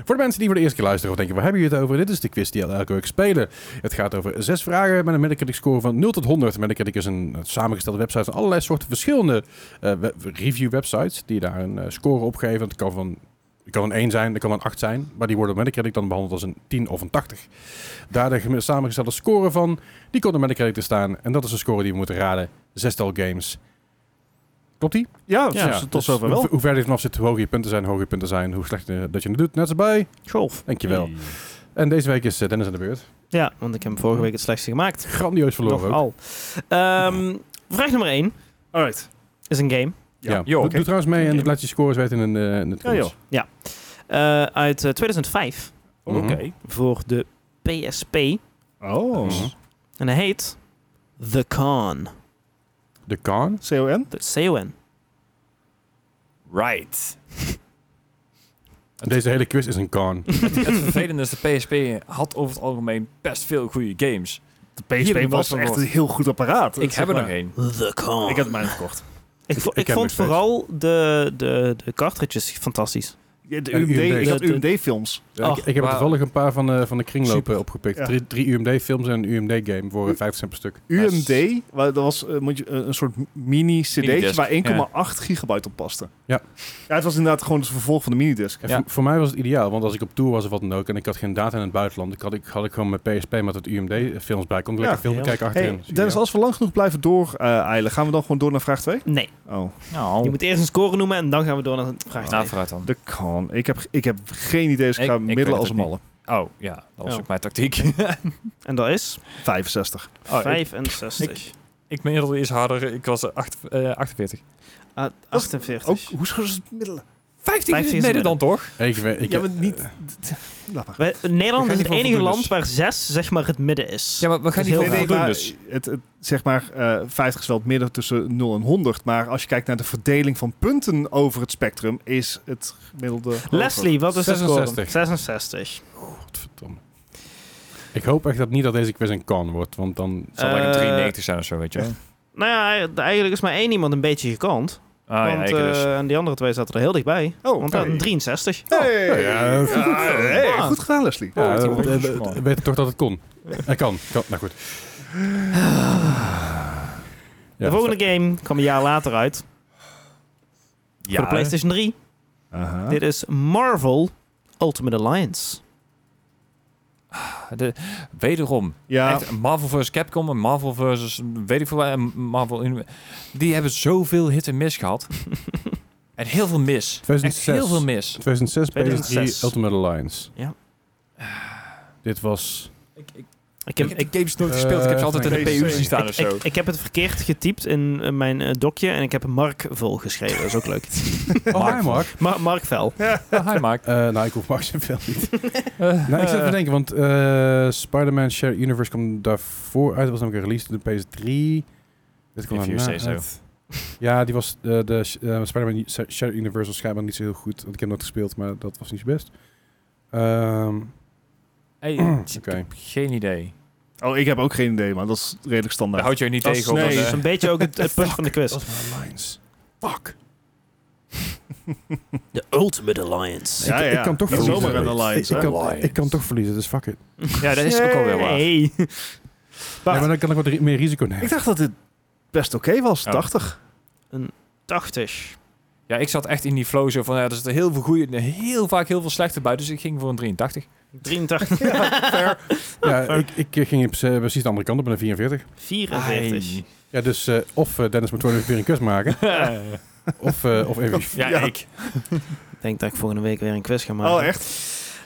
[SPEAKER 2] voor de mensen die voor de eerste keer luisteren of denken, waar hebben jullie het over? Dit is de quiz die we elke week spelen. Het gaat over zes vragen met een Metacritic score van 0 tot 100. Metacritic is een eh, samengestelde website van allerlei soorten verschillende eh, we- review websites die daar een eh, score op geven. Het kan van... Het kan een 1 zijn, het kan een 8 zijn, maar die worden op Metacritic dan behandeld als een 10 of een 80. Daar de gemi- samengestelde score van, die komt op Metacritic te staan. En dat is een score die we moeten raden. Zestal games. Klopt die?
[SPEAKER 3] Ja,
[SPEAKER 1] Ja,
[SPEAKER 3] dus tot
[SPEAKER 2] dus
[SPEAKER 3] zover
[SPEAKER 2] Hoe,
[SPEAKER 3] wel.
[SPEAKER 2] hoe verder je vanaf zit, hoe hoger je punten zijn, hoe hoger je punten zijn, hoe slecht eh, dat je het doet. Net als bij.
[SPEAKER 1] Golf.
[SPEAKER 2] Dankjewel. En deze week is eh, Dennis aan de beurt.
[SPEAKER 1] Ja, want ik heb hem vorige week het slechtste gemaakt.
[SPEAKER 2] Grandioos verloren ook.
[SPEAKER 1] Nogal. Ehm, vraag nummer 1
[SPEAKER 3] Alright.
[SPEAKER 1] is een game.
[SPEAKER 2] Ja.
[SPEAKER 3] Ja.
[SPEAKER 2] Doe,
[SPEAKER 4] Joh,
[SPEAKER 2] doe trouwens mee en
[SPEAKER 1] Oké.
[SPEAKER 2] laat je scores weten in, eh, in het
[SPEAKER 3] Ja, joh.
[SPEAKER 2] comments.
[SPEAKER 1] Eh, uit eh, 2005
[SPEAKER 2] Mhm.
[SPEAKER 4] oké.
[SPEAKER 1] voor de PSP.
[SPEAKER 3] Oh.
[SPEAKER 2] Mhm.
[SPEAKER 1] En hij heet The Con.
[SPEAKER 2] De Khan.
[SPEAKER 3] CON?
[SPEAKER 1] De C-O-N.
[SPEAKER 4] Right.
[SPEAKER 2] Deze hele quiz is een Khan.
[SPEAKER 4] Het vervelende is, de PSP had over het algemeen best veel goede games.
[SPEAKER 3] De
[SPEAKER 4] Hier heb
[SPEAKER 3] PSP
[SPEAKER 4] ik wat
[SPEAKER 3] was
[SPEAKER 4] van
[SPEAKER 3] echt
[SPEAKER 4] gehoord.
[SPEAKER 3] een heel goed apparaat.
[SPEAKER 4] Ik heb er nog
[SPEAKER 3] één.
[SPEAKER 4] één.
[SPEAKER 1] The Con.
[SPEAKER 3] Ik heb mijn gekocht.
[SPEAKER 1] Ik, vo-
[SPEAKER 2] Ik- ik
[SPEAKER 1] ik
[SPEAKER 2] heb
[SPEAKER 1] vond
[SPEAKER 2] hem nog
[SPEAKER 1] vooral de, de, de cartridges fantastisch.
[SPEAKER 3] Ja, de
[SPEAKER 2] En
[SPEAKER 3] UMD,
[SPEAKER 2] UMD.
[SPEAKER 3] ik had
[SPEAKER 1] De- de-
[SPEAKER 3] UMD-films.
[SPEAKER 2] Ja, ik,
[SPEAKER 1] Ach,
[SPEAKER 2] ik heb er
[SPEAKER 4] wauw.
[SPEAKER 2] toevallig een paar van, eh, van de kringlopen
[SPEAKER 4] Super.
[SPEAKER 2] opgepikt.
[SPEAKER 3] Ja. Hm.
[SPEAKER 2] Drie, drie UMD-films en een UMD-game voor eh, 50 cent per stuk.
[SPEAKER 3] UMD, wa- dat was eh, moet je, eh, een soort mini-cd'tje
[SPEAKER 4] Minidisc,
[SPEAKER 3] waar 1,8
[SPEAKER 4] ja.
[SPEAKER 3] gigabyte op paste.
[SPEAKER 2] Ja.
[SPEAKER 3] ja, het was inderdaad gewoon het vervolg van de minidisc.
[SPEAKER 2] En
[SPEAKER 4] Ja.
[SPEAKER 2] voor, voor mij was het ideaal, want als ik op tour was of wat dan ook en ik had geen data in het buitenland, ik had ik, had ik gewoon mijn PSP met het UMD-films bij. Kon ik
[SPEAKER 3] Ja.
[SPEAKER 2] lekker film
[SPEAKER 1] Ja.
[SPEAKER 2] kijken achterin.
[SPEAKER 3] Hey,
[SPEAKER 2] Dus
[SPEAKER 3] Dennis,
[SPEAKER 2] ideaal.
[SPEAKER 3] als we lang genoeg blijven dooreilen, gaan we dan gewoon door naar vraag 2?
[SPEAKER 1] Nee,
[SPEAKER 3] Oh,
[SPEAKER 1] je
[SPEAKER 4] Nou,
[SPEAKER 1] moet eerst een score noemen en dan gaan we door naar de vraag
[SPEAKER 4] nou,
[SPEAKER 1] twee.
[SPEAKER 4] vooruit dan.
[SPEAKER 3] de kan. Ik heb, ik heb geen idee, dus ik
[SPEAKER 4] Ik-
[SPEAKER 3] ga
[SPEAKER 4] ik weet
[SPEAKER 3] middelen
[SPEAKER 4] het
[SPEAKER 3] als
[SPEAKER 4] ook
[SPEAKER 3] een malle.
[SPEAKER 4] Oh, ja, dat was
[SPEAKER 1] Oh.
[SPEAKER 4] ook mijn tactiek.
[SPEAKER 1] En dat is
[SPEAKER 3] 65.
[SPEAKER 4] Oh, ik-
[SPEAKER 1] 65.
[SPEAKER 4] ik- ik middelde is harder, ik was eh, acht- eh, 48.
[SPEAKER 1] Ah, 48.
[SPEAKER 3] Ook, hoe zou ze het middelen?
[SPEAKER 4] 15
[SPEAKER 1] is het
[SPEAKER 4] midden dan
[SPEAKER 1] midden.
[SPEAKER 4] toch?
[SPEAKER 2] ik, weet- ik,
[SPEAKER 3] ja, maar niet... Laat maar.
[SPEAKER 1] Wij- Nederland
[SPEAKER 2] ga
[SPEAKER 1] is
[SPEAKER 2] niet
[SPEAKER 1] het
[SPEAKER 2] voor
[SPEAKER 1] enige
[SPEAKER 2] voldoendes.
[SPEAKER 1] land waar 6 zeg maar het midden is.
[SPEAKER 4] Ja, maar we gaan
[SPEAKER 1] is heel
[SPEAKER 4] niet over
[SPEAKER 1] veel.
[SPEAKER 4] voldoen
[SPEAKER 3] maar
[SPEAKER 4] dus.
[SPEAKER 3] het, het- zeg maar, eh 50 is wel het midden tussen 0 en 100. Maar als je kijkt naar de verdeling van punten over het spectrum, is het gemiddelde... hoger.
[SPEAKER 1] Leslie, wat is de score?
[SPEAKER 2] 66.
[SPEAKER 1] 66.
[SPEAKER 2] Godverdomme. Ik hoop echt dat niet dat deze quiz een kan wordt, want dan...
[SPEAKER 4] Het zal lekker
[SPEAKER 1] Eh,
[SPEAKER 4] 93 zijn of zo, weet je wel.
[SPEAKER 1] Nou ja, eigenlijk is maar één iemand een beetje gekant.
[SPEAKER 4] Ah ja,
[SPEAKER 1] want,
[SPEAKER 4] ik dus.
[SPEAKER 1] eh, en die andere twee zaten er heel dichtbij.
[SPEAKER 3] Oh,
[SPEAKER 1] Want
[SPEAKER 3] hey.
[SPEAKER 1] dan 63.
[SPEAKER 3] Hey.
[SPEAKER 2] Oh, ja,
[SPEAKER 3] Ja, hey, Goed gedaan, Leslie.
[SPEAKER 2] Ja,
[SPEAKER 4] het is
[SPEAKER 2] we-
[SPEAKER 4] een
[SPEAKER 2] we-
[SPEAKER 4] beetje
[SPEAKER 2] we-
[SPEAKER 4] spannend.
[SPEAKER 2] weten toch dat het kon. Hij kan. kan. Nou goed. Ja,
[SPEAKER 1] de volgende game kwam een jaar later uit.
[SPEAKER 4] ja,
[SPEAKER 1] Voor de PlayStation 3. Dit is Marvel Ultimate Alliance.
[SPEAKER 4] de- wederom.
[SPEAKER 3] Ja,
[SPEAKER 4] Echt, Marvel vs. Capcom en Marvel vs. weet ik veel waar, en Marvel... Uni- Die hebben zoveel hit en mis gehad. en heel veel mis. Echt
[SPEAKER 2] 2006.
[SPEAKER 4] heel veel mis.
[SPEAKER 2] 2006 PS3
[SPEAKER 1] 2006.
[SPEAKER 2] Ultimate Alliance.
[SPEAKER 1] Ja.
[SPEAKER 2] Dit was...
[SPEAKER 4] Ik,
[SPEAKER 1] Ik
[SPEAKER 4] Ik
[SPEAKER 1] heb,
[SPEAKER 4] heb
[SPEAKER 1] ik,
[SPEAKER 4] de games nooit gespeeld.
[SPEAKER 2] Eh,
[SPEAKER 4] Ik heb ze altijd in de
[SPEAKER 3] nee,
[SPEAKER 4] PU
[SPEAKER 3] nee.
[SPEAKER 4] zien staan dus- of
[SPEAKER 1] ik,
[SPEAKER 4] zo.
[SPEAKER 1] ik heb het verkeerd getypt in eh, mijn eh, dokje en ik heb Mark vol geschreven. Dat is ook leuk.
[SPEAKER 2] Oh, hi Mark.
[SPEAKER 1] Ma Mark Vel.
[SPEAKER 4] Ah, Hi Mark.
[SPEAKER 2] Eh, nou, ik hoef Mark zijn film niet. nou, ik zat te denken, want eh, Spider-Man Shared Universe kwam daarvoor uit. Dat was namelijk released op de PS3. Dit kwam
[SPEAKER 4] If you
[SPEAKER 2] daarna
[SPEAKER 4] say so.
[SPEAKER 2] uit. Ja, die was eh, de sh- eh, Spider-Man Sa- Shared Universe was schijnbaar niet zo heel goed. Want ik heb dat gespeeld, maar dat was niet zo best. Ehm,
[SPEAKER 4] Hey,
[SPEAKER 2] Oké.
[SPEAKER 4] ik heb geen idee.
[SPEAKER 3] Oh, ik heb ook geen idee, maar dat is redelijk
[SPEAKER 4] Daar
[SPEAKER 3] standaard.
[SPEAKER 4] houd je je niet
[SPEAKER 3] Dat is-
[SPEAKER 4] tegen. op,
[SPEAKER 3] nee.
[SPEAKER 1] Dat
[SPEAKER 4] want,
[SPEAKER 1] is
[SPEAKER 4] eh,
[SPEAKER 1] een beetje ook het, het punt van de quiz.
[SPEAKER 2] dat was mijn lines. Fuck.
[SPEAKER 1] De Ultimate Alliance.
[SPEAKER 3] Ja,
[SPEAKER 2] ik,
[SPEAKER 3] ja.
[SPEAKER 2] ik kan toch
[SPEAKER 3] Niet
[SPEAKER 2] verliezen.
[SPEAKER 3] zomaar een alliance,
[SPEAKER 2] ik,
[SPEAKER 3] hè?
[SPEAKER 2] kan, ik kan toch verliezen, dus fuck it.
[SPEAKER 4] Ja, dat is ook alweer waar.
[SPEAKER 1] Nee.
[SPEAKER 2] Ja, maar dan kan ik wat ri- meer risico
[SPEAKER 3] Ik
[SPEAKER 2] nemen.
[SPEAKER 3] dacht dat dit best oké was,
[SPEAKER 4] Oh.
[SPEAKER 3] 80.
[SPEAKER 1] 80.
[SPEAKER 4] Ja, ik zat echt in die flow zo van, ja, er zitten heel veel goede en heel vaak heel veel slechte bij. Dus ik ging voor een 83.
[SPEAKER 1] 83.
[SPEAKER 2] Ja, ik, ik ging op, eh, precies de andere kant op met een 44.
[SPEAKER 1] 44.
[SPEAKER 2] Ja, dus eh, of eh, Dennis moet gewoon even weer een kus maken.
[SPEAKER 4] Ai.
[SPEAKER 2] of, eh, of even...
[SPEAKER 4] ja,
[SPEAKER 3] Ja.
[SPEAKER 4] ik.
[SPEAKER 1] Ik denk dat ik volgende week weer een quiz ga maken.
[SPEAKER 3] Oh, echt?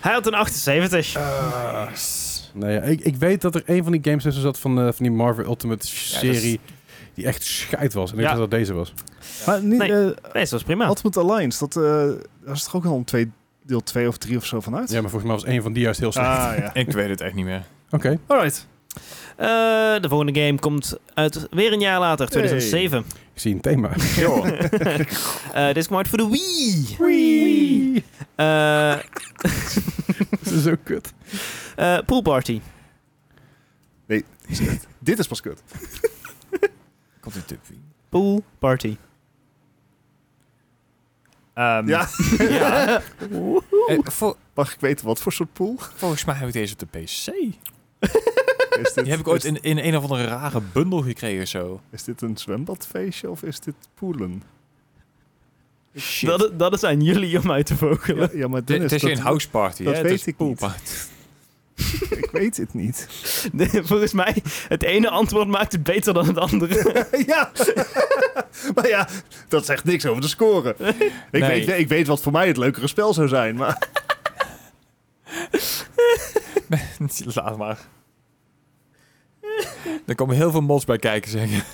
[SPEAKER 1] Hij had een 78.
[SPEAKER 3] Eh, Ah.
[SPEAKER 2] Nou ja, ik, ik weet dat er een van die games tussen zat van, eh, van die Marvel Ultimate serie. Die echt scheid was. En ik
[SPEAKER 4] Ja.
[SPEAKER 2] dacht dat dat deze was.
[SPEAKER 3] Maar niet,
[SPEAKER 1] Nee.
[SPEAKER 3] eh,
[SPEAKER 1] Nee, dat was prima.
[SPEAKER 3] Ultimate Alliance, dat, eh daar is toch ook al een twee, deel 2 of 3 of zo van uit?
[SPEAKER 2] Ja, maar volgens mij was een van die juist heel slecht.
[SPEAKER 3] Ah, ja.
[SPEAKER 4] Ik weet het echt niet meer.
[SPEAKER 2] Oké.
[SPEAKER 3] Alright.
[SPEAKER 1] Eh, de volgende game komt uit weer een jaar later, 2007.
[SPEAKER 2] Ik zie een thema.
[SPEAKER 1] Eh, dit is gemaakt voor de Wii. Eh,
[SPEAKER 2] dat is ook kut.
[SPEAKER 1] eh, pool Party.
[SPEAKER 3] Dit is pas kut.
[SPEAKER 4] Komt een tip.
[SPEAKER 1] Pool Party.
[SPEAKER 4] Ehm,
[SPEAKER 3] Ja.
[SPEAKER 4] ja. Eh, vol-
[SPEAKER 3] Mag ik weten wat voor soort pool?
[SPEAKER 4] volgens mij heb ik deze op de PC.
[SPEAKER 3] Is dit,
[SPEAKER 4] Die heb ik ooit
[SPEAKER 3] is,
[SPEAKER 4] in, in een of andere rare bundel gekregen of zo.
[SPEAKER 3] is dit een zwembadfeestje of is dit poelen?
[SPEAKER 4] Shit.
[SPEAKER 1] Dat, dat is aan jullie om uit te vogelen.
[SPEAKER 3] Ja, ja, maar
[SPEAKER 4] Dit
[SPEAKER 3] Dennis,
[SPEAKER 4] het is
[SPEAKER 3] dat-
[SPEAKER 4] geen houseparty.
[SPEAKER 3] dat
[SPEAKER 4] hè?
[SPEAKER 3] weet
[SPEAKER 4] het is
[SPEAKER 3] ik niet. Ik weet het niet.
[SPEAKER 1] De- Volgens mij, het ene antwoord maakt het beter dan het andere.
[SPEAKER 3] ja. maar ja, dat zegt niks over de score. Ik,
[SPEAKER 4] Nee.
[SPEAKER 3] weet, ik weet wat voor mij het leukere spel zou zijn, maar...
[SPEAKER 4] poolparty. Laat maar. Er komen heel veel mods bij kijken, zeggen.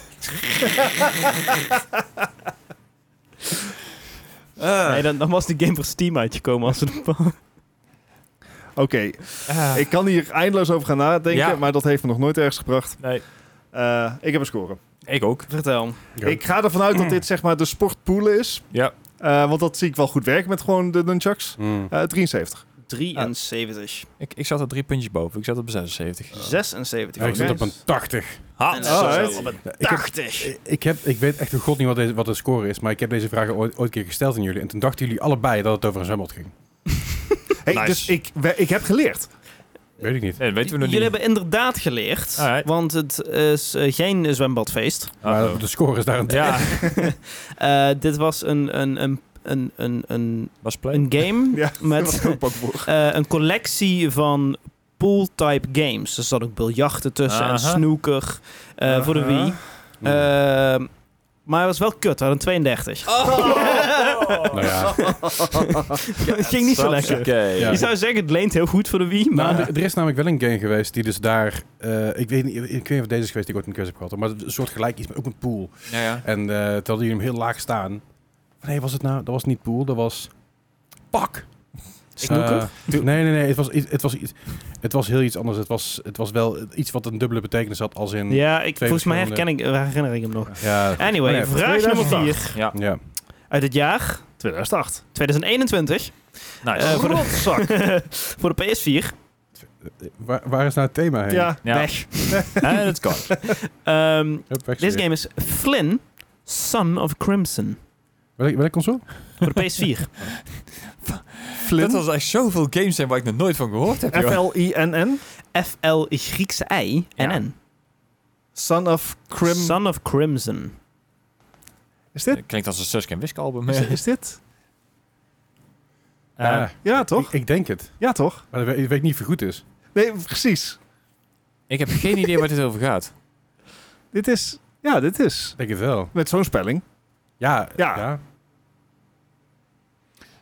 [SPEAKER 3] Ah.
[SPEAKER 1] Nee, dan, dan was die game voor Steam uitgekomen als het...
[SPEAKER 3] Oké, ik kan hier eindeloos over gaan nadenken,
[SPEAKER 4] Ja.
[SPEAKER 3] maar dat heeft me nog nooit ergens gebracht.
[SPEAKER 4] Nee,
[SPEAKER 3] Eh, ik heb een score.
[SPEAKER 4] ik ook.
[SPEAKER 1] Vertel.
[SPEAKER 3] Ik ga ervan uit dat dit zeg maar de sportpoelen is.
[SPEAKER 4] Ja.
[SPEAKER 3] Eh, want dat zie ik wel goed werken met gewoon de nunchucks.
[SPEAKER 2] Hmm.
[SPEAKER 3] Eh, 73.
[SPEAKER 1] 73.
[SPEAKER 4] Ik, ik zat er drie puntjes boven. Ik zat op 76.
[SPEAKER 1] 76.
[SPEAKER 2] Ja, ik zit op een
[SPEAKER 1] En
[SPEAKER 2] 80.
[SPEAKER 1] eh,
[SPEAKER 4] Ha,
[SPEAKER 1] zo
[SPEAKER 3] alright.
[SPEAKER 1] op een
[SPEAKER 2] Ja, ik heb-
[SPEAKER 1] 80.
[SPEAKER 2] Ik, heb, ik weet echt een god niet wat, deze, wat de score is, maar ik heb deze vragen ooit, ooit een keer gesteld aan jullie. En toen dachten jullie allebei dat het over een zwembad ging.
[SPEAKER 3] Hey,
[SPEAKER 4] Nice.
[SPEAKER 3] Dus ik, we- ik heb geleerd.
[SPEAKER 2] Weet ik niet.
[SPEAKER 4] Nee, dat weten we nog
[SPEAKER 1] Jullie
[SPEAKER 4] niet.
[SPEAKER 1] hebben inderdaad geleerd,
[SPEAKER 4] Alright.
[SPEAKER 1] want het is eh, geen zwembadfeest.
[SPEAKER 2] Maar
[SPEAKER 4] Uh-oh.
[SPEAKER 2] de score is daar een
[SPEAKER 4] Ja,
[SPEAKER 1] Eh, dit was een, een, een, een, een, een,
[SPEAKER 4] was play.
[SPEAKER 1] een game
[SPEAKER 3] Ja,
[SPEAKER 1] met
[SPEAKER 3] Wat ook pak voor.
[SPEAKER 1] eh, een collectie van pool-type games. Dus er zat ook biljarten tussen en
[SPEAKER 4] Aha.
[SPEAKER 1] snooker eh, voor de Wii. Eh, maar het was wel kut, we hadden 32.
[SPEAKER 2] Nou ja.
[SPEAKER 1] het ging niet zo lekker.
[SPEAKER 4] Oké.
[SPEAKER 2] Ja.
[SPEAKER 1] Je zou zeggen, het leent heel goed voor de Wii, maar...
[SPEAKER 2] Nou, er- er is namelijk wel een game geweest die dus daar... eh, ik, weet niet, ik weet niet of deze is geweest die ik ooit een quiz heb gehad. Maar een soort gelijk iets, maar ook een pool.
[SPEAKER 4] Ja, ja.
[SPEAKER 2] En eh toen hadden jullie hem heel laag staan. Nee, was het nou? Dat was niet pool, dat was... Pak!
[SPEAKER 1] Snooker?
[SPEAKER 2] nee, nee, nee. Het was, iets- het was, iets, het was heel iets anders. Het was, het was wel iets wat een dubbele betekenis had als in...
[SPEAKER 1] ja, Eh. ik,
[SPEAKER 2] Twee
[SPEAKER 1] volgens mij herken ik,
[SPEAKER 2] verschillende-
[SPEAKER 1] herinner ik hem nog.
[SPEAKER 2] Ja.
[SPEAKER 1] Anyway,
[SPEAKER 2] Nee,
[SPEAKER 1] vraag nummer 4
[SPEAKER 2] ja.
[SPEAKER 1] uit het jaar
[SPEAKER 3] 2008.
[SPEAKER 1] 2021.
[SPEAKER 4] Nice.
[SPEAKER 1] Eh, voor,
[SPEAKER 3] Rotzak.
[SPEAKER 1] de, voor de PS4.
[SPEAKER 2] Waar, waar is nou het thema heen?
[SPEAKER 3] ja.
[SPEAKER 4] ja.
[SPEAKER 1] Weg.
[SPEAKER 4] En het kan.
[SPEAKER 1] Ehm,
[SPEAKER 2] Hup, weg
[SPEAKER 1] Deze
[SPEAKER 2] ze weer.
[SPEAKER 1] game is Flynn, Son of Crimson.
[SPEAKER 2] Welke, welke console?
[SPEAKER 1] Voor de PS4.
[SPEAKER 4] Dat was echt zoveel games zijn waar ik nog nooit van gehoord heb. joh.
[SPEAKER 3] F-L-I-N-N.
[SPEAKER 1] FL Griekse I en
[SPEAKER 4] Ja.
[SPEAKER 1] N.
[SPEAKER 3] Son of Crim.
[SPEAKER 1] Son of Crimson.
[SPEAKER 3] Is dit?
[SPEAKER 4] Klinkt als een Suske en Wiske album.
[SPEAKER 3] Is,
[SPEAKER 4] Eh,
[SPEAKER 3] is dit?
[SPEAKER 2] Ah,
[SPEAKER 3] Ja, toch?
[SPEAKER 2] Ik, ik denk het.
[SPEAKER 3] Ja, toch?
[SPEAKER 2] Maar dat weet, ik weet niet of het goed is.
[SPEAKER 3] Nee, precies.
[SPEAKER 4] ik heb geen idee waar dit over gaat.
[SPEAKER 3] Dit is... Ja, dit is.
[SPEAKER 2] Ik denk het wel.
[SPEAKER 3] Met zo'n spelling.
[SPEAKER 2] Ja.
[SPEAKER 3] Ja.
[SPEAKER 2] ja.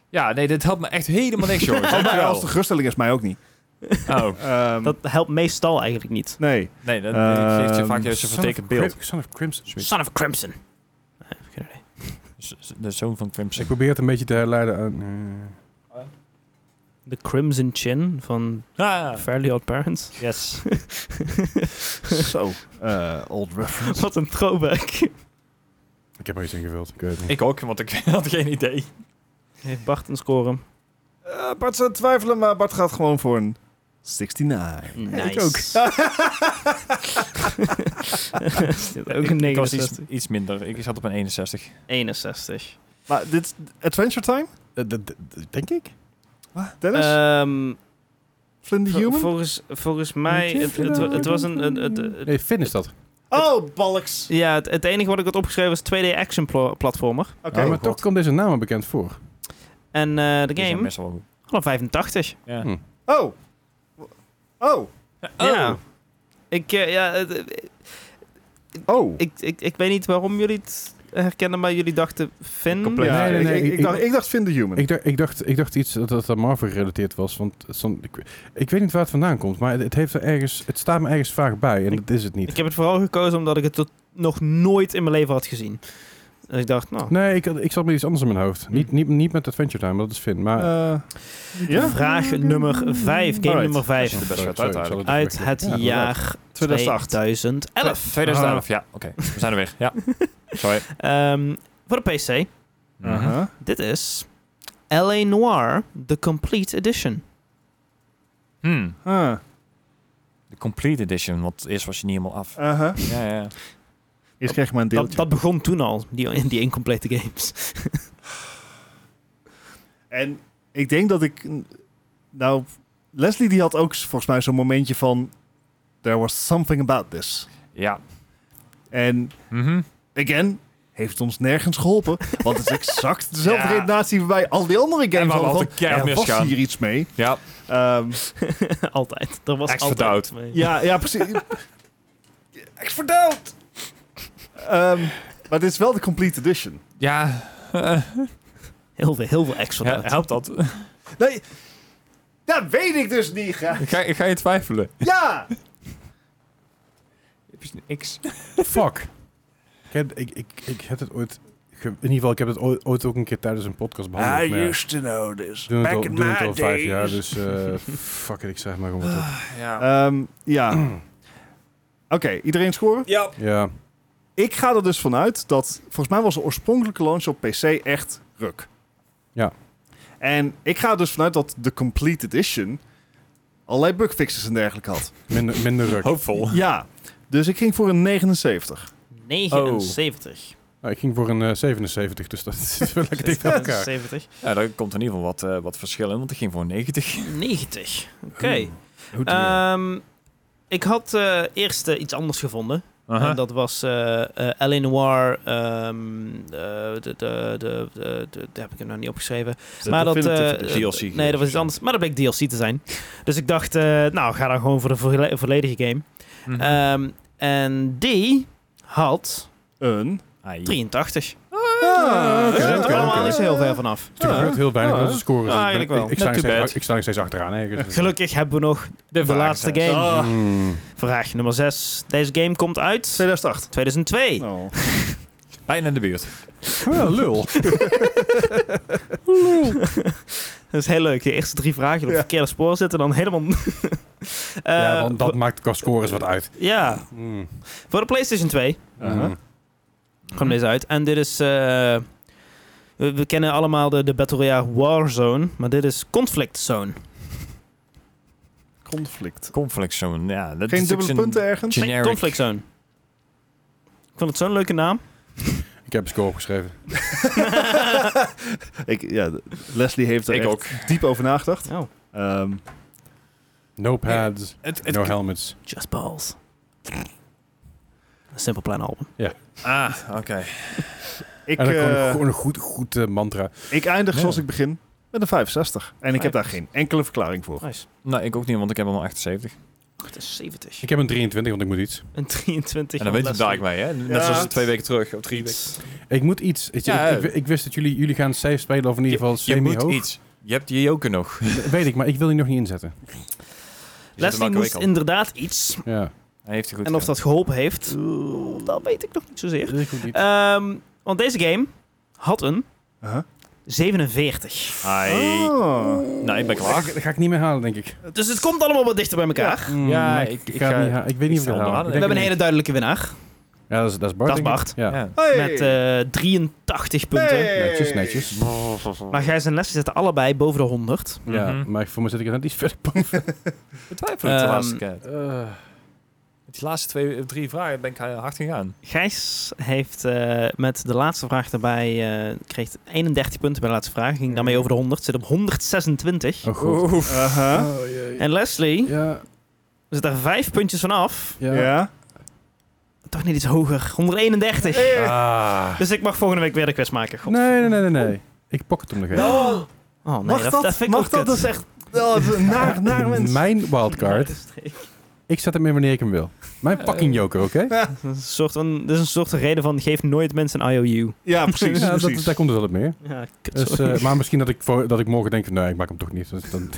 [SPEAKER 4] Ja, nee, dit helpt me echt helemaal niks, jongens.
[SPEAKER 3] Oh, maar
[SPEAKER 4] Dankjewel.
[SPEAKER 3] als de geruststelling is, mij ook niet.
[SPEAKER 4] Oh,
[SPEAKER 3] Ehm,
[SPEAKER 1] Dat helpt meestal eigenlijk niet.
[SPEAKER 3] Nee.
[SPEAKER 4] nee, dat
[SPEAKER 3] Ehm,
[SPEAKER 4] geeft je vaak juist een
[SPEAKER 2] Son of
[SPEAKER 4] vertekend beeld.
[SPEAKER 2] Crim- Son of Crimson.
[SPEAKER 1] Son of Crimson. Nee, heb ik geen idee.
[SPEAKER 4] Z- z- De zoon
[SPEAKER 2] Dus
[SPEAKER 4] van
[SPEAKER 2] Ik
[SPEAKER 4] Crimson.
[SPEAKER 2] probeer het een beetje te herleiden aan... eh,
[SPEAKER 1] The Crimson Chin van
[SPEAKER 4] Ah,
[SPEAKER 1] Fairly Odd Parents.
[SPEAKER 4] yes.
[SPEAKER 3] Zo. eh, old reference.
[SPEAKER 1] Wat een throwback.
[SPEAKER 2] ik heb er iets ingevuld. Ik weet het niet.
[SPEAKER 4] Ik ook, want ik had geen idee.
[SPEAKER 1] Heeft Bart een score?
[SPEAKER 3] Eh, Bart zou twijfelen, maar Bart gaat gewoon voor een 69.
[SPEAKER 1] Nice.
[SPEAKER 3] Ik ook.
[SPEAKER 1] Is dit ook een
[SPEAKER 4] Ik- ik was
[SPEAKER 1] 69?
[SPEAKER 4] iets, iets minder. Ik zat op een Dus 61.
[SPEAKER 1] 61.
[SPEAKER 3] maar dit is Adventure Time?
[SPEAKER 2] Eh, dat- dat- dat Denk ik?
[SPEAKER 3] Dennis?
[SPEAKER 1] Ehm,
[SPEAKER 3] Flynn the
[SPEAKER 1] vo-
[SPEAKER 3] Human?
[SPEAKER 1] volgens, volgens mij,
[SPEAKER 2] Niet
[SPEAKER 1] het,
[SPEAKER 2] even
[SPEAKER 1] het, wa- het was een... een- het- het-
[SPEAKER 2] Nee, Finn is dat.
[SPEAKER 3] oh, balks.
[SPEAKER 1] ja, het, het enige wat ik had opgeschreven was 2D action pla- platformer.
[SPEAKER 3] Oké.
[SPEAKER 2] Ja, maar toch komt deze naam bekend voor.
[SPEAKER 1] En eh,
[SPEAKER 4] Die
[SPEAKER 1] de
[SPEAKER 4] zijn
[SPEAKER 1] game
[SPEAKER 4] best wel goed.
[SPEAKER 1] had een 85.
[SPEAKER 4] Ja.
[SPEAKER 2] Hm.
[SPEAKER 3] Oh. Oh.
[SPEAKER 1] Ja. Ik, eh, ja, het-
[SPEAKER 3] Oh.
[SPEAKER 1] ik, ik, ik weet niet waarom jullie het herkennen, maar jullie dachten Finn.
[SPEAKER 3] Compleet.
[SPEAKER 2] Nee, nee, nee,
[SPEAKER 3] ik, ik,
[SPEAKER 2] ik-
[SPEAKER 3] dacht, ik dacht Flynn the Human.
[SPEAKER 2] Ik dacht, ik, dacht, ik dacht iets dat dat aan Marvel gerelateerd was. Want som- ik, ik weet niet waar het vandaan komt, maar het, het heeft er ergens, het staat me ergens vaak bij. En
[SPEAKER 1] Ik-
[SPEAKER 2] dat is het niet.
[SPEAKER 1] Ik heb het vooral gekozen omdat ik het tot nog nooit in mijn leven had gezien. Dus ik dacht, nou,
[SPEAKER 2] Nee, ik, ik zat met iets anders in mijn hoofd. Niet, niet, niet met Adventure Time, dat is Finn. Maar
[SPEAKER 3] Eh, ja?
[SPEAKER 1] vraag nummer 5, game
[SPEAKER 3] Alright.
[SPEAKER 1] nummer 5.
[SPEAKER 4] best
[SPEAKER 2] Sorry,
[SPEAKER 4] wat
[SPEAKER 2] sorry,
[SPEAKER 4] uit
[SPEAKER 2] ik zal het
[SPEAKER 1] Uit
[SPEAKER 2] even-
[SPEAKER 1] het
[SPEAKER 2] Ja, inderdaad.
[SPEAKER 1] jaar
[SPEAKER 3] 2008.
[SPEAKER 1] 2011.
[SPEAKER 4] 2011, ja. Oké, we zijn er weer. Ja. Sorry.
[SPEAKER 1] Ehm, voor de PC,
[SPEAKER 3] Uh-huh.
[SPEAKER 1] dit is L.A. Noir, The Complete Edition.
[SPEAKER 4] Hmm.
[SPEAKER 3] Huh.
[SPEAKER 4] De Complete Edition, want eerst was je niet helemaal af.
[SPEAKER 3] Uh-huh.
[SPEAKER 4] Ja, ja.
[SPEAKER 3] Eerst krijg je maar een
[SPEAKER 1] Dat,
[SPEAKER 3] deeltje.
[SPEAKER 1] dat begon toen al, die, die incomplete games.
[SPEAKER 3] En ik denk dat ik... Nou, Leslie die had ook volgens mij zo'n momentje van... There was something about this.
[SPEAKER 4] Ja.
[SPEAKER 3] En
[SPEAKER 4] Mhm.
[SPEAKER 3] again, heeft ons nergens geholpen. Want het is exact dezelfde
[SPEAKER 4] Ja.
[SPEAKER 3] redenatie bij al die andere games.
[SPEAKER 4] En we hadden
[SPEAKER 3] Van,
[SPEAKER 4] altijd keihard
[SPEAKER 3] er was
[SPEAKER 4] misgaan.
[SPEAKER 3] hier iets mee.
[SPEAKER 4] Ja.
[SPEAKER 3] Ehm,
[SPEAKER 1] altijd. Er was
[SPEAKER 4] Extra
[SPEAKER 1] altijd
[SPEAKER 4] doubt.
[SPEAKER 1] iets mee.
[SPEAKER 3] ja, ja, precies. Ik verdaald! Ehm, maar dit is wel de complete edition.
[SPEAKER 4] Ja.
[SPEAKER 1] Heel veel, heel veel extra doubt.
[SPEAKER 4] helpt dat?
[SPEAKER 3] Nee, dat weet ik dus niet. Ga.
[SPEAKER 4] Ik ga, ik ga je twijfelen.
[SPEAKER 3] Ja!
[SPEAKER 4] Het is een X.
[SPEAKER 2] Fuck. Ik heb, ik, ik, ik heb het ooit... ge- in ieder geval, ik heb het ooit, ooit ook een keer tijdens een podcast
[SPEAKER 1] Ah,
[SPEAKER 2] behandeld. maar ja,
[SPEAKER 3] to know this.
[SPEAKER 2] ik doe het al, doe het al vijf jaar, dus eh, fuck it, ik zeg maar gewoon wat op.
[SPEAKER 1] Eh,
[SPEAKER 4] Ja.
[SPEAKER 3] Ehm, ja. Oké, iedereen scoren?
[SPEAKER 4] Ja.
[SPEAKER 2] Ja,
[SPEAKER 3] Ik ga er dus vanuit dat... Volgens mij was de oorspronkelijke launch op PC echt ruk.
[SPEAKER 2] Ja.
[SPEAKER 3] En ik ga er dus vanuit dat de Complete Edition... allerlei bugfixes en dergelijke had.
[SPEAKER 2] minder, minder ruk.
[SPEAKER 4] Hoopvol.
[SPEAKER 3] ja. Dus ik ging voor een 79.
[SPEAKER 1] 79.
[SPEAKER 3] Oh.
[SPEAKER 2] Nou, ik ging voor een eh, 77, dus dat is wel lekker tegen elkaar.
[SPEAKER 1] 70.
[SPEAKER 4] Ja, daar komt in ieder geval wat, eh, wat verschil in, want ik ging voor Eh, 90.
[SPEAKER 1] 90. Oké.
[SPEAKER 3] Hmm.
[SPEAKER 2] Hoe doe je?
[SPEAKER 1] Ehm, ik had eh, eerst eh, iets anders gevonden. En dat was eh eh L.A. Noir. ehm, eh, de, de, de, de, de- daar heb ik hem nou niet opgeschreven. maar dat, eh,
[SPEAKER 4] DLC.
[SPEAKER 1] Nee, dat was iets anders. Maar dat bleek DLC te zijn. Dus ik dacht, eh, nou, ga dan gewoon voor de volle- volledige game.
[SPEAKER 4] Mhm.
[SPEAKER 1] Ehm, en die had
[SPEAKER 3] Een...
[SPEAKER 4] Ah, ja.
[SPEAKER 1] 83.
[SPEAKER 3] Ah,
[SPEAKER 2] oké,
[SPEAKER 1] Dus
[SPEAKER 2] oké,
[SPEAKER 1] dat is allemaal
[SPEAKER 2] oké.
[SPEAKER 1] niet zo heel ver vanaf.
[SPEAKER 2] Er gebeurt heel weinig
[SPEAKER 3] Ja.
[SPEAKER 2] met onze scores.
[SPEAKER 1] Ja,
[SPEAKER 2] Ik ben-
[SPEAKER 1] eigenlijk wel.
[SPEAKER 2] ik- Ik sta,
[SPEAKER 1] Not
[SPEAKER 2] nog
[SPEAKER 1] too
[SPEAKER 2] steeds,
[SPEAKER 1] bad.
[SPEAKER 2] ik sta nog steeds achteraan. ergens.
[SPEAKER 1] Gelukkig hebben we nog de,
[SPEAKER 4] vragen
[SPEAKER 1] laatste
[SPEAKER 4] zijn.
[SPEAKER 1] game.
[SPEAKER 3] Ah.
[SPEAKER 2] Mm.
[SPEAKER 1] Vraag nummer 6. Deze game komt uit
[SPEAKER 3] 2008.
[SPEAKER 1] 2002.
[SPEAKER 3] Oh.
[SPEAKER 2] Mhm.
[SPEAKER 4] Bijna in de buurt.
[SPEAKER 2] Wel, lul.
[SPEAKER 1] Dat is heel leuk. De eerste drie vragen op het verkeerde spoor zitten dan helemaal...
[SPEAKER 2] ja,
[SPEAKER 1] Eh,
[SPEAKER 2] want dat maakt qua scores wat uit.
[SPEAKER 1] ja,
[SPEAKER 2] Mm.
[SPEAKER 1] voor de PlayStation 2
[SPEAKER 3] Uh-huh.
[SPEAKER 2] Mm.
[SPEAKER 1] kwam deze uit. En dit is... eh, we, we kennen allemaal de, de Battle Royale Warzone, maar dit is Conflict Zone.
[SPEAKER 3] Conflict.
[SPEAKER 4] Conflict Zone, ja. Dat
[SPEAKER 3] Geen
[SPEAKER 4] is
[SPEAKER 3] dubbele
[SPEAKER 4] ook
[SPEAKER 3] punten
[SPEAKER 4] zo'n
[SPEAKER 3] ergens?
[SPEAKER 1] Nee,
[SPEAKER 4] Generic.
[SPEAKER 1] Conflict Zone. Ik vond het zo'n leuke naam.
[SPEAKER 2] Ik heb een score opgeschreven.
[SPEAKER 3] Ik, ja, Leslie heeft er
[SPEAKER 4] Ik
[SPEAKER 3] echt
[SPEAKER 4] ook.
[SPEAKER 3] diep over nagedacht.
[SPEAKER 1] Oh,
[SPEAKER 3] Ehm,
[SPEAKER 2] No pads,
[SPEAKER 4] Het, het,
[SPEAKER 2] no helmets.
[SPEAKER 1] Just Balls. Een Simple Plan album.
[SPEAKER 4] ah, oké.
[SPEAKER 3] ik,
[SPEAKER 2] en dan gewoon
[SPEAKER 3] eh,
[SPEAKER 2] een, gewoon een goed, goed eh, mantra.
[SPEAKER 3] ik eindig
[SPEAKER 2] Ja.
[SPEAKER 3] zoals ik begin met een 65. En ik heb daar geen enkele verklaring voor.
[SPEAKER 1] Nice.
[SPEAKER 4] Nou, ik ook niet, want ik heb hem al 78.
[SPEAKER 1] 78.
[SPEAKER 2] Ik heb een 23, want ik moet iets.
[SPEAKER 1] Een 23.
[SPEAKER 4] En dan weet je daar ik mee, hè? Net
[SPEAKER 3] Ja.
[SPEAKER 4] zoals twee weken terug, of drie weken.
[SPEAKER 2] Ik moet iets. Weet je,
[SPEAKER 4] Ja,
[SPEAKER 2] ik, ik- ik wist dat jullie, jullie gaan safe spelen, of in ieder geval
[SPEAKER 4] Je moet
[SPEAKER 2] semi-hoog.
[SPEAKER 4] iets. Je hebt die joker nog.
[SPEAKER 2] Weet ik, maar ik wil die nog niet inzetten.
[SPEAKER 1] Leslie
[SPEAKER 4] Marco
[SPEAKER 1] moest
[SPEAKER 4] Wick al.
[SPEAKER 1] inderdaad iets.
[SPEAKER 2] Ja.
[SPEAKER 4] Hij heeft het goed
[SPEAKER 1] En of
[SPEAKER 4] gedaan.
[SPEAKER 1] dat geholpen heeft, dat weet ik nog niet zozeer.
[SPEAKER 2] Dat is goed niet.
[SPEAKER 1] Ehm, want deze game had een
[SPEAKER 3] Uh-huh.
[SPEAKER 1] 47.
[SPEAKER 4] Ai.
[SPEAKER 3] Ah.
[SPEAKER 4] Nou, ik ben
[SPEAKER 2] Dat
[SPEAKER 4] klaar.
[SPEAKER 2] ga- dat ga ik niet meer halen, denk ik.
[SPEAKER 1] Dus het komt allemaal wat dichter bij elkaar.
[SPEAKER 2] Mm,
[SPEAKER 4] Ja,
[SPEAKER 2] ik,
[SPEAKER 4] ik-
[SPEAKER 2] ik
[SPEAKER 4] ik
[SPEAKER 2] ga het
[SPEAKER 4] ga-
[SPEAKER 2] niet halen. Ik weet
[SPEAKER 4] ik
[SPEAKER 2] niet of ik
[SPEAKER 4] sta
[SPEAKER 2] het haal.
[SPEAKER 4] onderaan.
[SPEAKER 2] Ik
[SPEAKER 1] We
[SPEAKER 2] denk
[SPEAKER 1] hebben een
[SPEAKER 2] het
[SPEAKER 1] hele duidelijke winnaar.
[SPEAKER 2] niet. Ja, dat is, dat is Bart.
[SPEAKER 1] Dat is
[SPEAKER 2] denk ik.
[SPEAKER 1] Bart.
[SPEAKER 2] Ja.
[SPEAKER 4] Ja.
[SPEAKER 3] Hey.
[SPEAKER 1] Met eh 83 punten.
[SPEAKER 3] Hey.
[SPEAKER 2] Netjes, netjes.
[SPEAKER 1] Maar Gijs en Leslie zitten allebei boven de 100.
[SPEAKER 2] Ja,
[SPEAKER 4] Mhm.
[SPEAKER 2] maar voor me zit ik er net iets verder boven.
[SPEAKER 4] Ik twijfel het de
[SPEAKER 1] Ehm,
[SPEAKER 4] laatste keer. eh, Met die laatste twee, eh, drie vragen ben ik eh, hard gegaan.
[SPEAKER 1] Gijs heeft eh, met de laatste vraag daarbij eh, kreeg 31 punten bij de laatste vraag. Ging daarmee over de 100. Zit op 126.
[SPEAKER 2] Oh, goed.
[SPEAKER 3] Uh-huh.
[SPEAKER 1] En Leslie
[SPEAKER 2] Oh, Ja,
[SPEAKER 1] zit daar 5 puntjes vanaf.
[SPEAKER 2] ja.
[SPEAKER 3] Ja.
[SPEAKER 1] Toch niet iets hoger. 131.
[SPEAKER 4] Ah.
[SPEAKER 1] Dus ik mag volgende week weer de quiz maken. God.
[SPEAKER 2] Nee, nee, nee, nee. nee. Ik pak het om nog even.
[SPEAKER 3] Oh,
[SPEAKER 1] Oh nee,
[SPEAKER 3] mag
[SPEAKER 1] dat,
[SPEAKER 3] dat?
[SPEAKER 1] dat vind ik
[SPEAKER 3] mag
[SPEAKER 1] ook
[SPEAKER 3] dat?
[SPEAKER 1] kut.
[SPEAKER 3] Dat is echt... Oh, dat is een naar, naar mens.
[SPEAKER 2] Mijn wildcard. Ik zet hem in wanneer ik hem wil. Mijn fucking joker, oké?
[SPEAKER 1] Dat is een soort van, dat is een soort van reden van geef nooit mensen een IOU.
[SPEAKER 3] Ja, precies.
[SPEAKER 2] Ja, dat-
[SPEAKER 3] precies.
[SPEAKER 2] daar komt het wel op meer.
[SPEAKER 1] Ja, kut,
[SPEAKER 2] Dus,
[SPEAKER 1] sorry.
[SPEAKER 2] eh, maar misschien dat ik, voor, dat ik morgen denk, van, nee, ik maak hem toch niet. Dus dan,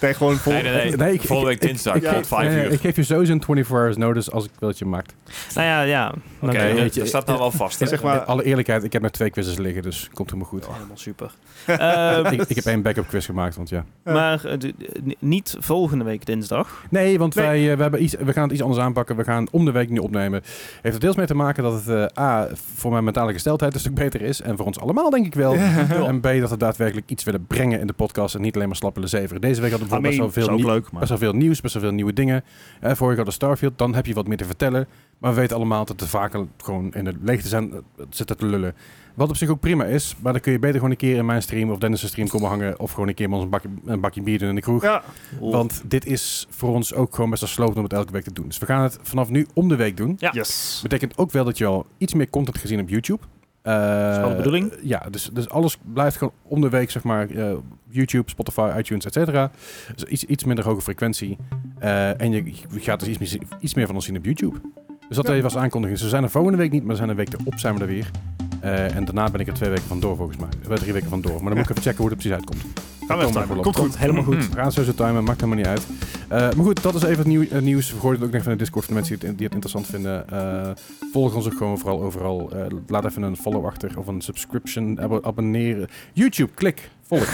[SPEAKER 3] Nee, gewoon vol.
[SPEAKER 4] Nee, nee,
[SPEAKER 2] Nee,
[SPEAKER 4] nee.
[SPEAKER 2] ik-
[SPEAKER 4] Volgende week
[SPEAKER 2] ik-
[SPEAKER 4] dinsdag,
[SPEAKER 3] ik-
[SPEAKER 4] tot vijf
[SPEAKER 2] Nee, nee,
[SPEAKER 4] uur.
[SPEAKER 2] ik geef je sowieso een 24 hours notice als ik wil dat je hem maakt.
[SPEAKER 1] Nou ja, ja.
[SPEAKER 4] Oké,
[SPEAKER 2] Nee, weet
[SPEAKER 4] dat
[SPEAKER 2] je,
[SPEAKER 4] dat staat nou wel vast. hè?
[SPEAKER 3] Zeg maar-
[SPEAKER 2] In alle eerlijkheid, ik heb nog twee quizzes liggen, dus komt helemaal goed.
[SPEAKER 1] Helemaal super. Ehm,
[SPEAKER 2] ik, ik heb één backup quiz gemaakt, want ja.
[SPEAKER 3] Ja.
[SPEAKER 1] Maar eh, d- eh, niet volgende week dinsdag.
[SPEAKER 2] Nee, want
[SPEAKER 3] Nee.
[SPEAKER 2] Wij, eh, we, hebben iets, we gaan het iets anders aanpakken. We gaan om de week nu opnemen. Heeft er deels mee te maken dat het eh, A, voor mijn mentale gesteldheid een stuk beter is. En voor ons allemaal denk ik wel. En B, dat we daadwerkelijk iets willen brengen in de podcast. En niet alleen maar slap willen zeveren. Deze week hadden we bijvoorbeeld
[SPEAKER 3] Ameen,
[SPEAKER 2] best wel
[SPEAKER 3] is
[SPEAKER 2] veel,
[SPEAKER 3] ook
[SPEAKER 2] nie-
[SPEAKER 3] leuk, maar...
[SPEAKER 2] best wel veel nieuws, best wel veel nieuwe dingen. Eh, vorige hadden we Starfield, dan heb je wat meer te vertellen. Maar we weten allemaal dat er vaak al gewoon in het leegte zijn, eh, zitten te lullen. Wat op zich ook prima is, maar dan kun je beter gewoon een keer in mijn stream of Dennis' stream komen hangen. Of gewoon een keer met ons een bakje, een bakje bier doen in de kroeg.
[SPEAKER 3] Ja,
[SPEAKER 2] Want dit is voor ons ook gewoon best wel sloot om het elke week te doen. Dus we gaan het vanaf nu om de week doen.
[SPEAKER 1] Ja.
[SPEAKER 3] yes.
[SPEAKER 2] Betekent ook wel dat je al iets meer content gezien op YouTube. Eh,
[SPEAKER 1] is wel de bedoeling.
[SPEAKER 2] Ja, dus, dus alles blijft gewoon om de week, zeg maar. eh, YouTube, Spotify, iTunes, et cetera. Dus iets, iets minder hoge frequentie. Eh, en je, je gaat dus iets meer, zien- iets meer van ons zien op YouTube. Dus dat
[SPEAKER 3] Ja.
[SPEAKER 2] even als aankondiging. Ze zijn er volgende week niet, maar ze zijn een week erop zijn we er weer. Eh, en daarna ben ik er twee weken vandoor, volgens mij. Eh, Drie weken vandoor. Maar dan moet ik even checken hoe het precies uitkomt.
[SPEAKER 3] Gaan we
[SPEAKER 2] Komt
[SPEAKER 3] even
[SPEAKER 2] wel op.
[SPEAKER 3] Komt goed.
[SPEAKER 1] Helemaal goed.
[SPEAKER 2] We gaan sowieso timen, maakt helemaal niet uit. Eh, maar goed, dat is even het nieuw, eh, nieuws. We gooien het ook nog van de Discord voor de mensen die het, die het interessant vinden. Eh, volg ons ook gewoon vooral overal. Eh, laat even een follow achter of een subscription, abo- abonneren. YouTube, klik, volg.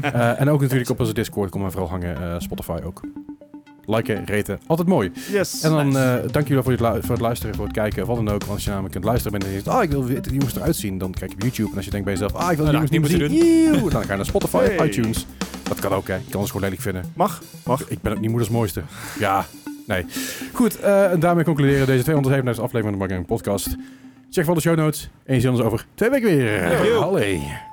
[SPEAKER 2] Eh, en ook natuurlijk op onze Discord, kom maar vooral hangen. Eh, Spotify ook. Liken, reten, altijd mooi.
[SPEAKER 3] Yes.
[SPEAKER 2] En dan eh, dank jullie wel voor het, lu- voor het luisteren, voor het kijken, of wat dan ook. Als je namelijk aan het luisteren bent en je denkt, ah, ik wil weten hoe jongens eruit zien, dan kijk je op YouTube. En als je denkt bij jezelf, ah, ik wil die
[SPEAKER 4] Nou,
[SPEAKER 2] jongens niet meer
[SPEAKER 4] dat
[SPEAKER 2] zien,
[SPEAKER 4] moet
[SPEAKER 2] eeuw, dan ga je naar Spotify,
[SPEAKER 3] Hey.
[SPEAKER 2] iTunes. Dat kan ook, hè. Je kan ons gewoon lelijk vinden.
[SPEAKER 3] Mag? Mag?
[SPEAKER 2] Ik ben ook niet moeders mooiste. Ja, nee. Goed, eh, en daarmee concluderen deze 257 aflevering van de Marketing Podcast. Zeg wel de show notes en je ziet ons over twee weken weer. Hallo.